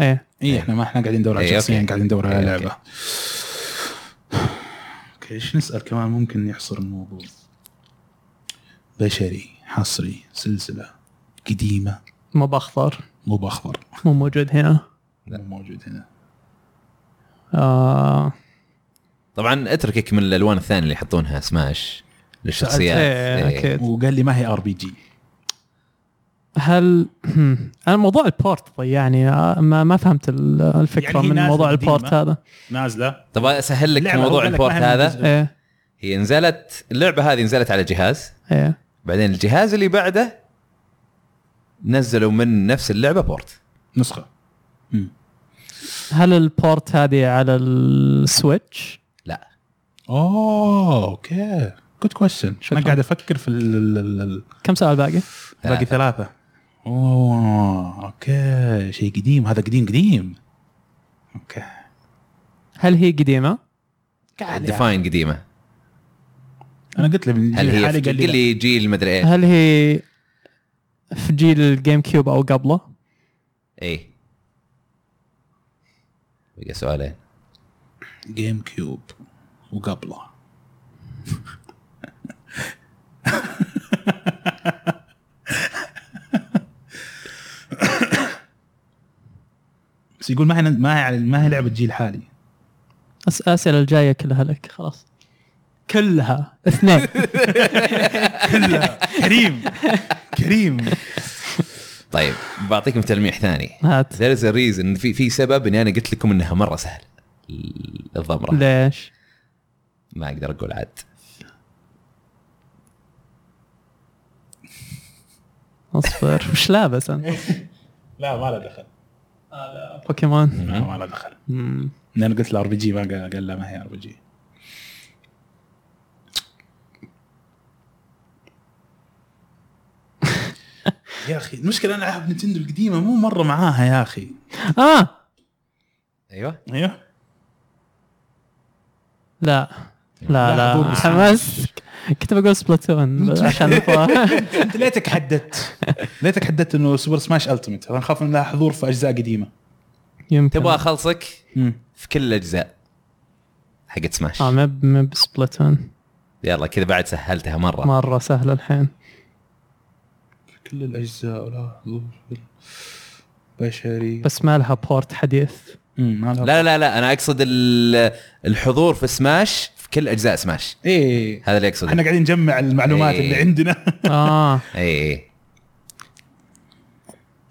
Speaker 3: ايه
Speaker 2: اي احنا ما احنا قاعدين ندور على
Speaker 1: إيه،
Speaker 2: شخصيا
Speaker 1: أوكي.
Speaker 2: قاعدين ندور على
Speaker 1: إيه،
Speaker 2: لعبه اوكي ايش نسال كمان ممكن يحصر الموضوع بشري حصري سلسله قديمه
Speaker 3: مو باخضر
Speaker 2: مو باخضر
Speaker 3: مو موجود هنا
Speaker 1: لا.
Speaker 2: مو موجود هنا
Speaker 3: آه
Speaker 1: طبعا اتركك من الالوان الثانيه اللي يحطونها سماش للشخصيات
Speaker 3: إيه،
Speaker 1: إيه.
Speaker 3: أكيد.
Speaker 2: وقال لي ما هي ار بي جي
Speaker 3: هل انا موضوع البورت ضيعني آه، ما ما فهمت ال- الفكره
Speaker 2: يعني هي
Speaker 3: يعني من
Speaker 2: نازلة
Speaker 3: موضوع
Speaker 2: قديمة.
Speaker 3: البورت هذا
Speaker 2: نازله
Speaker 1: طب اسهل لك
Speaker 2: لعبة
Speaker 1: موضوع
Speaker 2: أقول لك
Speaker 1: البورت
Speaker 2: ما هي من
Speaker 1: هذا
Speaker 2: جزء.
Speaker 3: ايه
Speaker 1: هي نزلت اللعبه هذه نزلت على جهاز
Speaker 3: ايه
Speaker 1: بعدين الجهاز اللي بعده نزلوا من نفس اللعبه بورت
Speaker 2: نسخه مم.
Speaker 3: هل البورت هذه على السويتش؟
Speaker 1: لا
Speaker 2: اوه اوكي جود كويستشن
Speaker 3: شكراً.
Speaker 2: انا قاعد افكر في ال- ال- ال- ال-
Speaker 3: كم سؤال باقي؟
Speaker 2: باقي ثلاثه اوه اوكي شيء قديم هذا قديم قديم اوكي
Speaker 3: هل هي قديمه؟
Speaker 2: يعني.
Speaker 1: ديفاين قديمه
Speaker 2: انا قلت له من
Speaker 1: هل هي
Speaker 2: الحالي
Speaker 1: قل
Speaker 2: قال لي
Speaker 1: لي جيل مدري ايش
Speaker 3: هل هي في جيل الجيم كيوب او قبله؟
Speaker 1: اي إيه. بقى سؤالين
Speaker 2: جيم كيوب وقبله بس يقول ما هي ما هي على- ما هي لعبه جيل حالي
Speaker 3: أس- الاسئله الجايه كلها لك خلاص كلها اثنين
Speaker 2: كلها كريم كريم
Speaker 1: طيب بعطيكم تلميح ثاني
Speaker 3: هات
Speaker 1: There is a reason في في سبب اني انا قلت لكم انها مره سهله ال- الضمره
Speaker 3: ليش؟
Speaker 1: ما اقدر اقول عاد
Speaker 3: اصبر مش لابس انا
Speaker 2: لا ما له دخل
Speaker 3: بوكيمون
Speaker 2: لا ما له دخل
Speaker 3: مم.
Speaker 2: انا قلت له ار بي جي ما قال قال لا ما هي ار بي جي يا اخي المشكله انا العاب نتندو القديمه مو مره معاها يا اخي
Speaker 3: اه أيوة.
Speaker 1: ايوه
Speaker 2: ايوه
Speaker 3: لا لا
Speaker 2: لا،
Speaker 3: لا
Speaker 2: أقول بس-
Speaker 3: حماس كنت بقول سبلاتون عشان
Speaker 2: انت ليتك حددت ليتك حددت انه سوبر سماش التيمت انا خاف ان لها حضور في اجزاء قديمه
Speaker 3: يمكن
Speaker 1: تبغى اخلصك
Speaker 2: مم.
Speaker 1: في كل الاجزاء حقت سماش
Speaker 3: اه مب مب سبلاتون
Speaker 1: يلا كذا بعد سهلتها مره
Speaker 3: مره سهله الحين
Speaker 2: كل الاجزاء ولا حضور بشري
Speaker 3: بس ما لها بورت حديث
Speaker 2: لا
Speaker 1: لا لا لا انا اقصد ال- الحضور في سماش في كل اجزاء سماش
Speaker 2: ايه
Speaker 1: هذا اللي اقصده
Speaker 2: احنا قاعدين نجمع المعلومات اللي
Speaker 1: إيه.
Speaker 2: عندنا
Speaker 3: اه
Speaker 1: اي اي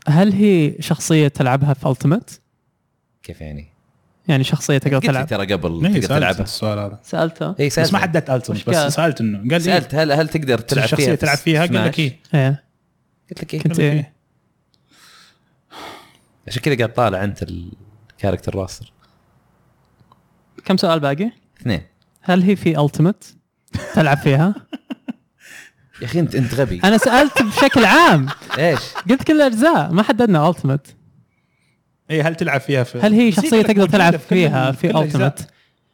Speaker 3: هل هي شخصيه تلعبها في التمت؟
Speaker 1: كيف يعني؟
Speaker 3: يعني شخصيه تقدر
Speaker 1: قلت إيه. لك
Speaker 3: تلعب
Speaker 1: ترى قبل
Speaker 2: إيه،
Speaker 1: تقدر
Speaker 2: سألت
Speaker 1: تلعبها
Speaker 2: السؤال هذا
Speaker 3: سالته
Speaker 1: اي
Speaker 2: بس ما
Speaker 1: سالت
Speaker 2: حددت التمت
Speaker 3: مشكلة.
Speaker 2: بس سالت انه قال لي
Speaker 1: سالت هل هل تقدر تلعب
Speaker 2: إيه. الشخصية
Speaker 1: فيها
Speaker 2: تلعب فيها قال لك
Speaker 1: اي
Speaker 2: ايه
Speaker 3: ايه
Speaker 1: قلت لك اي
Speaker 3: كنت
Speaker 2: إيه.
Speaker 3: ايه
Speaker 1: عشان كذا قاعد طالع انت الكاركتر راستر
Speaker 3: كم سؤال باقي؟
Speaker 1: اثنين
Speaker 3: هل هي في التمت؟ تلعب فيها؟
Speaker 1: يا اخي انت انت غبي
Speaker 3: انا سالت بشكل عام
Speaker 1: ايش؟
Speaker 3: قلت كل الاجزاء ما حددنا التمت
Speaker 2: ايه هل تلعب فيها في
Speaker 3: هل هي
Speaker 2: بس
Speaker 3: شخصيه
Speaker 2: قالت
Speaker 3: تقدر
Speaker 2: موجودة
Speaker 3: تلعب
Speaker 2: في كل-
Speaker 3: فيها في
Speaker 2: كل الأجزاء.
Speaker 3: التمت؟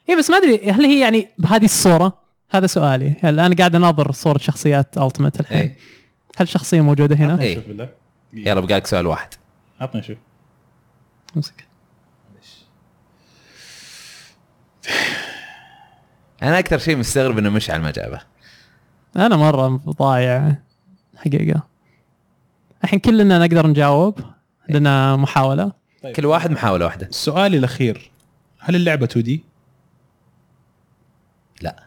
Speaker 3: اي بس ما ادري هل هي يعني بهذه الصوره؟ هذا سؤالي هل انا قاعد اناظر صوره شخصيات التمت الحين
Speaker 1: اي
Speaker 3: هل شخصيه موجوده هنا؟
Speaker 1: إيه.
Speaker 2: شوف بالله
Speaker 1: يلا بقالك سؤال واحد
Speaker 2: عطنا شوف
Speaker 3: امسك
Speaker 1: انا اكثر شيء مستغرب انه مشعل ما جابه
Speaker 3: انا مره ضايع حقيقه الحين كلنا نقدر نجاوب لنا محاوله
Speaker 1: كل واحد محاوله واحده
Speaker 2: سؤالي الاخير هل اللعبه 2 دي؟
Speaker 1: لا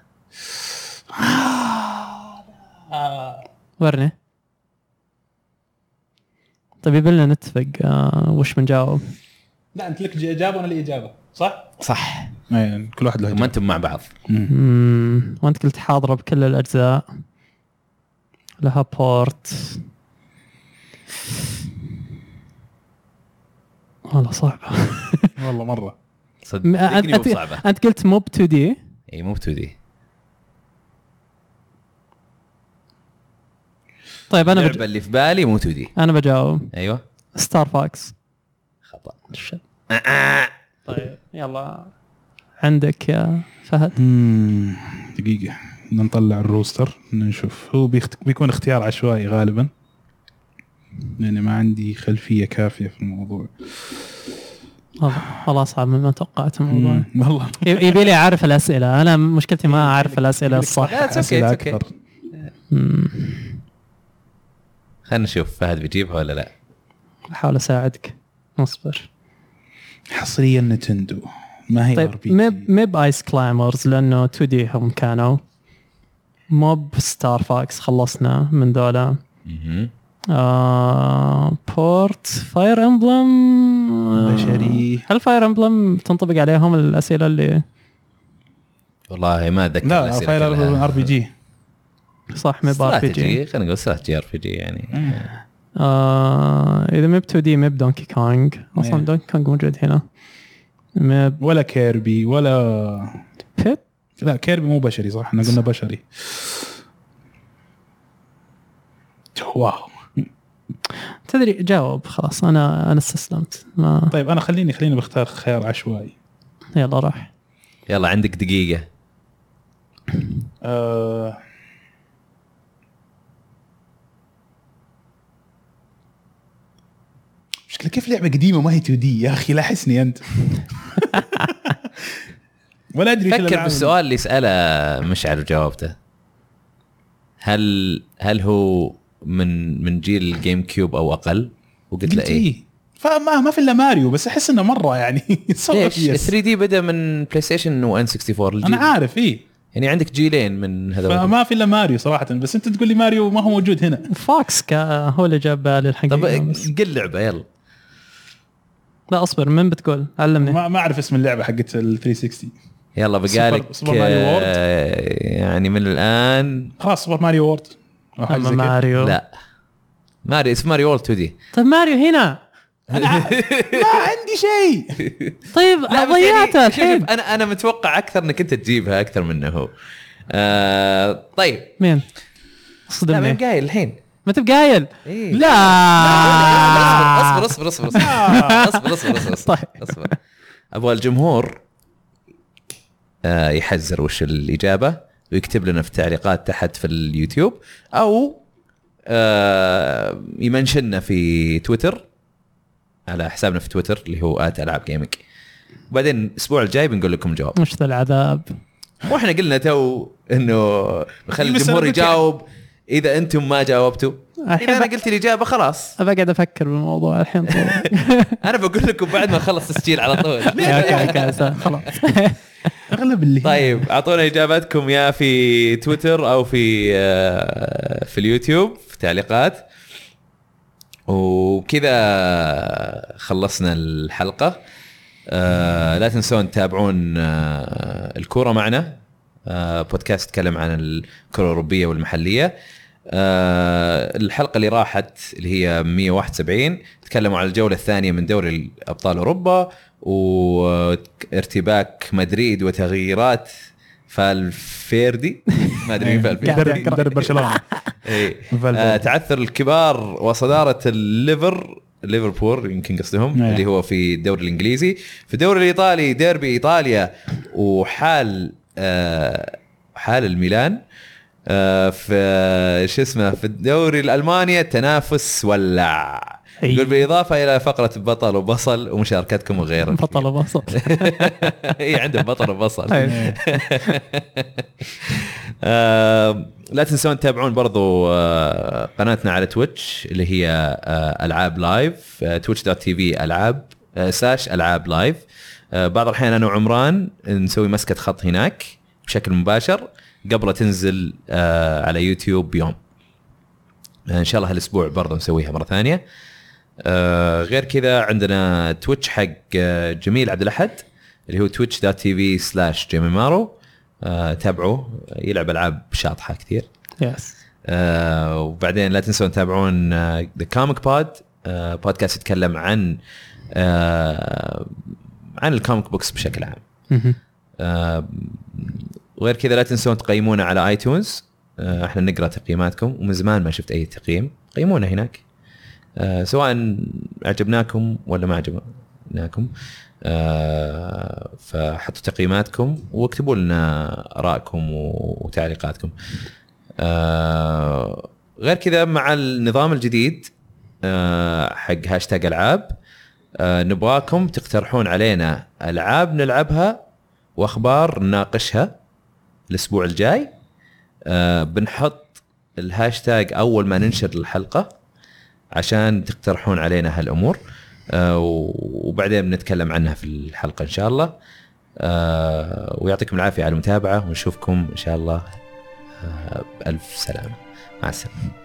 Speaker 3: ورني طيب يبلنا نتفق آه وش بنجاوب
Speaker 2: لا انت لك اجابه وانا لي اجابه صح؟
Speaker 1: صح
Speaker 2: يعني كل واحد له
Speaker 1: ما
Speaker 2: إجابة.
Speaker 1: انتم مع بعض
Speaker 3: مم، وانت قلت حاضره بكل الاجزاء لها بورت والله صعبه
Speaker 2: والله مره
Speaker 1: صدقني مو
Speaker 3: أنت-
Speaker 1: بصعبه
Speaker 3: انت قلت موب 2 دي
Speaker 1: اي مو ب 2 دي
Speaker 3: طيب انا
Speaker 1: اللعبه
Speaker 3: بج...
Speaker 1: اللي في بالي مو 2 دي
Speaker 3: انا بجاوب
Speaker 1: ايوه
Speaker 3: ستار فاكس
Speaker 1: خطا
Speaker 3: طيب يلا عندك يا فهد
Speaker 2: مم، دقيقة نطلع الروستر نشوف هو بيخت... بيكون اختيار عشوائي غالبا لأني ما عندي خلفية كافية في الموضوع
Speaker 3: والله والله اصعب مما توقعت الموضوع
Speaker 2: مم، والله
Speaker 3: ي- يبي لي اعرف الاسئله انا مشكلتي ما اعرف الاسئله الصح
Speaker 1: لا، it's okay,
Speaker 2: أسئلة
Speaker 1: it's okay.
Speaker 2: أكثر.
Speaker 3: مم.
Speaker 1: خلينا نشوف فهد بيجيبها ولا لا
Speaker 3: احاول اساعدك اصبر
Speaker 2: حصريا نتندو ما هي
Speaker 3: طيب
Speaker 2: طيب
Speaker 3: مب مب ايس كلايمرز لانه 2 دي هم كانوا موب ستار فاكس خلصنا من ذولا
Speaker 1: مهم.
Speaker 3: آه بورت فاير امبلم
Speaker 2: بشري.
Speaker 3: هل فاير امبلم تنطبق عليهم الاسئله اللي
Speaker 1: والله ما اتذكر
Speaker 2: لا
Speaker 1: الأسئلة
Speaker 2: فاير
Speaker 1: كلها.
Speaker 2: ار بي جي
Speaker 3: صح مب ار بي جي
Speaker 1: استراتيجي خلينا نقول استراتيجي ار بي جي يعني
Speaker 3: آه، اذا مب 2 دي مب دونكي كونج اصلا
Speaker 2: إيه.
Speaker 3: دونكي كونج موجود هنا مب
Speaker 2: ولا كيربي ولا
Speaker 3: بيب
Speaker 2: لا كيربي مو بشري صح احنا قلنا بشري واو
Speaker 3: تدري جاوب خلاص انا انا استسلمت ما
Speaker 2: طيب انا خليني خليني بختار خيار عشوائي
Speaker 3: يلا راح
Speaker 1: يلا عندك دقيقه
Speaker 2: آه مشكلة كيف لعبة قديمة ما هي 2 دي يا اخي لاحسني انت ولا ادري وش
Speaker 1: فكر
Speaker 2: الألعاب-
Speaker 1: بالسؤال اللي ساله مشعل وجاوبته هل هل هو من من جيل الجيم كيوب او اقل وقلت له
Speaker 2: قلت
Speaker 1: ايه
Speaker 2: إيه. فما ما في الا ماريو بس احس انه مره يعني صعب
Speaker 1: ليش
Speaker 2: يس.
Speaker 1: 3 دي بدا من بلاي ستيشن وان 64 الجيل.
Speaker 2: انا عارف ايه
Speaker 1: يعني عندك جيلين من هذول
Speaker 2: فما في الا ماريو صراحه بس انت تقول لي ماريو ما هو موجود هنا
Speaker 3: فاكس كا هو اللي جاب بالي
Speaker 1: طب
Speaker 3: الحقيقه بس.
Speaker 1: قل لعبه يلا
Speaker 3: لا اصبر من بتقول علمني
Speaker 1: نعم.
Speaker 2: ما, ما اعرف اسم اللعبه حقت ال 360
Speaker 1: يلا بقى
Speaker 2: سوبر-
Speaker 1: لك
Speaker 2: سوبر ماريو وورد؟
Speaker 1: آه، يعني من الان
Speaker 2: خلاص سوبر ماريو وورد أو حاجة
Speaker 3: اما
Speaker 2: زي كده.
Speaker 3: ماريو
Speaker 1: لا ماري اسم ماري وورد 2 دي
Speaker 3: طيب ماريو هنا
Speaker 2: أنا ما عندي شيء
Speaker 3: طيب ضيعتها
Speaker 1: بس يعني- شوف-
Speaker 3: الحين
Speaker 1: شوف، انا انا متوقع اكثر انك انت تجيبها اكثر منه هو آه طيب
Speaker 3: مين؟
Speaker 1: لا ما
Speaker 3: صدمني
Speaker 1: أنا قايل الحين
Speaker 3: ما انت بقايل
Speaker 1: إيه.
Speaker 3: لا
Speaker 1: اصبر اصبر اصبر اصبر اصبر اصبر اصبر اصبر
Speaker 3: طيب.
Speaker 1: اصبر ابغى الجمهور آه، يحزر وش الاجابه ويكتب لنا في التعليقات تحت في اليوتيوب او آه، يمنشننا في تويتر على حسابنا في تويتر اللي هو ات العاب جيمنج وبعدين الاسبوع الجاي بنقول لكم جواب
Speaker 3: وش ذا العذاب
Speaker 1: مو احنا قلنا تو انه نخلي
Speaker 2: إيه، بس
Speaker 1: الجمهور
Speaker 2: أنا قلت
Speaker 1: يجاوب اذا انتم ما جاوبتوا
Speaker 3: الحين
Speaker 1: اذا انا
Speaker 3: بق-
Speaker 1: قلت الاجابه خلاص
Speaker 3: أبى اقعد افكر بالموضوع الحين طول.
Speaker 1: انا بقول لكم بعد ما اخلص تسجيل على طول
Speaker 3: يا أوكي، أوكي، أسا- خلاص
Speaker 2: اغلب اللي
Speaker 1: طيب اعطونا اجاباتكم يا في تويتر او في آه، في اليوتيوب في تعليقات وكذا خلصنا الحلقه آه، لا تنسون تتابعون آه، الكوره معنا آه، بودكاست يتكلم عن الكره الاوروبيه والمحليه آه، الحلقه اللي راحت اللي هي 171 تكلموا عن الجوله الثانيه من دوري ابطال اوروبا وارتباك مدريد وتغييرات فالفيردي ما ادري
Speaker 2: إيه.
Speaker 1: مين
Speaker 2: مدرب
Speaker 1: فالفيردي
Speaker 2: مدرب برشلونه
Speaker 1: إيه.
Speaker 2: فالفيردي.
Speaker 1: آه، تعثر الكبار وصداره الليفر ليفربول يمكن قصدهم
Speaker 3: نعم.
Speaker 2: إيه.
Speaker 1: اللي هو في الدوري الانجليزي في الدوري الايطالي ديربي ايطاليا وحال آه، حال الميلان آه، في شو اسمه في الدوري الالماني التنافس ولع
Speaker 3: أي.
Speaker 1: يقول بالاضافه الى فقره بطل وبصل ومشاركتكم وغيرها
Speaker 3: بطل أيوة. طيب، وبصل
Speaker 1: اي عندهم بطل وبصل
Speaker 3: أي.
Speaker 1: آه، لا تنسون تتابعون برضو آه، قناتنا على تويتش اللي هي آه، العاب لايف آه، تويتش دوت تي في العاب آه، ساش العاب لايف آه، بعض الاحيان انا وعمران نسوي مسكه خط هناك بشكل مباشر قبل تنزل آه، على يوتيوب بيوم آه، ان شاء الله هالاسبوع برضو نسويها مره ثانيه آه، غير كذا عندنا تويتش حق آه، جميل عبد الاحد اللي هو تويتش دوت تي في سلاش جيمي مارو آه، تابعوه يلعب العاب شاطحه كثير
Speaker 3: يس
Speaker 1: آه، وبعدين لا تنسون تتابعون آه، ذا كوميك بود بودكاست آه، يتكلم عن آه، عن الكوميك بوكس بشكل عام
Speaker 3: مهم.
Speaker 1: آه، وغير كذا لا تنسون تقيمونا على ايتونز آه، احنا نقرا تقييماتكم ومن زمان ما شفت اي تقييم قيمونا هناك آه، سواء عجبناكم ولا ما عجبناكم آه، فحطوا تقييماتكم واكتبوا لنا ارائكم و- وتعليقاتكم آه، غير كذا مع النظام الجديد آه، حق هاشتاج العاب آه، نبغاكم تقترحون علينا العاب نلعبها واخبار نناقشها الاسبوع الجاي آه، بنحط الهاشتاج اول ما ننشر الحلقه عشان تقترحون علينا هالامور آه، و- وبعدين بنتكلم عنها في الحلقه ان شاء الله آه، ويعطيكم العافيه على المتابعه ونشوفكم ان شاء الله آه، بألف سلامه مع السلامه